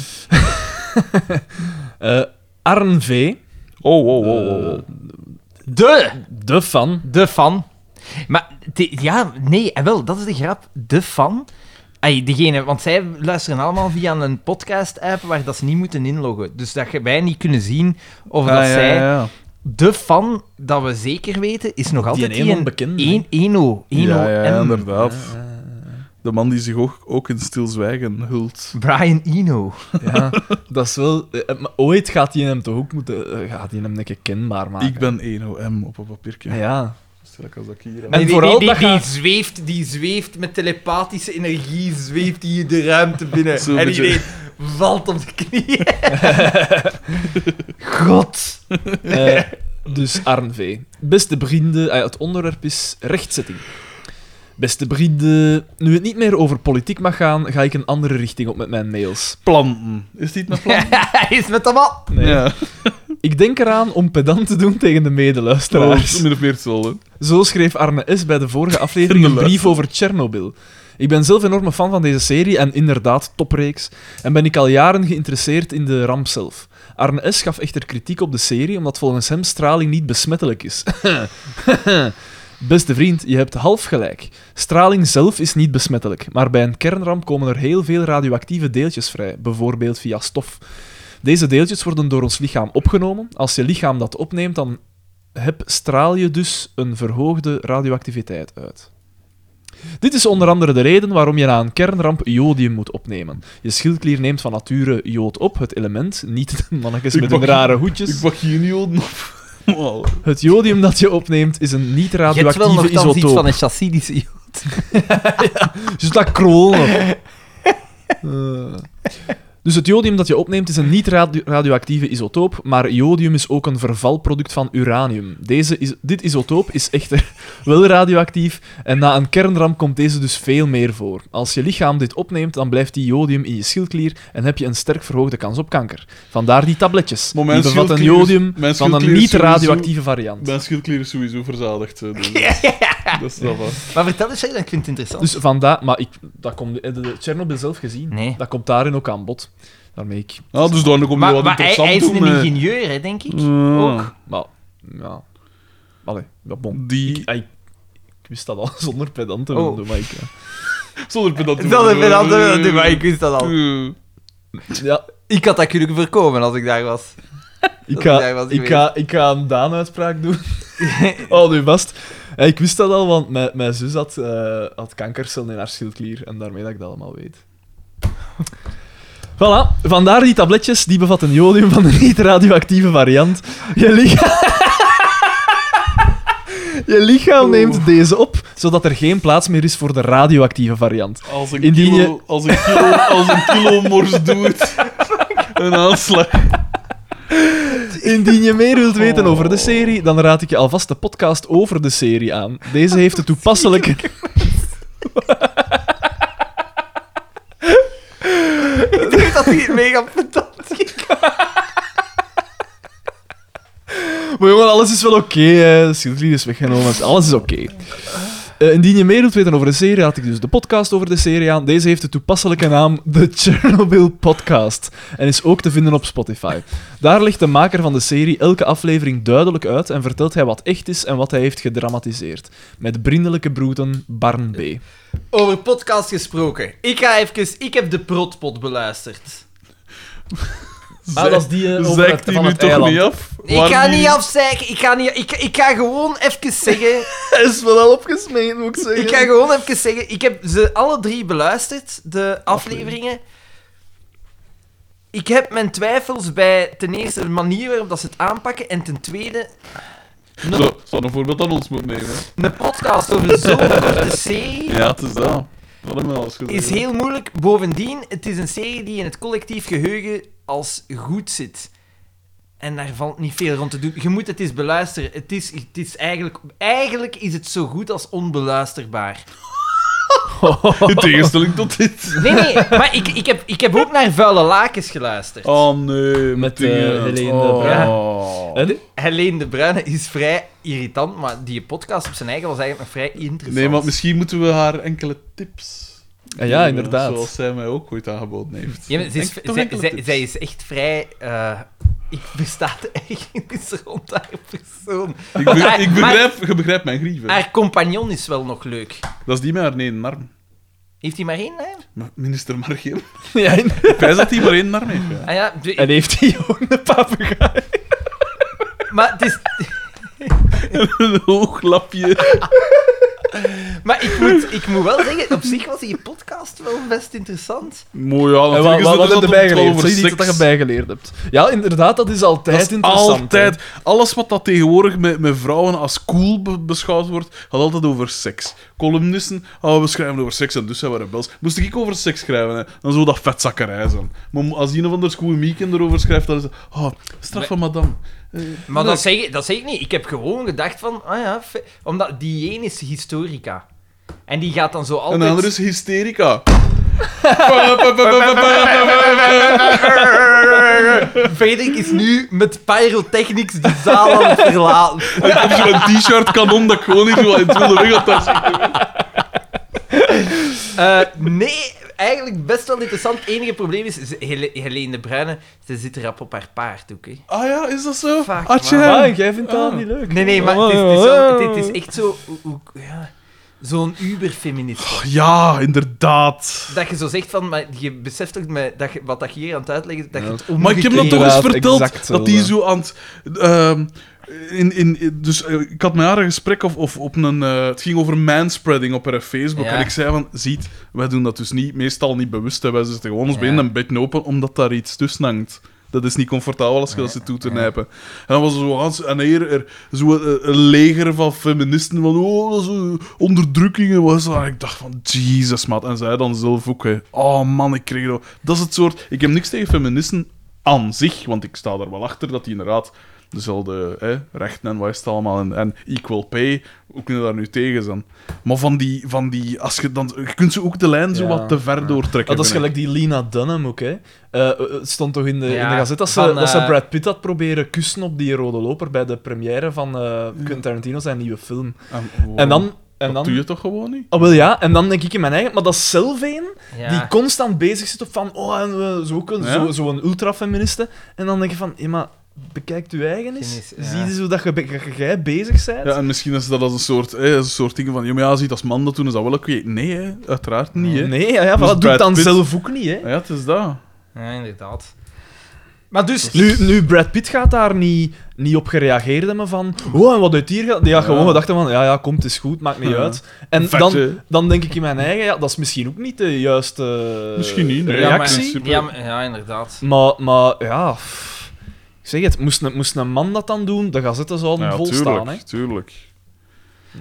S2: Eh, Arn V.
S3: Oh, oh, oh, oh, oh.
S1: De,
S2: De fan.
S1: de fan. Maar die- ja, nee, en wel, dat is de grap. De fan. Ay, degene, want zij luisteren allemaal via een podcast-app waar dat ze niet moeten inloggen. Dus dat je- wij niet kunnen zien of
S2: Ah,
S1: dat zij... De fan, dat we zeker weten, is nog altijd
S2: een onbekende, hè?
S1: Een, Eno. Eno
S3: Ja, ja, ja,
S1: M.
S3: inderdaad. De man die zich ook, ook in stilzwijgen hult.
S1: Brian Eno.
S2: [LAUGHS] Ja, dat is wel... eh, maar ooit gaat hij hem toch ook moeten... eh, gaat hij hem een keer kenbaar maken.
S3: Ik ben 1OM op een papiertje.
S2: Ah, Ja, ja.
S3: Stel ik als dat ik hier heb.
S2: En
S1: die,
S2: vooral
S1: die,
S2: dat
S1: die, die
S2: gaat-
S1: zweeft, die zweeft met telepathische energie, zweeft hij de ruimte binnen.
S3: Zo'n
S1: en
S3: beetje-
S1: iedereen valt op de
S2: [LAUGHS]
S1: knieën. God.
S2: Eh, dus Arn V. Beste vrienden, ah ja, het onderwerp is rechtzetting. Beste vrienden, nu het niet meer over politiek mag gaan, ga ik een andere richting op met mijn mails.
S3: Planten. Oh, Is dit een plant?
S1: [LAUGHS] Hij is met hem al.
S2: Nee.
S3: Ja.
S2: Ik denk eraan om pedant te doen tegen de medeluisteraars.
S3: Min of meer hetzelfde.
S2: Zo schreef Arne S. bij de vorige aflevering een brief over Tsjernobyl. Ik ben zelf enorme fan van deze serie en inderdaad topreeks. En ben ik al jaren geïnteresseerd in de ramp zelf. Arne S. gaf echter kritiek op de serie omdat volgens hem straling niet besmettelijk is. [LAUGHS] Beste vriend, je hebt half gelijk. Straling zelf is niet besmettelijk, maar bij een kernramp komen er heel veel radioactieve deeltjes vrij, bijvoorbeeld via stof. Deze deeltjes worden door ons lichaam opgenomen. Als je lichaam dat opneemt, dan heb, straal je dus een verhoogde radioactiviteit uit. Dit is onder andere de reden waarom je na een kernramp jodium moet opnemen. Je schildklier neemt van nature jood op, het element, niet de mannetjes
S3: Ik
S2: met hun
S3: pak-
S2: rare hoedjes.
S3: Ik pak hier niet op. [LAUGHS] Wow.
S2: Het jodium dat je opneemt is een
S1: Je hebt wel
S2: niet-radioactieve
S1: nog dan iets
S2: isotoop.
S1: van een chassidische...
S2: [LAUGHS] Dus dat kronen. Dus het jodium dat je opneemt is een niet-radioactieve isotoop, maar jodium is ook een vervalproduct van uranium. Deze is, dit isotoop is echter [LAUGHS] wel radioactief en na een kernramp komt deze dus veel meer voor. Als je lichaam dit opneemt, dan blijft die jodium in je schildklier en heb je een sterk verhoogde kans op kanker. Vandaar die tabletjes.
S3: Maar mijn
S2: die bevatten
S3: schildklier is-
S2: jodium
S3: mijn
S2: van een
S3: schildklier is sowieso-
S2: niet-radioactieve variant.
S3: Mijn schildklier is sowieso verzadigd. eh, Dus. Dat is dat wel.
S1: Maar vertel eens, Sheila, ik vind het interessant.
S2: Dus vandaar, maar ik, dat komt, heb je de Tsjernobyl zelf gezien?
S1: Nee.
S2: Dat komt daarin ook aan bod. Daarmee ik.
S3: Ah, dus dan komt
S1: maar
S3: er wat
S1: maar hij,
S3: interessant
S1: hij is
S3: doen,
S1: een
S3: eh.
S1: ingenieur, hè, denk ik. [LAUGHS] Ook.
S2: Maar, ja. Allee, ja, bon.
S3: Die...
S2: Ik, ah, ik, ik wist dat al [LAUGHS] zonder pedant te
S1: Oh.
S2: worden, maar [LAUGHS] ik. eh,
S3: Zonder pedant.
S1: Dat is een andere ding, maar ik wist dat
S3: [LAUGHS]
S1: al.
S3: Eh.
S2: ja,
S1: Ik had dat kunnen voorkomen als ik daar was.
S2: ik
S1: Dat
S2: ga,
S1: jij was
S2: ik, ga, ik ga een
S1: [LAUGHS]
S2: Daan-uitspraak doen. oh, nu vast. Ja, ik wist dat al, want mijn, mijn zus had, eh, had kankercellen in haar schildklier en daarmee dat ik dat allemaal weet. Voilà, vandaar die tabletjes, die bevatten jodium van de niet-radioactieve variant. Je lichaam... [LAUGHS] Je lichaam neemt deze op, zodat er geen plaats meer is voor de radioactieve variant.
S3: Als een,
S2: Indien je-
S3: kilo, als een kilo, als een kilo mors doet.
S2: [LAUGHS]
S3: Een aanslag.
S2: Indien je meer wilt weten over de
S1: Oh.
S2: serie, dan raad ik je alvast de podcast over de serie aan. Deze heeft de
S1: [LAUGHS]
S2: toepasselijke...
S1: Ik denk dat hij [LAUGHS] mega pedant is.
S2: Maar jongen, alles is wel oké. hè. de schildklier is weggenomen. dus Alles is oké. Eh, indien je meer wilt weten over de serie, had ik dus de podcast over de serie aan. Deze heeft de toepasselijke naam de Chernobyl Podcast en is ook te vinden op Spotify. Daar legt de maker van de serie elke aflevering duidelijk uit en vertelt hij wat echt is en wat hij heeft gedramatiseerd. Met vriendelijke broeten Barn B.
S1: Over podcast gesproken. Ik ga even... Ik heb de protpot beluisterd.
S2: Ah, dat is die eh, over het-
S3: Zeikt die
S2: van
S3: nu
S2: het
S3: toch
S2: eiland.
S3: niet af?
S1: ik ga niet afzeiken. Ik ga, niet, ik, ik ga gewoon even zeggen...
S2: Hij is wel al opgesmeed, moet ik zeggen.
S1: Ik ga gewoon even zeggen... Ik heb ze alle drie beluisterd, de afleveringen. Ik heb mijn twijfels bij ten eerste de manier waarop dat ze het aanpakken en ten tweede
S3: Zo, zou een voorbeeld aan ons moeten nemen.
S1: een podcast over zo'n korte serie.
S3: Ja, het is dat. Wat hebben we alles gezien?
S1: is heel moeilijk. Bovendien, het is een serie die in het collectief geheugen als goed zit. En daar valt niet veel rond te doen. Je moet het eens beluisteren. Het is, het is eigenlijk, eigenlijk is het zo goed als onbeluisterbaar.
S3: In tegenstelling tot dit.
S1: Nee, nee, [LAUGHS] maar ik, ik, heb, ik heb ook naar Vuile Lakens geluisterd.
S3: Oh nee,
S2: Met,
S3: dingen.
S2: eh, Helene
S3: oh.
S2: de
S1: Helene de Bruyne is vrij irritant, maar die podcast op zijn eigen was eigenlijk nog vrij interessant.
S3: Nee, maar misschien moeten we haar enkele tips.
S2: Ah ja,
S3: geven,
S2: inderdaad.
S3: Zoals zij mij ook ooit aangeboden heeft.
S1: Ja, maar ze is,
S3: Enk- toch
S1: zij-
S3: enkele
S1: zij-
S3: tips.
S1: zij is echt vrij... eh, ik bestaat eigenlijk niet rond haar persoon.
S3: Ik, be-
S1: Maar-
S3: ik begrijp, je begrijpt mijn grieven.
S1: Haar compagnon is wel nog leuk.
S3: Dat is die met haar nee, arm.
S1: Heeft hij maar één naam?
S3: Maar Minister Margeel.
S2: [LAUGHS] Ja, en,
S3: Ik wijs dat hij maar één arm heeft. ja.
S1: Ah ja, de-
S2: en heeft hij ook een papegaai?
S1: maar het is...
S3: Een hoog lapje.
S1: Maar ik moet, ik moet wel zeggen, op zich was die podcast wel best interessant.
S3: Mooi, ja.
S2: En
S3: natuurlijk
S2: wat,
S3: is dat
S2: wat, wat heb
S3: altijd
S2: je erbij
S3: wel
S2: geleerd?
S3: over
S2: Zeg je niet
S3: seks.
S2: dat je erbij geleerd hebt. Ja, inderdaad, dat is altijd
S3: Dat is
S2: interessant. hè.
S3: altijd. Alles wat dat tegenwoordig met, met vrouwen als cool be- beschouwd wordt, gaat altijd over seks. Columnisten, oh, we schrijven over seks en dus zijn we rebels. Moest ik ook over seks schrijven, hè, dan zou dat vetzakkerij zijn. Maar als een of ander schoolmieken erover schrijft, dan is het... Oh, straf van madame.
S1: Maar dat zeg, ik- dat zeg ik niet. Ik heb gewoon gedacht van, ah ja, fe- omdat die een is historica. En die gaat dan zo altijd...
S3: Een ander is hysterica. [LAUGHS] Pa, pa, pa, pa, pa, pa.
S1: Frederik is nu met pyrotechnics die zaal aan het verlaten.
S3: [LAUGHS] Ik heb zo'n t-shirt kanon dat ik gewoon niet wil in het wilde weg had. Dat is-
S1: Eh, nee, eigenlijk best wel interessant. Het enige probleem is, ze- Hele- Helene de Bruyne, ze zit rap op haar paard ook, hè.
S3: Ah ja, is dat zo?
S1: Fuck,
S3: Atje.
S1: man.
S2: Ah, jij vindt dat niet leuk. Ah,
S1: Nee, nee, maar het is, het is, wel- het- het is echt zo... hoe- hoe- ja, Zo'n uberfeminist.
S3: Ja, inderdaad.
S1: Dat je zo zegt van, maar je beseft toch met, dat je, wat dat je hier aan het uitleggen is, dat je het
S3: Maar ik heb dat toch
S1: omgekeerd-
S3: eens
S2: Inderdaad,
S3: verteld
S2: exact zo,
S3: dat die
S2: ja.
S3: zo aan het. ehm, in, in, in- dus eh, ik had met haar een gesprek of, of op een. eh, het ging over manspreading op haar Facebook.
S1: Ja.
S3: En ik zei van: ziet, wij doen dat dus niet, meestal niet bewust. Hè. Wij zitten gewoon ons
S1: Ja.
S3: benen een beetje open omdat daar iets tussen hangt. Dat is niet comfortabel als je dat zit toe te nijpen. En dan was er zo Hans en hier er, zo eh, een, een leger van feministen van oh, dat is, eh, onderdrukking en wat is dat? En ik dacht van, Jesus maat. En zij dan zelf ook, hè. oh man, ik kreeg dat. Dat is het soort, ik heb niks tegen feministen aan zich, want ik sta er wel achter dat die inderdaad dezelfde hè, rechten en wat is het allemaal, en, en equal pay, hoe kunnen we daar nu tegen zijn? Maar van die, van die als je dan, je kunt ze ook de lijn zo
S2: Ja,
S3: wat te ver doortrekken.
S2: Ah, dat is
S3: vind ik.
S2: gelijk die Lena Dunham ook, hè. Eh, eh, het stond toch in de, in
S1: Ja,
S2: de gazette dat ze,
S1: van,
S2: dat ze
S1: eh,
S2: Brad Pitt had proberen kussen op die rode loper bij de première van eh, Quentin Tarantino zijn nieuwe film.
S3: En, wow,
S2: En dan... En
S3: dat
S2: dan
S3: doe je toch gewoon niet?
S2: Oh, wel ja, en dan denk ik in mijn eigen... Maar dat is zelf een
S1: Ja.
S2: die constant bezig zit op van... Oh, en we- zo ook een-
S3: Ja.
S2: zo- zo'n ultrafeministe. En dan denk je van... Ja, maar bekijk je eigen eens.
S1: Geen eens, ja.
S2: Zie je hoe dat je, be- dat jij bezig bent?
S3: Ja, en misschien is dat als een soort, hè, als een soort ding van, ja, maar ja, ziet als man dat doen, is dat wel oké. Nee, hè, uiteraard niet. Hè.
S2: Nee, ja, ja, voilà,
S3: Dus
S2: doe
S3: Brad
S2: het dan
S3: Pitt-
S2: zelf ook niet, hè.
S3: Ja, het is dat.
S1: Ja, inderdaad. Maar dus...
S2: Nu, nu, Brad Pitt gaat daar niet, niet op gereageerd hebben van... Oh, en wat uit hier gaat... Die had gewoon gedacht hebben van... Ja, ja, komt, het is goed, maakt niet
S3: Ja.
S2: uit. En
S3: Vet, hè?
S2: dan, dan denk ik in mijn eigen... Ja, dat is misschien ook niet de juiste
S3: Misschien niet, nee.
S2: reactie.
S3: Ja, super.
S1: Ja, maar- ja, inderdaad.
S2: Maar, maar ja, pff. ik zeg het, moest een, moest een man dat dan doen, de gazette zouden
S3: Ja,
S2: vol
S3: tuurlijk,
S2: staan. Hè.
S3: tuurlijk.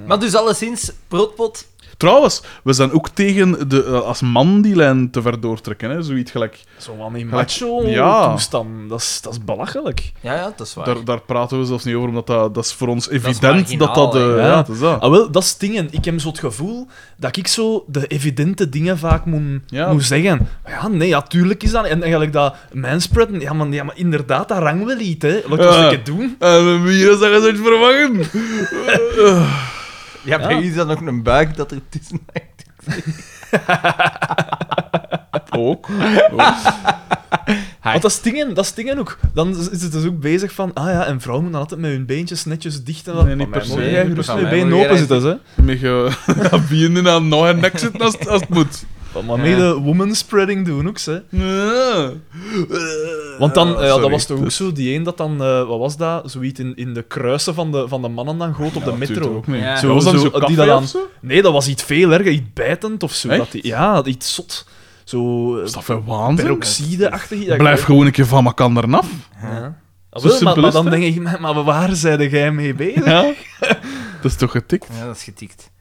S1: Maar dus alleszins, Protpot...
S3: Trouwens, we zijn ook tegen de, eh, als man die lijn te ver doortrekken. Hè? Zoiets gelijk.
S2: Zo van die
S3: Gelijk-
S2: macho
S3: Ja.
S2: toestand, dat is, dat is belachelijk.
S1: Ja, ja, dat is waar.
S3: Daar, daar praten we zelfs niet over, omdat dat, dat is voor ons evident dat
S1: marginaal,
S3: dat... eh,
S1: hè.
S3: ja.
S2: Ja.
S3: het is dat.
S2: Ah, wel, dat is het ding. en Ik heb zo het gevoel dat ik zo de evidente dingen vaak moet,
S3: Ja.
S2: moet zeggen. Maar Ja, nee, natuurlijk tuurlijk is dat. En eigenlijk dat manspreaden, ja, maar, ja, maar inderdaad, dat rang wel iets, hè. Laat ik dat
S3: Ja.
S2: een keer doen.
S3: En Eh, we hier zeggen ze het vervangen.
S1: Ja, bij u is dan ook een buik dat er tussen hangt.
S3: Ook.
S2: Want dat is dingen, dat is dingen ook. Dan is is het dus ook bezig van, ah ja, en vrouwen moeten dan altijd met hun beentjes netjes dicht en wat.
S3: Nee, niet
S2: Maar
S3: per
S2: mij
S3: se,
S2: mogen
S3: niet
S2: jij
S3: per
S2: gerust
S1: se.
S2: met je
S1: Mij
S2: benen
S1: mogen
S2: open
S1: jij
S2: zitten, hè.
S3: Met [LAUGHS] je bienen aan nog en nek zitten als, het- als het moet.
S2: Maar mee de woman spreading doen ook, hè.
S3: Ja.
S2: Want dan, eh, ja,
S3: sorry. Dus-
S2: dat was toch ook zo, die een dat dan, eh, wat was dat, zoiets in, in de kruisen van de, van de mannen dan goot op de
S3: Ja, dat duurt
S2: metro.
S3: ook niet.
S1: Ja.
S3: Dat was dan zo
S2: die
S3: café
S2: dat
S3: of
S2: dan-
S3: zo?
S2: Nee, dat was iets veel erger, iets bijtend of zo.
S3: Echt?
S2: Dat die, ja, iets zot. Zo eh,
S3: Is dat veel waanzin?
S2: peroxide-achtig. iets.
S3: Blijf gewoon een keer van elkaar af.
S2: Ah,
S3: zo
S2: wel, maar,
S3: simpel
S2: maar
S3: is het,
S2: dan
S3: hè?
S2: denk ik, maar, maar waar zijde jij mee
S3: [LAUGHS]
S2: bezig?
S3: Ja. Dat is toch getikt?
S1: Mm. Ja, dat is getikt.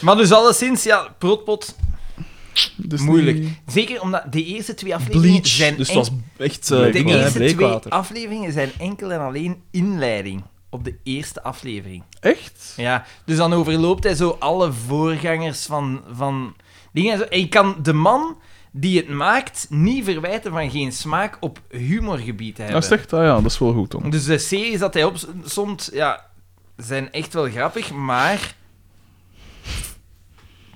S1: Maar dus alleszins, ja, Protpot...
S2: Dus
S1: moeilijk.
S2: niet-
S1: Zeker omdat de eerste twee afleveringen
S2: Bleach.
S1: zijn
S2: dus het
S1: enkel-
S2: was echt eh
S1: De
S2: dingen, hè,
S1: eerste twee
S2: bleekwater.
S1: afleveringen zijn enkel en alleen inleiding op de eerste aflevering.
S3: Echt?
S1: Ja, dus dan overloopt hij zo alle voorgangers van, van dingen. en zo. En je kan de man die het maakt niet verwijten van geen smaak op humorgebied te
S3: Ja, is
S1: hebben.
S3: het echt? Ah ja, dat is wel goed dan.
S1: dus de series dat hij opzomt, ja, zijn echt wel grappig, maar...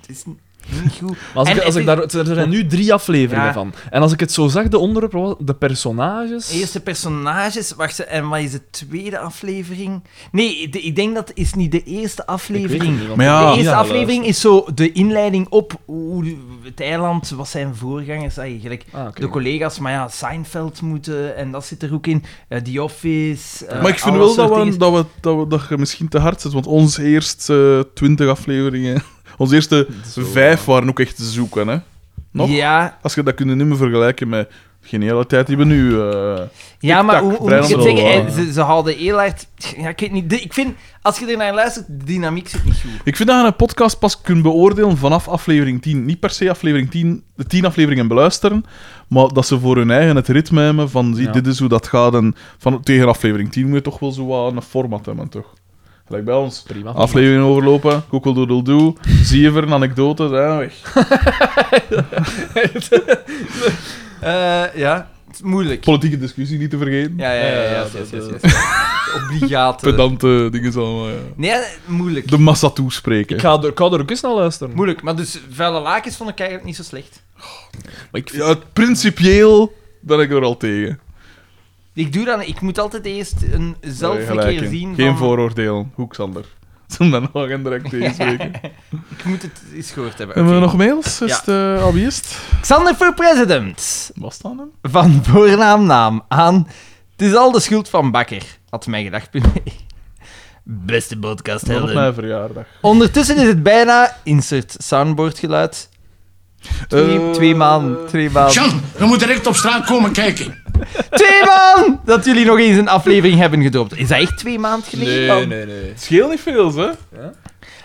S1: Het is n- niet goed.
S2: Maar als
S1: En
S2: ik, als
S1: het
S2: ik daar, er zijn nu drie afleveringen
S1: Ja.
S2: van. En als ik het zo zag, de onderwerpen, was- de personages.
S1: Eerste personages, wacht ze, en wat is de tweede aflevering? Nee, de- ik denk dat is niet de eerste aflevering.
S3: Maar
S1: De
S3: Ah, ja,
S1: eerste
S2: Ja,
S1: aflevering is zo de inleiding op hoe het eiland, wat zijn voorgangers eigenlijk.
S2: Ah, oké.
S1: De collega's, maar ja, Seinfeld moeten, en dat zit er ook in. Eh, The Office. eh,
S3: maar ik vind
S1: alle
S3: wel dat,
S1: soort
S3: we,
S1: dingen.
S3: dat, we, dat, we, dat je misschien te hard zit, want onze eerste twintig afleveringen, [LAUGHS] onze eerste vijf waren ook echt te zoeken, hè? Nog?
S1: Ja,
S3: Als je dat kunnen niet meer vergelijken met de geniale tijd die we nu. eh,
S1: ja maar hoe, hoe moet ik het
S3: Brandel,
S1: zeggen?
S3: ja.
S1: Eh, Ze, ze houden heel hard... Ja, ik weet niet. de- ik vind, als je er naar luistert, de dynamiek zit niet goed.
S3: Ik vind dat je een podcast pas kunt beoordelen vanaf aflevering 10. Niet per se aflevering 10, de 10 afleveringen beluisteren, maar dat ze voor hun eigen het ritme hebben van zie,
S2: Ja.
S3: dit is hoe dat gaat. En van, tegen aflevering 10 moet je toch wel zo wat een format hebben, toch? Gelijk bij ons.
S2: Prima.
S3: Aflevering overlopen, koekeldoedeldoe, zie je een anekdote, zijn weg.
S1: Eh, ja, het is moeilijk.
S3: Politieke discussie niet te vergeten.
S1: Ja, ja, ja. ja, yes, yes, yes, yes. [LAUGHS] Obligaat. eh.
S3: Pedante dingen allemaal, ja.
S1: Nee, eh, moeilijk.
S3: De massa toespreken.
S2: Ik ga, er, ik ga er ook eens naar luisteren.
S1: Moeilijk, maar dus vuile lakens vond ik eigenlijk niet zo slecht.
S2: Maar ik vind-
S3: Ja, principieel ben ik er al tegen.
S1: Ik doe dan, ik moet altijd eerst een, zelf
S3: Nee,
S1: een
S3: gelijk
S1: keer
S3: in.
S1: zien
S3: Geen
S1: van,
S3: vooroordelen. Hoe, Xander? [LAUGHS] Ze ben nog en direct tegenspreken.
S1: ik moet het eens gehoord hebben.
S3: Hebben we
S1: Oké.
S3: nog mails? Is
S1: Ja.
S3: het eh, abbiest?
S1: Xander voor president.
S3: Was dat hem?
S1: Van [LAUGHS] voornaam naam aan. Het is al de schuld van Bakker, had mij gedacht. [LAUGHS] Beste podcast
S3: Dat was op mijn verjaardag.
S1: Ondertussen is het bijna, insert soundboard geluid. Twee,
S3: Eh,
S1: twee maanden, twee maanden.
S5: Jan, we moeten direct op straat komen kijken.
S1: Twee maanden! Dat jullie nog eens een aflevering hebben gedropt. Is dat echt twee maanden geleden? Oh.
S2: Nee, nee, nee.
S3: Oh. Het scheelt niet veel, hè?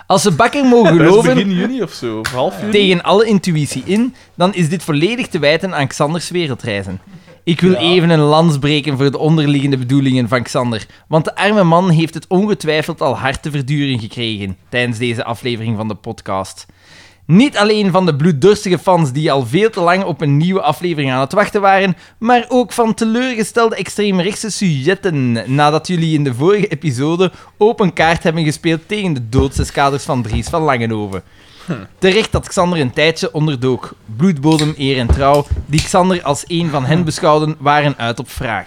S1: Als ze Bakker mogen
S3: Dat is
S1: geloven,
S3: begin juni of zo. Of half juni.
S1: tegen alle intuïtie in, dan is dit volledig te wijten aan Xanders wereldreizen. Ik wil even een lans breken voor de onderliggende bedoelingen van Xander, want de arme man heeft het ongetwijfeld al hard te verduren gekregen tijdens deze aflevering van de podcast. Niet alleen van de bloeddorstige fans die al veel te lang op een nieuwe aflevering aan het wachten waren, maar ook van teleurgestelde extreemrechtse sujetten nadat jullie in de vorige episode open kaart hebben gespeeld tegen de doodseskaders van Dries van Langenhoven. Terecht dat Xander een tijdje onderdook. Bloedbodem, eer en trouw, die Xander als een van hen beschouwden, waren uit op wraak.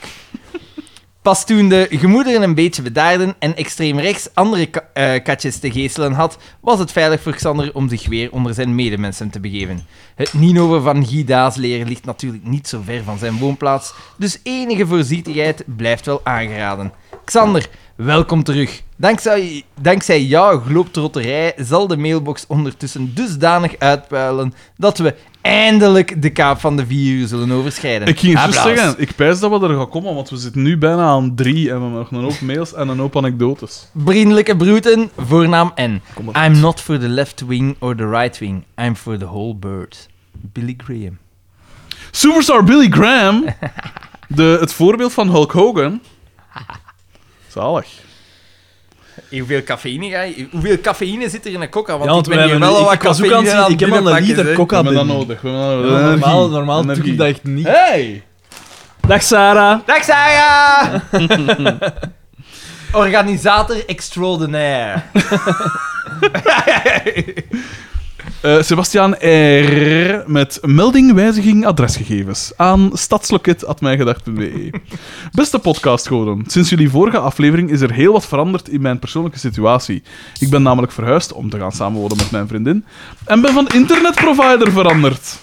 S1: Pas toen de gemoederen een beetje bedaarden en extreem rechts andere ka- eh, katjes te geestelen had, was het veilig voor Xander om zich weer onder zijn medemensen te begeven. Het Ninoven van Guy Daas leren ligt natuurlijk niet zo ver van zijn woonplaats, dus enige voorzichtigheid blijft wel aangeraden. Xander, welkom terug. Dankzij, dankzij jouw glooptrotterij zal de mailbox ondertussen dusdanig uitpuilen dat we eindelijk de kaap van de vier uur zullen overschrijden.
S3: Ik ging het juist
S1: Applaus.
S3: zeggen, ik pijs dat we er gaan komen, want we zitten nu bijna aan drie en we hebben nog een hoop mails en een hoop anekdotes.
S1: Vriendelijke broeten, voornaam N. I'm not for the left wing or the right wing. I'm for the whole bird. Billy Graham.
S3: Superstar Billy Graham,
S1: [LAUGHS]
S3: de, het voorbeeld van Hulk Hogan. Zalig.
S1: Hoeveel cafeïne, ga je, hoeveel cafeïne zit er in een coca? Want
S2: Ja, want
S1: ik ben
S2: wij
S1: hier
S2: hebben-
S1: wel
S2: ik
S1: wat
S2: was ook aan het
S1: cafeïne
S2: zien,
S1: aan
S2: ik heb al een
S1: binnenpakken,
S2: liter
S1: zeg.
S2: coca
S3: We hebben dat
S2: binnen.
S3: nodig. We hebben dat nodig.
S2: Ja, normaal
S3: Energie.
S2: normaal doe
S3: Energie.
S2: ik dat echt niet.
S3: Hey!
S2: Dag Sarah.
S1: Dag Sarah! [LAUGHS] Organisator extraordinaire.
S3: Eh, Sebastiaan R. met melding, wijziging, adresgegevens aan stadsloket.mijgedacht.be. E. Beste podcastgoden, sinds jullie vorige aflevering is er heel wat veranderd in mijn persoonlijke situatie. Ik ben namelijk verhuisd om te gaan samenwonen met mijn vriendin en ben van internetprovider veranderd.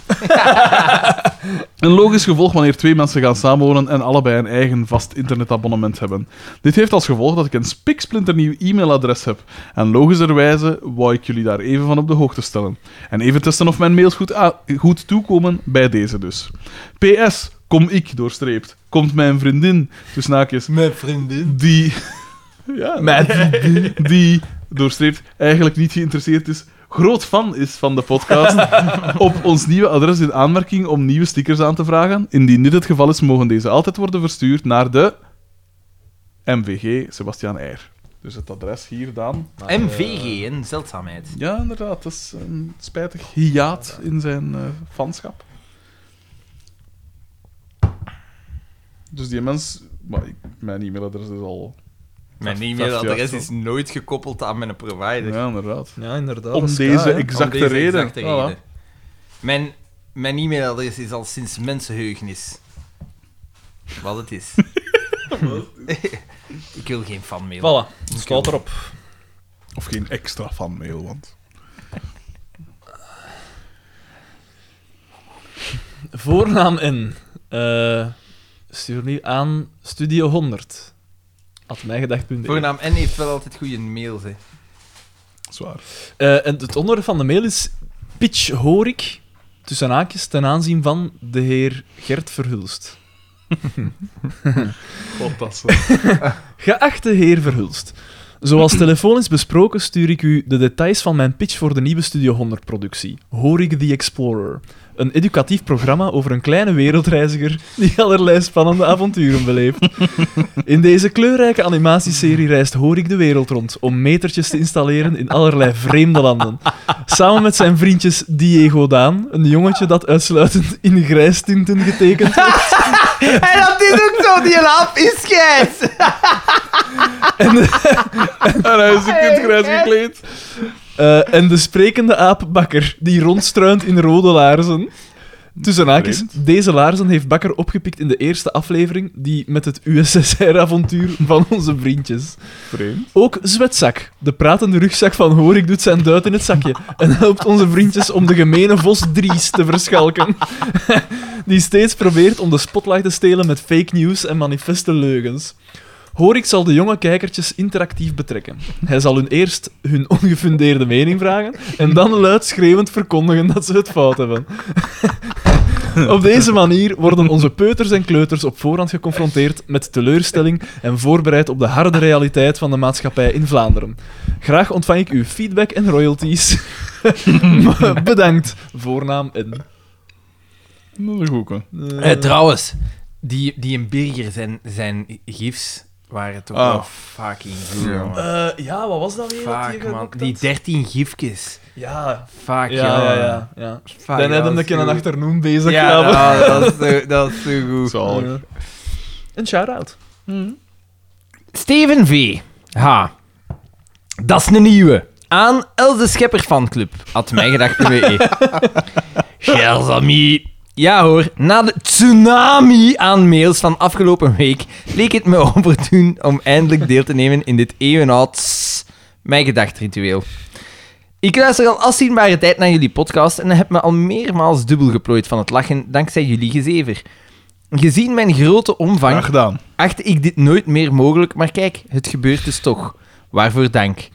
S3: Een logisch gevolg wanneer twee mensen gaan samenwonen en allebei een eigen vast internetabonnement hebben. Dit heeft als gevolg dat ik een spiksplinternieuw e-mailadres heb. En logischerwijze wou ik jullie daar even van op de hoogte stellen. En even testen of mijn mails goed, a- goed toekomen bij deze dus. PS, kom ik, doorstreept. Komt mijn vriendin, tussen haakjes.
S1: Mijn vriendin.
S3: Die... ja,
S2: Mijn
S3: die, doorstreept, eigenlijk niet geïnteresseerd is groot fan is van de podcast, op ons nieuwe adres in aanmerking om nieuwe stickers aan te vragen. Indien dit het geval is, mogen deze altijd worden verstuurd naar de MVG Sebastian Eyre. Dus het adres hier, Daan.
S1: MVG, een zeldzaamheid.
S3: Ja, inderdaad. Dat is een spijtig hiaat in zijn eh fanschap. Dus die mens... Maar ik, mijn e-mailadres is al...
S1: Mijn
S3: vijf jaar
S1: e-mailadres
S3: zo.
S1: is nooit gekoppeld aan mijn provider.
S3: Ja, inderdaad.
S6: Ja, inderdaad.
S3: Om
S6: dat is
S3: deze
S6: K, hè.
S1: Om
S3: exacte
S1: deze
S3: reden.
S1: exacte
S3: Voilà.
S1: reden. Mijn, mijn e-mailadres is al sinds mensenheugenis. Wat het is. ik wil geen fanmail.
S2: Voilà, staat erop.
S3: Of geen extra fanmail, want...
S2: Voornaam in. Eh, stuur nu aan Studio 100. At mijgedacht.be.
S1: Voornaam N heeft wel altijd goede mails. Hè.
S3: Zwaar.
S2: Eh, en het onderwerp van de mail is pitch hoor ik tussen haakjes ten aanzien van de heer Gert Verhulst.
S3: Wat dat zo.
S2: Geachte heer Verhulst, zoals telefonisch besproken stuur ik u de details van mijn pitch voor de nieuwe Studio 100 productie, Hoor ik The Explorer. Een educatief programma over een kleine wereldreiziger die allerlei spannende avonturen beleeft. In deze kleurrijke animatieserie reist Horik de wereld rond om metertjes te installeren in allerlei vreemde landen. Samen met zijn vriendjes Diego Daan, een jongetje dat uitsluitend in grijstinten getekend wordt,
S1: En dat is ook zo, die lap is gijs!
S3: en hij is een kind grijs gekleed.
S2: eh, en de sprekende aap Bakker, die rondstruint in rode laarzen. Tussen haakjes, deze laarzen heeft Bakker opgepikt in de eerste aflevering, die met het USSR-avontuur van onze vriendjes.
S3: Vreemd.
S2: Ook Zwetzak, de pratende rugzak van Horik, doet zijn duit in het zakje en helpt onze vriendjes om de gemene vos Dries te verschalken. [LAUGHS] Die steeds probeert om de spotlight te stelen met fake news en manifeste leugens. Horik zal de jonge kijkertjes interactief betrekken. Hij zal hun eerst hun ongefundeerde mening vragen en dan luid schreeuwend verkondigen dat ze het fout hebben. [LAUGHS] Op deze manier worden onze peuters en kleuters op voorhand geconfronteerd met teleurstelling en voorbereid op de harde realiteit van de maatschappij in Vlaanderen. Graag ontvang ik uw feedback en royalties. [LAUGHS] Bedankt, voornaam en.
S3: Dat is een goeie.
S1: [LAUGHS] Eh, trouwens, die, die een burger zijn, zijn gifs waren toch
S3: Ah.
S1: wel fucking goed,
S3: Ja.
S1: jongen.
S2: ja, Eh, wat was dat weer?
S1: Fuck, man. Die 13 gifjes.
S2: Ja,
S1: Fuck,
S2: ja, ja. ja,
S1: Fuck, dat
S2: Dan hebben we
S1: was
S2: een keer
S1: goed.
S2: een achternoem bezig.
S1: Ja, nou, dat is zo- dat is zo goed.
S3: Zalig.
S2: Een shout-out.
S1: Steven V. H. Dat is een nieuwe. Aan Els de Schepper fanclub. Had mijgedacht.be. Gerzami. E. Ja hoor, na de tsunami aan mails van afgelopen week leek het me [LAUGHS] opportun om eindelijk deel te nemen in dit eeuwenoud mijgedachtritueel. Ik luister al afzienbare tijd naar jullie podcast en heb me al meermaals dubbel geplooid van het lachen dankzij jullie gezever. Gezien mijn grote omvang
S3: Graag gedaan.
S1: achtte ik dit nooit meer mogelijk, maar kijk, het gebeurt dus toch. Waarvoor dank.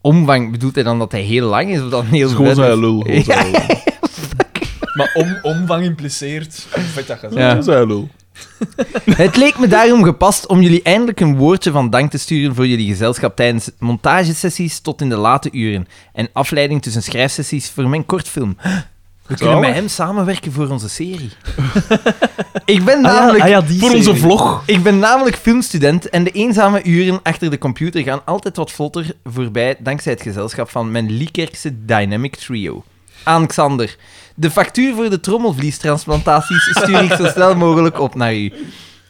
S1: Omvang, bedoelt hij dan dat hij heel lang is of dat hij heel
S3: Schoon
S1: vet is?
S3: zijn
S1: [LAUGHS]
S3: lul. Schoon zijn lul.
S2: Maar om, omvang impliceert. Vet dat gezegd.
S1: Ja.
S3: Schoon zijn lul.
S1: Het leek me daarom gepast om jullie eindelijk een woordje van dank te sturen voor jullie gezelschap tijdens montagesessies tot in de late uren en afleiding tussen schrijfsessies voor mijn kortfilm. We kunnen met hem samenwerken voor onze serie. [LAUGHS] ik ben
S2: Ah,
S1: namelijk...
S3: Voor onze vlog.
S1: Ik ben namelijk filmstudent en de eenzame uren achter de computer gaan altijd wat vlotter voorbij dankzij het gezelschap van mijn Liekerkse Dynamic Trio. Aan Xander. De factuur voor de trommelvliestransplantaties stuur ik zo snel mogelijk op naar u.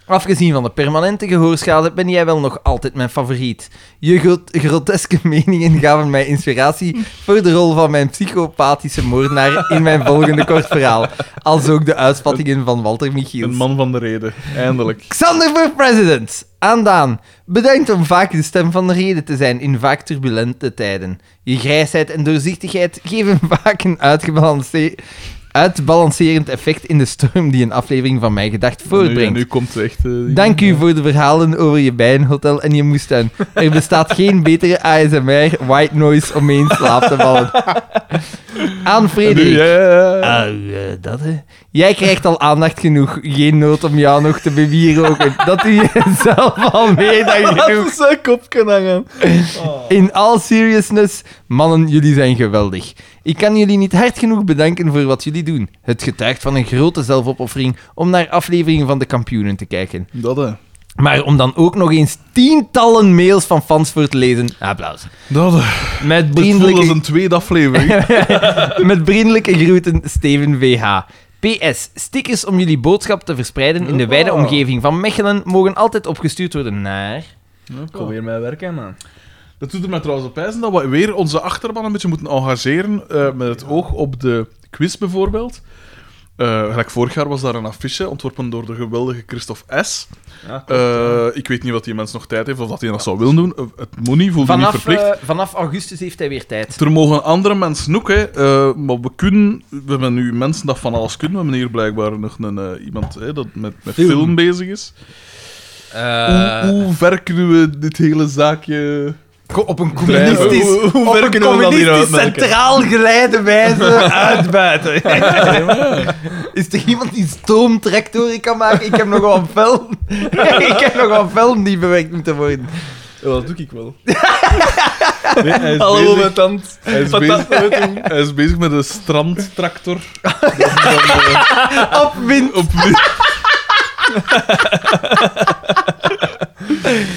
S1: Afgezien van de permanente gehoorschade ben jij wel nog altijd mijn favoriet. Je grot- groteske meningen gaven mij inspiratie voor de rol van mijn psychopathische moordenaar in mijn volgende kort verhaal. Als ook de uitspattingen van Walter Michiels.
S3: Een man van de reden. Eindelijk.
S1: Xander voor president. Aan Daan. Bedankt om vaak de stem van de reden te zijn in vaak [LAUGHS] turbulente tijden. Je grijsheid en doorzichtigheid geven vaak een uitgebalance- uitbalancerend effect in de storm die een aflevering van Mijn Gedacht
S3: Nu,
S1: voortbrengt.
S3: nu komt het echt... eh, die-
S1: Dank u voor de verhalen over je bijenhotel en je moestuin. Er bestaat [LAUGHS] geen betere ASMR white noise om mee in slaap te vallen. Aan
S3: En nu,
S1: Frederik.
S3: ja,
S2: [LAUGHS]
S3: ja, ja.
S1: Ah, eh, dat hè. Jij krijgt al aandacht genoeg. Geen nood om jou nog te [LAUGHS] bewieroken. Dat doe je zelf al meer [LAUGHS] dan genoeg.
S6: Laat zijn kopje hangen.
S1: In all seriousness, mannen, jullie zijn geweldig. Ik kan jullie niet hard genoeg bedanken voor wat jullie doen. Het getuigt van een grote zelfopoffering om naar afleveringen van de kampioenen te kijken.
S3: Dat, hè.
S1: Maar om dan ook nog eens tientallen mails van fans voor te lezen. Applaus.
S3: Dat, hè.
S1: Met
S3: Dit voelt als
S1: vriendelijke,
S3: een tweede aflevering.
S1: met vriendelijke groeten, Steven VH. PS. Stickers om jullie boodschap te verspreiden in de
S3: Oh.
S1: wijde omgeving van Mechelen mogen altijd opgestuurd worden naar...
S2: Kom weer mijn werk aan, man.
S3: Dat doet er mij trouwens op wijzen dat we weer onze achterban een beetje moeten engageren eh, met het oog op de quiz bijvoorbeeld. Eh, gelijk vorig jaar was daar een affiche ontworpen door de geweldige Christophe S. Eh, ik weet niet wat die mens nog tijd heeft of dat hij dat zou willen doen. Eh, Het moet niet, voelt je niet
S1: Vanaf,
S3: verplicht.
S1: eh, vanaf augustus heeft hij weer tijd.
S3: Er mogen andere mensen ook, hè. Eh, maar we kunnen... We hebben nu mensen dat van alles kunnen. We hebben hier blijkbaar nog een, eh, iemand hè, dat met, met film. bezig is.
S1: Eh,
S3: Hoe, hoe ver kunnen we dit hele zaakje...
S1: Op een
S3: communistisch-
S1: communistisch,
S6: Hoe ver kunnen we dat hier uitmerken?
S1: centraal geleide wijze uitbuiten. [LAUGHS] Is er iemand die stoomtractoren kan maken? Ik heb nog wel film. [LAUGHS] Ik heb nog wel film die bewerkt moeten worden.
S2: Ja, dat doe ik wel.
S3: Nee, hij is
S2: Hallo,
S3: bezig-
S2: mijn tand.
S3: Hij is, bezig, hij is bezig met een strandtractor.
S1: Op wind.
S3: Op wind.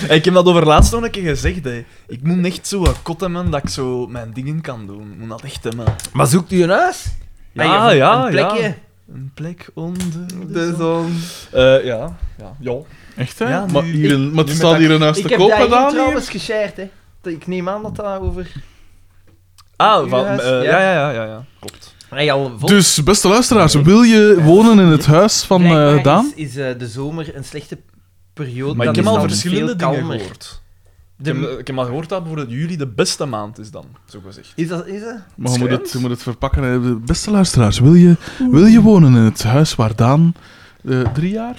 S2: Ik heb dat over laatst nog een keer gezegd, hè. Ik moet echt zo wat kot hebben dat ik zo mijn dingen kan doen. Ik moet dat echt hebben.
S1: Maar zoekt u een huis?
S2: Ja,
S1: Ah, je hebt
S2: ja,
S1: Ah, een plekje.
S2: ja. Een plek onder de
S1: De
S2: zon.
S1: zon.
S2: Eh, ja. Ja. ja.
S3: Echt, hè?
S2: Ja, nu-
S3: maar hier, een- maar het
S2: nu
S3: staat
S2: met
S3: hier een huis
S1: Ik
S3: te
S1: heb
S3: koop
S1: daar hier
S3: gedaan. hier.
S1: trouwens geshared, hè. Ik neem aan dat daar over...
S2: Ah,
S1: Uw
S2: van,
S1: huis?
S2: eh,
S1: Ja.
S2: ja. Ja, ja, ja, ja.
S1: Hey, al vol-
S3: Dus, beste luisteraars, wil je wonen in het huis van
S1: Blijkbaar
S3: eh, Daan?
S1: Is, is eh, de zomer een slechte periode.
S2: Maar
S1: dan
S2: ik heb
S1: is
S2: al
S1: dan
S2: verschillende
S1: veel
S2: dingen
S1: kalmer.
S2: gehoord. Ik heb,
S1: De-
S2: ik heb al gehoord dat bijvoorbeeld juli de beste maand is dan, zo gezegd.
S1: is dat... Is dat?
S3: Maar je moet, het, je moet het verpakken. hè. Beste luisteraars, wil je, wil je wonen in het huis waar Daan eh, drie jaar,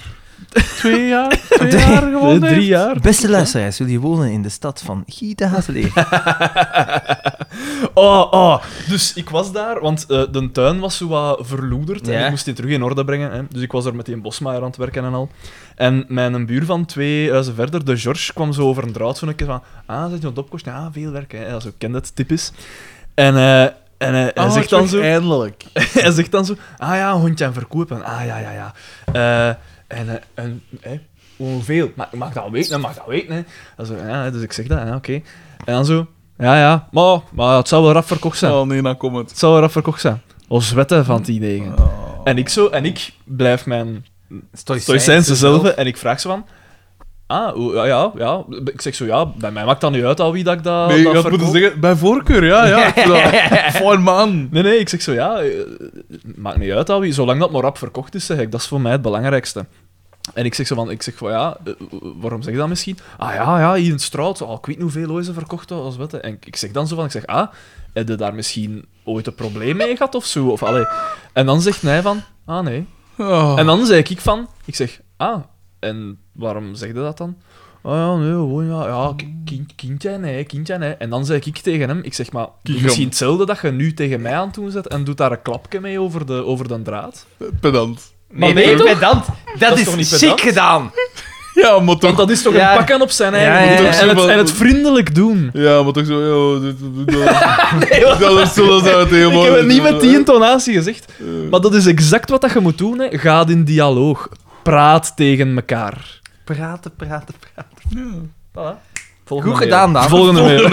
S3: twee
S2: [LAUGHS]
S3: jaar, twee jaar gewoond heeft?
S2: Eh, jaar.
S1: Beste luisteraars, jullie wonen in de stad van Gita [LAUGHS] Hazeleer.
S2: Oh, oh. Dus ik was daar, want eh, de tuin was zo wat verloederd en
S1: Ja.
S2: ik moest die terug in orde brengen. Hè. Dus ik was er met die bosmaaier aan het werken en al. En mijn buurman twee huizen verder, de George, kwam zo over een draad zo een keer van... Ah, zit je aan het opkosten? Ah, veel werk. Hè. Ja, zo ken dat, typisch. En, eh, en eh, hij zegt dan zo...
S3: Eindelijk.
S2: [LAUGHS] hij zegt dan zo, ah ja, een hondje aan verkopen. Ah ja, ja, ja. Eh, en, eh, en hè, hoeveel? Maar maak dat weten, hè, maak dat weten. Hè. Dan zo, ja, dus ik zeg dat, ja, oké. En dan zo, ja, ja, maar, maar het zou wel rap verkocht zijn.
S3: Oh nee, nou komt het.
S2: Het zou wel rap verkocht zijn. Ons wetten van die dingen.
S3: Oh.
S2: En ik zo, en ik blijf mijn stoïcijnse zelf en ik vraag ze van... Ah, hoe- ja, ja, ja. Ik zeg zo, ja, bij mij maakt dat niet uit al wie dat ik dat,
S3: Nee, je
S2: dat
S3: had moeten
S2: verkoop.
S3: zeggen, bij voorkeur, ja, ja.
S2: [LAUGHS]
S3: Fijn man.
S2: Nee, nee, ik zeg zo, ja, eh, maakt niet uit, Alwie. Zolang dat maar rap verkocht is, zeg ik, dat is voor mij het belangrijkste. En ik zeg zo van, ik zeg van, ja, eh, waarom zeg je dat misschien? Ah ja, ja, hier in Straat, oh, ik weet niet hoeveel ooit ze verkocht hebben, als wetten. En ik zeg dan zo van, ik zeg, ah, heb je daar misschien ooit een probleem mee gehad of zo? Of, allee. En dan zegt hij van, ah nee.
S3: Oh.
S2: En dan zei ik van, ik zeg, ah, en waarom zeg je dat dan? Ah ja, nee, gewoon ja, ja
S1: Hmm.
S2: ki- kind, kindje, nee, kindje, nee. En dan zei ik tegen hem, ik zeg maar, doe
S3: Kiegom.
S2: misschien hetzelfde dat je nu tegen mij aan het doen zet en doet daar een klapje mee over de, over de draad.
S3: Pedant.
S1: Nee,
S2: Maar
S1: nee,
S2: nee, toch?
S1: pedant. Dat,
S2: is
S1: is,
S2: toch niet
S1: chic
S2: pedant?
S1: gedaan.
S3: Ja, maar toch
S2: Want dat is toch
S1: Ja.
S2: een pakken op zijn eigen
S1: Ja, ja,
S2: doen
S1: ja.
S2: En, het, en het vriendelijk doen.
S3: Ja, maar toch zo, yo, dit, dit,
S2: [LAUGHS]
S3: dit- dat is zo, dat is uit
S2: Ik heb het niet met die intonatie gezegd, maar dat is exact wat dat je moet doen. Hè. Ga in dialoog. Praat tegen elkaar.
S1: Praten, praten, praten.
S2: Volgende
S1: Goed
S2: mail.
S1: gedaan, Daan.
S2: Volgende mail.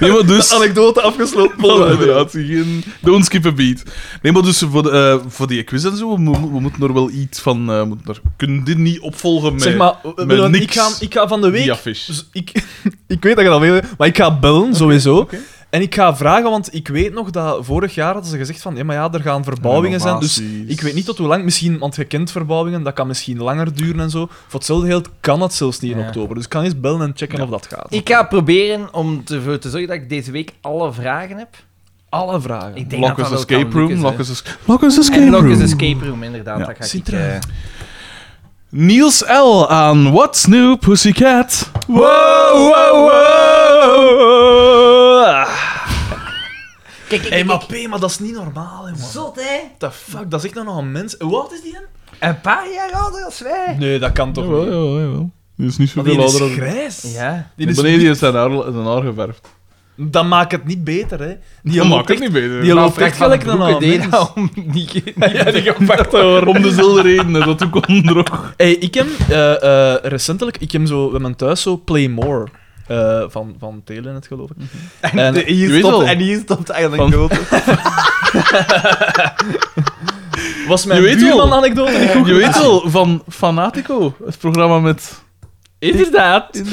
S3: Nee, maar dus...
S2: [LAUGHS] Anekdote afgesloten.
S3: Oh,
S2: Volgende mail.
S3: inderdaad, geen- don't skip a beat. Nee, maar dus voor, de, eh, voor die quiz en zo, we, mo- we moeten er wel iets van... eh moeten er, kunnen dit niet opvolgen met...
S2: Zeg maar, eh, Willem, ik,
S3: niks.
S2: ga, ik ga van de
S3: die
S2: week.
S3: affiche.
S2: dus ik, [LAUGHS] ik weet dat je dat weet, maar ik ga bellen sowieso. En ik ga vragen, want ik weet nog dat vorig jaar hadden ze gezegd van ja, maar ja, er gaan verbouwingen zijn. Dus
S3: Renovaties.
S2: ik weet niet tot hoe lang, misschien, want je kent verbouwingen, dat kan misschien langer duren en zo. Voor hetzelfde geld kan het zelfs niet in
S1: Ja.
S2: oktober. Dus ik kan eens bellen en checken of dat gaat.
S1: Ik ga proberen om ervoor te zorgen dat ik deze week alle vragen heb.
S2: alle vragen.
S12: Ik denk
S3: Lock
S12: dat
S3: us
S12: dat wel
S3: escape
S12: kan
S3: room,
S12: lukken,
S3: lock
S12: hè.
S3: us, es- lock us escape
S12: En
S3: room.
S12: Lock is escape room, inderdaad.
S3: Ja.
S12: Dat ga ik...
S2: Sintra.
S12: eh,
S3: Niels L. aan What's New Pussycat?
S12: Kijk, ik,
S2: Hé,
S12: ik-
S2: maar P, maar dat is niet normaal, hè, man.
S12: Zot, hè?
S2: What the fuck, dat is echt nog een mens. Hoe oud is die dan?
S12: Een paar jaar ouder als wij.
S2: Nee, dat kan toch
S3: Jawel,
S2: niet.
S3: jawel, jawel. Die is niet
S2: Maar
S3: zoveel ouder dan...
S2: grijs.
S12: Ja.
S2: Die is
S3: Beneden die is zijn haar, zijn haar geverfd.
S2: Dat maakt het niet beter, hè. Die
S3: Dat
S2: loopt
S3: maakt het
S2: echt...
S3: niet beter.
S2: Die
S3: Maar
S2: loopt echt gelijk dan
S12: broeken
S2: aan
S12: deed
S2: mens.
S12: dat om
S3: [LAUGHS]
S12: niet...
S2: Ja, die gepakt te worden.
S3: Om dezelfde redenen, dat ook ondroog.
S2: Hey, ik heb eh, eh, recentelijk, ik heb zo bij mijn thuis zo Play More eh, van, van Telenet, geloof ik.
S3: [LAUGHS]
S2: En-
S3: Je
S1: Hier
S3: weet wel.
S1: stopt, en hier stopt eigenlijk groot.
S2: was mijn
S3: Je weet wel. [LAUGHS]
S2: buurman-anekdote niet goed?
S3: Je weet wel, van Fanatico, het programma met...
S2: Inderdaad. Eh,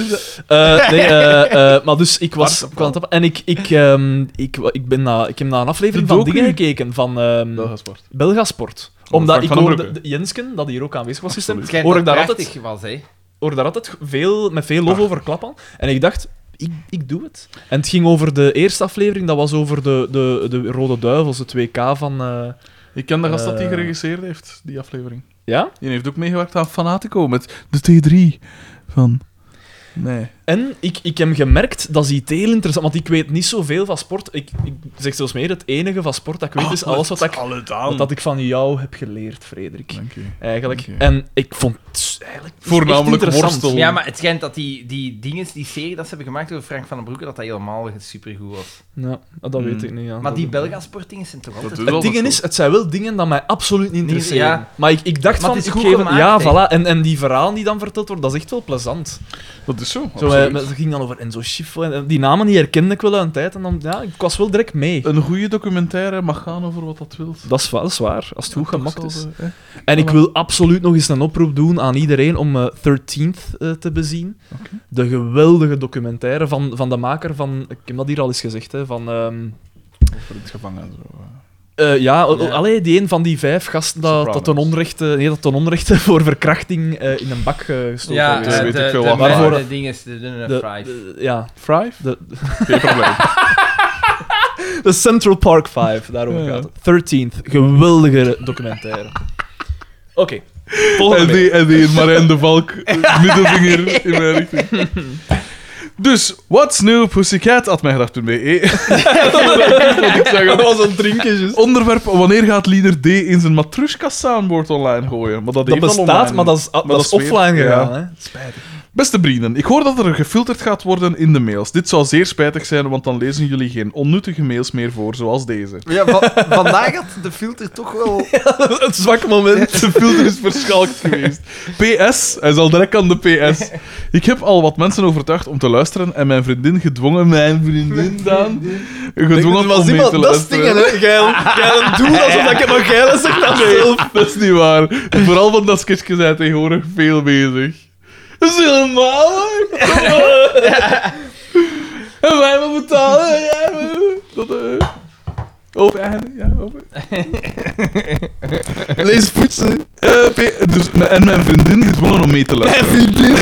S3: [LAUGHS]
S2: nee, eh, eh, maar dus ik was... ik kwam op- en ik, ik, ehm, ik, wa- ik, ben na, ik heb naar een aflevering
S3: De
S2: van
S3: docu.
S2: dingen gekeken, van ehm,
S3: Belgasport.
S2: Belgasport.
S3: Oh,
S2: Omdat
S3: Frank
S2: ik
S3: van den
S2: hoorde
S3: Broeke.
S2: de- Jensken, dat hier ook aanwezig was gisteren,
S3: Absoluut.
S2: hoor ik daar altijd,
S12: prachtig was, hè.
S2: hoor daar altijd veel, met veel
S3: Ah.
S2: lof over klappen. En ik dacht, ik, ik doe het. En het ging over de eerste aflevering, dat was over de, de, de Rode Duivels, het WK van... eh,
S3: Ik ken de gast dat die
S2: Eh.
S3: geregisseerd heeft, die aflevering.
S2: ja?
S3: Die heeft ook meegewerkt aan Fanatico met de T3 van... Nee.
S2: En ik, ik heb gemerkt, dat is iets heel interessant, want ik weet niet zoveel van sport. Ik, ik zeg zelfs meer, het enige van sport dat ik weet
S3: Ah,
S2: is alles wat ik, wat dat ik van jou heb geleerd, Frederik.
S3: Dank je.
S2: Eigenlijk.
S3: Oké.
S2: En ik vond het eigenlijk het is
S3: Voornamelijk
S2: echt interessant.
S1: Oh.
S3: worstel.
S12: Ja, maar het schijnt dat die, die dingen, die serie dat ze hebben gemaakt over Frank van den Broeke, dat dat helemaal supergoed was.
S2: Ja, dat weet ik niet. Ja.
S12: Maar die Belgasportdingen zijn toch altijd...
S3: is wel
S2: Het ding
S3: dat
S2: is,
S3: zo.
S2: het zijn wel dingen dat mij absoluut niet interesseren.
S12: ja.
S2: Maar ik, ik dacht
S12: Maar
S2: van,
S12: het is
S2: ik
S12: goed
S2: geef een-
S12: gemaakt,
S2: ja,
S12: hè.
S2: voilà. En, en die verhalen die dan verteld worden, dat is echt wel plezant.
S3: Dat is zo.
S2: Zo, eh,
S3: absoluut.
S2: met- het ging dan over Enzo Schiffer. En, en die namen die herkende ik wel aan tijd. En dan, ja, ik was wel direct mee.
S3: Een goede documentaire mag gaan over wat dat wilt.
S2: Dat is, wa- dat is waar, als het
S3: Toch
S2: goed gemaakt
S3: zal
S2: is. eh,
S3: de- hè?
S2: En ik
S3: Voilà.
S2: wil absoluut nog eens een oproep doen aan iedereen om eh, 13th eh, te bezien. De geweldige documentaire van, van de maker van... Ik heb dat hier al eens gezegd, hè, van... ehm,
S3: Over het gevangen en zo. hè.
S2: eh, ja, o- o-
S12: Ja.
S2: allee, die een van die vijf gasten dat, dat,
S3: Sopranos.
S2: ten, onrechte, nee, dat ten onrechte [LAUGHS] voor verkrachting eh, in een bak eh, gestoken
S12: Ja,
S2: werd.
S3: eh, weet ik veel
S12: de,
S3: wat.
S12: de,
S2: Waarvoor-
S12: de dingen, de, de,
S2: De-
S12: fries.
S2: de- ja,
S3: Fry?
S2: de,
S3: [LAUGHS] Geen probleem.
S2: de Central Park 5, daarover
S3: Ja.
S2: gaat het. 13th, geweldige documentaire. Oké, volgende
S3: En
S2: week.
S3: die, en die Marijn de [LAUGHS] Valk, eh, middelvinger in mijn richting. [LAUGHS] Dus, what's new pussycat, at [LAUGHS] mijgedacht.be.
S2: Dat was een drinkje,
S3: Onderwerp, wanneer gaat leader D in zijn matrushka soundboard online gooien? Maar dat,
S2: Dat
S3: heeft al
S2: bestaat,
S3: online.
S2: maar dat is, dat
S3: dat
S2: is
S3: is weer-
S2: offline
S3: ja.
S2: gegaan. Hè?
S3: Beste vrienden, ik hoor dat er gefilterd gaat worden in de mails. Dit zou zeer spijtig zijn, want dan lezen jullie geen onnuttige mails meer voor, zoals deze. [LAUGHS]
S1: Ja,
S12: [LAUGHS]
S1: va- vandaag had de filter toch wel...
S2: Het zwak moment.
S3: De filter is verschalkt geweest. PS, hij zal direct aan de PS. Ik heb al wat mensen overtuigd om te luisteren en mijn vriendin gedwongen, mijn vriendin dan, gedwongen om mee te
S2: dat is dingen,
S3: luisteren.
S2: hè. Geil, geil doen alsof dat ik het maar geil zeg dat zelf.
S3: Eh, Dat is niet waar. Vooral van dat sketchje zijn tegenwoordig veel bezig. Dat is helemaal leuk. Kom op. En wij moeten betalen. en jij moet- Dat, eh, Open einde, ja, open.
S6: Lees poetsen.
S3: Eh, P- dus, m- en mijn vriendin gedwongen om mee te luisteren.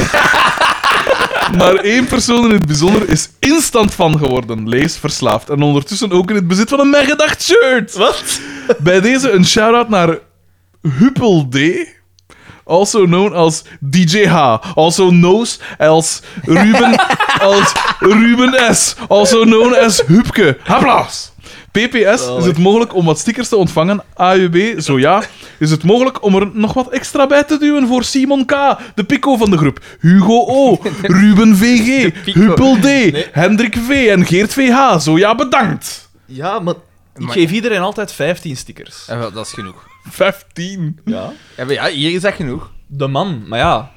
S3: Maar één persoon in het bijzonder is instant van geworden, lees verslaafd. En ondertussen ook in het bezit van een Mijn Gedacht shirt. Wat? Bij deze een shout-out naar Huppel D. Also known als DJ H. Also knows als Ruben, als Ruben S. Also known as Hupke. Applaus! PPS, is het mogelijk om wat stickers te ontvangen? AUB, zo ja. Is het mogelijk om er nog wat extra bij te duwen voor Simon K., de pico van de groep, Hugo O., Ruben VG, Huppel D., Hendrik V. en Geert VH? Zo ja, bedankt.
S2: Ja, maar ik geef iedereen altijd 15 stickers.
S12: [LAUGHS] Ja, wel, dat is genoeg.
S3: 15.
S2: Ja.
S12: Ja, maar ja, hier is dat genoeg.
S2: De man, maar ja.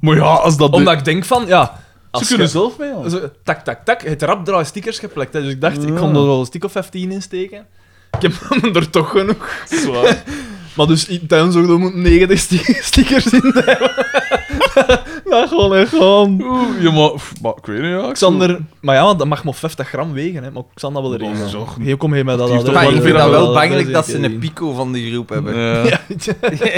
S3: Maar ja, als dat... de-
S2: Omdat ik denk van, ja...
S3: Ze
S2: als
S3: kunnen
S2: je-
S3: zelf mee, al.
S2: zo- tak, tak, tak. Het rap draai stickers geplakt. Hè. Dus ik dacht, ik
S3: Ja.
S2: kon er wel een stick of 15 in steken. Ik heb [LAUGHS] er toch genoeg.
S3: Zwaar.
S2: [LAUGHS] Maar dus in tuin zo, er moeten 90 [LAUGHS] sti- stickers in [LAUGHS] hebben. Dat gewoon echt gewoon.
S3: Oeh, ja, maar, pff, maar ik weet niet, ja. ik
S2: Xander, maar ja, want dat mag maar 50 gram wegen, hè, maar ik zal dat wel regelen.
S3: is toch-
S2: Heel kom heen met dat.
S3: Die is
S2: adres.
S3: toch
S1: Maar
S3: wel
S1: ik vind
S3: wel
S1: dat wel
S3: wel
S1: bangelijk dat ze
S2: zeker
S1: een
S2: niet.
S1: pico van de groep hebben.
S12: [LAUGHS]
S3: Ja.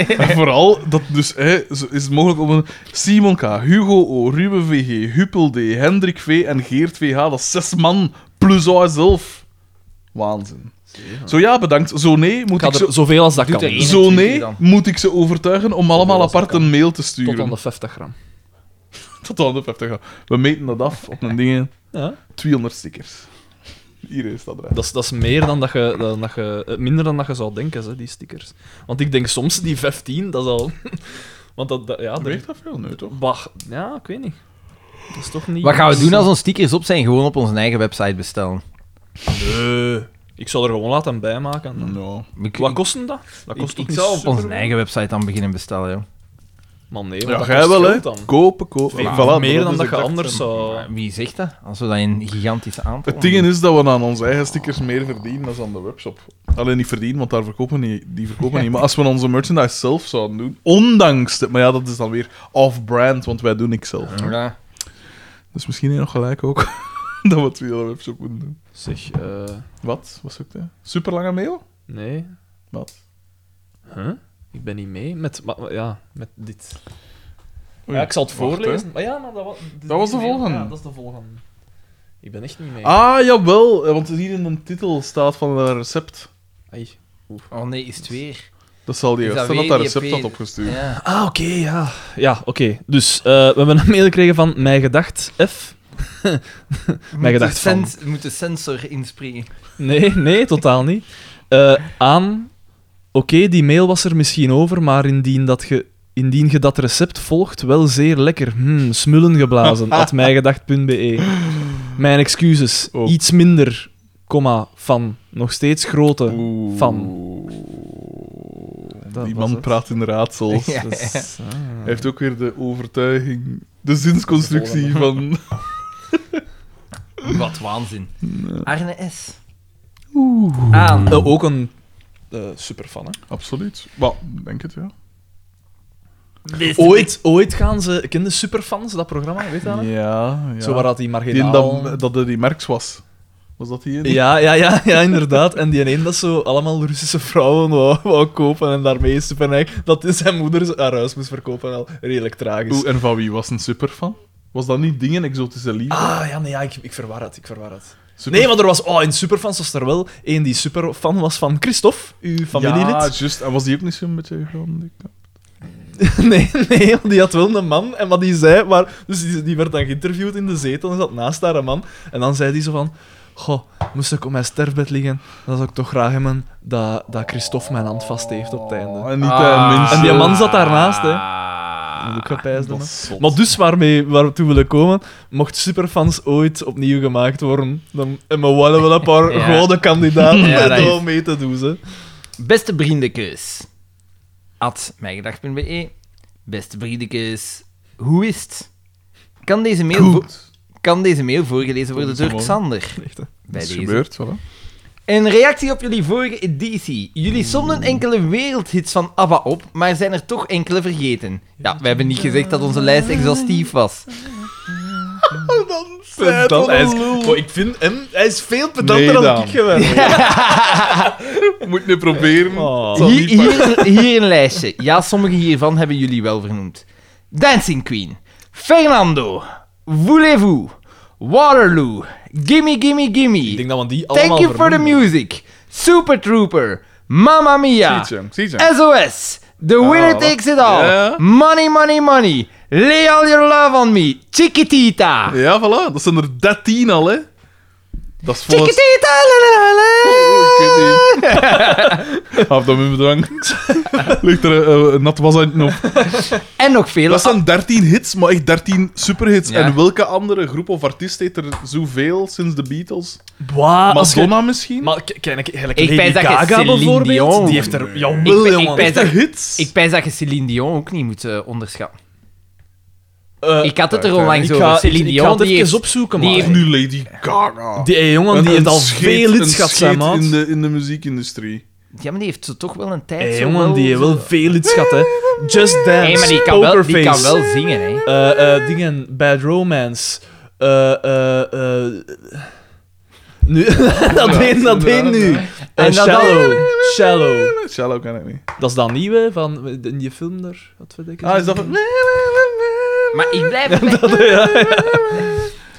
S3: En [LAUGHS] vooral, dat dus, hè, zo is het mogelijk om een Simon K., Hugo O., Ruben VG, Huppel D., Hendrik V. en Geert VH, dat is zes man plus hij zelf. Waanzin. Zo ja, bedankt. Zo nee, moet
S2: Ik
S3: ik
S2: ga
S3: ze...
S2: er zoveel als dat kan.
S3: Zo nee, moet ik ze overtuigen om allemaal apart een mail te sturen.
S2: Tot aan de 50 gram.
S3: Tot aan de 50 gram. We meten dat af op
S2: [LAUGHS]
S3: een ding.
S2: Ja.
S3: 200 stickers. Hier is dat eruit.
S2: Dat is, dat is meer dan dat je, dan dat je, eh, minder dan dat je zou denken, hè, die stickers. Want ik denk soms die 15, dat is al. [LAUGHS] Want dat, dat- ja,
S3: Weegt dat veel? Nee, toch?
S2: Bah, ja, ik weet niet. Dat is toch niet.
S1: Wat gaan we doen als onze stickers op zijn? Gewoon op onze eigen website bestellen.
S2: Nee, ik zou er gewoon laten bijmaken.
S1: Mm.
S2: en dan-
S3: Nou.
S1: Ik,
S2: Wat
S1: ik-
S2: kost dat? Dat kost toch
S1: ik
S2: niet
S1: zou op onze
S2: superveel?
S1: eigen website dan beginnen bestellen, joh.
S2: Man, nee, want
S3: Ja,
S2: dat
S3: jij
S2: kost
S3: wel, hè?
S2: geld dan.
S3: Kopen, kopen.
S2: Veel
S3: Voilà, maar
S2: meer dan
S3: is
S2: dat je
S3: exact
S2: anders
S3: zo.
S2: zou.
S1: Maar Eh, Wie zegt dat? Als we dat in gigantische aantal...
S3: Het ding is dat we aan onze eigen stickers meer verdienen dan aan de webshop. Alleen niet verdienen, want daar verkopen we niet, die verkopen we
S2: [LAUGHS]
S3: niet. Maar als we onze merchandise zelf zouden doen, ondanks... de- maar ja, dat is dan weer off-brand, want wij doen niks zelf.
S1: Ja.
S3: Dus misschien heb je nog gelijk ook [LAUGHS] dat we het via de webshop moeten doen.
S2: Zeg, eh,
S3: Wat? Wat zoekt hij? Superlange mail?
S2: nee.
S3: Wat?
S2: Huh? Ik ben niet mee met, maar- maar ja, met dit.
S3: Oei,
S2: ja, ik zal het
S3: wacht,
S2: voorlezen. maar ja, maar dat, wa- dit
S3: Dat was
S2: is
S3: de
S2: mee.
S3: volgende.
S2: Ja, dat is de volgende. Ik ben echt niet mee.
S3: hè. Ah, jawel. eh, Want hier in de titel staat van een recept.
S2: Ai.
S1: Oh nee, is het weer?
S3: Dat zal die
S1: Is
S3: gast
S1: dat
S3: zijn dat
S1: weer
S3: dat
S1: die
S3: recept
S1: EP?
S3: had opgestuurd.
S1: Ja.
S2: Ah, oké, ja. Ja, oké. Dus eh, we hebben een mail gekregen van Mij Gedacht F. Mij
S1: Moet de
S2: Gedacht van.
S1: sens- Moet de sensor inspringen.
S2: Nee, nee, totaal niet. Eh, aan. Oké, die mail was er misschien over, maar indien dat ge. Indien je dat recept volgt, wel zeer lekker. Hmm, smullen geblazen. at mijgedacht.be. Mijn excuses.
S3: Oh.
S2: Iets minder, comma, van. Nog steeds grote van. Dat
S3: Die
S2: was
S3: man
S2: het.
S3: praat in
S2: [LAUGHS]
S3: raadsels. eh,
S1: Ja.
S2: Dus, ah.
S3: Hij heeft ook weer de overtuiging, de zinsconstructie van. [LAUGHS]
S1: Wat waanzin. Arne S. Oeh. Aan.
S2: Eh, ook een eh, superfan, hè?
S3: Absoluut. Maar, denk het ja.
S2: Ooit, ooit gaan ze... Ken je Superfans, dat programma? Weet je dat? nog?
S3: Ja, ja.
S2: Zo waar dat die
S3: die in
S2: marginaal...
S3: dat, dat er die Merks was. Was dat die? in?
S2: Ja, ja, ja, ja, inderdaad. En die een dat zo allemaal Russische vrouwen wou, wou kopen en daarmee is Supernek dat is zijn moeder haar huis moest verkopen al redelijk tragisch.
S3: Oeh, en van wie was een superfan? Was dat niet dingen exotische liefde?
S2: Ah, ja, nee, ja, ik, ik verwar het, ik verwar het.
S3: Super-
S2: Nee, maar er was... Oh, in Superfans was er wel één die superfan was van Ah. Christophe, uw
S3: Ja,
S2: familielid.
S3: juist. En was die ook niet zo'n beetje gewoon...
S2: [LAUGHS] Nee, nee, want die had wel een man, en wat die zei... Maar, dus die, die werd dan geïnterviewd in de zetel en zat naast haar een man. En dan zei die zo van... Goh, moest ik op mijn sterfbed liggen, dan zou ik toch graag hebben dat, dat Christophe mijn hand vast heeft op het einde.
S3: En niet ah, mensen.
S2: En die man zat daarnaast, hè. Moet ik gepijsd
S3: Dat
S2: hebben.
S3: is zot.
S2: Maar dus waarmee, waar we toe willen komen, mocht Superfans ooit opnieuw gemaakt worden, dan hebben we wel
S3: [LAUGHS]
S2: een paar
S1: Ja.
S2: gouden kandidaten
S1: Ja, dat is-
S2: om mee te doen. Ze.
S1: Beste vriendenkeus. At mijgedacht.be. Beste vriendenkeus. Hoe is het? Kan deze mail, vo- kan deze mail voorgelezen worden door Xander?
S2: Echt, hè.
S1: Bij
S3: Dat is
S1: deze.
S3: gebeurd, voilà.
S1: Een reactie op jullie vorige editie. Jullie somden enkele wereldhits van ABBA op, maar zijn er toch enkele vergeten. Ja, we hebben niet gezegd dat onze lijst exhaustief was.
S2: Pedant, hij is, oh, ik vind hem, hij is veel pedanter
S3: Nee,
S2: dan
S3: dan.
S2: ik geweest.
S3: Moet je proberen.
S2: Oh.
S3: Zal
S1: Hier,
S3: niet pakken.
S1: hier, hier een lijstje. Ja, sommige hiervan hebben jullie wel vernoemd. Dancing Queen, Fernando, Voulez-vous, Waterloo, Gimme Gimme
S2: Ik denk
S1: Gimme,
S2: dat we die allemaal
S1: Thank You For The
S2: vernoemen.
S1: Music, Super Trooper, Mamma Mia,
S3: Zie het, zie het.
S1: SOS, The Winner
S3: Ah,
S1: Takes It All,
S3: Ja.
S1: Money Money Money, Lay All Your Love On Me, Chiquitita.
S3: Ja, voilà. Dat zijn er 13 al, hè. Dat is volgens...
S1: Chiquitita, la, la, la, la.
S3: Oh, ik weet
S2: [LAUGHS]
S3: niet. Af dan mijn bedwang. [LAUGHS] Ligt er eh, een nat was aan het nog.
S1: En nog veel.
S3: Dat zijn 13 hits, maar echt 13 superhits.
S1: Ja.
S3: En welke andere groep of artiest heeft er zoveel sinds de Beatles?
S2: Bah, Ah, als je-
S3: Madonna misschien?
S2: Maar k- kijk, gelijk
S1: Ik
S2: Lady
S1: pijs dat je
S2: Gaga
S1: Celine
S2: bijvoorbeeld,
S1: Dion-
S2: die heeft er...
S1: Ik
S2: Jawel,
S1: ben- ik
S2: jongen.
S1: ben-
S3: Echte hits?
S1: Ik pijs dat je Celine Dion ook niet moet eh, onderschatten.
S2: Eh,
S1: Ik had het er
S3: eh,
S1: onlangs
S2: ik ga,
S1: over. Celine
S2: ik, ik ga
S1: Dion,
S2: het
S1: die
S2: even
S1: heeft...
S2: opzoeken,
S1: die
S2: maar...
S1: heeft-
S3: Nu Lady Gaga.
S2: Die eh, jongen die
S3: Een-
S2: heeft al
S3: een scheet-
S2: veel
S3: een
S2: lidschap, zijn
S3: scheet
S2: maat.
S3: in de, in de muziekindustrie.
S1: Ja, maar die heeft zo toch wel een tijd...
S2: Hey,
S1: zo
S2: jongen, die heeft
S1: zo-
S2: wel veel lidschat, hè. Just Dance,
S1: Nee, maar die kan, wel,
S2: Pokerface.
S1: die kan wel zingen, hè.
S2: Eh, eh, dingen, Bad Romance. eh eh eh nu, [LAUGHS] dat deed dat deed nu. Eh,
S1: En dat-
S2: shallow, Shallow.
S3: Shallow kan ik niet.
S2: Dat is dat nieuwe van eh, in die film daar. Wat weet ik?
S3: Ah, is dat van...
S2: [LAUGHS]
S1: Maar ik blijf...
S2: ja, ja.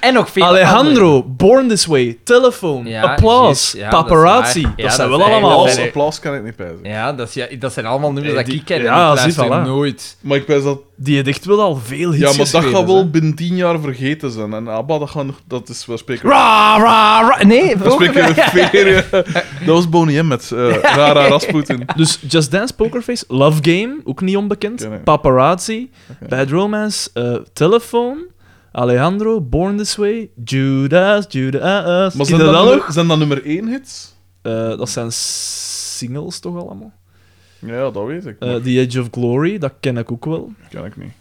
S1: En nog veel andere.
S2: Alejandro, Born This Way, Telephone,
S1: Ja,
S2: Applaus,
S1: juist. Ja, dat is
S2: Paparazzi.
S1: waar.
S2: Dat,
S1: Ja, dat
S2: zijn
S1: is
S2: wel
S1: eigenlijk-
S2: allemaal...
S3: Applaus,
S1: ben ik-
S3: applaus kan ik niet pijzen.
S1: Ja, dat, is, ja, dat zijn allemaal nummers
S2: Eh,
S1: dat
S2: die-
S1: ik ken.
S2: ja,
S1: Ja, ik luister
S2: zie, voilà.
S1: nooit.
S3: Maar ik pijs dat...
S2: Die heeft echt wel al veel hits
S3: Ja, maar dat
S2: geschreven,
S3: gaat
S2: hè.
S3: wel binnen tien jaar vergeten zijn. En ABBA, dat, gaan, dat is... We spreken...
S1: Ra, ra, ra. Nee,
S3: We
S1: volgens
S3: spreken
S1: mij.
S3: veer,
S2: [LAUGHS]
S3: ja. Dat was Boney M met eh, Rara Rasputin.
S2: Dus Just Dance, Pokerface, Love Game, ook niet onbekend.
S3: Ken ik.
S2: Paparazzi, Bad Romance, eh, Telephone, Alejandro, Born This Way, Judas, Judas.
S3: Maar
S2: Zie
S3: zijn
S2: je
S3: dat,
S2: dat
S3: nummer,
S2: nog?
S3: zijn dat nummer één hits?
S2: Eh, dat zijn singles toch allemaal?
S3: Ja, dat weet ik.
S2: Eh,
S3: maar
S2: The Edge of Glory, dat ken ik ook wel.
S3: dat ken ik niet.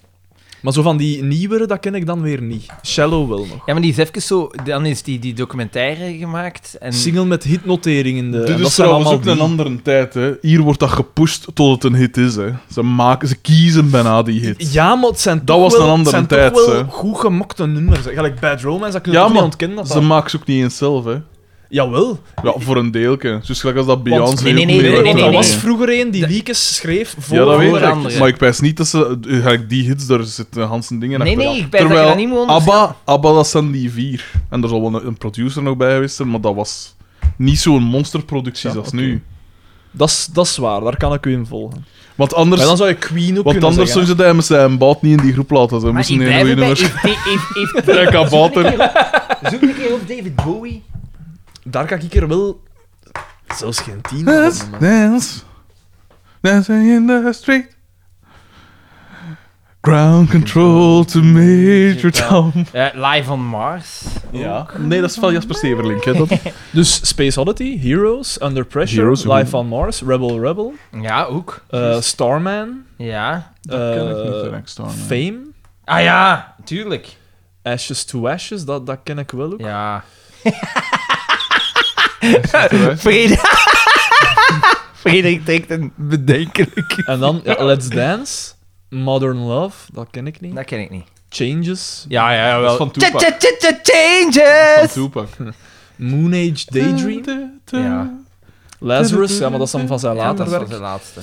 S2: Maar zo van die nieuwere, dat ken ik dan weer niet. Shallow wel nog.
S1: Ja, maar die is even zo... Dan is die, die documentaire gemaakt en...
S2: Single met hitnotering in de... en
S3: Dit
S2: dat
S3: is
S2: zijn
S3: trouwens ook
S2: allemaal
S3: een
S2: die.
S3: andere tijd. Hè. Hier wordt dat gepusht tot het een hit is. Hè. Ze, maken, ze kiezen bijna die hit.
S2: Ja, maar het zijn
S3: Dat
S2: toch
S3: was
S2: wel,
S3: een
S2: het
S3: andere
S2: zijn toch
S3: tijd,
S2: wel
S3: hè.
S2: goed gemokte nummers. hè. Gelijk Bad Romance, dat kun je
S3: Ja,
S2: toch niet
S3: maar
S2: ontkennen. Dat
S3: Ze
S2: dat-
S3: maken ze ook niet eens zelf. Hè.
S2: Jawel.
S3: Ja, voor een deelke. Dus gelijk als dat Beyoncé
S1: nee, nee,
S3: ook
S1: nee,
S3: mee
S1: nee,
S3: werd,
S1: nee,
S2: Want
S3: hè.
S1: nee,
S2: dat
S1: nee.
S2: was vroeger een die liedjes schreef voor,
S3: Ja, dat
S1: voor
S3: weet ik.
S1: anderen.
S3: Maar ik pijs niet dat ze... eh, gelijk Die hits, daar eh, zitten Hansen dingen
S1: Nee,
S3: achter.
S1: nee, ik pijs dat je dat niet moet onderschatten.
S3: ABBA, ABBA, dat zijn die vier. En er zal wel een, een producer nog bij geweest zijn, maar dat was niet zo'n monsterproductie als nu.
S2: Dat is, dat is waar, daar kan ik u in volgen.
S3: Want
S2: Maar
S3: anders...
S2: dan zou je Queen ook
S3: Want
S2: kunnen
S3: anders zouden
S2: zeggen.
S3: ze dat met zijn bout niet in die groep laten. Ze
S1: Maar
S3: moesten
S1: ik
S3: een
S1: blijf
S3: goede
S1: erbij.
S3: nummer.
S1: Heeft, heeft, heeft,
S3: [LAUGHS] Ja, kabouter.
S1: [LAUGHS] Zoek een keer op David Bowie.
S2: Daar kan ik er wel... Zelfs geen tien van
S3: Let's
S2: noemen.
S3: dance. Dancing in the street. Ground control to Major Tom.
S1: Eh, Live on Mars.
S3: Ja. Nee, dat is van Jasper Steverlink. Hè, [LAUGHS] dat.
S2: Dus Space Oddity, Heroes, Under Pressure,
S3: Heroes, ja.
S2: Life on Mars, Rebel Rebel,
S1: Ja, ook.
S2: eh, Starman,
S1: Ja.
S2: eh,
S3: Fame.
S2: Fame,
S1: Ah ja, tuurlijk.
S2: Ashes to Ashes, dat, dat ken ik wel ook.
S1: Ja.
S3: Fame.
S1: [LAUGHS] Frederik. Frederik trekt een bedenkelijk.
S2: En dan ja, Let's Dance, Modern Love, dat ken ik niet.
S1: Dat ken ik niet.
S2: Changes,
S1: Ja, ja, ja, wel.
S3: Van Tupac. Van
S1: Changes!
S3: Tupac.
S2: Moon Age [LAUGHS]
S3: [LAUGHS]
S2: Daydream,
S1: Ja.
S2: Lazarus, ja, maar dat is dan van zijn
S1: Ja,
S2: later
S1: dat was
S2: werk.
S1: de laatste.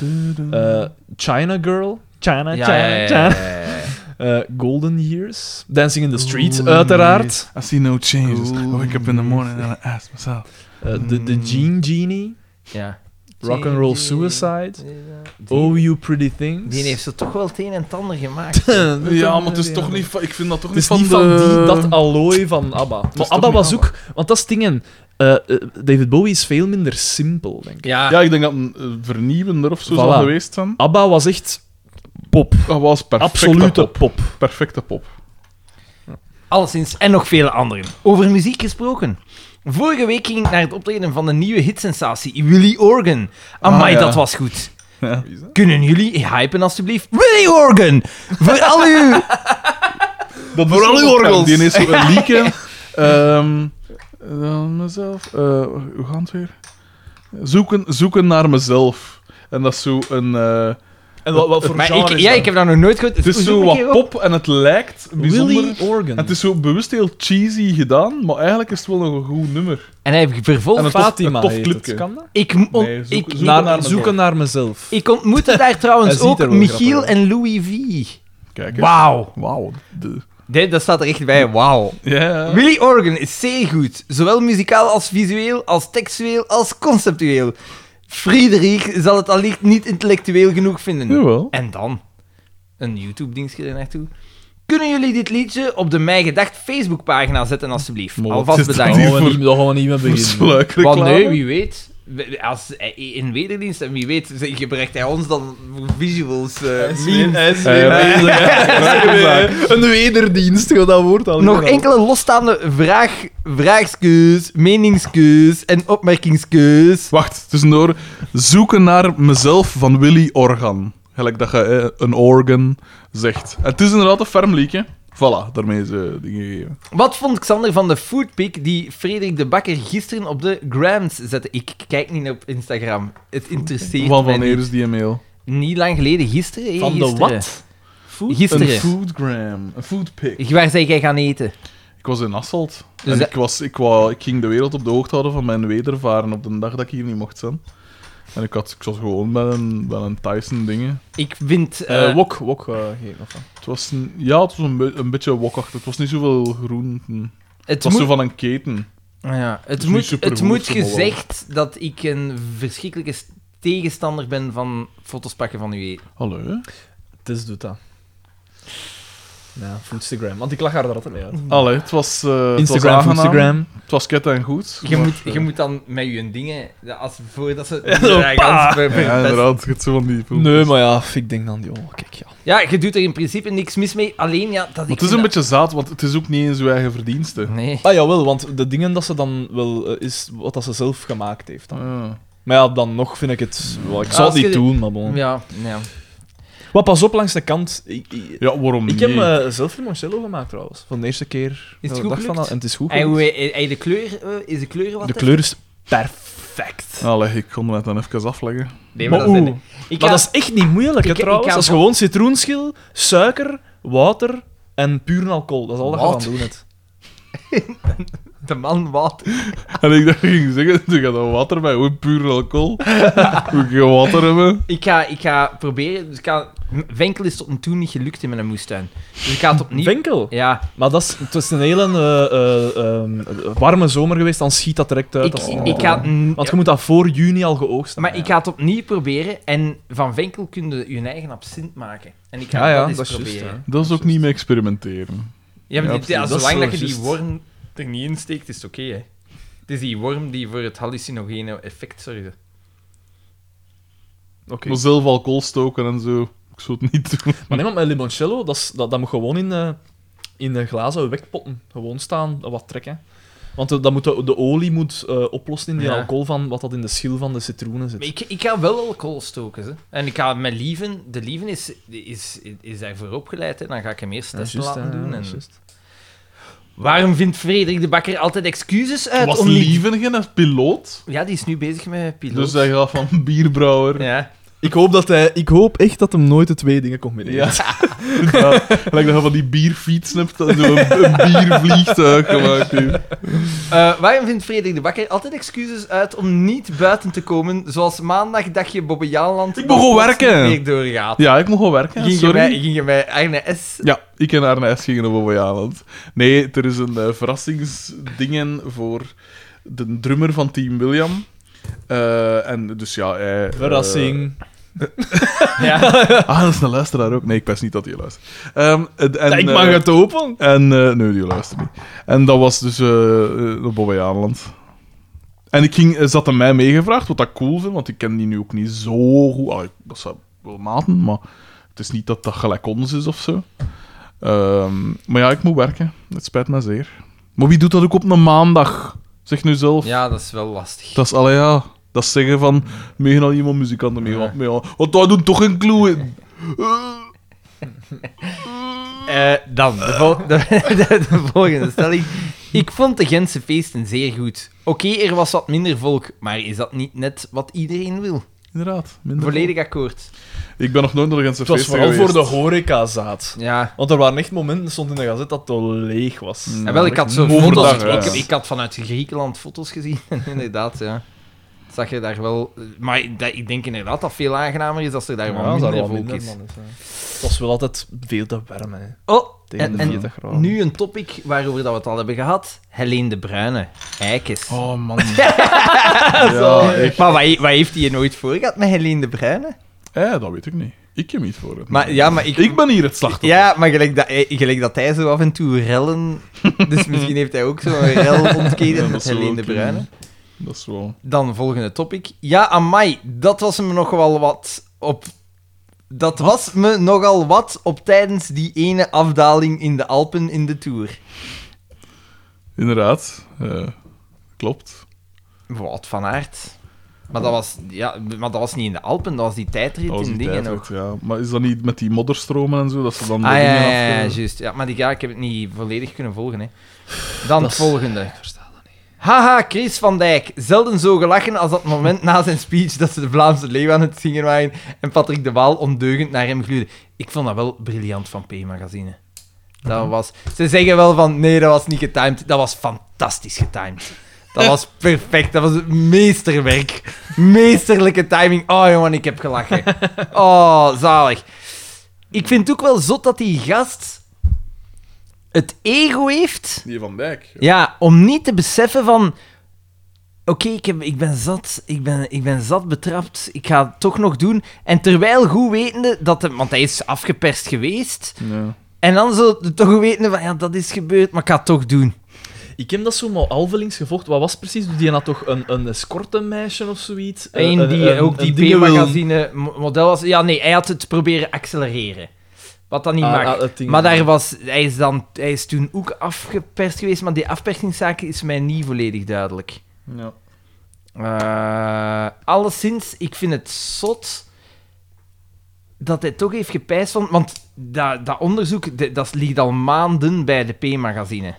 S2: Eh, China Girl. China,
S1: Ja,
S2: China,
S1: ja, ja,
S2: China.
S1: ja, ja, ja.
S2: Eh, Golden Years. Dancing in the Street, uiteraard.
S3: I see no changes. I wake up in the morning and I ask myself.
S2: Eh, de,
S3: Mm.
S2: de Gene Genie.
S1: Ja.
S2: Rock and Roll Suicide. Oh, You Pretty Things.
S1: Die
S2: [LAUGHS]
S1: heeft ze toch wel het een en het ander gemaakt.
S3: Ja, maar het is toch niet... van- Ik vind dat toch
S2: Het is
S3: niet
S2: niet van
S3: de-
S2: die, dat allooi van ABBA. Maar
S3: toch
S2: ABBA
S3: niet
S2: was
S3: ABBA?
S2: ook... Want dat is dingen... eh, eh, David Bowie is veel minder simpel, denk ik.
S1: Ja.
S3: Ja, ik denk dat een eh, vernieuwender of zo zou
S2: Voilà.
S3: geweest zijn.
S2: ABBA was echt pop.
S3: Dat was perfecte
S2: Absolute
S3: pop.
S2: pop.
S3: Perfecte pop.
S1: Alleszins, en nog vele anderen. Over muziek gesproken. Vorige week ging ik naar het optreden van de nieuwe hitsensatie, Willy Organ. Amai,
S3: Ah, ja.
S1: dat was goed.
S3: Ja.
S1: Kunnen jullie hypen alstublieft? Willy Organ! Voor al
S3: [LAUGHS]
S1: uw...
S3: Dat
S2: Voor al uw orgels.
S3: Die is een
S2: [LAUGHS]
S3: liedje. Ehm, dan mezelf. eh, hoe gaat het weer? Zoeken, zoeken naar mezelf. En dat is zo een. eh,
S2: En wat, wat voor
S1: Maar
S2: genre
S1: ik,
S2: is
S1: ja,
S2: dat?
S1: ik heb dat nog nooit gehoord.
S3: het is
S1: Zoek
S3: zo
S1: een keer
S3: wat
S1: op.
S3: pop en het lijkt bijzonder.
S2: Willy Organ.
S3: En het is zo bewust heel cheesy gedaan, maar eigenlijk is het wel nog een goed nummer.
S1: En hij vervolgt...
S3: En het- tof-
S2: Fatima
S3: tof
S2: heet het.
S3: clipje.
S2: Kan dat?
S1: Ik, m- on-
S3: Nee, zoek-
S1: ik,
S3: zoek-
S2: Naar-
S3: naar mezelf.
S2: zoeken naar mezelf.
S1: ik
S3: [LAUGHS]
S1: ontmoette daar trouwens
S2: Hij ziet
S1: ook
S2: er wel
S1: Michiel
S2: grappig
S1: en Louis V.
S3: Kijk eens.
S1: Wauw.
S3: Wauw. De-
S1: Nee, dat staat er echt bij. Wauw.
S3: Ja.
S1: Willy Organ is zeer goed, zowel muzikaal als visueel, als textueel, als conceptueel. Friedrich zal het allicht niet intellectueel genoeg vinden.
S3: Jawel.
S1: En dan? Een YouTube-dienstje ernaartoe. Kunnen jullie dit liedje op de Mij Gedacht Facebookpagina zetten, alstublieft?
S3: Maar wat
S1: Alvast
S3: is dat
S1: bedankt.
S3: hier?
S2: Daar gaan we niet- daar gaan we niet mee beginnen.
S1: Want
S3: Sluikreclame.
S1: nee, wie weet. we- Als, eh, in wederdienst, en wie weet, zeg, gebruikt hij ons dan voor visuals. eh, memes.
S2: [LAUGHS] Een wederdienst, joh, dat woord al.
S1: Nog enkele losstaande vraag, vraagskeus, meningskeus en opmerkingskeus.
S3: Wacht, tussendoor. Zoeken naar mezelf van Willy Organ. Gelijk dat je eh, een organ zegt. Het is inderdaad een ferm liedje. Voilà, daarmee ze dingen gegeven.
S1: Wat vond Xander van de foodpick die Frederik de Bakker gisteren op de Grams zette? Ik kijk niet op Instagram. Het interesseert
S3: Van
S1: mij
S3: wanneer
S1: niet.
S3: is die mail?
S1: Niet lang geleden, gisteren?
S2: Van de
S1: eergisteren.
S2: wat?
S3: Een
S1: Gisteren.
S3: foodgram. Een foodpick.
S1: Waar zei jij gaan eten?
S3: Ik was in Asselt.
S1: Dus
S3: en
S1: dat-
S3: ik, was, ik, wou, ik ging de wereld op de hoogte houden van mijn wedervaren op de dag dat ik hier niet mocht zijn. En ik, had, ik zat gewoon bij een, bij een Tyson dingen.
S1: Ik vind... eh,
S2: Eh wok, wok eh, geven. of wat.
S3: Het was een, ja, het was een, be- een beetje wokachtig. Het was niet zoveel groenten. Het
S1: Het
S3: was
S1: moet,
S3: zo van een keten.
S1: ja, het
S3: niet
S1: moet,
S3: supergoed
S1: het moet
S3: voor Mollo.
S1: gezegd dat ik een verschrikkelijke s- tegenstander ben van foto's pakken van u eten.
S3: Hallo?
S2: Tis doet dat. Ja, voor Instagram. Want ik lag haar daar altijd mee uit.
S3: Allee, het was... eh, het was
S2: Instagram,
S3: aangenaam.
S2: Instagram.
S3: Het was ket en goed.
S1: Je,
S3: maar,
S1: moet,
S3: eh,
S1: je moet dan met je dingen, ja, als, voordat
S2: [LAUGHS]
S1: ze...
S2: zo,
S1: Ja,
S2: pa.
S1: gans-
S3: Ja, inderdaad. Het gaat zo van die filmpjes.
S2: Nee, maar ja, ik denk dan, joh, kijk, ja.
S1: ja, je doet er in principe niks mis mee, alleen ja... Dat
S3: Maar
S1: ik
S3: het is
S1: vind
S3: een
S1: dat-
S3: beetje zaad, want het is ook niet eens uw eigen verdienste.
S1: Nee.
S2: Ah jawel, want de dingen dat ze dan wel eh, is wat dat ze zelf gemaakt heeft. Dan.
S3: Ah.
S2: Maar ja, dan nog vind ik het. wel, ik zou
S1: Als
S2: het niet
S1: je de-
S2: doen, maar bon.
S1: Ja, ja.
S2: Maar pas op langs de kant. Ik, ik,
S3: Ja, waarom
S2: ik
S3: niet?
S2: heb eh, zelf limoncello gemaakt trouwens. Van de eerste keer.
S1: Is het
S2: eh,
S1: goed
S2: dag
S1: gelukt?
S2: al- En het is goed.
S1: En
S2: gelukt.
S1: hoe, eh, eh, de kleur, eh, is de kleur wat?
S2: de
S1: hè?
S2: kleur is perfect.
S3: Allee, ik kon het dan even afleggen.
S1: Nee, maar,
S2: Maar
S1: dat,
S2: oeh.
S1: zijn, ik
S2: maar
S1: ga-
S2: dat is echt niet moeilijk, hè,
S1: ik- ik
S2: trouwens.
S1: ga
S2: dat is
S1: vol-
S2: gewoon citroenschil, suiker, water en puur alcohol. Dat is al dat je
S1: Wat?
S2: aan doen hebt.
S1: De man wat?
S3: En ik dacht, ik ging zeggen, [LAUGHS] doe je dat water bij? Hoe puur
S1: [LAUGHS]
S3: alcohol? Moet je water hebben?
S1: Ik ga, ik ga proberen. Dus ik ga, M- Venkel is tot nu toe niet gelukt in mijn moestuin. Dus ik ga het opnieuw.
S2: Winkel.
S1: Ja,
S2: Maar dat is, het is een hele eh, eh, ehm, warme zomer geweest, dan schiet dat direct uit.
S1: ik,
S2: als-
S1: ik ga. het n-
S2: Want je moet dat voor juni al geoogst hebben.
S1: Maar ik ga het opnieuw proberen. En van Venkel kun je je eigen absint maken. En ik ga
S2: Ja, ja,
S1: dat eens
S2: dat is juist,
S1: proberen.
S3: Dat is ook niet mee experimenteren.
S1: ja, maar
S2: Ja,
S1: die- ja,
S2: absoluut. Dat is
S1: zolang
S2: wel
S1: dat je die
S2: juist.
S1: worm er niet in steekt, is het oké. hè. het is die worm die voor het hallucinogene effect zorgt.
S2: Oké.
S3: Maar zelf alcohol stoken en zo. Ik zou het niet doen.
S2: Maar nee, maar met limoncello, dat, is, dat, dat moet gewoon in, eh in eh, glazen wegpotten. Gewoon staan, eh, wat trekken. Want eh, dat moet de, de olie moet eh, oplossen in die
S1: Ja.
S2: alcohol van wat dat in de schil van de citroenen zit.
S1: Maar ik, ik ga wel alcohol stoken. Hè. En ik ga met lieven. De lieven is, is, is daarvoor opgeleid. Hè. Dan ga ik hem eerst
S2: Ja,
S1: testen
S2: juist,
S1: laten
S2: hè,
S1: doen.
S2: ja,
S1: en-
S2: juist.
S1: Waarom vindt Frederik de Bakker altijd excuses uit
S3: Was
S1: Eh, om niet-
S3: Lievengen een piloot?
S1: Ja, die is nu bezig met piloot.
S3: Dus hij gaat van bierbrouwer.
S1: Ja.
S2: Ik, hoop dat hij, ik hoop echt dat hem nooit de twee dingen Eh, combineert. [LAUGHS]
S3: Ja. [LAUGHS] Ja, Lijkt dat je van die bierfiets hebt en zo'n een biervliegtuig gemaakt heeft.
S1: Eh, waarom vindt Frederik de Bakker altijd excuses uit om niet buiten te komen, zoals maandag dagje Bobbejaanland...
S3: Ik begon werken.
S1: ...weer doorgaat.
S3: Ja, ik mocht wel werken.
S1: ging, je
S3: Sorry.
S1: bij, ging je bij Arne S...
S3: Ja, ik en Arne S. gingen op Bobbejaanland. Nee, er is een eh, verrassingsdingen voor de drummer van Team William. Eh, en dus ja, hij... eh,
S2: Verrassing.
S3: ah, dat is een luisteraar ook. Nee, ik wist niet dat hij luistert. Ehm, en, en,
S2: ik
S3: eh,
S2: mag het open.
S3: En eh, nee, die luistert niet. En dat was dus eh eh, op Bobbejaanland. En ik ging, eh, zat aan mij meegevraagd, wat ik cool vind, want ik ken die nu ook niet zo goed. Ah, ik- dat zijn wel maten, maar het is niet dat dat gelijk ons is of zo. Ehm, maar ja, ik moet werken. Het spijt me zeer. Maar wie doet dat ook op een maandag? Zeg nu zelf.
S1: [LAUGHS] Ja, dat is wel lastig.
S3: Dat is allee, ja. Dat is zeggen van, meegen al iemand muzikanten mee, want, ja. want daar doen toch een clue in.
S1: Eh, dan, de, vol- [LAUGHS] de, de- de volgende stelling. Ik vond de Gentse feesten zeer goed. Oké, er was wat minder volk, maar is dat niet net wat iedereen wil?
S3: Inderdaad. Minder
S1: Volledig akkoord.
S3: Ik ben nog nooit naar de Gentse
S2: Het was
S3: feesten
S2: vooral voor
S3: geweest.
S2: de horecazaad.
S1: Ja.
S2: Want er waren echt momenten, stond in de gazet, dat het al leeg was.
S3: Mm.
S1: Ja, wel, ik had zo'n
S3: overdag,
S1: foto's.
S3: ja.
S2: eh.
S1: Ik, ik had vanuit Griekenland foto's gezien. [LAUGHS] inderdaad, ja. Zag je daar wel. Maar dat, ik denk inderdaad dat veel aangenamer is als er daar
S2: Ja,
S1: wel
S2: als
S1: minder
S2: daar wel
S1: volk
S2: minder
S1: is.
S2: man is, hè. Het was wel altijd veel te warm, hè.
S1: Oh,
S2: Tegen
S1: en,
S2: de
S1: en
S2: 40 graden.
S1: nu een topic waarover dat we het al hebben gehad: Helene de Bruyne. Eikes.
S3: Oh man. ja, echt.
S1: Maar wat, wat heeft hij nooit voor gehad met Helene de Bruyne?
S3: Eh, dat weet ik niet. Ik heb niet voor het.
S1: Maar, ja, maar ik,
S3: ik ben hier het slachtoffer.
S1: ja, maar gelijk dat, eh, gelijk dat hij zo af en toe
S3: [LAUGHS]
S1: rellen. dus misschien heeft hij ook zo'n rel ontketen
S3: Ja, dat
S1: met
S3: zou
S1: Helene de
S3: wel kunnen.
S1: Bruyne.
S3: Dat is wel.
S1: Dan volgende topic. Ja, amai, dat was me nogal wat op... Dat was me nogal wat op tijdens die ene afdaling in de Alpen in de Tour.
S3: Inderdaad. eh, klopt.
S1: Wat van aard. Maar dat, was, ja, maar dat was niet in de Alpen, dat was die tijdrit
S3: Dat was
S1: in
S3: die
S1: dingen
S3: tijdrit,
S1: ook.
S3: ja. Maar is dat niet met die modderstromen en zo? Dat ze dan de
S1: Ah ja,
S3: dingen
S1: ja, ja,
S3: afkomen?
S1: juist. Ja, maar die, ja, ik heb het niet volledig kunnen volgen. Hè. Dan het
S2: is-
S1: volgende.
S2: versta dat niet.
S1: Haha, Chris van Dijk. Zelden zo gelachen als dat moment na zijn speech dat ze de Vlaamse leeuw aan het zingen waren en Patrick de Waal ondeugend naar hem gluurde. Ik vond dat wel briljant van P-magazine.
S2: Mhm.
S1: Dat was... Ze zeggen wel van, nee, dat was niet getimed. Dat was fantastisch getimed. Dat
S2: [LAUGHS]
S1: was perfect. Dat was het meesterwerk. Meesterlijke timing. Oh, jongen, ik heb
S2: [LAUGHS]
S1: gelachen. Oh, zalig. Ik vind het ook wel zot dat die gast het ego heeft
S3: Die van Dijk.
S1: ja, om niet te beseffen van... Oké, ik ik, ik ben zat. Ik ben, ik ben zat betrapt. Ik ga het toch nog doen. En terwijl goed wetende dat... hem- want hij is afgeperst geweest.
S3: Ja.
S1: En dan zo toch wetende van... Ja, dat is gebeurd, maar ik ga het toch doen.
S2: Ik heb dat zo maar halvelings gevolgd. Wat was het precies? Die had toch een, een escortenmeisje of zoiets?
S1: Eén
S2: Een-
S1: die eh,
S2: een-
S1: ook
S2: een
S1: die
S2: dingen wil-
S1: P-magazine mo- model was. Ja, nee, hij had het proberen accelereren. Wat dan niet
S2: Ah,
S1: mag.
S2: ah, het ding.
S1: maar daar was, hij, is dan, hij is toen ook afgeperst geweest, maar die afpersingszaak is mij niet volledig duidelijk.
S3: Ja.
S1: Eh, alleszins, ik vind het zot dat hij toch heeft gepijst van... Want dat, dat onderzoek, dat, dat ligt al maanden bij de P-magazine.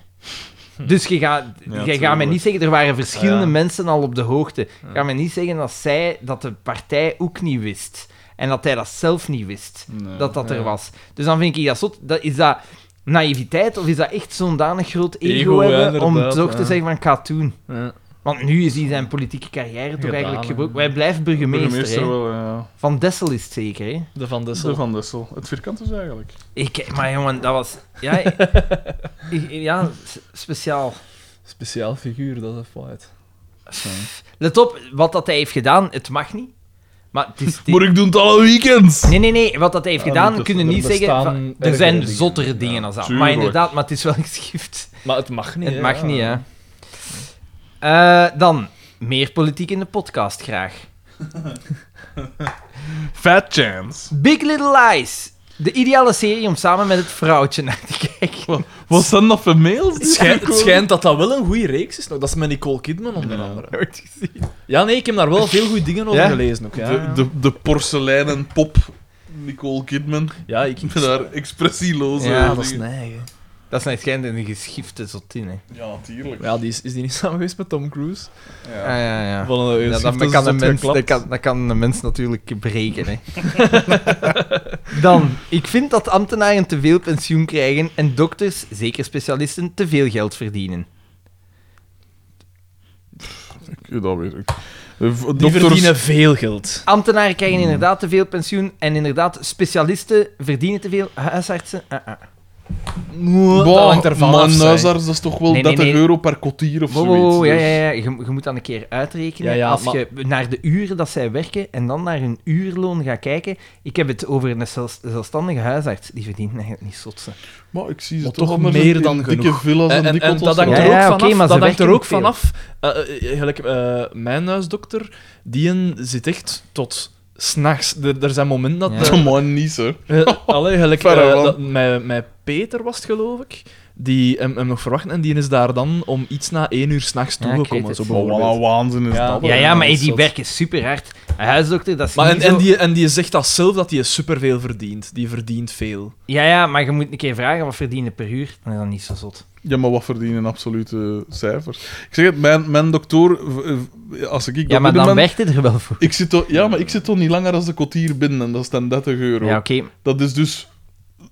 S2: Hm.
S1: Dus je gaat, je gaat mij
S3: tuurlijk.
S1: niet zeggen... Er waren verschillende
S2: Ja.
S1: mensen al op de hoogte. Je gaat mij niet zeggen dat zij dat de partij ook niet wist. En dat hij dat zelf niet wist,
S3: Nee.
S1: dat dat er was. Dus dan vind ik dat zot. Dat, is dat naïviteit of is dat echt zo'n danig groot ego,
S2: Ego, ja,
S1: hebben om
S2: inderdaad,
S1: toch te
S2: ja.
S1: zeggen van ik ga het doen?
S2: Ja.
S1: Want nu is hij zijn politieke carrière toch
S2: Gedaan,
S1: eigenlijk
S2: hè.
S1: gebroken. Wij blijven burgemeester.
S3: Burgemeester
S1: hè.
S3: wel, ja.
S1: Van Dessel is het zeker. Hè?
S2: De Van
S3: De
S2: Dessel.
S3: Van Dessel. Het vierkant is eigenlijk.
S1: Ik, maar jongen, dat [LAUGHS] was. Ja, ik- ja s- speciaal.
S2: Speciaal figuur, dat is een fout.
S1: Let op, wat dat hij heeft gedaan, het mag niet. Maar het is.
S3: Maar ik doe het alle weekends!
S1: Nee, nee, nee. Wat dat hij heeft
S2: Ja,
S1: gedaan,
S2: er
S1: kunnen
S2: bestaan
S1: niet zeggen. van- er
S2: ergere
S1: zijn
S2: dingen.
S1: zottere dingen dan dat. Maar
S3: tuurlijk.
S1: inderdaad, maar het is wel [LAUGHS] geschift.
S2: Maar het mag niet.
S1: het
S2: hè,
S1: mag
S2: ja.
S1: niet, hè? Eh, dan, meer politiek in de podcast graag.
S3: Fat chance.
S1: Big Little Lies. De ideale serie om samen met het vrouwtje naar te kijken.
S3: Wat zijn dat voor mails?
S2: Het
S3: die
S2: schijnt, het
S3: binnenkomen?
S2: schijnt dat dat wel een goede reeks is. nog. Dat is met Nicole Kidman onder andere.
S1: Nooit gezien.
S2: Ja, nee, ik heb daar wel veel goede dingen over
S1: Ja?
S2: gelezen. Ook, ja.
S3: De, de, de porseleinen pop Nicole Kidman.
S2: ja, ik...
S3: [LAUGHS] Met haar expressieloze...
S1: Ja,
S2: dat is
S3: dingen.
S2: nee. hè.
S1: Dat is net schijnt een geschifte zotin, hè.
S3: Ja, tuurlijk.
S2: Ja, die is, is die niet [LAUGHS] samen geweest met Tom Cruise?
S3: Ja.
S1: Ah, ja, ja.
S2: Van een,
S1: Ja, dat, kan een mens, dat, kan, dat kan een mens natuurlijk breken. Hè. Dan, ik vind dat ambtenaren te veel pensioen krijgen en dokters, zeker specialisten, te veel geld verdienen.
S3: Ja, dat weet ik. Eh,
S2: Die verdienen veel geld.
S1: Ambtenaren krijgen inderdaad te veel pensioen en inderdaad specialisten verdienen te veel. Huisartsen, ah, ah.
S2: dat hangt ervan
S3: maar
S2: af,
S3: een
S2: zeg.
S3: huisarts, dat is toch wel
S1: Nee, nee,
S3: 30
S1: nee.
S3: euro per kwartier of
S1: Wow,
S3: zoiets.
S1: wow, ja,
S3: dus-
S1: ja, ja. Je, je moet dan een keer uitrekenen.
S2: Ja, ja,
S1: als
S2: maar-
S1: je naar de uren dat zij werken en dan naar hun uurloon gaat kijken. Ik heb het over een zelfs- zelfstandige huisarts. Die verdient eigenlijk niet zotse.
S3: Maar ik zie ze
S2: Maar
S3: toch,
S2: toch
S3: anders
S2: meer
S3: in
S2: dan
S3: Dikke
S2: genoeg.
S3: villa's en,
S2: En, en,
S3: dikke
S2: en dat
S3: hotels.
S2: hangt
S1: Ja,
S2: er ook
S3: [LAUGHS]
S1: ja,
S2: vanaf.
S1: oké, maar ze
S2: dat hangt er
S1: werken
S2: ook
S1: veel.
S2: vanaf. Eh, eh, gelijk, eh, mijn huisdokter, die een zit echt tot s'nachts. Er zijn momenten dat...
S1: Ja.
S2: eh,
S3: Maar niet, hè.
S1: [LAUGHS]
S2: Eh, Allee, gelijk,
S3: Verre
S2: eh,
S3: van.
S2: dat, met, met Peter was het, geloof ik. Die hem, hem nog verwacht en die is daar dan om iets na één uur s'nachts
S1: Ja, ik weet
S2: toegekomen.
S1: het.
S2: Zo
S3: Maar wat
S2: bijvoorbeeld.
S3: een waanzin is
S2: Ja.
S3: dat.
S1: Ja,
S3: hè.
S1: ja, maar hey, die
S2: zot.
S1: werken super hard. Een huisdokter, dat is
S2: Maar en,
S1: niet Oh, zo...
S2: en, die, en die zegt dat zelf dat hij superveel verdient. Die verdient veel.
S1: Ja, ja, maar je moet een keer vragen wat verdienen per uur. Dan is dat niet zo zot.
S3: Ja, maar wat verdienen absolute eh, cijfers? Ik zeg het, mijn, mijn dokter, v- v- als ik...
S1: Ja,
S3: dat
S1: maar
S3: binnen
S1: dan
S3: ben,
S1: werkt het er wel voor.
S3: ik zit toch, Ja, maar ik zit toch niet langer als de kwartier binnen en dat is dan 30 euro.
S1: Ja, oké.
S3: Dat is dus,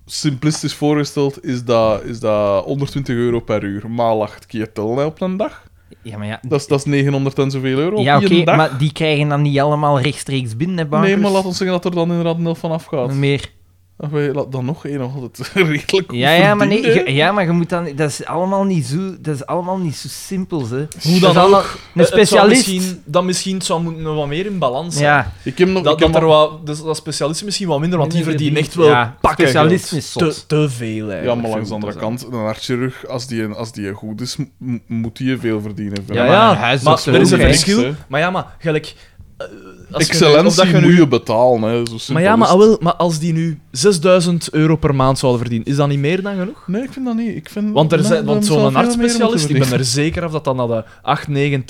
S3: simplistisch voorgesteld, is dat, is dat 120 euro per uur. Maal acht keer tellen hè, op een dag.
S1: Ja, maar ja...
S3: Dat is, dat is 900 en zoveel euro
S1: Ja,
S3: op
S1: oké,
S3: één dag.
S1: maar die krijgen dan niet allemaal rechtstreeks binnen, hè, bankers?
S3: Nee, maar laat ons zeggen dat er dan inderdaad een helft van afgaat.
S1: Meer.
S3: Ah, wij- laat Dan nog één, nog altijd [LAUGHS] redelijk goed
S1: Ja, ja, maar nee,
S3: verdiend, hè.
S1: je- ja, maar je moet dan... Dat is allemaal niet zo, dat is allemaal niet zo simpel, hè.
S2: Hoe
S1: Dat
S2: dan
S1: is allemaal-
S2: ook. eh,
S1: Een
S2: het zou
S1: specialist.
S2: misschien, dan misschien het zou moeten wat meer in balans zijn.
S1: Ja,
S3: Ik heb nog...
S2: Dat,
S3: ik heb
S2: dat, er
S3: nog-
S2: wat, dus dat specialisten misschien wat minder, want die
S1: Minder
S2: verdienen echt
S1: verdienen.
S2: wel
S1: Ja,
S2: pakken
S1: specialisten
S2: geld.
S1: is zot.
S2: Te, te veel, eigenlijk.
S3: ja, maar langs de
S2: Veel
S3: andere
S2: te
S3: kant, een hartchirurg, als die, als die goed is, m- moet die veel verdienen.
S2: zijn. Ja,
S1: maar een
S2: ja, maar
S1: huisdokter
S2: er is
S1: ook,
S2: een
S1: hè.
S2: verschil. Maar ja, maar gelijk... eh, als je- of dat
S3: Excellentie
S2: je nu-
S3: moet je betalen, hè. Zo simpel
S2: Maar ja, maar,
S3: is het.
S2: ah, wel, maar als die nu 6000 euro per maand zouden verdienen, is dat niet meer dan genoeg?
S3: Nee, ik vind dat niet. Ik vind,
S2: Want, er
S3: nee,
S2: zijn,
S3: dan
S2: want
S3: zou
S2: zo'n
S3: veel meer
S2: artsspecialist, ik
S3: moeten [LAUGHS]
S2: ben er zeker af dat dat naar de 8, 9,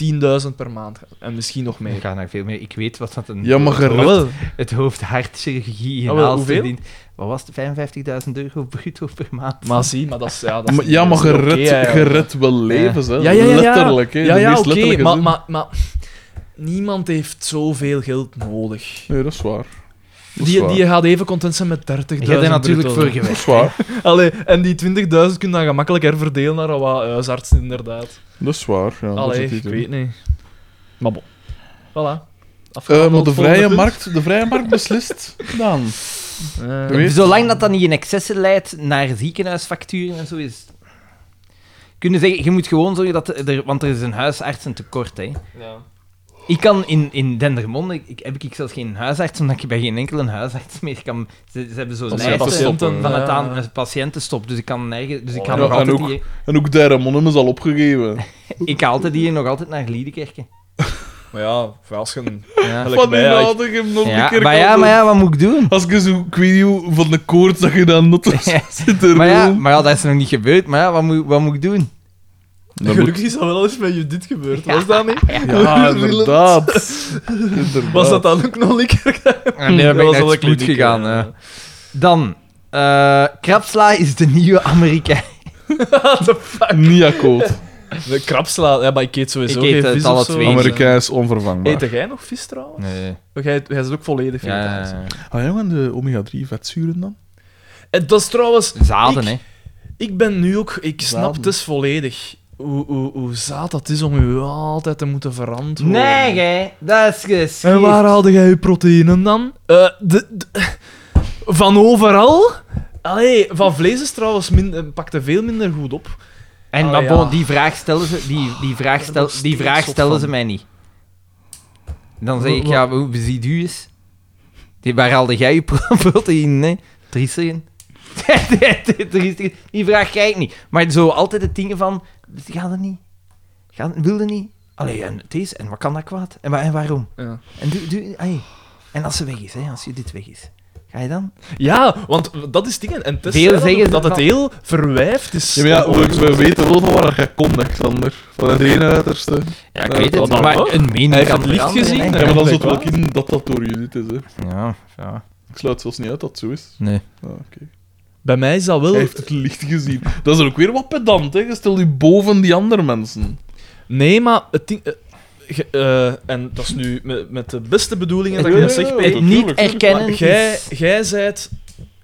S2: 10.000 per maand gaat. En misschien nog
S1: ik
S2: meer.
S1: ga naar veel meer. Ik weet wat dat een...
S3: [LAUGHS] Ja, maar
S2: Ah,
S3: gerust.
S2: wel.
S1: Het hoofd hartchirurgie in
S2: Ah, wel,
S1: Aalst
S2: hoeveel?
S1: verdient... Wat was het? 55.000 euro bruto per maand.
S2: Maar zie, maar dat is... Ja, dat is
S3: Maar- Ja, maar
S2: dat is niet dus
S3: gered,
S2: oké, eigenlijk.
S3: gered wel levens, hè.
S2: Ja, ja, ja, ja.
S3: Letterlijk, hè.
S2: Ja,
S3: de
S2: ja,
S3: meest
S2: oké,
S3: letterlijke
S2: maar,
S3: zin.
S2: maar, maar niemand heeft zoveel geld nodig.
S3: Nee, dat is waar. Dat is
S2: Die,
S3: waar.
S2: die gaat even content zijn met 30.000
S1: Je hebt er natuurlijk
S2: bruto.
S1: voor
S3: Dat [LAUGHS]
S1: gewerkt.
S3: is waar.
S2: [LAUGHS] Allee, en die 20.000 kun je dan gemakkelijk herverdelen naar wat eh, huisartsen, inderdaad.
S3: Dat is waar, ja. dat
S2: Allee,
S3: zit hier
S2: ik
S3: in.
S2: weet niet. Maar bon. Voilà.
S3: Eh, maar
S2: Afgehandeld,
S3: de
S2: volgende
S3: vrije,
S2: punt.
S3: markt, de vrije markt beslist dan.
S1: [LAUGHS]
S2: Eh,
S3: Weet-
S1: Zolang dat dat niet in excessen leidt naar ziekenhuisfacturen en zo is. het- kunnen zeggen, je moet gewoon zorgen dat er... Want er is een huisarts een tekort, hè. Ik kan in, in Dendermonde, ik, heb ik zelfs geen huisarts, omdat je bij geen enkele huisarts meer kan... Ze, ze hebben zo'n lijst
S2: Patiëntenstoppen,
S1: van het
S2: ja.
S1: aan een patiëntenstop, dus ik kan nergens... Dus ik ga
S3: eh. Ja,
S1: nog
S3: en
S1: altijd
S3: ook-
S1: hier...
S3: En ook Derremonnen is al opgegeven.
S1: Ik ga altijd hier nog altijd naar Liedekerke.
S2: Maar ja, voor als je een...
S1: Ja.
S2: Lekker
S3: Van die
S2: bij, ja, ik-
S3: had ik hem nog een
S1: Ja,
S3: keer
S1: maar ja,
S3: gehad.
S1: maar ja, wat moet ik doen?
S3: Als je zo, ik weet niet hoe, van de koorts dat je dan noten [LAUGHS] zit er
S1: Maar [LAUGHS] ja, maar ja, dat is nog niet gebeurd, maar ja, wat moet, wat moet ik doen?
S3: Dan moet-
S2: [LAUGHS] Gelukkig is dat wel eens met Judith gebeurd, was dat niet?
S3: [LAUGHS] Ja, inderdaad. Inderdaad.
S2: Was dat dan ook nog een keer? [LAUGHS]
S1: En daar ben ik naar
S2: Dat was wel
S1: het
S2: een
S1: spoed eh.
S2: kliniek,
S1: gegaan.
S2: ja.
S1: ja. Dan, eh krapsla is de nieuwe Amerikaan.
S3: niet [LAUGHS] akkoord?
S2: De krapsla, ja, maar ik eet sowieso
S1: Ik eet eh,
S2: geen
S1: het
S2: vis
S1: alle
S2: of zo. eh,
S1: twee.
S3: Amerikaans onvervangbaar.
S2: Eet jij nog vis trouwens?
S1: Nee.
S2: Jij, jij zit ook volledig vegetarisch.
S1: Ja,
S3: Ah ja, en de omega-3 vetzuren dan?
S2: En Eh, dat is trouwens...
S1: zaden,
S2: ik,
S1: hè.
S2: Ik ben nu ook... Ik snap
S3: Zaden.
S2: dus volledig hoe, hoe, hoe zaad dat is om u altijd te moeten veranderen.
S1: Nee, gij, dat is geschikt.
S2: En waar haalde jij je proteïnen dan? Eh, de, de- van overal? Allee, van vlees is trouwens min, eh, pakte veel minder goed op.
S1: En
S2: Oh,
S1: maar
S2: ja.
S1: bon, die vraag stellen ze, die, die vraag stel,
S2: nog
S1: die
S2: steeds
S1: vraag
S2: zot
S1: stellen
S2: van.
S1: ze mij niet. Dan zeg ik,
S2: Wa-
S1: ja, hoe ziet u eens? Die, waar haalde jij je [LAUGHS] pro- proteïne, hè? [LAUGHS] Triestigen. Triestigen. Die vraag krijg ik niet. Maar zo altijd het ding van, gaat dat niet? Gaat, wil dat niet? Allee, en het is, en wat kan dat kwaad? En, wa- en waarom?
S2: Ja.
S1: En, doe, doe, allee. en als ze weg is, hè, als je dit weg is, ga je dan?
S2: Ja, want dat is dingen. En Tess
S1: Veel
S2: zei dat
S1: zeggen
S2: ook, dat
S1: dat-
S2: het heel verwijfd is.
S3: Ja, maar ja, we, we weten wel van waar je komt, Alexander. Van het ene uiterste.
S1: Ja,
S3: ik weet het,
S1: maar een mening
S2: heeft
S1: kan
S2: het licht
S1: veranderen,
S2: gezien,
S1: hè.
S3: Ja, maar dan zult wel in dat dat door Judith is. Hè.
S1: Ja, ja.
S3: Ik sluit zelfs niet uit dat het zo is.
S1: Nee.
S3: Ah, Oké.
S2: Bij mij is dat wel...
S3: Hij heeft het licht gezien. Dat is dan ook weer wat pedant, hè? Je stelt je boven die andere mensen.
S2: Nee, maar het ding... eh, ge- eh, en dat is nu met, met de beste bedoelingen dat ik
S3: Ja, ja,
S2: dat zeg,
S3: ja,
S2: Peter.
S1: Het
S3: Oh, Tuurlijk,
S1: niet
S3: tuurlijk.
S1: erkennen
S2: Maar jij,
S1: is...
S2: jij zijt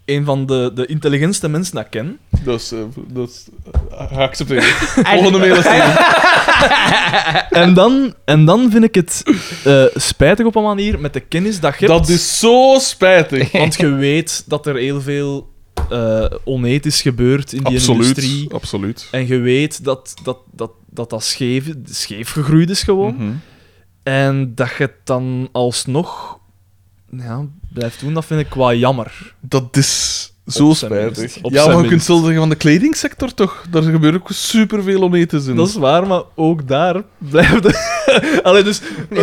S2: een van de, de intelligentste mensen dat ik ken.
S3: Dat is... eh, dat is eh,
S2: [LAUGHS]
S3: geaccepteerd. Volgende mail is er.
S2: En dan, en dan vind ik het eh, spijtig op een manier met de kennis dat je hebt.
S3: Dat dus is zo spijtig.
S2: Want je weet dat er heel veel eh, onethisch gebeurt in die industrie.
S3: Absoluut. Absoluut.
S2: En je weet dat dat, dat, dat, dat scheef, scheef gegroeid is gewoon.
S3: Mhm.
S2: En dat je het dan alsnog ja, blijft doen, dat vind ik qua jammer.
S3: Dat is zo
S2: Op zijn
S3: spijtig.
S2: minst. Op
S3: Ja,
S2: zijn
S3: maar je
S2: minst.
S3: kunt zelfs zeggen van de kledingsector toch? Daar gebeurt ook superveel onetens in.
S2: Dat is waar, maar ook daar blijft het... [LAUGHS] Allee, dus eh,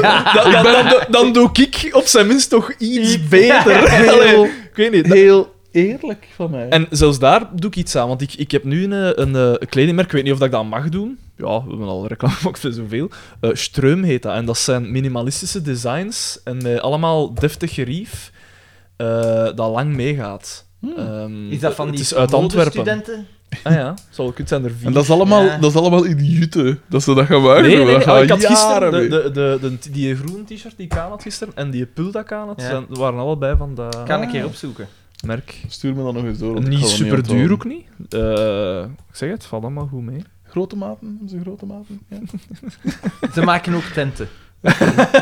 S2: dan, dan, dan, dan, doe ik op zijn minst toch iets beter. Allee, ik weet niet.
S3: heel eerlijk van mij.
S2: En zelfs daar doe ik iets aan, want ik, ik heb nu een, eh, een, eh, een kledingmerk, ik weet niet of dat ik dat mag doen. Ja, we hebben al reclame gemaakt voor zoveel. Eh Streum heet dat, en dat zijn minimalistische designs, en met allemaal deftig gerief, eh, dat lang meegaat. Ehm,
S1: Hmm. Is dat van
S2: het
S1: die
S2: is uit Antwerpen.
S1: studenten?
S2: Ah ja, zal ik het zijn er vier.
S3: En dat is allemaal,
S1: Ja.
S3: dat is allemaal idioten dat ze dat gaan maken.
S2: Nee, nee,
S3: Daar
S2: nee.
S3: gaan
S2: Oh, ik had
S3: jaren
S2: gisteren de,
S3: mee.
S2: de, de, de- die groene t-shirt die ik aan had gisteren en die pul dat ik aan had,
S1: Ja.
S2: zijn- waren allebei van dat
S1: Kan ik hier opzoeken.
S2: merk.
S3: Stuur me dan nog eens door. want ik ga
S2: Niet
S3: dat
S2: super
S3: onthouden.
S2: duur ook niet. Eh, ik zeg het, valt allemaal goed mee.
S3: Grote maten, hebben ze grote maten? Ja,
S1: Ze maken ook tenten.
S3: dat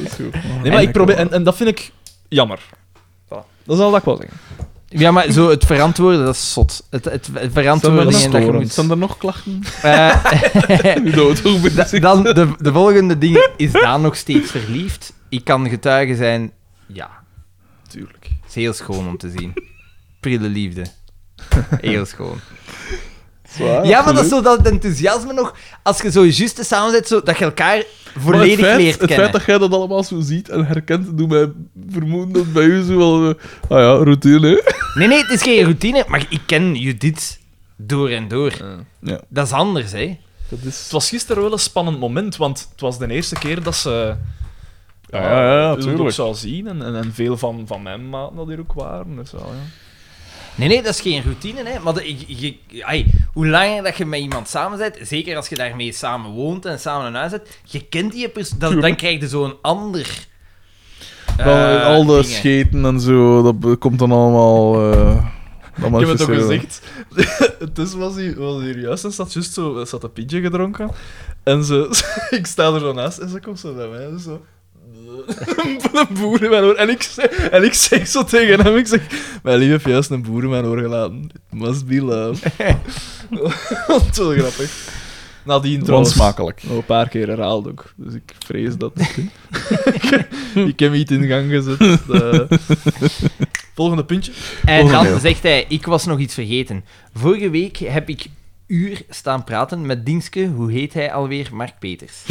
S3: is goed.
S2: Nee, maar ik probeer, en, en dat vind ik jammer. Voilà. Dat is al dat ik wil zeggen.
S1: Ja, maar zo het verantwoorden, dat is zot. Het, het, het verantwoorden
S3: Zijn er
S1: en dat je
S3: nog-
S1: moet...
S3: Zijn er nog
S1: [LAUGHS]
S3: klachten? [LAUGHS]
S1: Eh,
S3: Nu dood, hoe
S1: da- dan de, de volgende ding. Is Daan nog steeds verliefd? Ik kan getuige zijn... Ja.
S2: Tuurlijk.
S1: Het is heel schoon om te zien. Prille
S3: [LAUGHS]
S1: liefde. Heel schoon.
S3: Ah,
S1: Ja, maar dat is zo dat enthousiasme nog... Als je zo juist te samen zit, zo, dat je elkaar volledig
S3: het feit,
S1: leert
S3: Het
S1: kennen.
S3: feit dat jij dat allemaal zo ziet en herkent, doet mij vermoeden dat bij u zo wel... eh, ah ja, routine, hè?
S1: Nee, nee, het is geen routine, maar ik ken Judith door en door.
S3: Ja.
S1: Dat is anders, hè?
S3: Dat
S2: Het
S3: is...
S2: was gisteren wel een spannend moment, want het was de eerste keer dat ze
S3: Ja, ja, ja,
S2: het ook
S3: natuurlijk.
S2: zou zien. En, en, en veel van, van mijn maten dat hier ook waren. Dus wel, ja.
S1: Nee, nee, dat is geen routine, hè? Maar de- je- je- ai, hoe langer dat je met iemand samen bent, zeker als je daarmee samen woont en samen een huis hebt, je kent die persoon, dan, dan
S3: Tuurlijk.
S1: krijg je zo'n ander.
S3: Al-
S1: eh,
S3: al de
S1: dingen.
S3: scheten en zo, dat be- komt dan allemaal... eh dan
S2: Ik heb het ook
S3: manifesteren.
S2: gezegd. [LAUGHS] Dus was hier, was hier juist en zat juist zo, zat [LAUGHS] een pintje gedronken. En ze, ik sta er zo [LAUGHS] naast en ze komt zo bij mij en zo. "Eh." een boer in mijn oor. En ik, zeg, en ik zeg zo tegen hem, ik zeg, mijn lief heeft juist een boer in mijn oor gelaten. It must be love. [LAUGHS] Dat is wel grappig. Nadien trouwens
S3: Onsmakelijk.
S2: nog een paar keer herhaald ook. Dus ik vrees dat... [LAUGHS] ik heb iets in gang gezet. Eh, volgende puntje.
S1: En dan zegt hij, ik was nog iets vergeten. Vorige week heb ik uur staan praten met Dienske, hoe heet hij alweer, Mark Peters.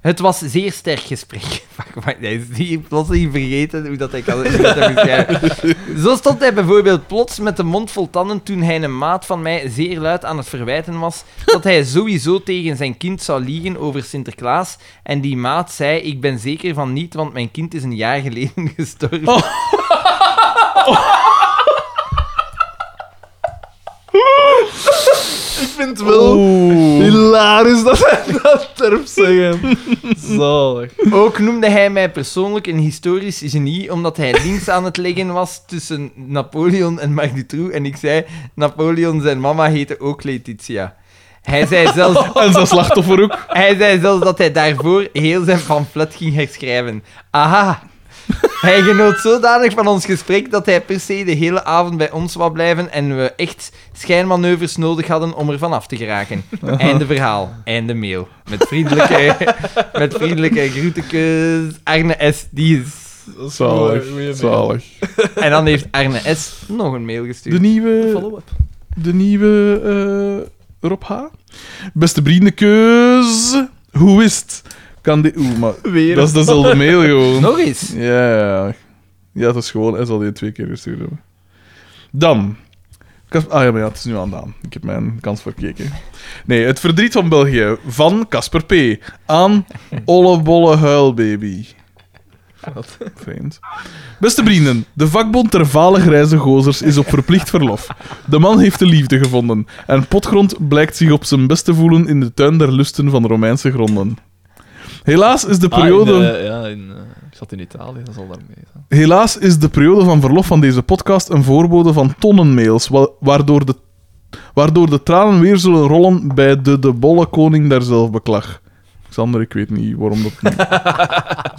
S1: Het was zeer sterk gesprek. [LAUGHS] Wacht, wacht, hij is die plotseling vergeten hoe dat hij kan hoe dat hij moet schrijven. Zo stond hij bijvoorbeeld plots met de mond vol tanden toen hij een maat van mij zeer luid aan het verwijten was dat hij sowieso tegen zijn kind zou liegen over Sinterklaas. En die maat zei, ik ben zeker van niet, want mijn kind is een jaar geleden [LAUGHS] gestorven.
S2: Ik vind het wel hilarisch dat hij dat terp zeggen. Zalig.
S1: Ook noemde hij mij persoonlijk een historisch genie, omdat hij links aan het leggen was tussen Napoleon en Marc Dutroux. En ik zei, Napoleon zijn mama heette ook Letitia. Hij zei, zelfs,
S3: En zijn slachtoffer
S2: [LAUGHS]
S3: ook.
S1: hij zei zelfs dat hij daarvoor heel zijn pamflet ging herschrijven. Aha. Hij genoot zodanig van ons gesprek dat hij per se de hele avond bij ons wou blijven en we echt schijnmanoeuvres nodig hadden om er vanaf te geraken. Einde verhaal. Einde mail. Met vriendelijke, met vriendelijke groetekes. Arne S. Die is...
S3: Zalig. Zalig.
S1: En dan heeft Arne S. nog een mail gestuurd.
S3: De nieuwe...
S2: Follow-up.
S3: De nieuwe eh, Rob H. Beste vriendenkeus. Hoe is het? Kan dit... Oeh, maar...
S2: Weer.
S3: Dat is dezelfde mail
S2: [LAUGHS]
S3: gewoon.
S1: Nog eens.
S3: Ja, ja, dat is gewoon, hij zal die twee keer gestuurd hebben. Dan. Kas- Ah ja, maar ja, het is nu aan Daan. Ik heb mijn kans verkeken. Nee, het verdriet van België. Van Casper P. Aan Ollebolle Huilbaby. Wat? Vreemd. Beste vrienden, de vakbond ter vale grijze gozers is op verplicht verlof. De man heeft de liefde gevonden. En Potgrond blijkt zich op zijn best te voelen in de tuin der lusten van Romeinse gronden. Helaas is de periode...
S2: Ah, in, eh, ja, in, eh, ik zat in Italië, dat zal daarmee zijn.
S3: Helaas is de periode van verlof van deze podcast een voorbode van tonnen mails, wa- waardoor de, waardoor de tranen weer zullen rollen bij de de bolle koning der zelfbeklag. Xander, ik weet niet waarom dat nu-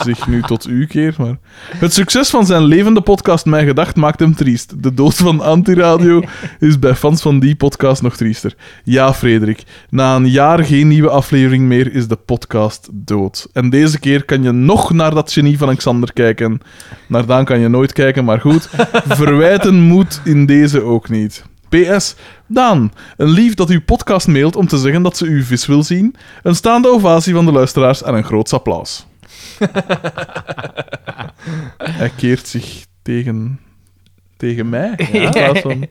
S3: zich nu tot u keert, maar... Het succes van zijn levende podcast Mijn Gedacht maakt hem triest. De dood van Antiradio is bij fans van die podcast nog triester. Ja, Frederik. Na een jaar geen nieuwe aflevering meer is de podcast dood. En deze keer kan je nog naar dat genie van Alexander kijken. Naar Daan kan je nooit kijken, maar
S2: [LAUGHS]
S3: goed. Verwijten moet in deze ook niet. PS, Daan, een lief dat uw podcast mailt om te zeggen dat ze uw vis wil zien. Een staande ovatie van de luisteraars en een groots
S2: [LAUGHS]
S3: applaus. Hij keert zich tegen, tegen
S2: [LAUGHS]
S3: mij. in plaats van-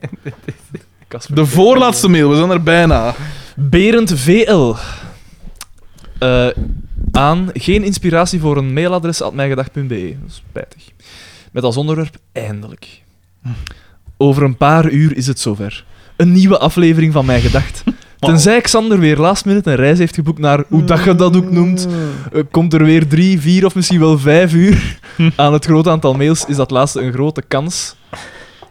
S2: Casper
S3: De voorlaatste mail, we zijn er bijna.
S2: Berend VL. Eh, aan geen inspiratie voor een mailadres at mijgedag.be. E. Spijtig. Met als onderwerp eindelijk. Over een paar uur is het zover. Een nieuwe aflevering van Mijn [LAUGHS] Gedacht. Tenzij Xander weer last minute een reis heeft geboekt naar hoe dat je dat ook noemt. eh, komt er weer drie, vier of misschien wel vijf uur
S3: Hm.
S2: aan het grote aantal mails. Is dat laatste een grote kans.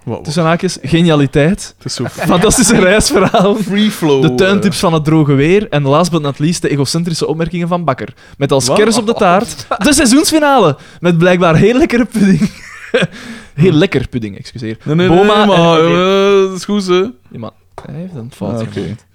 S3: Wow,
S2: Tussen haakjes, genialiteit.
S3: het is
S2: [LAUGHS]
S3: zo [LAUGHS]
S2: Fantastische reisverhaal.
S3: free flow. eh.
S2: De tuintips van het droge weer en last but not least de egocentrische opmerkingen van Bakker. Met als kers op de taart de seizoensfinale. Met blijkbaar heel lekkere pudding. [LAUGHS] heel lekker pudding, excuseer.
S3: eh. Nee, nee, nee,
S2: Boma
S3: maar,
S2: en...
S3: eh, dat is goed, hè.
S2: Ja, maar hij heeft een
S3: Ah,
S2: fout
S3: Oké.
S2: gemaakt.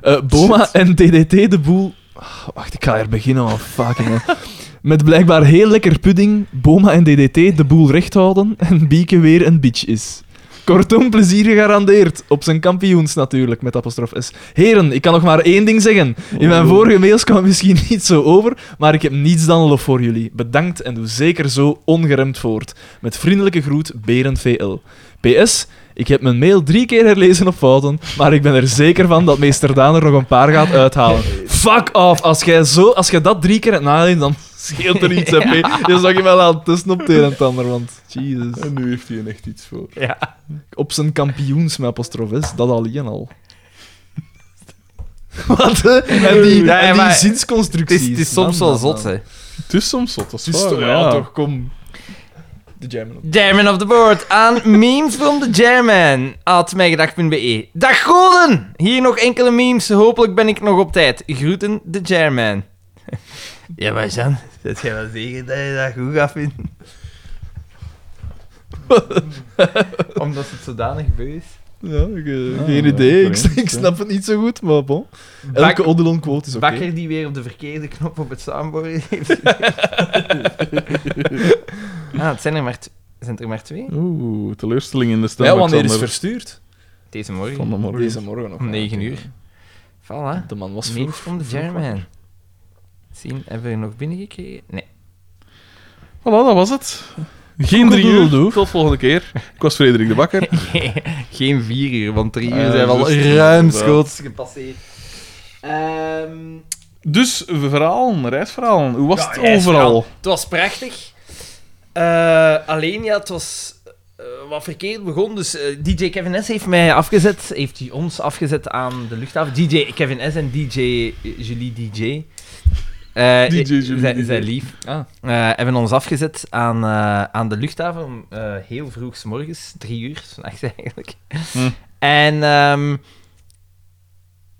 S2: Eh, Boma en DDT de boel... Ah, Wacht, ik ga er beginnen, oh fucking hell. Met blijkbaar heel lekker pudding, Boma en DDT de boel recht houden en Bieke weer een bitch is. Kortom, plezier gegarandeerd. Op zijn kampioens natuurlijk, met apostrof S. Heren, ik kan nog maar één ding zeggen. In mijn vorige mails kwam het misschien niet zo over, maar ik heb niets dan lof voor jullie. Bedankt en doe zeker zo ongeremd voort. Met vriendelijke groet, Berend VL. PS, ik heb mijn mail drie keer herlezen op fouten, maar ik ben er zeker van dat meester Daan er nog een paar gaat uithalen. Fuck off! Als jij, zo, als jij dat drie keer hebt nadenkt, dan scheelt er iets, hè, P. Je zag je wel aan tussen op het een en het ander, want... Jesus.
S3: En nu heeft hij echt iets voor.
S2: Op zijn kampioens met apostrof S, dat alleen al. [LAUGHS] Wat, hè? En die,
S1: Ja,
S2: en die
S1: maar- Het
S2: zinsconstructies.
S1: is, het is
S2: Man,
S1: soms wel
S2: man,
S1: zot,
S2: man.
S1: hè.
S3: Het is soms zot, dat is,
S2: Het is
S3: waar,
S2: toch, Oh, ja,
S3: ja.
S2: toch, kom. De German.
S1: German of the board aan memes from the German at mijgedag.be. Dag goden! Hier nog enkele memes, hopelijk ben ik nog op tijd. Groeten, de German. Ja, maar Jan, dat jij wel zeker dat je dat goed gaat vinden? [LAUGHS] Omdat het zodanig beu is.
S6: Ja, ik, eh,
S2: Ah,
S6: geen
S2: ja,
S6: idee. Ik,
S2: [LAUGHS] correct,
S6: ik snap het niet zo goed, maar bon. Elke
S1: Bak-
S6: Odilon quote is oké.
S1: Bakker die weer op de verkeerde knop op het saambord heeft. [LAUGHS] ah, het zijn er maar, t- zijn er maar twee.
S3: Oeh, teleurstelling in de stem.
S2: Ja, wanneer is
S3: Alexander.
S2: verstuurd?
S1: Deze morgen.
S3: Van de morgen.
S2: Deze morgen nog.
S1: om 9 uur. Voilà.
S2: De man was
S1: Mail
S2: vroeg.
S1: from the German. Zien, hebben we er nog binnengekregen? Nee.
S3: Voilà, dat was het. Geen drie uur. Tot volgende keer. Ik was Frederik de Bakker.
S1: [LAUGHS] Geen vier uur, want drie uur
S3: Eh,
S1: zijn we al
S3: juist,
S1: ruimschoots gepasseerd. Ehm,
S3: [LAUGHS] Dus verhalen, reisverhalen. Hoe was
S1: Ja,
S3: het
S1: reisverhaal.
S3: overal?
S1: het was prachtig. Eh, alleen ja, het was eh, wat verkeerd begon. Dus eh, DJ Kevin S heeft mij afgezet, heeft hij ons afgezet aan de luchthaven. DJ Kevin S en DJ Julie DJ. Eh,
S3: DJ Julie
S1: zij-
S3: DJ.
S1: zij lief.
S2: Ah.
S1: Eh, hebben ons afgezet aan, eh, aan de luchthaven om eh, heel vroeg 's morgens, drie uur, s'nachts eigenlijk.
S3: Hm.
S1: En ehm,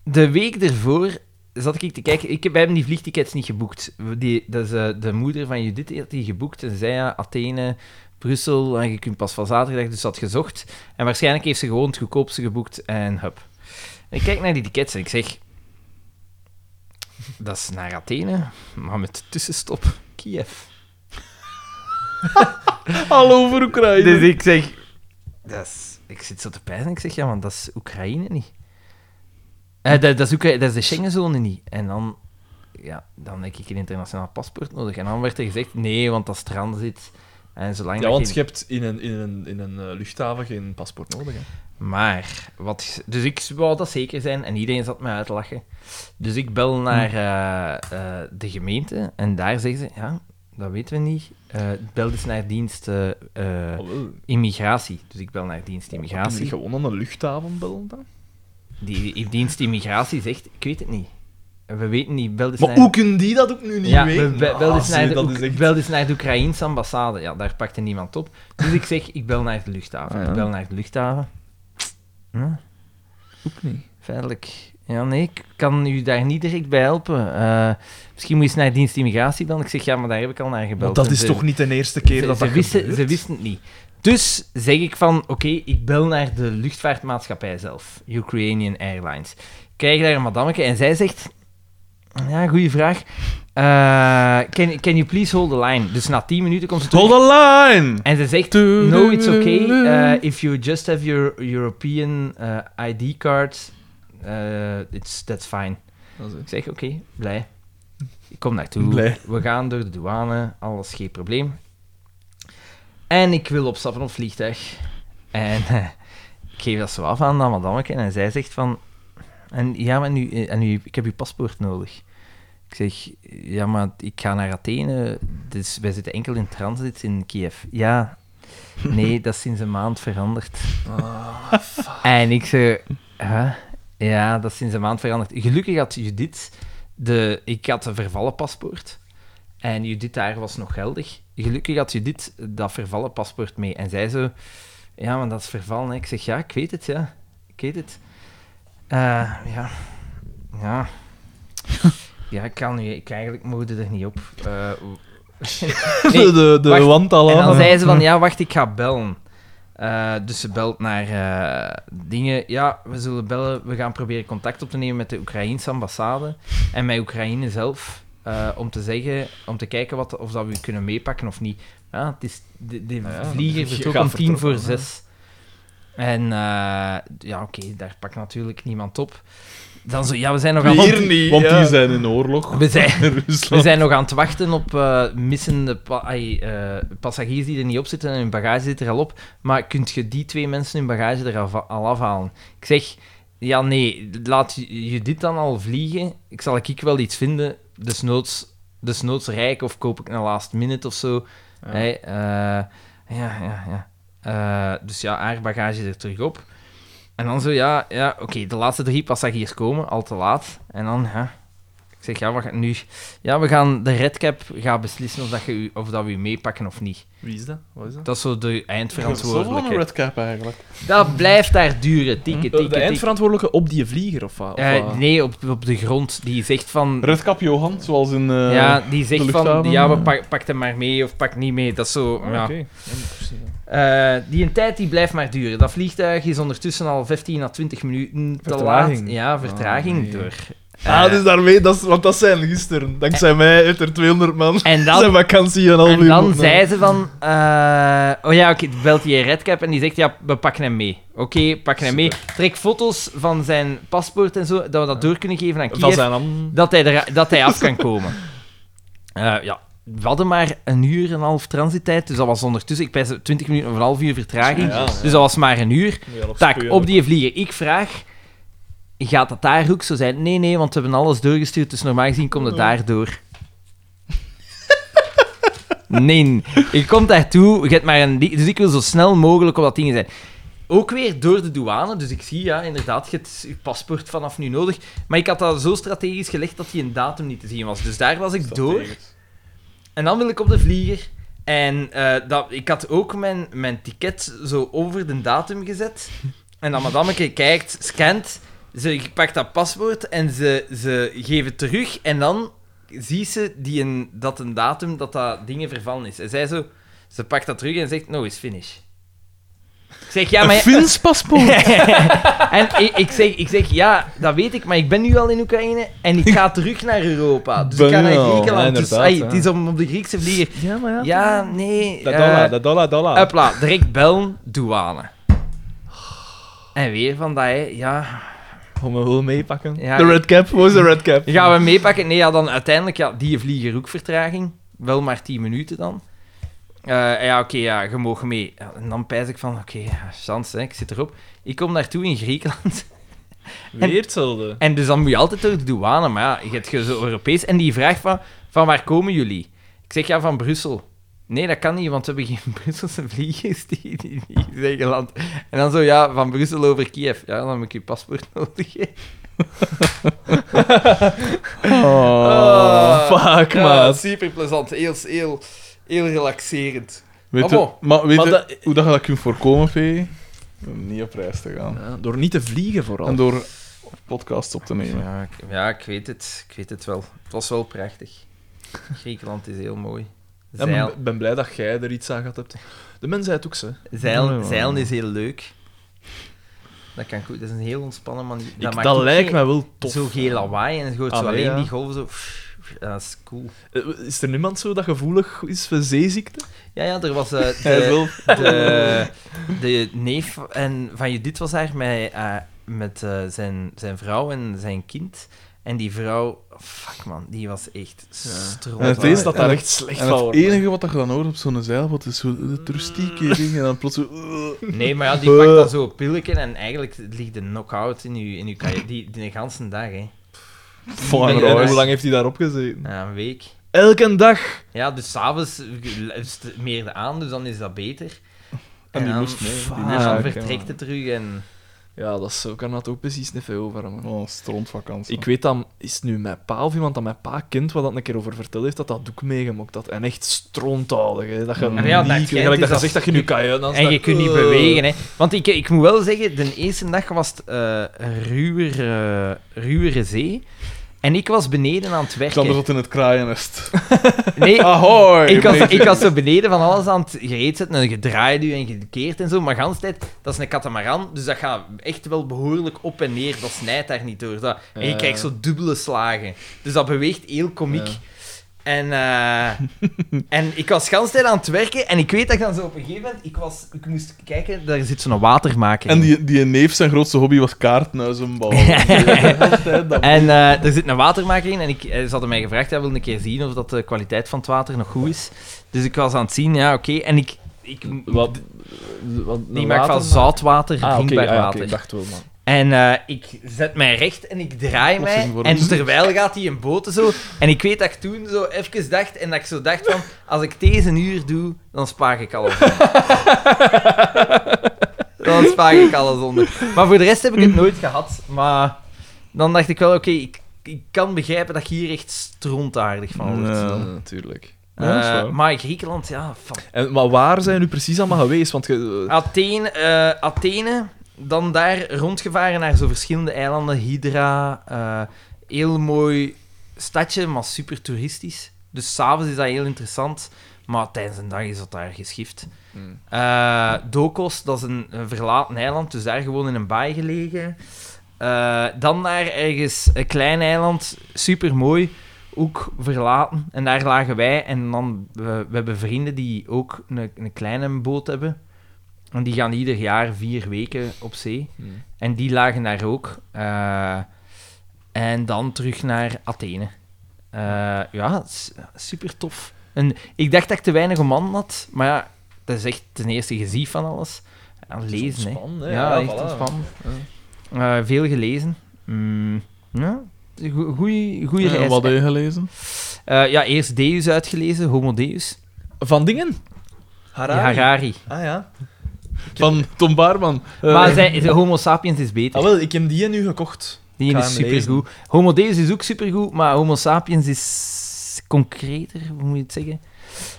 S1: de week ervoor zat ik te kijken. Ik heb, wij hebben die vliegtickets niet geboekt. We- Die, dat is, eh, de moeder van Judith die had die geboekt. En zei ja, Athene, Brussel, en je kunt pas van zaterdag, dus dat gezocht. En waarschijnlijk heeft ze gewoon het goedkoopste geboekt en hup. En ik kijk naar die tickets en ik zeg... Dat is naar Athene, maar met tussenstop Kiev.
S2: [LAUGHS]
S3: Hallo voor Oekraïne.
S1: Dus ik zeg... Dat is, ik zit zo te pijzen en ik zeg, ja, want dat is Oekraïne niet. Eh, dat, dat, is Oekra- dat is de Schengenzone niet. En dan, ja, dan heb ik een internationaal paspoort nodig. En dan werd er gezegd, nee, want dat is transit. En zolang
S2: Ja,
S1: dat
S2: want
S1: je-
S2: je hebt in een, in een, in een eh, luchthaven geen paspoort nodig. Hè.
S1: Maar, wat, dus ik wou dat zeker zijn en iedereen zat me uit te lachen. Dus ik bel
S2: Hm.
S1: naar eh, eh, de gemeente en daar zeggen ze, ja, dat weten we niet. Eh bel dus naar dienst eh, eh,
S2: Alhoewel,
S1: immigratie. Dus ik bel naar dienst
S2: Kun je
S1: immigratie.
S2: niet gewoon aan een luchthaven bellen dan?
S1: Die die dienst immigratie zegt, ik weet het niet. We weten niet, bel eens
S2: Maar
S1: naar...
S2: hoe kunnen die dat ook nu niet
S1: ja,
S2: weten?
S1: we- we- bel,
S2: Ah,
S1: eens naar
S2: zie,
S1: de,
S2: dat
S1: Oek-
S2: is echt-
S1: bel eens naar de Oekraïnse ambassade. Ja, daar pakte niemand op. Dus ik zeg, ik bel naar de luchthaven.
S2: Ah, ja.
S1: Ik bel naar de luchthaven. Hm?
S2: Ook niet.
S1: Feitelijk. Ja, nee, ik kan u daar niet direct bij helpen. Eh, misschien moet je eens naar dienst immigratie bellen. Ik zeg, ja, maar daar heb ik al naar gebeld.
S2: Want dat
S1: En
S2: is
S1: ze-
S2: toch niet de eerste keer
S1: ze,
S2: dat
S1: ze
S2: dat
S1: wisten,
S2: gebeurt?
S1: ze wisten het niet. Dus zeg ik van, oké, ik bel naar de luchtvaartmaatschappij zelf, Ukrainian Airlines. Ik krijg daar een madammeke en zij zegt, ja, goede vraag. Eh, can, can you please hold the line? Dus na 10 minuten komt ze terug.
S3: Hold the line!
S1: En ze zegt, no, it's okay eh, if you just have your European eh, ID card, eh, it's, that's fine.
S2: [LAUGHS] Dat is het.
S1: Ik zeg, oké, blij. Ik kom naartoe.
S2: Blij.
S1: We gaan door de douane, alles geen probleem. En ik wil opstappen op het vliegtuig. En eh, ik geef dat zo af aan dat madammeke en zij zegt van... En ja, maar nu, eh, en nu, ik heb uw paspoort nodig. Ik zeg, ja, maar ik ga naar Athene, dus wij zitten enkel in transit in Kiev. Ja, nee, dat is sinds een maand veranderd. en ik zeg, huh? ja, dat is sinds een maand veranderd. Gelukkig had Judith, de, ik had een vervallen paspoort. En Judith daar was nog geldig. Gelukkig had Judith dat vervallen paspoort mee. En zij zo, ja, maar dat is vervallen. hè. Ik zeg, ja, ik weet het, ja. Ik weet het. Eh, ja. Ja. Ja, ik kan nu... Ik eigenlijk moorde er niet op. Eh, w- Nee,
S6: de de
S1: wacht.
S6: wand
S1: en dan
S6: al
S1: zei ze van, ja, wacht, ik ga bellen. Eh, dus ze belt naar eh, dingen. Ja, we zullen bellen. We gaan proberen contact op te nemen met de Oekraïense ambassade en met Oekraïne zelf. eh, om te zeggen, om te kijken wat, of dat we u kunnen meepakken of niet. Ja, het is, de de
S2: Ah ja,
S1: vlieger
S2: je
S1: vertrok
S2: gaat
S1: om tien voor
S2: vertrokken, hè.
S1: zes. En eh, ja, oké, daar pakt natuurlijk niemand op. Dan zo, ja, we zijn nog aan
S3: Hier
S1: het...
S3: niet, Want die zijn in oorlog.
S1: We zijn,
S3: [LAUGHS] In
S1: we
S3: Rusland.
S1: zijn nog aan het wachten op eh, missende pa- ai, eh, passagiers die er niet op zitten en hun bagage zit er al op. Maar kunt je die twee mensen hun bagage er af- al afhalen? Ik zeg, ja nee, laat je je dit dan al vliegen. Ik zal ik wel iets vinden, desnoods, desnoods rijk of koop ik een last minute of zo.
S2: Ja.
S1: Hè, eh, ja, ja, ja. Eh, dus ja, haar bagage er terug op. En dan zo, ja, ja oké, de laatste drie passagiers komen, al te laat. En dan, ja, ik zeg, ja, we gaan nu... Ja, we gaan... De redcap gaat beslissen of, dat je, u- of dat we u meepakken of niet.
S2: Wie is dat? Wat is dat?
S1: Dat is zo de
S3: Zo een
S1: eindverantwoordelijke.
S3: redcap eigenlijk.
S1: Dat blijft daar duren. Tikken, tikken,
S2: Eh, de
S1: tikken.
S2: eindverantwoordelijke op die vlieger, of wat? Of
S1: Eh,
S2: wat?
S1: nee, op, op de grond. Die zegt van...
S3: Redcap Johan, zoals in... eh,
S1: ja, die zegt
S3: de
S1: van...
S3: luchthaven,
S1: Ja, we
S3: eh.
S1: pak, pak hem maar mee of pak niet mee. Dat is zo...
S2: Ah,
S1: ja.
S2: oké. Ja, maar precies, ja.
S1: Eh, die een tijd die blijft maar duren. Dat vliegtuig is ondertussen al 15 à 20 minuten te laat.
S2: Vertraging.
S1: Ja, vertraging
S2: Ah, nee.
S1: door.
S16: Ah,
S1: Eh,
S16: dus daarmee, dat is, want dat zijn gisteren. Dankzij mij heeft er 200 man
S1: En
S16: zijn
S1: dan,
S16: vakantie en al
S1: en dan zei ze van... eh, oh ja, oké, belt die Redcap en die zegt, ja, we pakken hem mee. Oké, pakken hem mee. Trek foto's van zijn paspoort en zo, dat we dat door kunnen geven aan
S2: Van
S1: Kiev,
S2: zijn am...
S1: dat hij, er, dat hij af kan komen. [LAUGHS] Eh, ja, we hadden maar een uur en een half transittijd, dus dat was ondertussen, ik pijs 20 minuten of een half uur vertraging,
S2: Ja, ja.
S1: dus dat was maar een uur. Tak, op die vlieger. Ik vraag, gaat dat daar ook zo zijn? Nee, nee, want we hebben alles doorgestuurd, dus normaal gezien komt het daar door. Nee, ik kom daartoe, je hebt maar een li- dus ik wil zo snel mogelijk op dat ding zijn. Ook weer door de douane, dus ik zie, ja, inderdaad, je hebt je paspoort vanaf nu nodig. Maar ik had dat zo strategisch gelegd dat die een datum niet te zien was. Dus daar was ik door. En dan wil ik op de vlieger. En eh, dat, ik had ook mijn, mijn ticket zo over de datum gezet. En dan madameke kijkt, scant. Ze pakt dat paspoort en ze, ze geeft het terug. En dan ziet ze die een, dat een datum, dat dat dingen vervallen is. En zij zo, ze pakt dat terug en zegt, no, is finish. Ik zeg, ja, maar...
S3: Een Fins
S2: [LAUGHS]
S3: paspoort.
S1: En ik, ik, zeg, ik zeg, ja, dat weet ik, maar ik ben nu al in Oekraïne en ik ga terug naar Europa. Dus ik
S16: Ben
S1: ga naar
S16: je al?
S1: Griekenland.
S2: Ja,
S1: dus,
S2: inderdaad,
S1: ai,
S2: ja.
S1: Het is om op de Griekse vlieger.
S2: Ja, maar ja.
S1: Ja, nee.
S16: Dat
S1: eh,
S16: dollar, dat dollar, dollar.
S1: Hopla, direct bellen, douane. En weer van dat, hè, ja.
S2: Gaan we wel meepakken?
S1: ja
S16: De red cap, was de red cap?
S1: Gaan we meepakken? Nee, ja, dan uiteindelijk, ja, die vlieger ook vertraging. Wel maar 10 minuten dan. Eh, ja, oké, ja, je mag mee. Ja, En dan pijs ik van, oké, ja, chance, hè, ik zit erop. Ik kom naartoe in Griekenland.
S2: Weer hetzelfde.
S1: En dus dan moet je altijd door de douane, maar ja, je hebt ge- zo Europees. En die vraagt van, van waar komen jullie? Ik zeg, ja, van Brussel. Nee, dat kan niet, want we hebben geen [LAUGHS] Brusselse vliegers die, die, die zijn geland. En dan zo, ja, van Brussel over Kiev. Ja, dan heb ik je paspoort [LAUGHS] nodig. hè.
S3: Ah.
S2: Oh, fuck,
S1: Ja,
S2: maat.
S1: Super plezant, heel, heel, heel relaxerend.
S3: Weet je,
S1: Amo.
S3: maar weet
S2: Maar
S3: je
S2: dat-
S3: hoe dat je dat kunt voorkomen, P? Om Niet op reis te gaan.
S2: Ja, door niet te vliegen, vooral.
S3: En door podcasts op te nemen.
S1: Ja ik, ja, ik weet het. Ik weet het wel. Het was wel prachtig. Griekenland is heel mooi.
S2: Ja, maar
S1: Zeil,
S2: ik ben blij dat jij er iets aan gehad hebt. De mensheid ook, ze.
S1: zeilen, zeilen is heel leuk. Dat kan goed. Dat is een heel ontspannen manier.
S2: Ik, dat
S1: maakt ook
S2: lijkt
S1: geen-
S2: mij wel tof.
S1: Zo geen lawaai en je hoort zo
S2: Allee,
S1: alleen
S2: ja.
S1: die golven zo. pff, pff, Dat is cool.
S2: Eh, Is er niemand zo dat gevoelig is voor zeeziekte?
S1: Ja, ja, er
S2: [LAUGHS]
S1: was eh, de, de, de neef en van Judith was daar met, eh, met eh, zijn, zijn vrouw en zijn kind. En die vrouw, fuck man, die was echt stront.
S3: En het
S2: Het is
S3: eerste
S2: dat
S3: En
S2: daar
S3: het-
S2: echt slecht
S3: En
S2: van
S3: het
S2: wordt.
S3: enige wat je dan hoort op zo'n zeilboot is zo de
S1: [LAUGHS]
S3: rustieke ding en dan plots zo... eh,
S1: Nee, maar ja, die pakt dan zo pilken en eigenlijk ligt de knock-out in je, in je kajuit. Die, die de ganse dag, hè.
S2: En-
S1: Nee,
S2: en
S1: dat is-
S2: hoe lang heeft hij daarop gezeten?
S1: Na een week.
S2: Elke dag.
S1: Ja, dus s'avonds meerde aan, dus dan is dat beter. En,
S3: die
S1: dan,
S3: moest mee, die
S1: fuck,
S2: moest
S1: dan
S2: mee.
S1: vertrekt het terug en...
S2: Ja, dat is, zo kan dat ook precies niet veel over. Man.
S3: Oh, strontvakantie.
S2: Ik weet dan, is het nu mijn pa of iemand dat mijn pa kent wat dat een keer over verteld heeft, dat dat ook meegemaakt had. En echt strontoudig. Hè. Dat je
S1: Maar ja,
S2: niet-
S1: dat schijnt
S2: gelijk
S1: is
S2: dat je
S1: dat-
S2: zegt dat eh, je nu kajuit aan
S1: En je kunt niet bewegen, hè. Want ik, ik moet wel zeggen, de eerste dag was het eh, ruwer, eh, ruwere zee. En ik was beneden aan het
S3: Xander
S1: werken.
S3: zat in het kraaiennest. [LAUGHS]
S1: Nee,
S3: Ah, Ahoy!
S1: [LAUGHS] ik was,
S3: mate.
S1: ik was zo beneden van alles aan het gereed zetten en gedraaid u en gekeerd en zo. Maar gans tijd, dat is een katamaran, dus dat gaat echt wel behoorlijk op en neer. Dat snijdt daar niet door. Dat, en je
S2: Ja.
S1: krijgt zo dubbele slagen. Dus dat beweegt heel komiek. En, eh, en ik was gans tijd aan het werken en ik weet dat ik dan zo op een gegeven moment, ik, was, ik moest kijken, daar zit zo'n watermaker
S3: En
S1: in.
S3: die, die neef, zijn grootste hobby was
S1: [LAUGHS]
S3: kaartnuizen bouwen.
S2: [LAUGHS]
S3: Altijd dat-
S1: En eh, er zit een watermaker in en ik, eh, ze hadden mij gevraagd, hij wil een keer zien of dat de kwaliteit van het water nog goed is. Dus ik was aan het zien, ja oké. En ik, ik
S2: Wat,
S1: Die maakt van zoutwater
S2: Ah, oké,
S1: drinkbaar
S2: ah, ja, oké,
S1: water.
S2: ik dacht wel, man.
S1: En eh, ik zet mij recht en ik draai mij.
S3: Plotseling voor
S1: En
S3: ons.
S1: terwijl gaat hij in boten zo. En ik weet dat ik toen zo even dacht. En dat ik zo dacht van, als ik deze een uur doe, dan spaar ik alles onder.
S3: [LAUGHS]
S1: dan spaar ik alles onder. Maar voor de rest heb ik het nooit gehad. Maar dan dacht ik wel, oké, ik, ik kan begrijpen dat je hier echt strontaardig van wordt.
S3: Ja.
S2: eh, natuurlijk.
S3: Ja, dat is
S1: Eh,
S3: waar.
S1: maar in Griekenland, ja, fuck.
S2: En, maar waar zijn u precies allemaal geweest? Want
S1: Ah,
S2: ge-
S1: Athene, eh, Athene, dan daar rondgevaren naar zo verschillende eilanden. Hydra, eh, heel mooi stadje, maar super toeristisch. Dus s'avonds is dat heel interessant, maar tijdens de dag is dat daar geschift.
S2: Hmm.
S1: Eh, Dokos, dat is een, een verlaten eiland, dus daar gewoon in een baai gelegen. Eh, dan daar ergens een klein eiland, super mooi, ook verlaten. En daar lagen wij en dan, we, we hebben vrienden die ook een, een kleine boot hebben. En die gaan ieder jaar vier weken op zee.
S2: Hmm.
S1: En die lagen daar ook. Eh, en dan terug naar Athene. Eh, ja, s- super tof. En ik dacht dat ik te weinig om man had, maar ja, dat is echt ten eerste gezien van alles. En lezen, hè.
S2: ontspannen,
S1: Ja,
S2: hè. Ja,
S1: echt
S2: voilà.
S1: ontspannen. Eh, veel gelezen. Mm, ja, go- goeie, goeie
S3: Eh,
S1: reis.
S3: wat heb je gelezen?
S1: Eh, ja, eerst Deus uitgelezen, Homo Deus.
S2: Van dingen?
S1: Harari. Harari.
S2: Ah ja.
S3: Van Tom Baarman. Eh,
S1: Maar zij, de Homo sapiens is beter.
S2: Ah wel, ik heb die nu gekocht. Ik
S1: Die
S2: ga
S1: is
S2: hem lezen.
S1: supergoed. Homo Deus is ook supergoed, maar Homo Sapiens is concreter, hoe moet je het zeggen?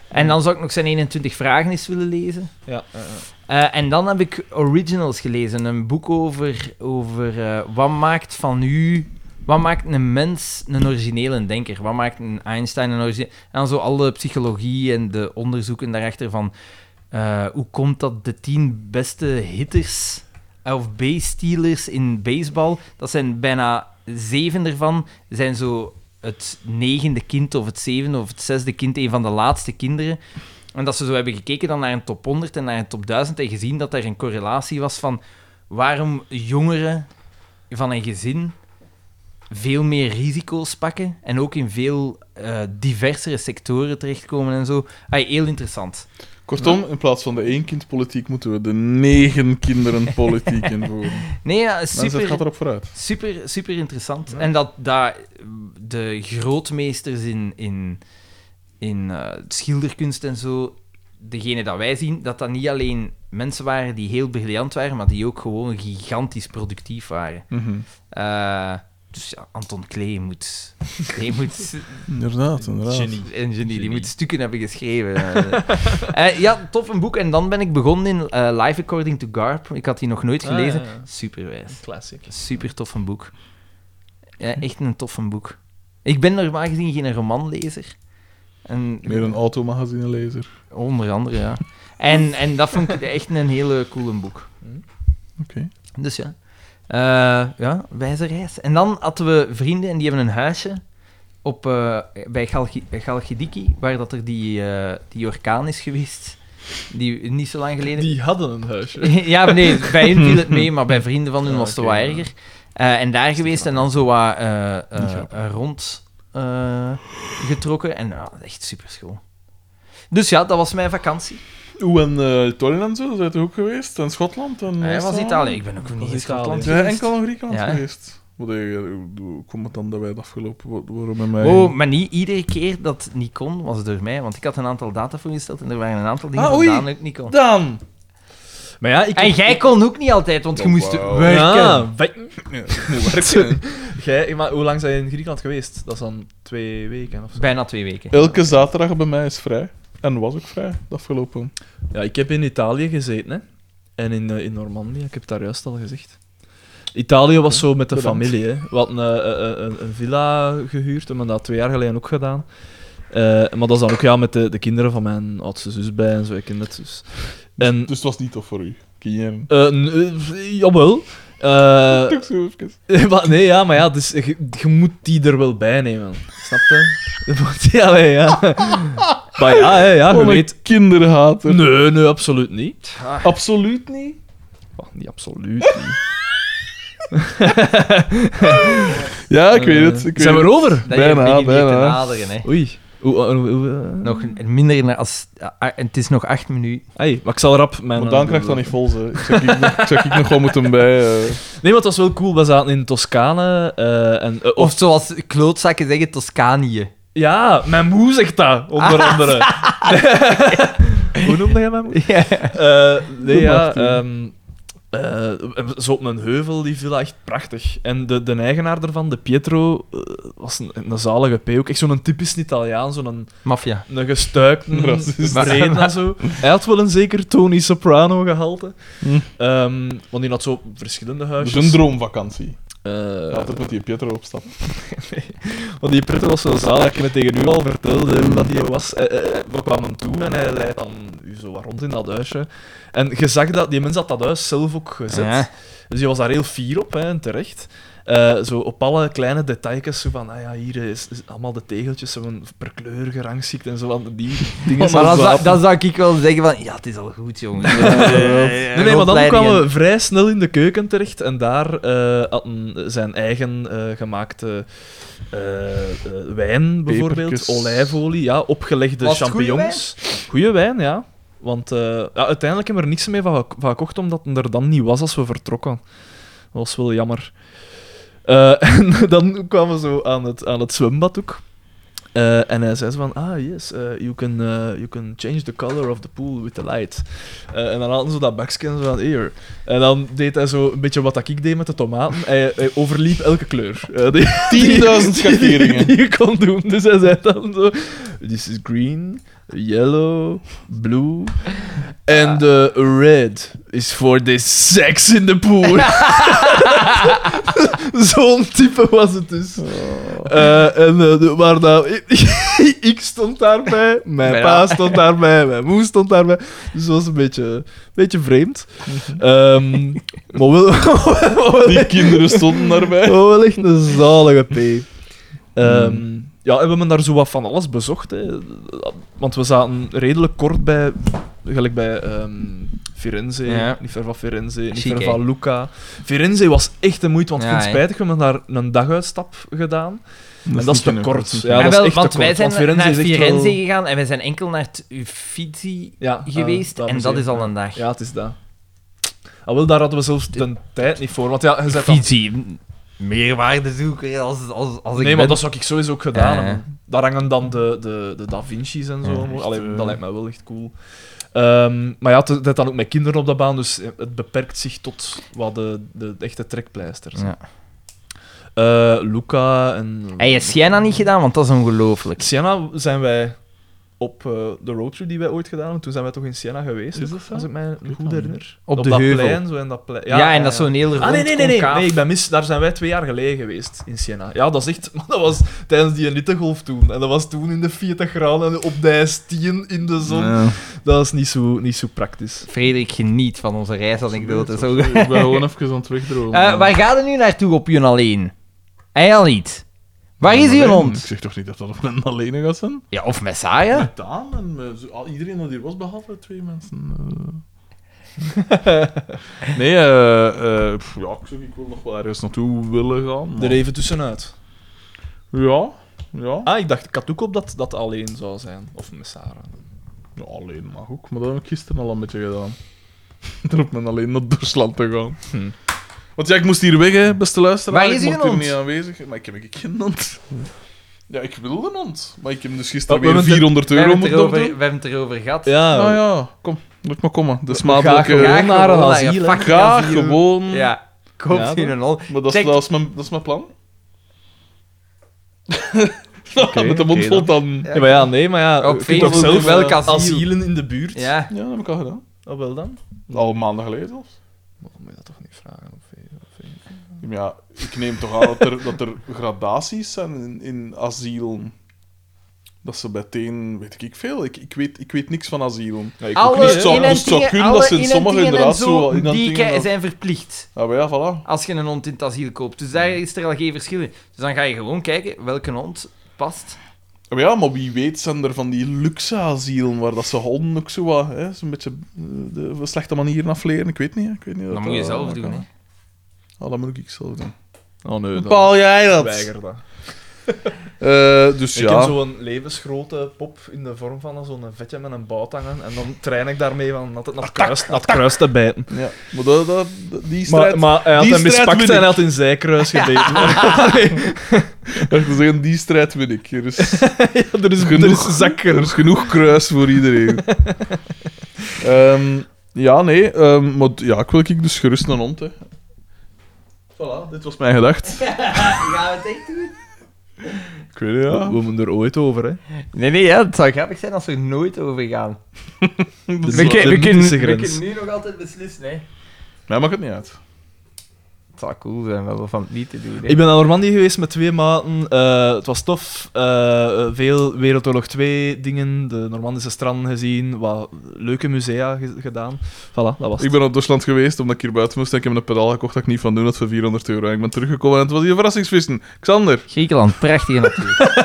S1: En dan zou ik nog zijn 21 vragen eens willen lezen.
S2: Ja.
S1: Eh, en dan heb ik Originals gelezen, een boek over, over eh, wat maakt van u... Wat maakt een mens een originele denker? Wat maakt een Einstein een originele... En dan zo alle psychologie en de onderzoeken daarachter van... eh, hoe komt dat de tien beste hitters of base-stealers in baseball, dat zijn bijna zeven ervan, zijn zo het negende kind of het zevende of het zesde kind, een van de laatste kinderen. En dat ze zo hebben gekeken dan naar een top 100 en naar een top 1000 en gezien dat er een correlatie was van waarom jongeren van een gezin veel meer risico's pakken en ook in veel eh, diversere sectoren terechtkomen en zo. Ay, heel interessant.
S3: Kortom, in plaats van de één kind politiek moeten we de negen kinderen
S1: [LAUGHS]
S3: politiek invoeren.
S1: Nee, ja,
S3: Mensen, het
S1: super...
S3: gaat erop vooruit.
S1: Super, super interessant. En dat, dat de grootmeesters in, in, in eh, schilderkunst en zo, degene dat wij zien, dat dat niet alleen mensen waren die heel briljant waren, maar die ook gewoon gigantisch productief waren.
S3: Mhm.
S1: Eh, dus ja, Anton Klee moet, Klee moet
S3: Inderdaad, inderdaad.
S1: en genie, die moet stukken hebben geschreven. [LAUGHS] Eh, ja, tof een boek. En dan ben ik begonnen in eh, Live According to Garp. Ik had die nog nooit
S2: Ah,
S1: gelezen.
S2: ja, ja.
S1: Superwijs.
S2: Classic.
S1: Super tof een boek. Ja, echt een tof een boek. Ik ben normaal gezien geen romanlezer. En,
S3: Meer een automagazinelezer.
S1: Onder andere, ja. En, en dat vond ik echt een hele coole boek.
S3: Oké.
S1: Dus ja. Eh, ja, wijze reis. En dan hadden we vrienden en die hebben een huisje op, eh, bij Galgi- Galgidiki, waar dat er die, eh, die orkaan is geweest. Die niet zo lang geleden.
S2: Die hadden een
S1: [LAUGHS]
S2: huisje.
S1: ja, maar nee, bij hun viel het mee, maar bij vrienden van hun was het wel wat erger. Eh, en daar geweest en dan zo wat eh, eh, rond eh, getrokken. En ja, echt super schoon. Dus ja, dat was mijn vakantie.
S3: Hoe en eh Italië en zo, zijn er ook geweest? En Schotland? En
S1: Hij Eh, was
S3: Estland?
S1: Italië. Ik ben ook nog niet in Schotland
S3: Zijn
S1: geweest.
S3: enkel in Griekenland
S1: Ja.
S3: geweest? Wat eh, hoe komt het dan dat wij het afgelopen wa- waarom met mij?
S1: Oh, maar niet iedere keer dat het niet kon, was het door mij. Want ik had een aantal data voorgesteld en er waren een aantal dingen
S3: Ah,
S1: die
S3: oei.
S1: Daan ook niet kon.
S3: Dan!
S2: Maar ja, ik...
S1: En jij kon ook niet altijd, want je moest
S3: wauw.
S1: werken.
S2: Ja, wij-
S3: Ja, ik moet werken.
S2: [LAUGHS] Jij, maar hoe lang zijn je in Griekenland geweest? Dat is dan twee weken of zo.
S1: Bijna twee weken.
S3: Elke zaterdag bij mij is vrij. En was ook vrij, de afgelopen.
S2: Ja, ik heb in Italië gezeten, hè. En in, eh, in Normandië, ik heb het daar juist al gezegd. Italië was zo met de
S3: bedankt.
S2: familie, hè. We hadden eh, eh, eh, een, een villa gehuurd, hebben we dat twee jaar geleden ook gedaan. Eh, maar dat is dan ook ja, met de, de kinderen van mijn oudste zus bij en zo, ik ken het dus. En,
S3: Dus het was niet tof voor u. Kiezen.
S2: eh, n- eh, jawel. Eh,
S3: Toch zo even.
S2: [LAUGHS] maar nee, ja, maar ja, dus je, je moet die er wel bij nemen. Snap je? [LAUGHS] Ja, nee, ja. Maar ja, hè, ja, je
S3: Oh,
S2: weet... Ah.
S3: een kinderhater.
S2: Nee, nee, absoluut niet.
S3: Absoluut niet.
S2: Wacht, niet
S3: [LAUGHS]
S2: absoluut niet.
S3: Ja, ik weet
S2: Eh,
S3: het. Ik
S2: zijn
S3: weet
S2: we erover?
S3: het.
S1: Dat je
S3: Bijna,
S1: begint hier te
S3: bijna.
S1: naderen, hè.
S2: Oei. Hoe, eh, hoe- hoe, eh,
S1: Nog minder dan als... ah, Het is nog acht minuten.
S2: Hey, maar ik zal rap mijn... eh,
S3: Maar dan krijg je dat niet vol, ze. Ik zou ik, nog- ik zou ik nog wel moeten bij...
S2: [LAUGHS]
S3: eh.
S2: Nee, maar het was wel cool. We zaten in Toscane eh, en... eh,
S1: Of
S2: of...
S1: zoals klootzakken zeggen, Toscanië.
S2: Ja, mijn moe zegt dat,
S3: [LAUGHS]
S2: onder andere. [LAUGHS] Hoe noemde jij mijn moe? Eh, nee, ja... ehm, eh, zo op een heuvel, die villa, echt prachtig. En de, de eigenaar daarvan, de Pietro, eh, was een, een zalige P. Ook echt zo'n typisch Italiaan, zo'n
S1: Mafia.
S2: een gestuikte, [LAUGHS]
S3: Racist.
S2: brede en zo. Hij had wel een zeker Tony Soprano gehalte. Ehm, want die had zo verschillende
S3: Dat is
S2: huisjes.
S3: een droomvakantie.
S2: Eh,
S3: Altijd met die Pietro op stap.
S2: Want die Prutte was zo zalig, ik me tegen u al vertelde hoe dat hij was. Eh, eh, we kwamen toe en hij leidt dan u zo wat rond in dat huisje. En je zag dat, die mens had dat huis zelf ook gezet.
S1: Ja.
S2: Dus die was daar heel fier op, hè, en terecht. Eh, zo op alle kleine details, zo van, ah ja, hier is, is allemaal de tegeltjes zo van per kleur gerangschikt en zo van
S1: [LAUGHS]
S2: die dingen.
S1: Maar
S2: zo
S1: dan, zou-
S2: af-
S1: dan zou ik wel zeggen van, ja, het is al goed, jongen. eh,
S2: Nee, nee, maar dan kwamen we vrij snel in de keuken terecht en daar eh, had een- zijn eigen eh, gemaakte eh, eh, wijn bijvoorbeeld,
S3: Pepertjes.
S2: olijfolie, ja, opgelegde
S1: Was het goeie
S2: champignons. Goeie wijn, ja. Want eh, ja, uiteindelijk hebben we er niks mee van, gek- van gekocht, omdat het er dan niet was als we vertrokken. Dat was wel jammer. Eh, [LAUGHS] en dan kwamen we zo aan het, aan het zwembad ook. Eh, en hij zei zo van, ah yes, eh, you, can, eh, you can change the color of the pool with the light. Eh, en dan hadden ze dat bakje en zo van, hier. En dan deed hij zo een beetje wat ik deed met de tomaten. Hij, hij overliep elke kleur. Eh, die-
S3: 10.000 schakeringen.
S2: die je kon doen. Dus hij zei dan zo, this is green, yellow, blue, and the red is for the sex in the pool. [LAUGHS] Zo'n type was het dus.
S3: Oh.
S2: Eh, en eh, de- waar dat, [LAUGHS] ik stond daarbij, mijn
S1: Bijna.
S2: pa stond daarbij, mijn moe stond daarbij. Dus het was een beetje, beetje
S3: [LAUGHS]
S2: vreemd. Ehm, maar wel, [LAUGHS] maar wel
S3: Die kinderen stonden daarbij.
S2: Oh, wel echt een zalige P. Ehm, Ja, en we hebben daar zo wat van alles bezocht. Hè. Want we zaten redelijk kort bij, gelijk bij ehm, Firenze,
S1: Ja.
S2: niet ver van Firenze, niet
S1: Chic,
S2: ver
S1: hè?
S2: van Luca. Firenze was echt de moeite, want ik
S1: Ja,
S2: vind het
S1: hè?
S2: spijtig, we hebben daar een daguitstap gedaan. en dat is te
S3: niet
S2: kort.
S3: genoeg, dat is niet
S2: Ja,
S3: genoeg.
S2: dat is
S1: wel,
S2: echt
S1: want
S2: te
S1: wij
S2: kort,
S1: zijn
S2: want Firenze
S1: naar
S2: is echt
S1: Firenze
S2: wel-
S1: gegaan en wij zijn enkel naar het Uffizi
S2: Ja,
S1: geweest. en
S2: eh,
S1: dat
S2: museum,
S1: is al
S2: ja.
S1: een dag.
S2: Ja, het is dat. Al wel, daar hadden we zelfs de tijd niet voor. Want ja,
S1: Dus
S2: je zei dan
S1: Uffizi, meerwaardezoeker als, als, als ik
S2: nee,
S1: ben.
S2: maar dat zou ik sowieso ook gedaan
S1: Ja, ja.
S2: hebben. Daar hangen dan de, de, de Da Vinci's en zo.
S1: Ja, eh.
S2: allemaal. Allee, dat lijkt mij wel echt cool. Ehm, maar ja, het- dat dan ook met kinderen op de baan, dus het beperkt zich tot wat de, de, echte trekpleisters.
S1: Ja.
S2: Eh, Luca en...
S1: Hij heeft Siena niet gedaan, want dat is ongelooflijk.
S2: Siena zijn wij op eh, de roadtrip die wij ooit gedaan hebben. Toen zijn wij toch in Siena geweest,
S3: Is dat zo?
S2: als ik mij
S3: weet
S2: goed
S3: dat niet.
S2: herinner.
S1: Op de
S2: dat
S1: heuvel.
S2: Plein, zo in dat plein.
S1: Ja, en dat is zo'n heel rond
S2: Ah, nee, nee, nee, nee.
S1: concaaf.
S2: nee ik ben mis. Daar zijn wij twee jaar geleden geweest in Siena. Ja, dat is echt. [LAUGHS] Maar dat was tijdens die hittegolf toen. En dat was toen in de 40 graden en op de stien in de zon.
S3: Ja.
S2: Dat is niet zo, niet zo praktisch.
S1: Frederik geniet van onze reisanekdote. Zo.
S3: Ik ben gewoon even aan
S2: [LAUGHS]
S3: het wegdromen.
S1: Eh, waar gaat er nu naartoe op je alleen? Hij al niet. Waar is je
S3: Alleen?
S1: hond?
S3: Ik zeg toch niet dat dat op een alleen gaat [LAUGHS] zijn?
S1: Ja, of Messiah?
S3: Daan en eh, zo- al- iedereen dat hier was, behalve twee mensen. [LAUGHS] eh. nee, eh, eh, pff, ja, ik, zeg, ik wil nog wel ergens naartoe willen gaan. maar-
S2: Er even tussenuit.
S3: Ja, ja.
S2: Ah, ik dacht, ik had ook op dat dat alleen zou zijn. Of Messara.
S3: ja. Alleen mag ook, maar dat heb ik gisteren al een beetje gedaan. [LAUGHS] Erop men alleen naar Duitsland te gaan. Want ja, ik moest hier weg, hè, beste luisteraar.
S1: Waar is
S3: ik
S1: uw
S3: mocht hier
S1: hond?
S3: niet aanwezig. Maar ik heb ik geen hond. Ja, ik wilde een hond. Maar ik heb dus gisteren
S2: Oh, we
S3: weer
S2: hebben het-
S3: 400
S1: We
S3: euro
S1: hebben, het
S3: moeten
S1: erover,
S3: opdoen.
S1: we hebben het erover gehad.
S2: Ja,
S3: Nou ja, kom. Moet maar komen. De
S2: Ga
S3: smadelijke...
S2: gewoon naar een
S1: gewoon naar je
S2: asiel. hè.
S1: fucking
S3: Graag
S1: asiel.
S3: gewoon.
S1: Ja,
S2: Ja,
S1: koopt u een hond.
S3: Maar dat is,
S1: Check.
S3: dat, is mijn, dat is mijn [LAUGHS] plan. Met de mond
S2: oké
S3: vol dan.
S2: Ja, maar ja, nee, maar ja.
S1: Op
S2: je kunt
S1: Facebook
S2: toch zelf
S1: welk
S2: welke
S1: asiel?
S2: asielen in de buurt.
S1: Ja.
S3: Ja, dat heb ik al gedaan.
S2: Oh, wel dan?
S3: Al maanden geleden zelfs.
S2: Maar dan moet je dat toch niet vragen eh. op Facebook.
S3: Ja, maar ja, ik neem toch aan dat er, dat er gradaties zijn in, in asiel. Dat ze bij teen, weet ik veel. Ik, ik, weet, ik weet niks van asiel.
S1: Alle
S3: niet. Het zou- het zou
S1: inentingen-
S3: kunnen dat
S1: alle
S3: ze in sommige
S1: inentingen
S3: inderdaad
S1: en
S3: zo wel
S1: zo, die
S3: inentingen
S1: ke-
S3: dat-
S1: zijn verplicht
S3: Nou maar ja, voilà.
S1: als je een hond in het asiel koopt. Dus daar is er al geen verschil in. Dus dan ga je gewoon kijken welke hond past.
S3: Ja, maar ja, maar wie weet zijn er van die luxe asielen waar dat ze honden ook zo wat, hè, zo'n beetje eh, de, op een slechte manier afleren. Ik weet niet. hè. Ik weet niet
S1: Dat moet je zelf doen. Hè.
S3: Oh, dat moet ik zelf doen.
S2: Oh nee,
S3: Bepaal jij dat?
S2: weiger dat.
S3: Eh, dus
S2: Ik heb
S3: ja.
S2: zo'n levensgrote pop in de vorm van zo'n vetje met een bout hangen. En dan train ik daarmee van altijd naar het kruis, naar het kruis te bijten.
S3: ja. Maar dat, dat, die strijd...
S2: Maar, maar hij had
S3: die
S2: hem
S3: strijd
S2: mispakt
S3: win
S2: en hij
S3: ik.
S2: had in zijkruis gebeten. [LAUGHS] Allee,
S3: Wacht, we zeggen, die strijd win ik. Er is,
S2: er, is, er
S3: genoeg,
S2: is zakker. [LAUGHS]
S3: er is genoeg kruis voor iedereen. Ehm, Ja, nee, ehm, maar d- ja, ik wil ik dus gerust een hond, hè. Voilà, dit was mijn gedacht.
S1: [LAUGHS] Gaan we het echt doen?
S3: Ik weet het, ja.
S2: We moeten er ooit over, hè.
S1: Nee, nee, ja, het zou grappig zijn als we er nooit over gaan.
S3: Dat is
S1: We,
S3: waar.
S1: kun- we, kunnen, we
S2: grens.
S1: kunnen nu nog altijd beslissen, hè.
S3: Mij maakt het niet uit.
S1: Het zou cool zijn wel van het niet te doen, hè.
S2: Ik ben naar Normandië geweest met twee maten. Eh, het was tof. Eh, veel Wereldoorlog 2 dingen, de Normandische stranden gezien, wat leuke musea ge- gedaan. Voilà, dat was
S3: Ik ben op Duitsland geweest omdat ik hier buiten moest en ik heb een pedaal gekocht dat ik niet van doen had voor 400 euro. En ik ben teruggekomen en het was hier verrassingsvissen. Xander.
S12: Griekenland, prachtige natuur.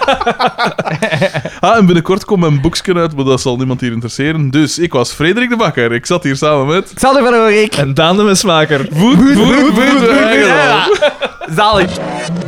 S3: Ah, en binnenkort komt mijn boeksken uit, maar dat zal niemand hier interesseren. Dus ik was Frederik de Bakker. Ik zat hier samen met...
S1: Xander van Oerik.
S2: En Daan de Mesmaker.
S3: Voet, voet, voet, voet, voet, voet,
S1: Zalig.